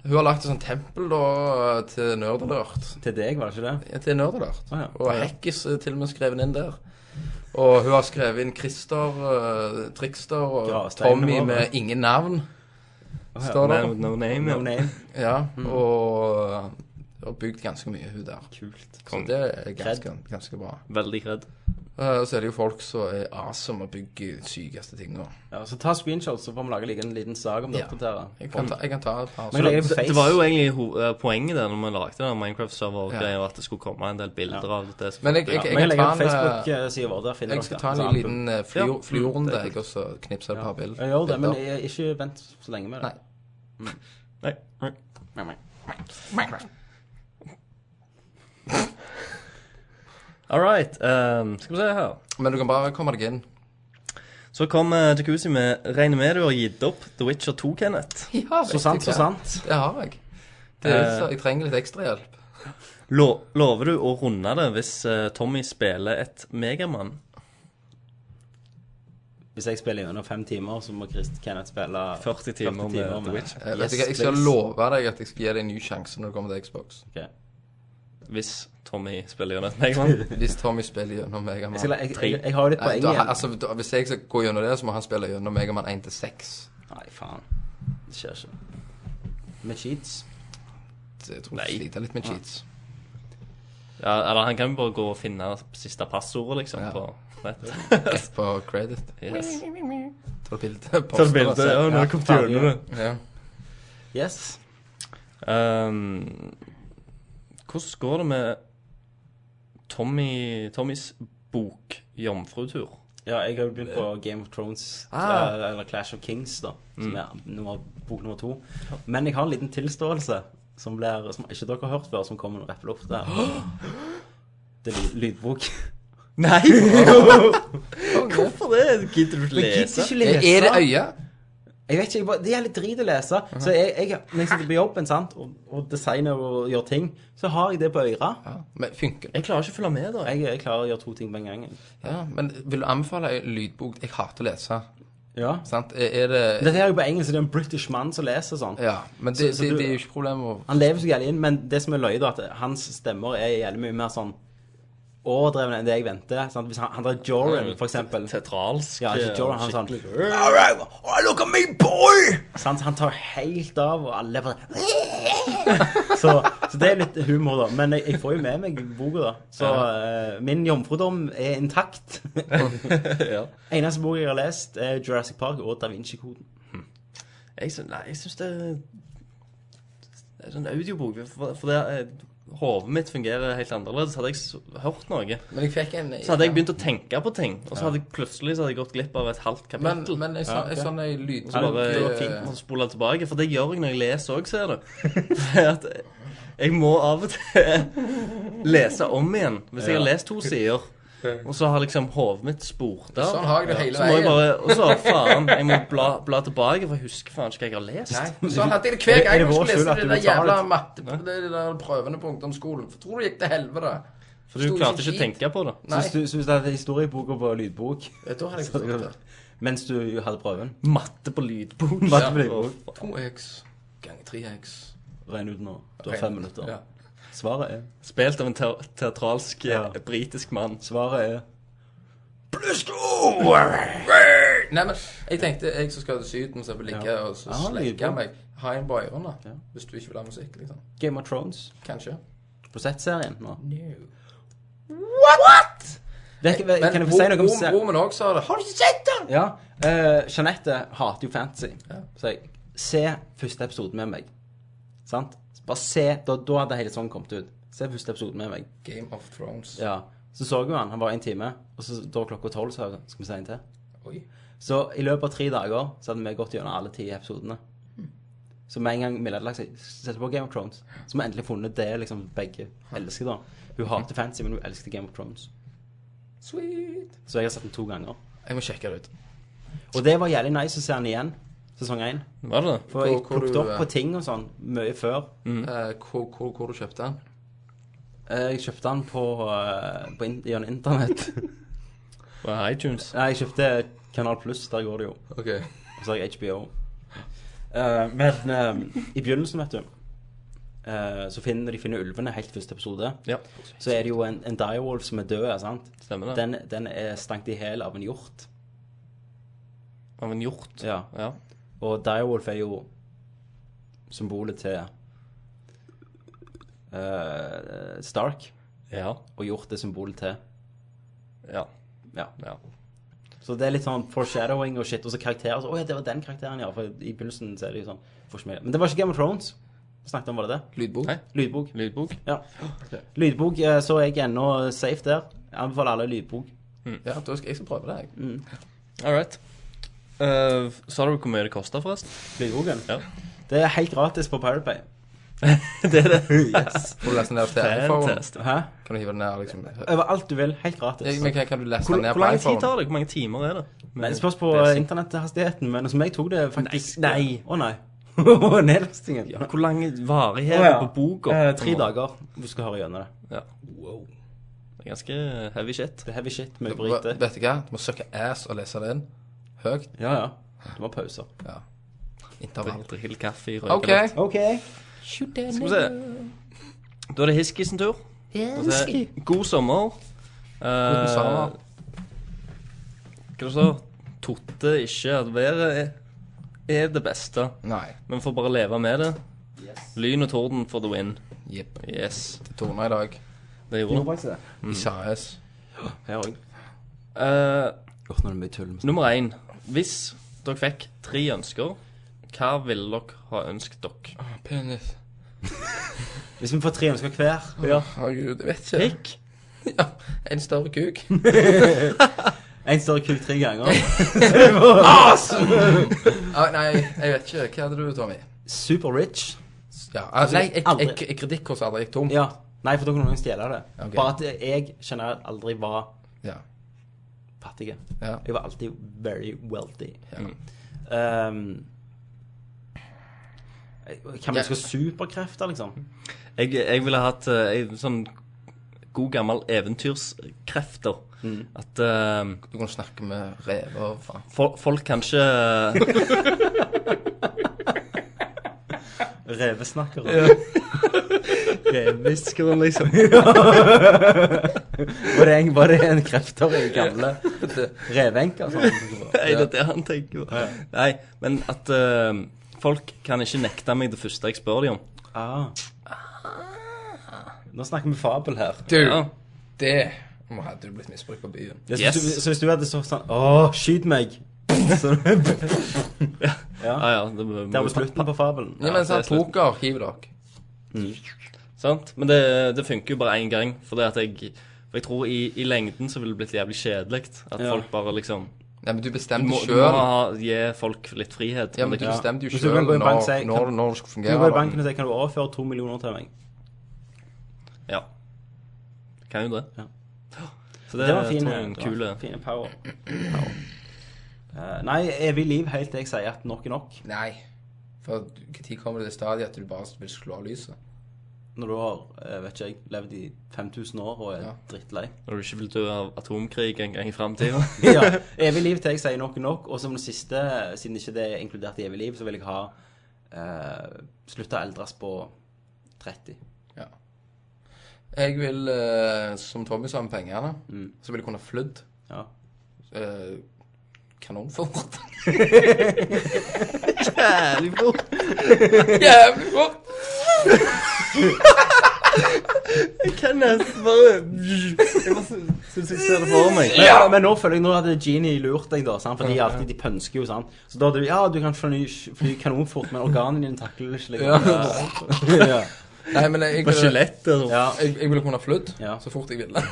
[SPEAKER 3] Hun har lagt et sånt tempel da eh, til Nerdalert.
[SPEAKER 1] Til deg, var det ikke det?
[SPEAKER 3] Ja, Til Nerdalert.
[SPEAKER 1] Ah, ja.
[SPEAKER 3] Og Hekkis er til og med skrevet inn der. Og hun har skrevet inn Christer, eh, Trickster og
[SPEAKER 1] Gravsteinene
[SPEAKER 3] Tommy
[SPEAKER 1] våre.
[SPEAKER 3] med ingen navn.
[SPEAKER 1] Å, ja. Mm.
[SPEAKER 3] Står det.
[SPEAKER 2] No, no name.
[SPEAKER 1] No
[SPEAKER 2] ja.
[SPEAKER 1] name.
[SPEAKER 3] Ja, og hun har bygd ganske mye, hun der.
[SPEAKER 1] Kult.
[SPEAKER 3] Så det er ganske, ganske bra.
[SPEAKER 2] Veldig redd.
[SPEAKER 3] Eh, så er det jo folk som er awesome og bygger de sykeste tinga.
[SPEAKER 1] Ja, så ta screenshots, så får vi lage like en liten sak om det.
[SPEAKER 3] Ja.
[SPEAKER 1] oppdatere.
[SPEAKER 3] Jeg, kan ta- jeg kan ta et par
[SPEAKER 1] Men det er
[SPEAKER 2] Det,
[SPEAKER 1] på
[SPEAKER 2] det
[SPEAKER 1] Face.
[SPEAKER 2] var jo egentlig ho eh, poenget der når vi lagde den Minecraft-server-greia,
[SPEAKER 3] Ja.
[SPEAKER 2] at det skulle komme en del bilder av det. som-
[SPEAKER 3] Men jeg- jeg-
[SPEAKER 2] ja.
[SPEAKER 1] Vi kan legge
[SPEAKER 3] ta
[SPEAKER 1] ut
[SPEAKER 3] en, eh,
[SPEAKER 1] Facebook-sida vår. Der finner
[SPEAKER 3] Jeg
[SPEAKER 1] dere
[SPEAKER 3] skal ta
[SPEAKER 1] Så album.
[SPEAKER 3] en liten eh, fly-
[SPEAKER 2] Ja.
[SPEAKER 3] flyrunde,
[SPEAKER 2] Mm, det er
[SPEAKER 3] jeg, og så knipser et par bild-
[SPEAKER 1] Jeg gjør det, men
[SPEAKER 3] bilder.
[SPEAKER 1] jeg, ikke vent så lenge med det.
[SPEAKER 3] Nei.
[SPEAKER 2] Nei. Nei.
[SPEAKER 1] Nei, nei.
[SPEAKER 2] All right. ehm, skal vi se her.
[SPEAKER 3] Men du kan bare komme deg inn.
[SPEAKER 2] Så kom eh, Jacuzzi med 'Regner med du har gitt opp The Witcher 2', Kenneth'.
[SPEAKER 3] Ja,
[SPEAKER 1] Så sant, så sant.
[SPEAKER 3] Det har jeg. Det er,
[SPEAKER 2] Eh.
[SPEAKER 3] så jeg trenger litt ekstrahjelp.
[SPEAKER 2] Lo lover du å runde det hvis eh, Tommy spiller et Megamann?
[SPEAKER 1] Hvis jeg spiller gjennom fem timer, så må Chris Kenneth spille
[SPEAKER 2] 40 timer med The Witcher.
[SPEAKER 3] Jeg, vet ikke, jeg skal
[SPEAKER 1] please.
[SPEAKER 3] love deg at jeg skal gi deg en ny sjanse når du kommer til Xbox.
[SPEAKER 1] Ok.
[SPEAKER 2] Hvis Tommy spiller gjennom et Megamann?
[SPEAKER 3] Hvis Tommy spiller gjennom Megaman.
[SPEAKER 1] Jeg, skal, jeg, jeg, jeg har jo litt poeng
[SPEAKER 3] da,
[SPEAKER 1] igjen.
[SPEAKER 3] altså, da, hvis jeg skal gå gjennom det, så må han spille gjennom Megaman 1 til 6.
[SPEAKER 1] Nei, faen. Det skjer ikke. Med cheats.
[SPEAKER 3] Så Jeg tror jeg sliter litt med cheats.
[SPEAKER 2] Ja, eller han kan jo bare gå og finne siste passordet, liksom,
[SPEAKER 3] Ja.
[SPEAKER 2] på nett.
[SPEAKER 3] Rett på credit.
[SPEAKER 2] Yes.
[SPEAKER 3] Ta bilde.
[SPEAKER 2] Ta et bilde. Ja, nå har jeg kommet
[SPEAKER 1] faen,
[SPEAKER 2] gjennom det.
[SPEAKER 3] Ja.
[SPEAKER 1] Yes.
[SPEAKER 2] Ehm, hvordan går det med Tommy, Tommys bok 'Jomfrutur'?
[SPEAKER 1] Ja, jeg har jo begynt på Game of Thrones,
[SPEAKER 3] Ah.
[SPEAKER 1] eh, eller Clash of Kings, da. Som er nummer, bok nummer to. Men jeg har en liten tilståelse som, blir, som ikke dere har hørt før, som kommer rett på lufta. Det er lyd- lydbok.
[SPEAKER 2] Nei!
[SPEAKER 3] Hvorfor?
[SPEAKER 2] Hvorfor det? Gidder du ikke
[SPEAKER 1] Men jeg
[SPEAKER 2] lese?
[SPEAKER 1] gidder ikke
[SPEAKER 3] Er
[SPEAKER 1] lese.
[SPEAKER 3] er det øye?
[SPEAKER 1] Jeg vet ikke, jeg bare, Det er litt drit å lese. Så jeg, jeg, når jeg sitter på jobben sant, og, og designer og gjør ting, så har jeg det på øra.
[SPEAKER 3] Ja. Men funker det?
[SPEAKER 2] Jeg klarer ikke å følge med, da.
[SPEAKER 1] Jeg, jeg klarer å gjøre to ting på en gang. jeg.
[SPEAKER 3] Ja, men vil du anbefale en lydbok? Jeg hater å lese.
[SPEAKER 1] Ja.
[SPEAKER 3] Sant? Er- Er det
[SPEAKER 1] Dette her er jo på engelsk, så det er en british mann som leser sånn.
[SPEAKER 3] Ja. Men det,
[SPEAKER 1] så
[SPEAKER 3] det,
[SPEAKER 1] du-
[SPEAKER 3] det er jo ikke problemet å
[SPEAKER 1] Han lever seg jævlig inn, men det som er løye, da, er at hans stemmer er jævlig mye mer sånn overdreven enn det jeg venter. Sant? Hvis han, han der Joran, for eksempel
[SPEAKER 2] Tetralsk.
[SPEAKER 1] Ja, ikke Joran, han er sånn
[SPEAKER 2] eh, skikkelig.
[SPEAKER 1] All right, well, look at me, boy! Sant? Han tar helt av, og alle bare så, så det er litt humor, da. Men jeg, jeg får jo med meg boka, da. Så eh, min jomfrudom er intakt.
[SPEAKER 2] ja.
[SPEAKER 1] Eneste bok jeg har lest, er Jurassic Park og Da Vinci-koden.
[SPEAKER 2] Jeg syns, nei, jeg syns det er Det er sånn audiobok. For, for det er- hodet mitt fungerer helt annerledes. Hadde jeg s- hørt noe,
[SPEAKER 3] Men jeg fikk en
[SPEAKER 2] så hadde jeg begynt å tenke på ting. Og så hadde jeg plutselig så hadde jeg gått glipp av et halvt
[SPEAKER 3] Men,
[SPEAKER 2] kapittel.
[SPEAKER 3] men jeg sa, jeg sa nei, lyd
[SPEAKER 2] Så bare
[SPEAKER 3] eh,
[SPEAKER 2] jeg fint å spole tilbake, for det gjør jeg når jeg leser òg, ser du. Det er at jeg må av og til lese om igjen. Hvis jeg har lest to sider, og så har liksom hodet mitt spurt av,
[SPEAKER 3] Sånn har jeg det hele
[SPEAKER 2] så må
[SPEAKER 3] veien.
[SPEAKER 2] jeg bare Og så, faen, jeg må bla, bla tilbake, for jeg husker faen ikke hva jeg har lest.
[SPEAKER 3] Nei, Sånn hadde jeg det hver
[SPEAKER 1] Er det- er
[SPEAKER 3] gang
[SPEAKER 1] det
[SPEAKER 3] jeg
[SPEAKER 1] vår
[SPEAKER 3] skulle
[SPEAKER 1] skyld
[SPEAKER 3] lese
[SPEAKER 1] at
[SPEAKER 3] de
[SPEAKER 1] du
[SPEAKER 3] der
[SPEAKER 1] betaler?
[SPEAKER 3] jævla matte, de der prøvene på ungdomsskolen. For tror du det gikk til helvete?
[SPEAKER 2] For du
[SPEAKER 3] Sto
[SPEAKER 2] klarte
[SPEAKER 3] som
[SPEAKER 2] ikke å
[SPEAKER 3] skit.
[SPEAKER 2] tenke på det.
[SPEAKER 3] Nei,
[SPEAKER 1] Syns du- syns du at historieboka var lydbok
[SPEAKER 3] da hadde jeg forstått det.
[SPEAKER 1] mens du hadde prøven?
[SPEAKER 2] Matte på lydbok.
[SPEAKER 1] Matte på lydbok.
[SPEAKER 2] Og-
[SPEAKER 3] 2x ganger 3x.
[SPEAKER 1] Regn ut nå. Du har fem minutter.
[SPEAKER 3] Ja.
[SPEAKER 1] Svaret er
[SPEAKER 2] Spilt av en te teatralsk eh,
[SPEAKER 1] Ja.
[SPEAKER 2] britisk mann.
[SPEAKER 1] Svaret er
[SPEAKER 3] Nei, men jeg tenkte jeg som skal til Syden, så jeg vil ligge
[SPEAKER 1] Ja.
[SPEAKER 3] og så
[SPEAKER 1] Jeg har
[SPEAKER 3] sleike
[SPEAKER 1] lydbok.
[SPEAKER 3] meg. Ha en på ørene
[SPEAKER 1] Ja.
[SPEAKER 3] hvis du ikke vil ha musikk, liksom.
[SPEAKER 1] Game of Thrones.
[SPEAKER 3] Kanskje.
[SPEAKER 1] Rosettserien nå.
[SPEAKER 3] No.
[SPEAKER 1] Det, er ikke-
[SPEAKER 3] Men
[SPEAKER 1] kan jeg få si noe om
[SPEAKER 3] Rom-
[SPEAKER 1] serien?
[SPEAKER 3] Romen òg sa det. Har du ikke sett den?
[SPEAKER 1] Ja. eh, Jeanette hater jo fantasy. Så jeg Se første episode med meg. Sant? Bare se. Da, da hadde hele sånn kommet ut. Se første episode med meg.
[SPEAKER 3] Game of Thrones.
[SPEAKER 1] Ja. Så så jo han. Han var en time. Og så da var klokka tolv, så jeg, skal vi si en til.
[SPEAKER 3] Oi.
[SPEAKER 1] Så i løpet av tre dager så hadde vi gått gjennom alle ti episodene. Så med en gang Milla hadde lagt seg, sette på Game of Thrones, så vi endelig funnet det liksom begge elsker, da. Hun hater fantasy, men hun elsket Game of Thrones.
[SPEAKER 3] Sweet.
[SPEAKER 1] Så jeg har sett den to ganger.
[SPEAKER 3] Jeg må sjekke det ut.
[SPEAKER 1] Og det var jævlig nice å se den igjen. sesong 1.
[SPEAKER 2] Var det det?
[SPEAKER 1] For jeg
[SPEAKER 3] Hvor- hvor
[SPEAKER 1] plukket
[SPEAKER 3] du,
[SPEAKER 1] opp
[SPEAKER 3] eh,
[SPEAKER 1] på ting og sånn mye før.
[SPEAKER 3] Eh, hvor, hvor, hvor du kjøpte den?
[SPEAKER 1] Eh, Jeg kjøpte den på, eh, på in gjennom internett.
[SPEAKER 2] På iTunes?
[SPEAKER 1] Nei, jeg kjøpte Kanal Pluss, der går det jo.
[SPEAKER 3] Ok.
[SPEAKER 1] Og så har jeg HBO. Eh, men eh, i begynnelsen, vet du, eh, så finner de finner ulvene helt første episode.
[SPEAKER 2] Ja,
[SPEAKER 1] Så er det jo en, en direwolf som er død, sant?
[SPEAKER 2] stemmer det.
[SPEAKER 1] Den, den er stankt i hæl av en hjort.
[SPEAKER 2] Av en hjort.
[SPEAKER 1] Ja.
[SPEAKER 2] Ja.
[SPEAKER 1] Og direwolf er jo symbolet til eh, Stark,
[SPEAKER 2] Ja.
[SPEAKER 1] og hjort er symbolet til
[SPEAKER 2] Ja.
[SPEAKER 1] Ja.
[SPEAKER 2] ja.
[SPEAKER 1] Så det er litt sånn foreshadowing og shit, og så karakterer. Så, Å ja, det var den karakteren, ja. For i begynnelsen så er det jo sånn får ikke med. Men det var ikke Game of Thrones. Snakket om, var det det?
[SPEAKER 3] Lydbok?
[SPEAKER 2] Nei.
[SPEAKER 1] Lydbok.
[SPEAKER 2] Lydbok?
[SPEAKER 1] Ja. Lydbok, eh, så er jeg ennå safe der. Jeg anbefaler alle lydbok.
[SPEAKER 3] Ja, da skal jeg skal prøve det. jeg.
[SPEAKER 2] Mm.
[SPEAKER 1] Mm.
[SPEAKER 2] All right. Eh, sa du hvor mye det kosta, forresten?
[SPEAKER 1] Lydboken?
[SPEAKER 2] Ja.
[SPEAKER 1] Det er helt gratis på Pirate Bay.
[SPEAKER 2] det er det.
[SPEAKER 1] Yes.
[SPEAKER 3] Får du lese den ned til iPhone?
[SPEAKER 2] Fantastisk.
[SPEAKER 1] Hæ?
[SPEAKER 3] Kan du hive den ned liksom?
[SPEAKER 1] Overalt du vil. Helt gratis.
[SPEAKER 3] Jeg, men, kan- kan du lese
[SPEAKER 2] Hvor,
[SPEAKER 3] den ned
[SPEAKER 2] hvor
[SPEAKER 3] på
[SPEAKER 2] lang tid
[SPEAKER 3] iPhone?
[SPEAKER 2] tar det? Hvor mange timer er det?
[SPEAKER 1] Nei, det spørs på
[SPEAKER 2] Det er så-
[SPEAKER 1] internetthastigheten, men som jeg tok det faktisk
[SPEAKER 2] Nei.
[SPEAKER 1] Å nei. Å, Nedlastingen.
[SPEAKER 2] Hvor lang varighet
[SPEAKER 1] Å, ja.
[SPEAKER 2] på boka?
[SPEAKER 1] Eh, tre dager. Du skal høre gjennom det.
[SPEAKER 2] Ja. Wow. Det er ganske heavy shit.
[SPEAKER 1] Det er heavy shit med
[SPEAKER 3] Vet
[SPEAKER 1] brite.
[SPEAKER 3] vet du hva? Du må søke ass og lese den høyt.
[SPEAKER 1] Ja, ja. Du må ha pauser.
[SPEAKER 3] Intervall.
[SPEAKER 2] Drill kaffe, røyke
[SPEAKER 3] OK.
[SPEAKER 2] litt.
[SPEAKER 1] OK.
[SPEAKER 2] Skal vi se. Da er det Hiskis sin tur. Skal vi se. God sommer. Eh,
[SPEAKER 3] Uten sommer.
[SPEAKER 2] Hva det står Totte ikke at været er, er det beste.
[SPEAKER 3] Nei.
[SPEAKER 2] Men får bare leve med det. Lyn og torden for the win.
[SPEAKER 3] Jepp.
[SPEAKER 2] Yes.
[SPEAKER 3] Det toner i dag.
[SPEAKER 2] Det gjorde han.
[SPEAKER 3] I SAS.
[SPEAKER 1] Her òg.
[SPEAKER 2] Eh,
[SPEAKER 1] Godt når det er mye tull.
[SPEAKER 2] nummer én. Hvis dere fikk tre ønsker, hva ville dere ha ønsket dere?
[SPEAKER 3] Ah, Penis.
[SPEAKER 1] Hvis vi får tre ønsker hver
[SPEAKER 3] Herregud, jeg vet ikke.
[SPEAKER 2] Pikk?
[SPEAKER 3] Ja, en større kuk.
[SPEAKER 1] En større kuk tre ganger.
[SPEAKER 3] Ah, nei, jeg vet ikke. Hva hadde du, Tommy?
[SPEAKER 1] Super rich.
[SPEAKER 3] Ja, altså, nei, jeg, jeg,
[SPEAKER 1] aldri.
[SPEAKER 3] jeg, kredittkortet aldri gikk tom.
[SPEAKER 1] Ja. Nei, for da kunne noen stjele det.
[SPEAKER 3] Ok.
[SPEAKER 1] Bare at jeg generelt aldri var
[SPEAKER 3] Ja.
[SPEAKER 1] fattig.
[SPEAKER 3] Ja.
[SPEAKER 1] Jeg var alltid very wealthy.
[SPEAKER 3] Ja.
[SPEAKER 2] Mm.
[SPEAKER 1] Um, kan man
[SPEAKER 3] Ja.
[SPEAKER 1] ønske superkrefter, liksom?
[SPEAKER 2] Jeg, jeg ville hatt eh, en sånn god gammel eventyrskrefter. At eh,
[SPEAKER 3] Du kunne snakke med rever og faen.
[SPEAKER 2] fol folk kanskje
[SPEAKER 1] Revesnakkere.
[SPEAKER 2] Reviskeren, liksom.
[SPEAKER 1] Var, det en, var det en krefter i gamle revenker? Sånn?
[SPEAKER 2] Nei, det er det han tenker på. Nei, men at eh, folk kan ikke nekte meg det første jeg spør dem om.
[SPEAKER 1] Ah. Nå snakker vi fabel her.
[SPEAKER 3] Du,
[SPEAKER 2] Ja.
[SPEAKER 3] det må hadde du blitt misbrukt på byen.
[SPEAKER 1] Det,
[SPEAKER 2] Yes.
[SPEAKER 1] så, hvis du, så hvis du hadde sagt sånn Å, skyt meg! Så, det
[SPEAKER 2] Ja, ja, det, må-
[SPEAKER 1] var slutten på fabelen.
[SPEAKER 3] Ja, men sånn
[SPEAKER 2] det er slutt.
[SPEAKER 3] poker, hiv dere.
[SPEAKER 2] Sant? Men det, det funker jo bare én gang. For det at jeg for jeg tror i, i lengden så ville det blitt jævlig kjedelig. At
[SPEAKER 1] Ja.
[SPEAKER 2] folk bare liksom
[SPEAKER 3] Nei, men du
[SPEAKER 2] Du
[SPEAKER 3] bestemte
[SPEAKER 2] må, du må
[SPEAKER 3] sjøl.
[SPEAKER 2] ha- gi folk litt frihet.
[SPEAKER 3] Ja, men
[SPEAKER 2] det-
[SPEAKER 3] du bestemte jo
[SPEAKER 1] Hvis du
[SPEAKER 3] sjøl
[SPEAKER 1] kan gå i
[SPEAKER 3] når,
[SPEAKER 1] en bank og si, kan-
[SPEAKER 3] når, når, det skulle
[SPEAKER 1] Du går i
[SPEAKER 3] fungere.
[SPEAKER 1] banken og sier Kan du overføre to millioner til meg?
[SPEAKER 2] Ja. Kan jo det.
[SPEAKER 1] Ja.
[SPEAKER 2] Så det,
[SPEAKER 1] Det var fin.
[SPEAKER 2] tror jeg er en
[SPEAKER 1] det var
[SPEAKER 2] kule
[SPEAKER 1] Fine power. power. Eh, nei, evig liv helt til jeg sier at nok er nok.
[SPEAKER 3] da. Nei. For når kommer det til stadiet at du bare vil slå av lyset?
[SPEAKER 1] Når du har eh, vet ikke jeg, levd i 5000 år og er
[SPEAKER 3] Ja.
[SPEAKER 1] drittlei.
[SPEAKER 2] Når du ikke vil dø av atomkrig en gang i framtida.
[SPEAKER 1] Ja, Evig liv til jeg sier nok er nok. Og som det siste, siden ikke det er inkludert i evig liv, så vil jeg ha uh, slutta å eldres på 30.
[SPEAKER 3] Jeg vil, eh, som Tommy sa med pengene,
[SPEAKER 2] Mm.
[SPEAKER 3] så vil jeg kunne flydd
[SPEAKER 1] Ja.
[SPEAKER 3] eh, kanonfort.
[SPEAKER 2] Jævlig fort!
[SPEAKER 3] Jævlig fort!
[SPEAKER 2] Jeg kan nesten bare Jeg bare syns jeg ser det for meg.
[SPEAKER 1] Men, men nå føler jeg nå hadde Genie lurt deg, da. Sant? For de er alltid de pønsker jo, sant. Så da hadde du Ja, du kan fly, fly kanonfort, men organene dine takler det ikke lenger. Ja. ja.
[SPEAKER 3] Nei, men jeg,
[SPEAKER 2] På
[SPEAKER 3] jeg,
[SPEAKER 2] skjelettet. Ja.
[SPEAKER 1] ja.
[SPEAKER 3] jeg, jeg ville kunne flydd
[SPEAKER 1] altså. Ja.
[SPEAKER 3] så fort jeg ville.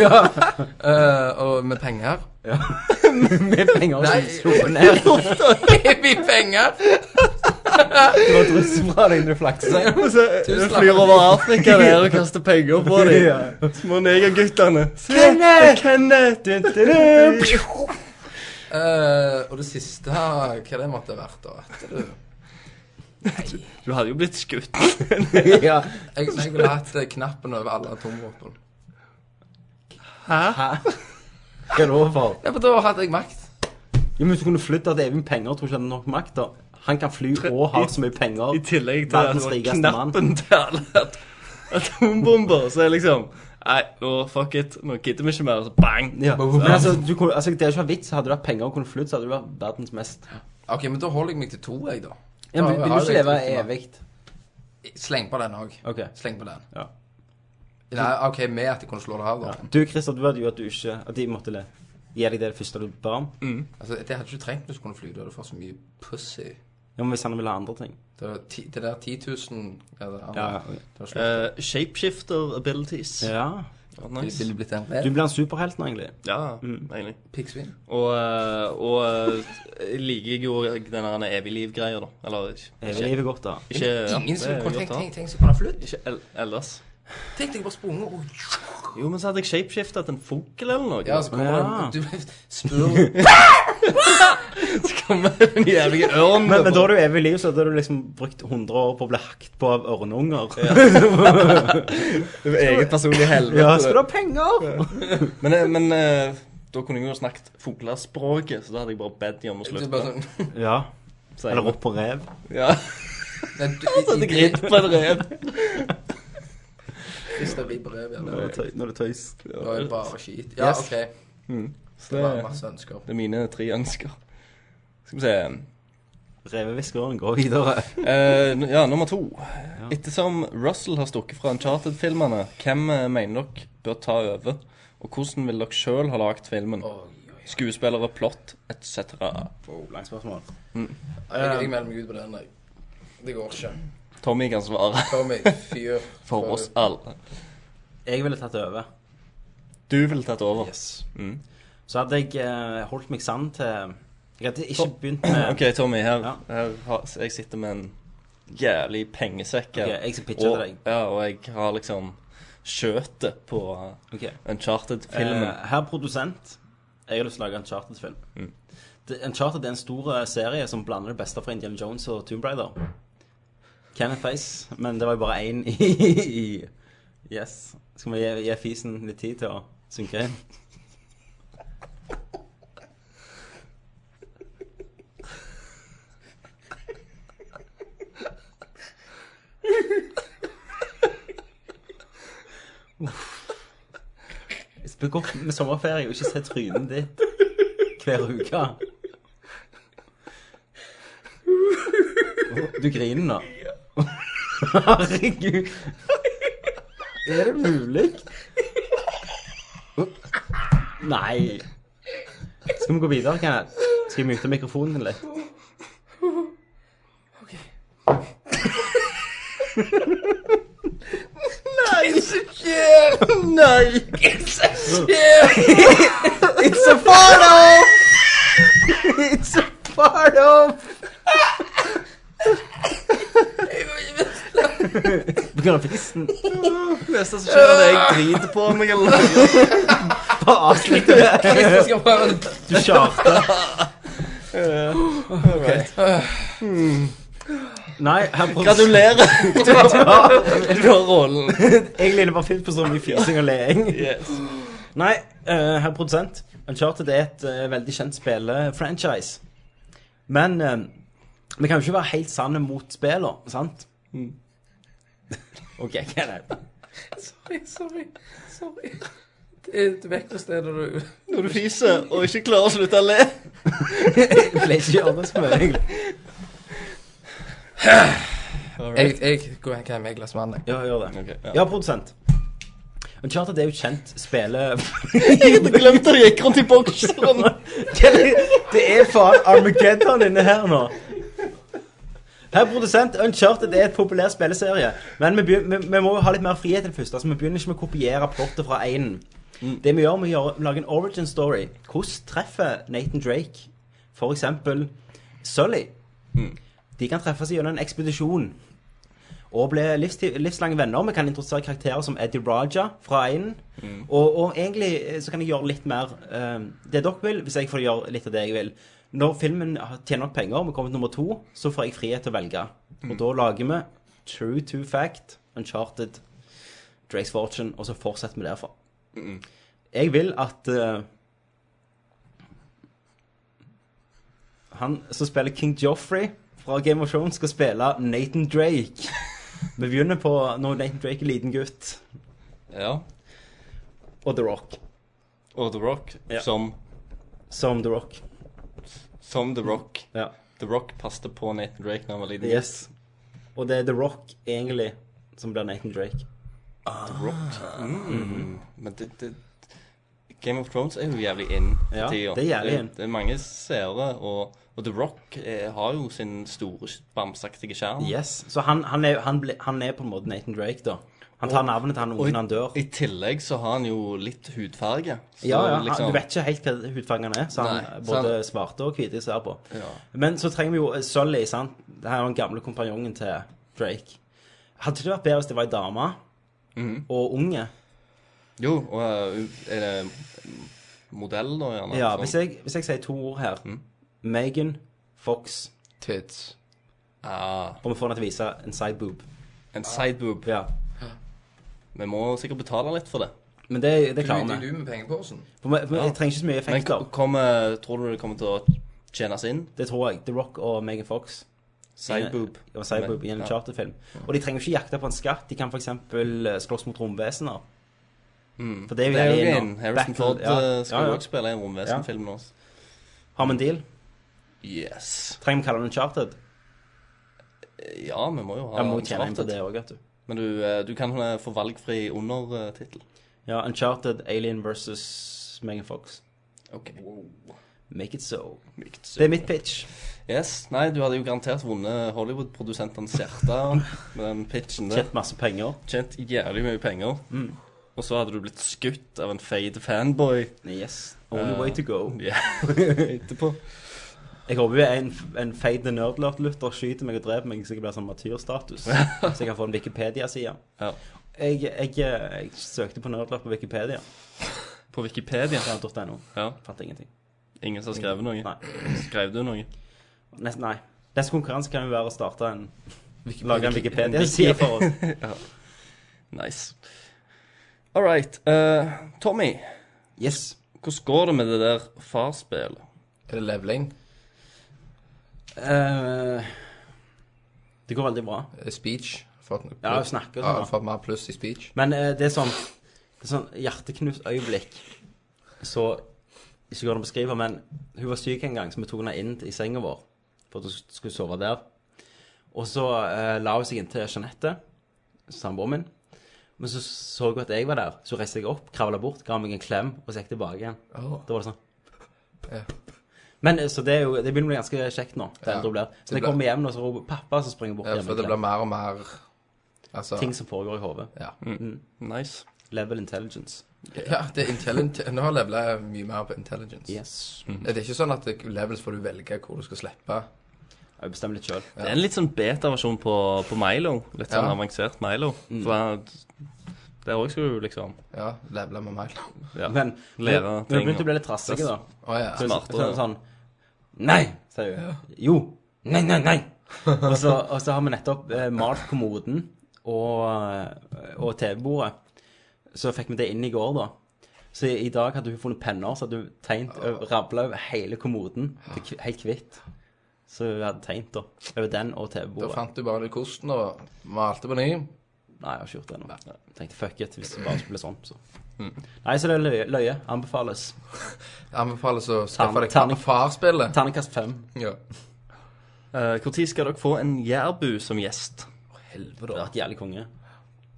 [SPEAKER 3] Eh, og med penger.
[SPEAKER 1] Med penger
[SPEAKER 3] Nei.
[SPEAKER 1] som slo ned.
[SPEAKER 3] Med penger!
[SPEAKER 1] Det var dryss fra deg når du flakser.
[SPEAKER 2] Du flyr over Afrika der og kaster penger på dem.
[SPEAKER 1] Ja.
[SPEAKER 2] Små negerguttene.
[SPEAKER 1] Kenneth! Kenneth!
[SPEAKER 3] Eh, og det siste Hva det måtte ha vært, da? Vet du?
[SPEAKER 2] Du hadde jo blitt skutt.
[SPEAKER 1] ja.
[SPEAKER 3] Jeg, jeg ville hatt eh, knappen over alle atomvåpen.
[SPEAKER 1] Hva er det overfor?
[SPEAKER 3] Ja, for da hadde jeg makt.
[SPEAKER 1] Jo, men Hvis du kunne flytte til Even penger, tror jeg ikke han hadde nok makt. da Han kan fly og har så mye penger.
[SPEAKER 2] I tillegg til at
[SPEAKER 1] Verdens
[SPEAKER 2] det var
[SPEAKER 1] rikeste mann.
[SPEAKER 2] knappen til alle at- atombomber. Så er liksom Nei, nå fuck it. Nå gidder vi ikke mer. Så bang.
[SPEAKER 1] Ja. Men altså, du kunne, altså, det er jo ikke en vits. Hadde du hatt penger og kunne flytte, så hadde du vært verdens mest
[SPEAKER 3] OK, men da holder jeg meg til to, jeg, da.
[SPEAKER 1] ja, men,
[SPEAKER 3] Da
[SPEAKER 1] Vil
[SPEAKER 3] har
[SPEAKER 1] du ikke
[SPEAKER 3] jeg
[SPEAKER 1] leve
[SPEAKER 3] to, da.
[SPEAKER 1] evig?
[SPEAKER 3] Sleng på den òg.
[SPEAKER 1] Ok.
[SPEAKER 3] Sleng på den.
[SPEAKER 1] Ja.
[SPEAKER 3] Nei, OK, med at jeg kunne slå det her, da.
[SPEAKER 1] Du, Christer, du hadde jo at du ikke At de måtte le. Gi deg det første du ba om.
[SPEAKER 3] Altså, Det hadde du ikke trengt hvis du kunne fly. Da hadde du fått så mye pussy.
[SPEAKER 1] Ja, men Hvis han ville ha andre ting.
[SPEAKER 3] Det, var ti, det der 10 000 ja, det, er-
[SPEAKER 1] Ja, ok.
[SPEAKER 3] det var slutt.
[SPEAKER 2] Eh, shapeshifter abilities.
[SPEAKER 1] Ja.
[SPEAKER 2] Oh,
[SPEAKER 3] Jeg
[SPEAKER 2] nice.
[SPEAKER 3] ville blitt en
[SPEAKER 1] Du
[SPEAKER 3] red
[SPEAKER 1] blir en superhelt nå, egentlig.
[SPEAKER 2] Ja,
[SPEAKER 1] Mm.
[SPEAKER 2] egentlig.
[SPEAKER 3] piggsvin.
[SPEAKER 2] Og, eh, og eh, jeg liker jo den der evig liv-greia, da. Eller ikke
[SPEAKER 1] Evig liv er godt, da.
[SPEAKER 2] ikke- ja,
[SPEAKER 3] Ingen som
[SPEAKER 2] det er
[SPEAKER 3] kunne
[SPEAKER 2] godt
[SPEAKER 3] tenkt
[SPEAKER 2] å ha.
[SPEAKER 3] tenkt- tenkt seg å kunne flytte.
[SPEAKER 2] Ikke el ellers.
[SPEAKER 3] Tenk deg bare sprunget og
[SPEAKER 2] Jo, men så hadde jeg shapeshifta til en fugl eller noe.
[SPEAKER 3] Ja, så kommer
[SPEAKER 1] Ja.
[SPEAKER 3] det Du ble spurt
[SPEAKER 2] Kom med den jævlige ørnen.
[SPEAKER 1] Men, men da er du evig liv, så da har du liksom brukt 100 år på å bli hakt på av ørnunger. Ja,
[SPEAKER 2] Eget personlig helvete.
[SPEAKER 1] skal du ha penger?
[SPEAKER 2] Men, eh, men eh, da kunne jeg jo snakket fuglespråket, så da hadde jeg bare bedt de om å
[SPEAKER 3] Du
[SPEAKER 2] slutte.
[SPEAKER 3] bare sånn
[SPEAKER 1] Ja.
[SPEAKER 2] Så jeg-
[SPEAKER 1] Eller opp på rev.
[SPEAKER 2] Ja,
[SPEAKER 3] Nei, du,
[SPEAKER 2] så
[SPEAKER 3] i,
[SPEAKER 2] hadde
[SPEAKER 3] i,
[SPEAKER 2] jeg ridd på en rev.
[SPEAKER 3] Hvis det blir brev, ja.
[SPEAKER 1] Nå
[SPEAKER 3] Det
[SPEAKER 1] er det tøy- nå er det tøys.
[SPEAKER 3] var jo bare skit. Ja,
[SPEAKER 2] Yes.
[SPEAKER 3] OK. Det var masse ønsker.
[SPEAKER 2] Det er mine tre ønsker. Skal vi se
[SPEAKER 1] Revehviskeren går videre.
[SPEAKER 2] Eh, n- ja, nummer to. Ettersom Russell har stukket fra Uncharted-filmene, hvem eh, mener dere bør ta over? Og hvordan vil dere sjøl ha lagd filmen? Skuespillere, plott etc.
[SPEAKER 1] Langt spørsmål.
[SPEAKER 3] Jeg, jeg melder meg ut på den. Jeg. Det går ikke.
[SPEAKER 2] Tommy kan svare
[SPEAKER 3] Tommy, fyr.
[SPEAKER 2] for oss alle.
[SPEAKER 1] Jeg ville tatt det over.
[SPEAKER 2] Du ville tatt over. Mm.
[SPEAKER 1] Så hadde jeg eh, holdt meg sann til Jeg hadde ikke begynt med
[SPEAKER 2] OK, Tommy. Her,
[SPEAKER 1] Ja.
[SPEAKER 2] her har, jeg sitter med en jævlig pengesekk. her.
[SPEAKER 1] Ok, jeg skal pitche til
[SPEAKER 2] og,
[SPEAKER 1] deg.
[SPEAKER 2] Ja, og jeg har liksom skjøtet på
[SPEAKER 1] Ok. Eh,
[SPEAKER 2] Uncharted-filmen.
[SPEAKER 1] herr produsent, jeg har lyst til å lage en Charted-film.
[SPEAKER 2] Mm.
[SPEAKER 1] Uncharted er en stor eh, serie som blander det beste fra Indiana Jones og Tomb Raider. Kenneth Face, men det var jo bare én i Yes. Skal vi gi, gi fisen litt tid til å synke inn? Jeg skal gå med sommerferie og ikke se trynet ditt hver uke. Du griner nå. Herregud. Er det mulig? Nei. Skal vi gå videre, Kenneth? Skal jeg mute mikrofonen din litt? It's a photo! It's a photo! På grunn av fissen.
[SPEAKER 2] Neste som skjer, er at jeg driter på meg eller noe.
[SPEAKER 1] Bare avslutt det.
[SPEAKER 3] Jeg skal prøve
[SPEAKER 1] Du kjørte. Nei, her prøver
[SPEAKER 2] Gratulerer! Du har, du har rollen.
[SPEAKER 1] Jeg ligner bare fint på så mye fising og leing.
[SPEAKER 2] Yes.
[SPEAKER 1] Nei, eh, herr produsent. Uncharted er et eh, veldig kjent spillefranchise. Men eh, vi kan jo ikke være helt sanne mot spillene, sant? OK, hva er det?
[SPEAKER 3] Sorry, sorry. Sorry. Det er et vekkerstedet du
[SPEAKER 2] Når du fiser og ikke klarer å slutte å le.
[SPEAKER 1] Jeg vil ikke gjøre det så mye, egentlig.
[SPEAKER 3] Jeg, jeg går hen hjem med et glass vann. jeg.
[SPEAKER 1] Ja, gjør det.
[SPEAKER 2] Ok, ja.
[SPEAKER 1] ja. produsent. Uncharted er jo et kjent spille...
[SPEAKER 2] Jeg hadde glemt at jeg gikk rundt i bokseren.
[SPEAKER 1] Det er faen Armageddon inne her nå. Herr produsent, Uncharted er et populær spilleserie. Men vi, begyn- vi, vi må jo ha litt mer frihet enn først. Altså, vi begynner ikke med å kopiere plottet fra einen. Det vi gjør, vi gjør, lager en origin story. Hvordan treffer Nathan Drake for eksempel Sully? De kan treffes gjennom en ekspedisjon. og ble livstid, livslange venner. Vi kan interessere karakterer som Eddie Raja fra én. Og, og egentlig eh, så kan jeg gjøre litt mer eh, det dere vil, hvis jeg får gjøre litt av det jeg vil. Når filmen har- tjener nok penger, og vi kommer til nummer to, så får jeg frihet til å velge. Og da lager vi True to Fact, Uncharted, Drake's Fortune, og så fortsetter vi derfra. Jeg vil at eh, Han som spiller King Joffrey fra Game of Thrones, skal spille Nathan Drake. Vi begynner på når Nathan Drake er liten gutt,
[SPEAKER 2] Ja.
[SPEAKER 1] og The Rock.
[SPEAKER 2] Og The Rock
[SPEAKER 1] Ja.
[SPEAKER 2] som,
[SPEAKER 1] Som The Rock.
[SPEAKER 2] som The Rock.
[SPEAKER 1] Ja.
[SPEAKER 2] The Rock passte på Nathan Drake da han var liten.
[SPEAKER 1] Yes. Og det er The Rock egentlig som blir Nathan Drake.
[SPEAKER 2] Men det, det, Game of Thrones er jo jævlig in for
[SPEAKER 1] Ja,
[SPEAKER 2] tida.
[SPEAKER 1] det er jævlig in.
[SPEAKER 2] Det, det er mange seere, og, og The Rock eh, har jo sin store, bamseaktige skjerm.
[SPEAKER 1] Yes. Så han, han, er, han, ble, han er på en måte Nathan Drake, da. Han tar navnet til han
[SPEAKER 2] Og i,
[SPEAKER 1] ungen han dør.
[SPEAKER 2] i tillegg så har han jo litt hudfarge. Så
[SPEAKER 1] Ja, ja.
[SPEAKER 2] liksom-
[SPEAKER 1] Han, du vet ikke helt hva hudfargen han er, så han
[SPEAKER 2] Nei,
[SPEAKER 1] er
[SPEAKER 2] så
[SPEAKER 1] både
[SPEAKER 2] han-
[SPEAKER 1] svarte og hvite ser på.
[SPEAKER 2] Ja.
[SPEAKER 1] Men så trenger vi jo eh, Sully, sant? Det her er jo den gamle kompanjongen til Drake. Hadde det vært bedre hvis det var ei dame
[SPEAKER 2] Mhm.
[SPEAKER 1] og unge?
[SPEAKER 2] Jo, og eh, er det modell da, gjerne?
[SPEAKER 1] Ja,
[SPEAKER 2] Sånn. Mm.
[SPEAKER 1] hvis jeg, hvis jeg sier to ord her Megan Fox,
[SPEAKER 3] Tids.
[SPEAKER 2] ah,
[SPEAKER 1] og vi får henne til å vise en side boob.
[SPEAKER 2] En sideboob.
[SPEAKER 1] Ja.
[SPEAKER 2] Vi må sikkert betale litt for det.
[SPEAKER 1] Men det, det
[SPEAKER 3] Du,
[SPEAKER 1] klarer
[SPEAKER 3] du,
[SPEAKER 1] vi.
[SPEAKER 3] du med pengeposen.
[SPEAKER 1] For vi, vi
[SPEAKER 2] Ja.
[SPEAKER 1] trenger ikke så mye
[SPEAKER 2] Men
[SPEAKER 1] effekter.
[SPEAKER 2] kommer, tror du det kommer til å tjenes inn?
[SPEAKER 1] Det tror jeg. The Rock og Megan Fox.
[SPEAKER 2] Sideboob.
[SPEAKER 1] Og Cyborg i en
[SPEAKER 2] Ja.
[SPEAKER 1] charterfilm. Og de trenger jo ikke jakte på en skatt. De kan f.eks. slåss mot romvesener. For det er jo
[SPEAKER 2] Mm. Det er jo
[SPEAKER 1] gjerne
[SPEAKER 2] en
[SPEAKER 1] innom- battle-
[SPEAKER 2] Harrison Ford eh, skal
[SPEAKER 1] ja,
[SPEAKER 2] jo
[SPEAKER 1] ja.
[SPEAKER 2] også spille i en romvesenfilm nå.
[SPEAKER 1] Har vi en deal?
[SPEAKER 2] Yes.
[SPEAKER 1] Trenger vi kalle den Uncharted?
[SPEAKER 2] Ja, vi må jo ha
[SPEAKER 1] Jeg må
[SPEAKER 2] en
[SPEAKER 1] tjene inn på
[SPEAKER 2] Uncharted.
[SPEAKER 1] det òg, vet du.
[SPEAKER 2] Men du, eh, du kan eh, få valgfri undertittel.
[SPEAKER 1] Ja, Uncharted, Alien versus Megan Fox.
[SPEAKER 2] Ok.
[SPEAKER 1] Make it so.
[SPEAKER 2] Mykt sykt.
[SPEAKER 1] Det er mitt pitch.
[SPEAKER 2] Yes, Nei, du hadde jo garantert vunnet Hollywood-produsentenes hjerte med den pitchen der.
[SPEAKER 1] Tjent masse penger.
[SPEAKER 2] Tjent jævlig mye penger. Og så hadde du blitt skutt av en fade fanboy
[SPEAKER 1] Yes. Only
[SPEAKER 2] Eh,
[SPEAKER 1] way to go.
[SPEAKER 2] ja, etterpå.
[SPEAKER 1] Jeg håper jo en, en feide nerdlurt-lutter skyter meg og dreper meg, så jeg blir sånn martyrstatus. Så jeg kan få en Wikipedia-side.
[SPEAKER 2] Ja.
[SPEAKER 1] Jeg, jeg, jeg søkte på nerdlurt på Wikipedia.
[SPEAKER 2] På Wikipedia.
[SPEAKER 1] Ja, .no.
[SPEAKER 2] Ja.
[SPEAKER 1] Fant ingenting.
[SPEAKER 2] Ingen som har skrevet noe?
[SPEAKER 1] Nei.
[SPEAKER 2] Skrev du noe?
[SPEAKER 1] Nesten, nei. Neste konkurranse kan jo være å starte en Lage en Wikipedia-side for oss.
[SPEAKER 2] Nice. All right. eh, Tommy,
[SPEAKER 1] Yes.
[SPEAKER 2] hvordan går det med det der farsspillet?
[SPEAKER 3] Er det leveling?
[SPEAKER 1] Eh, det går veldig bra.
[SPEAKER 3] Er det Eh, Speech? Fått noe
[SPEAKER 1] Ja,
[SPEAKER 3] pluss?
[SPEAKER 1] vi snakker
[SPEAKER 3] Ja,
[SPEAKER 1] sånn.
[SPEAKER 3] har
[SPEAKER 1] da.
[SPEAKER 3] fått mer pluss i speech.
[SPEAKER 1] Men eh, det er sånn, det er sånn hjerteknust øyeblikk. Så ikke går det an å beskrive, men hun var syk en gang, så vi tok henne inn i senga vår for at hun skulle sove der. Og så eh, la hun seg inntil Jeanette, samboeren min. Men så så hun at jeg var der, så reiste jeg opp, kravla bort, ga meg en klem, og så gikk tilbake igjen.
[SPEAKER 3] Oh.
[SPEAKER 1] Da var det sånn.
[SPEAKER 3] Ja.
[SPEAKER 1] Men eh, så det, er jo, det begynner å bli ganske kjekt nå. Det
[SPEAKER 3] Ja.
[SPEAKER 1] eldre hun blir. Så når
[SPEAKER 3] Det
[SPEAKER 1] jeg
[SPEAKER 3] blir-
[SPEAKER 1] kommer hjem, nå, så roper pappa, så springer jeg bort
[SPEAKER 3] Ja,
[SPEAKER 1] hjem
[SPEAKER 3] for
[SPEAKER 1] og
[SPEAKER 3] det blir
[SPEAKER 1] klemmer.
[SPEAKER 3] mer og mer Altså
[SPEAKER 1] Ting Mm. som foregår i hodet.
[SPEAKER 3] Ja.
[SPEAKER 2] Nice.
[SPEAKER 1] Level intelligence.
[SPEAKER 3] ja det er intelligent Nå har levelet mye mer på intelligence.
[SPEAKER 1] Yes.
[SPEAKER 3] Er det ikke sånn at det- levels får du velge hvor du skal slippe?
[SPEAKER 1] Jeg bestemmer litt sjøl.
[SPEAKER 2] Det er en litt sånn beta-versjon på, på Milo. Litt sånn
[SPEAKER 3] Ja.
[SPEAKER 2] avansert Milo. For han- der òg skal du liksom
[SPEAKER 3] Ja, levele med meg.
[SPEAKER 2] ja.
[SPEAKER 1] Men
[SPEAKER 2] Lære
[SPEAKER 1] når
[SPEAKER 2] ting
[SPEAKER 1] når hun begynte
[SPEAKER 2] og-
[SPEAKER 1] å bli litt trassig, da
[SPEAKER 3] Å ja.
[SPEAKER 1] så
[SPEAKER 2] Smartere.
[SPEAKER 1] så er det sånn Nei, sier hun. Jo. Nei, nei, nei. og, så, og så har vi nettopp eh, malt kommoden og, eh, og TV-bordet. Så fikk vi det inn i går, da. Så i, i dag hadde hun funnet penner, så hadde hun tegnet og rabla over hele kommoden. til kv- Helt hvitt. Så hun hadde tegnet da, over den og
[SPEAKER 3] Da
[SPEAKER 1] TV-bordet.
[SPEAKER 3] fant du bare ut kosten og malte på ny.
[SPEAKER 1] Nei, jeg har ikke gjort det ennå. Tenkte fuck it, hvis det bare skulle bli sånn. Så.
[SPEAKER 3] Mm.
[SPEAKER 1] Nei, så det er løye. løye. Anbefales.
[SPEAKER 3] Anbefales å skaffe deg
[SPEAKER 1] Terning.
[SPEAKER 3] farspillet.
[SPEAKER 1] Terningkast fem.
[SPEAKER 3] Ja.
[SPEAKER 2] Eh, Hvor tid skal dere få en jærbu som gjest?
[SPEAKER 1] Det har vært jævlig konge.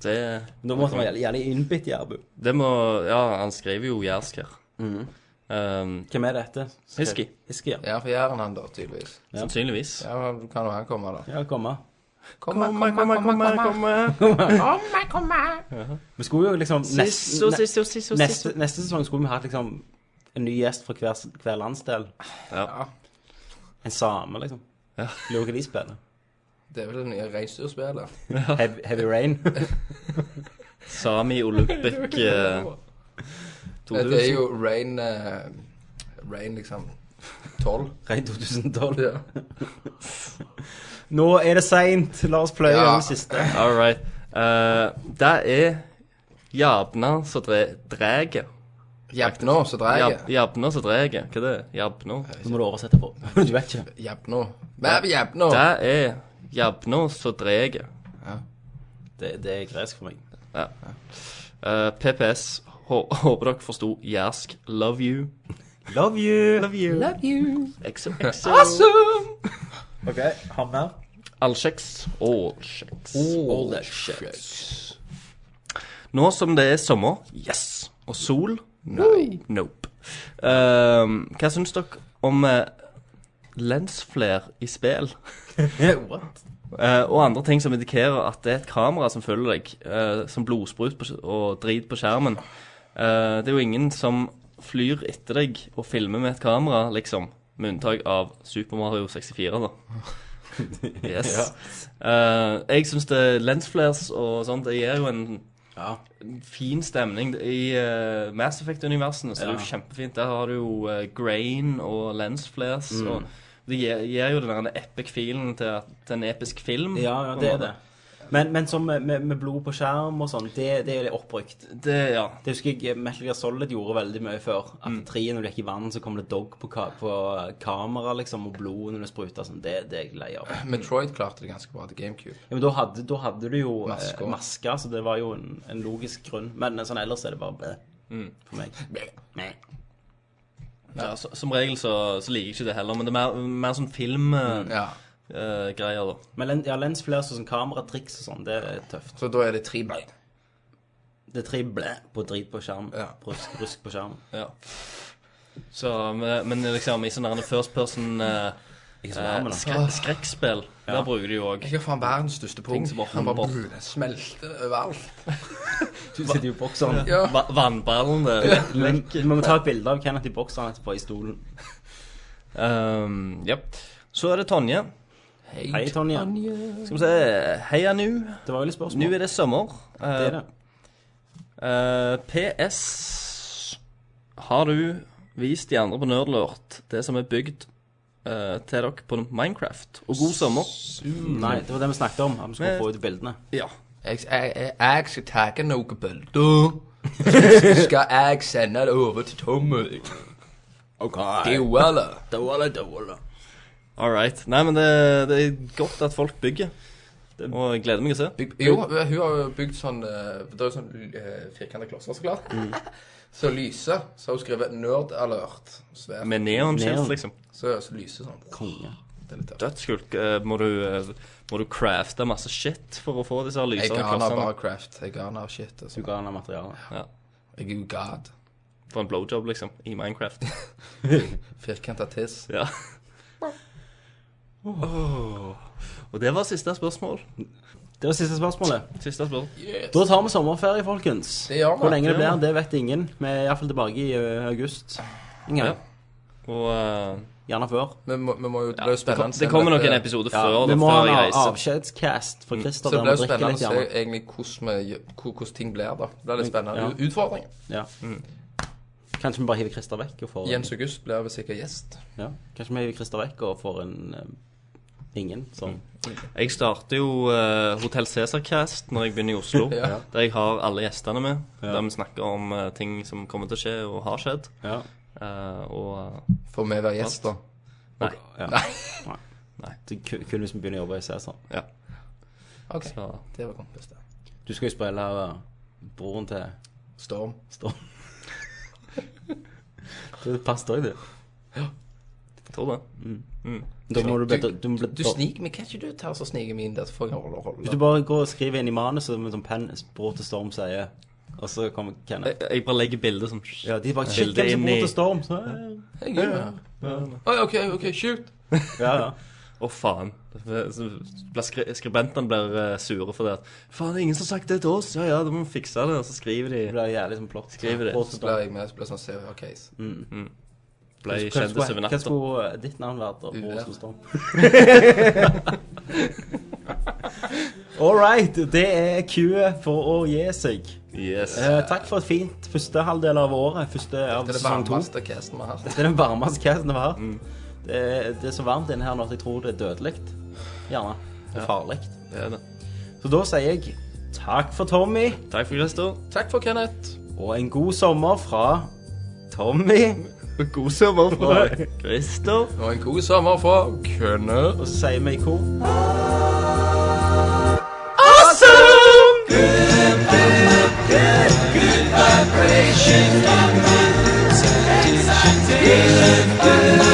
[SPEAKER 2] Det,
[SPEAKER 1] Men da måtte man gjerne innbitt jærbu.
[SPEAKER 2] det må Ja, han skriver jo jærsk her.
[SPEAKER 3] Mm.
[SPEAKER 2] Um,
[SPEAKER 1] Hvem er dette?
[SPEAKER 2] Hiski.
[SPEAKER 1] Hiski, ja.
[SPEAKER 3] ja, for Jæren han, da, tydeligvis.
[SPEAKER 2] Sannsynligvis.
[SPEAKER 3] Ja, men kan jo han komme, da.
[SPEAKER 1] Ja, komme.
[SPEAKER 3] Kom, kom, kom, kom, kom,
[SPEAKER 1] Vi skulle jo liksom
[SPEAKER 2] Sisso,
[SPEAKER 1] neste, ne-
[SPEAKER 2] sisso, sisso, sisso.
[SPEAKER 1] neste, neste sesong skulle vi hatt liksom en ny gjest fra hver, hver landsdel.
[SPEAKER 2] Ja.
[SPEAKER 1] En same, liksom.
[SPEAKER 2] Ja.
[SPEAKER 1] Lurer hva de spiller.
[SPEAKER 3] Det er vel det nye reinsdyrspillet.
[SPEAKER 1] Heavy, heavy Rain.
[SPEAKER 2] Sami Olympic eh,
[SPEAKER 3] Det er
[SPEAKER 2] 2000.
[SPEAKER 3] jo Rain eh, Rain, liksom. 12.
[SPEAKER 1] Rain 2012.
[SPEAKER 3] Ja.
[SPEAKER 1] Nå er det seint. La oss pløye
[SPEAKER 3] Ja.
[SPEAKER 1] gjennom siste.
[SPEAKER 2] All right. Eh, det er jabna som dre- dreger.
[SPEAKER 3] Jabno, så drar
[SPEAKER 2] Jab,
[SPEAKER 3] jeg.
[SPEAKER 2] jabna som dreger. Hva er det? Jabna?
[SPEAKER 1] Så må du oversette på. Du vet ikke.
[SPEAKER 3] Jabno. Mæv jabno.
[SPEAKER 2] Det er jabna som dreger.
[SPEAKER 1] Det, det er gresk for meg.
[SPEAKER 2] Eh, PPS. Hå- Håper dere forsto jærsk. Love you.
[SPEAKER 1] Love you. Love you.
[SPEAKER 2] XOXO.
[SPEAKER 1] OK, han mer.
[SPEAKER 2] Allsjeks. Allsjeks.
[SPEAKER 3] Shucks.
[SPEAKER 2] Nå som det er sommer, yes, og sol, nei, nope. Ehm, hva syns dere om eh, lensflare i spill?
[SPEAKER 1] What?
[SPEAKER 2] Eh, og andre ting som indikerer at det er et kamera som følger deg, eh, som blodsprut på, sk- og drit på skjermen. Eh, det er jo ingen som flyr etter deg og filmer med et kamera, liksom. Med unntak av Super Mario 64, da. Yes. Eh, jeg syns lensflares og sånt det gir jo en
[SPEAKER 1] Ja.
[SPEAKER 2] fin stemning. I eh, Mass Effect-universene så er det jo kjempefint. Der har du jo eh, grain og lensflares. Og det gir, gir jo den der epic feelen til, at- til en episk film.
[SPEAKER 1] Ja, ja,
[SPEAKER 2] på en
[SPEAKER 1] det er
[SPEAKER 2] måte.
[SPEAKER 1] det. Men, men som med, med blod på skjerm og sånn, det, det er litt oppbrukt.
[SPEAKER 2] det. Ja.
[SPEAKER 1] Det husker jeg eh, Metal Gear Solid gjorde veldig mye før. At i tre når du gikk i vann, så kom det dog på, ka på kamera, liksom, og blod når du spruta sånn. Det, det er jeg lei av.
[SPEAKER 3] Metroid klarte det ganske bra til GameCube.
[SPEAKER 1] Ja, men da hadde, da hadde du jo
[SPEAKER 3] Masker.
[SPEAKER 1] masker, masker så det var jo en, en logisk grunn. Men sånn ellers er det bare bæ for meg. Meh.
[SPEAKER 2] Ja, så, som regel så, så liker jeg ikke det heller, men det er mer, mer sånn filmgreier,
[SPEAKER 3] Ja.
[SPEAKER 2] eh, da.
[SPEAKER 1] Men len, ja, lensflares og sånn kameratriks og sånn, det er tøft.
[SPEAKER 3] Så da er det tre bein.
[SPEAKER 1] Det er tre blæ på drit på skjerm.
[SPEAKER 3] Ja.
[SPEAKER 1] Rusk, rusk på skjerm.
[SPEAKER 2] Ja. Så, men, men liksom i sånne her first person eh,
[SPEAKER 1] Ikke så
[SPEAKER 2] eh,
[SPEAKER 1] varm, da.
[SPEAKER 2] skre, skrekkspill, der bruker du jo òg
[SPEAKER 3] Jeg har faen verdens største pung.
[SPEAKER 2] som bare
[SPEAKER 3] Han bare
[SPEAKER 2] håndball.
[SPEAKER 3] brr, den smelter overalt.
[SPEAKER 1] Du sitter jo i bokseren.
[SPEAKER 3] Ja.
[SPEAKER 2] va vannballene.
[SPEAKER 1] Men Vi må ta et bilde av Kenneth i bokseren etterpå, i stolen.
[SPEAKER 2] Um, ja. Så er det Tonje.
[SPEAKER 1] Hei, Tonje.
[SPEAKER 2] Skal vi se Heia nu.
[SPEAKER 1] Det var jo litt spørsmål.
[SPEAKER 2] Nu er det sommer. Eh,
[SPEAKER 1] det er det.
[SPEAKER 2] Eh, PS Har du vist de andre på Nerdlort det som er bygd eh, til dere på Minecraft? Og god sommer.
[SPEAKER 1] Mm, Nei, det var det vi snakket om. At vi skulle
[SPEAKER 2] Men-
[SPEAKER 1] få ut bildene.
[SPEAKER 2] Ja.
[SPEAKER 3] Jeg, jeg, jeg, jeg skal tagge noen bilder. Så skal jeg sende det over til Tommy.
[SPEAKER 1] OK.
[SPEAKER 3] Det er jo alle.
[SPEAKER 1] Dåle, dåle.
[SPEAKER 2] All right. Nei, men det, det er godt at folk bygger. Og jeg gleder meg å se.
[SPEAKER 3] Bygg- Jo, hun har jo bygd sånn eh, Det er jo sånn uh, firkanta klosser, så klart.
[SPEAKER 2] Mm.
[SPEAKER 3] Så lyser. Så har hun skrevet 'nerd alert'. Svært.
[SPEAKER 2] Med neonskilt,
[SPEAKER 1] Neon.
[SPEAKER 2] liksom.
[SPEAKER 3] Så, så lyser sånn.
[SPEAKER 1] Konge.
[SPEAKER 3] Det er litt tøft.
[SPEAKER 2] Dødskult. Eh, må, du, eh, må du crafte masse shit for å få disse her
[SPEAKER 3] Jeg
[SPEAKER 2] lysende
[SPEAKER 3] garner
[SPEAKER 2] klossene?
[SPEAKER 3] bare craft. Jeg garner shit. Altså.
[SPEAKER 1] Du ga henne materialet.
[SPEAKER 2] Ja.
[SPEAKER 3] Jeg er jo god.
[SPEAKER 2] For en blowjob, liksom. I Minecraft.
[SPEAKER 3] Firkanta tiss.
[SPEAKER 2] Ja. Åh. Og det var siste spørsmål.
[SPEAKER 1] Det var siste spørsmålet.
[SPEAKER 2] Siste spørsmål.
[SPEAKER 1] Da tar vi sommerferie, folkens.
[SPEAKER 3] Det gjør vi.
[SPEAKER 1] Hvor lenge det
[SPEAKER 2] Det
[SPEAKER 1] blir,
[SPEAKER 2] gjør
[SPEAKER 1] det vet ingen. Vi er iallfall tilbake i ø, august. Ingen.
[SPEAKER 2] Ja. Og eh,
[SPEAKER 1] Gjerne før.
[SPEAKER 3] Vi må, vi må jo Det blir jo
[SPEAKER 2] det, kom,
[SPEAKER 3] spennende.
[SPEAKER 2] det kommer nok en
[SPEAKER 3] dette- Mm.
[SPEAKER 2] episode
[SPEAKER 1] Ja,
[SPEAKER 2] før,
[SPEAKER 1] vi
[SPEAKER 2] da,
[SPEAKER 1] må ha
[SPEAKER 2] før jeg
[SPEAKER 1] en
[SPEAKER 2] reiser.
[SPEAKER 1] avskjedscast for Christer
[SPEAKER 3] Så
[SPEAKER 1] der
[SPEAKER 3] det blir
[SPEAKER 1] vi
[SPEAKER 3] jo
[SPEAKER 1] drikker
[SPEAKER 3] spennende å
[SPEAKER 1] litt.
[SPEAKER 3] se
[SPEAKER 1] Gjerne.
[SPEAKER 3] egentlig hvordan, vi, gjør- hvor- hvordan ting blir da. Det blir litt spennende.
[SPEAKER 1] Ja.
[SPEAKER 3] Utfordring.
[SPEAKER 1] Ja. Kanskje vi bare hiver Christer vekk og får
[SPEAKER 3] Mm. Jens August blir vel sikkert gjest.
[SPEAKER 1] ja. Kanskje vi hiver Christer vekk og får en ø, ingen sånn.
[SPEAKER 3] Mm.
[SPEAKER 2] Jeg starter jo uh, Hotell Cæsar-cast når jeg begynner i Oslo.
[SPEAKER 1] Oh,
[SPEAKER 3] Ja.
[SPEAKER 2] Der jeg har alle gjestene med. Der vi snakker om eh, ting som kommer til å skje, og har skjedd.
[SPEAKER 1] Ja.
[SPEAKER 2] Eh, og
[SPEAKER 3] Får vi være gjest, da?
[SPEAKER 2] Nei.
[SPEAKER 1] Ja.
[SPEAKER 3] Nei.
[SPEAKER 1] Det er ku- kun hvis vi begynner å jobbe i Cæsar.
[SPEAKER 2] Ja.
[SPEAKER 3] OK.
[SPEAKER 2] Så
[SPEAKER 3] Det var kompis, det.
[SPEAKER 1] Du skal jo spille ø, broren til
[SPEAKER 3] Storm.
[SPEAKER 1] Storm. det passer òg, du.
[SPEAKER 2] jeg tror det.
[SPEAKER 1] Da må du bli, du, må bli
[SPEAKER 3] Du sniker meg. Kan ikke du ta så snike meg inn der, så får jeg holde rolle?
[SPEAKER 1] Hvis du bare går og skriver inn i manuset med sånn penn Bror til Storm sier Og så kommer
[SPEAKER 2] Jeg,
[SPEAKER 1] Kenneth.
[SPEAKER 2] jeg bare legger bildet som
[SPEAKER 1] Ja, de bare
[SPEAKER 2] Bildet
[SPEAKER 1] Shit, hvem som
[SPEAKER 2] Eh, inn
[SPEAKER 1] Bror
[SPEAKER 2] i-
[SPEAKER 1] til Storm? Så, ja, ja.
[SPEAKER 3] Jeg er med. Oi, OK, OK, shoot.
[SPEAKER 1] ja, ja.
[SPEAKER 2] Å, faen. Så blir skri skribentene blir eh, sure for det. at, Faen, det er ingen som har sagt det til oss. Ja, ja, da må vi fikse det. Og så skriver de
[SPEAKER 1] Det blir jævlig sånn plott.
[SPEAKER 2] Skriver det.
[SPEAKER 1] Bror til
[SPEAKER 3] Så blir
[SPEAKER 1] Storm.
[SPEAKER 3] jeg med. Så blir det sånn seriøs case.
[SPEAKER 1] Mm.
[SPEAKER 2] ble
[SPEAKER 1] Hva
[SPEAKER 2] kjendis
[SPEAKER 1] skulle,
[SPEAKER 2] over
[SPEAKER 1] hva
[SPEAKER 2] natta.
[SPEAKER 1] skulle ditt navn vært da? Bror
[SPEAKER 3] Uvær.
[SPEAKER 1] til Storm. All right, det er queuet for å gi seg.
[SPEAKER 2] Yes.
[SPEAKER 1] Eh, takk for et fint første halvdel av året. Første av
[SPEAKER 3] Det er det
[SPEAKER 1] sesong to.
[SPEAKER 3] varmeste Mm. casten vi har hatt.
[SPEAKER 1] Det er den varmeste casten jeg har hatt. Det, er- det er så varmt inne her nå at jeg tror det er dødelig. Gjerne. Og farlig.
[SPEAKER 2] Det er det.
[SPEAKER 1] Så da sier jeg takk for Tommy,
[SPEAKER 2] Takk for Christer.
[SPEAKER 3] Takk for Kenneth.
[SPEAKER 1] og en god sommer fra Tommy.
[SPEAKER 2] God sommer fra Christer.
[SPEAKER 3] Og en god sommer fra Kenneth.
[SPEAKER 1] Og så sier vi i kor
[SPEAKER 8] Good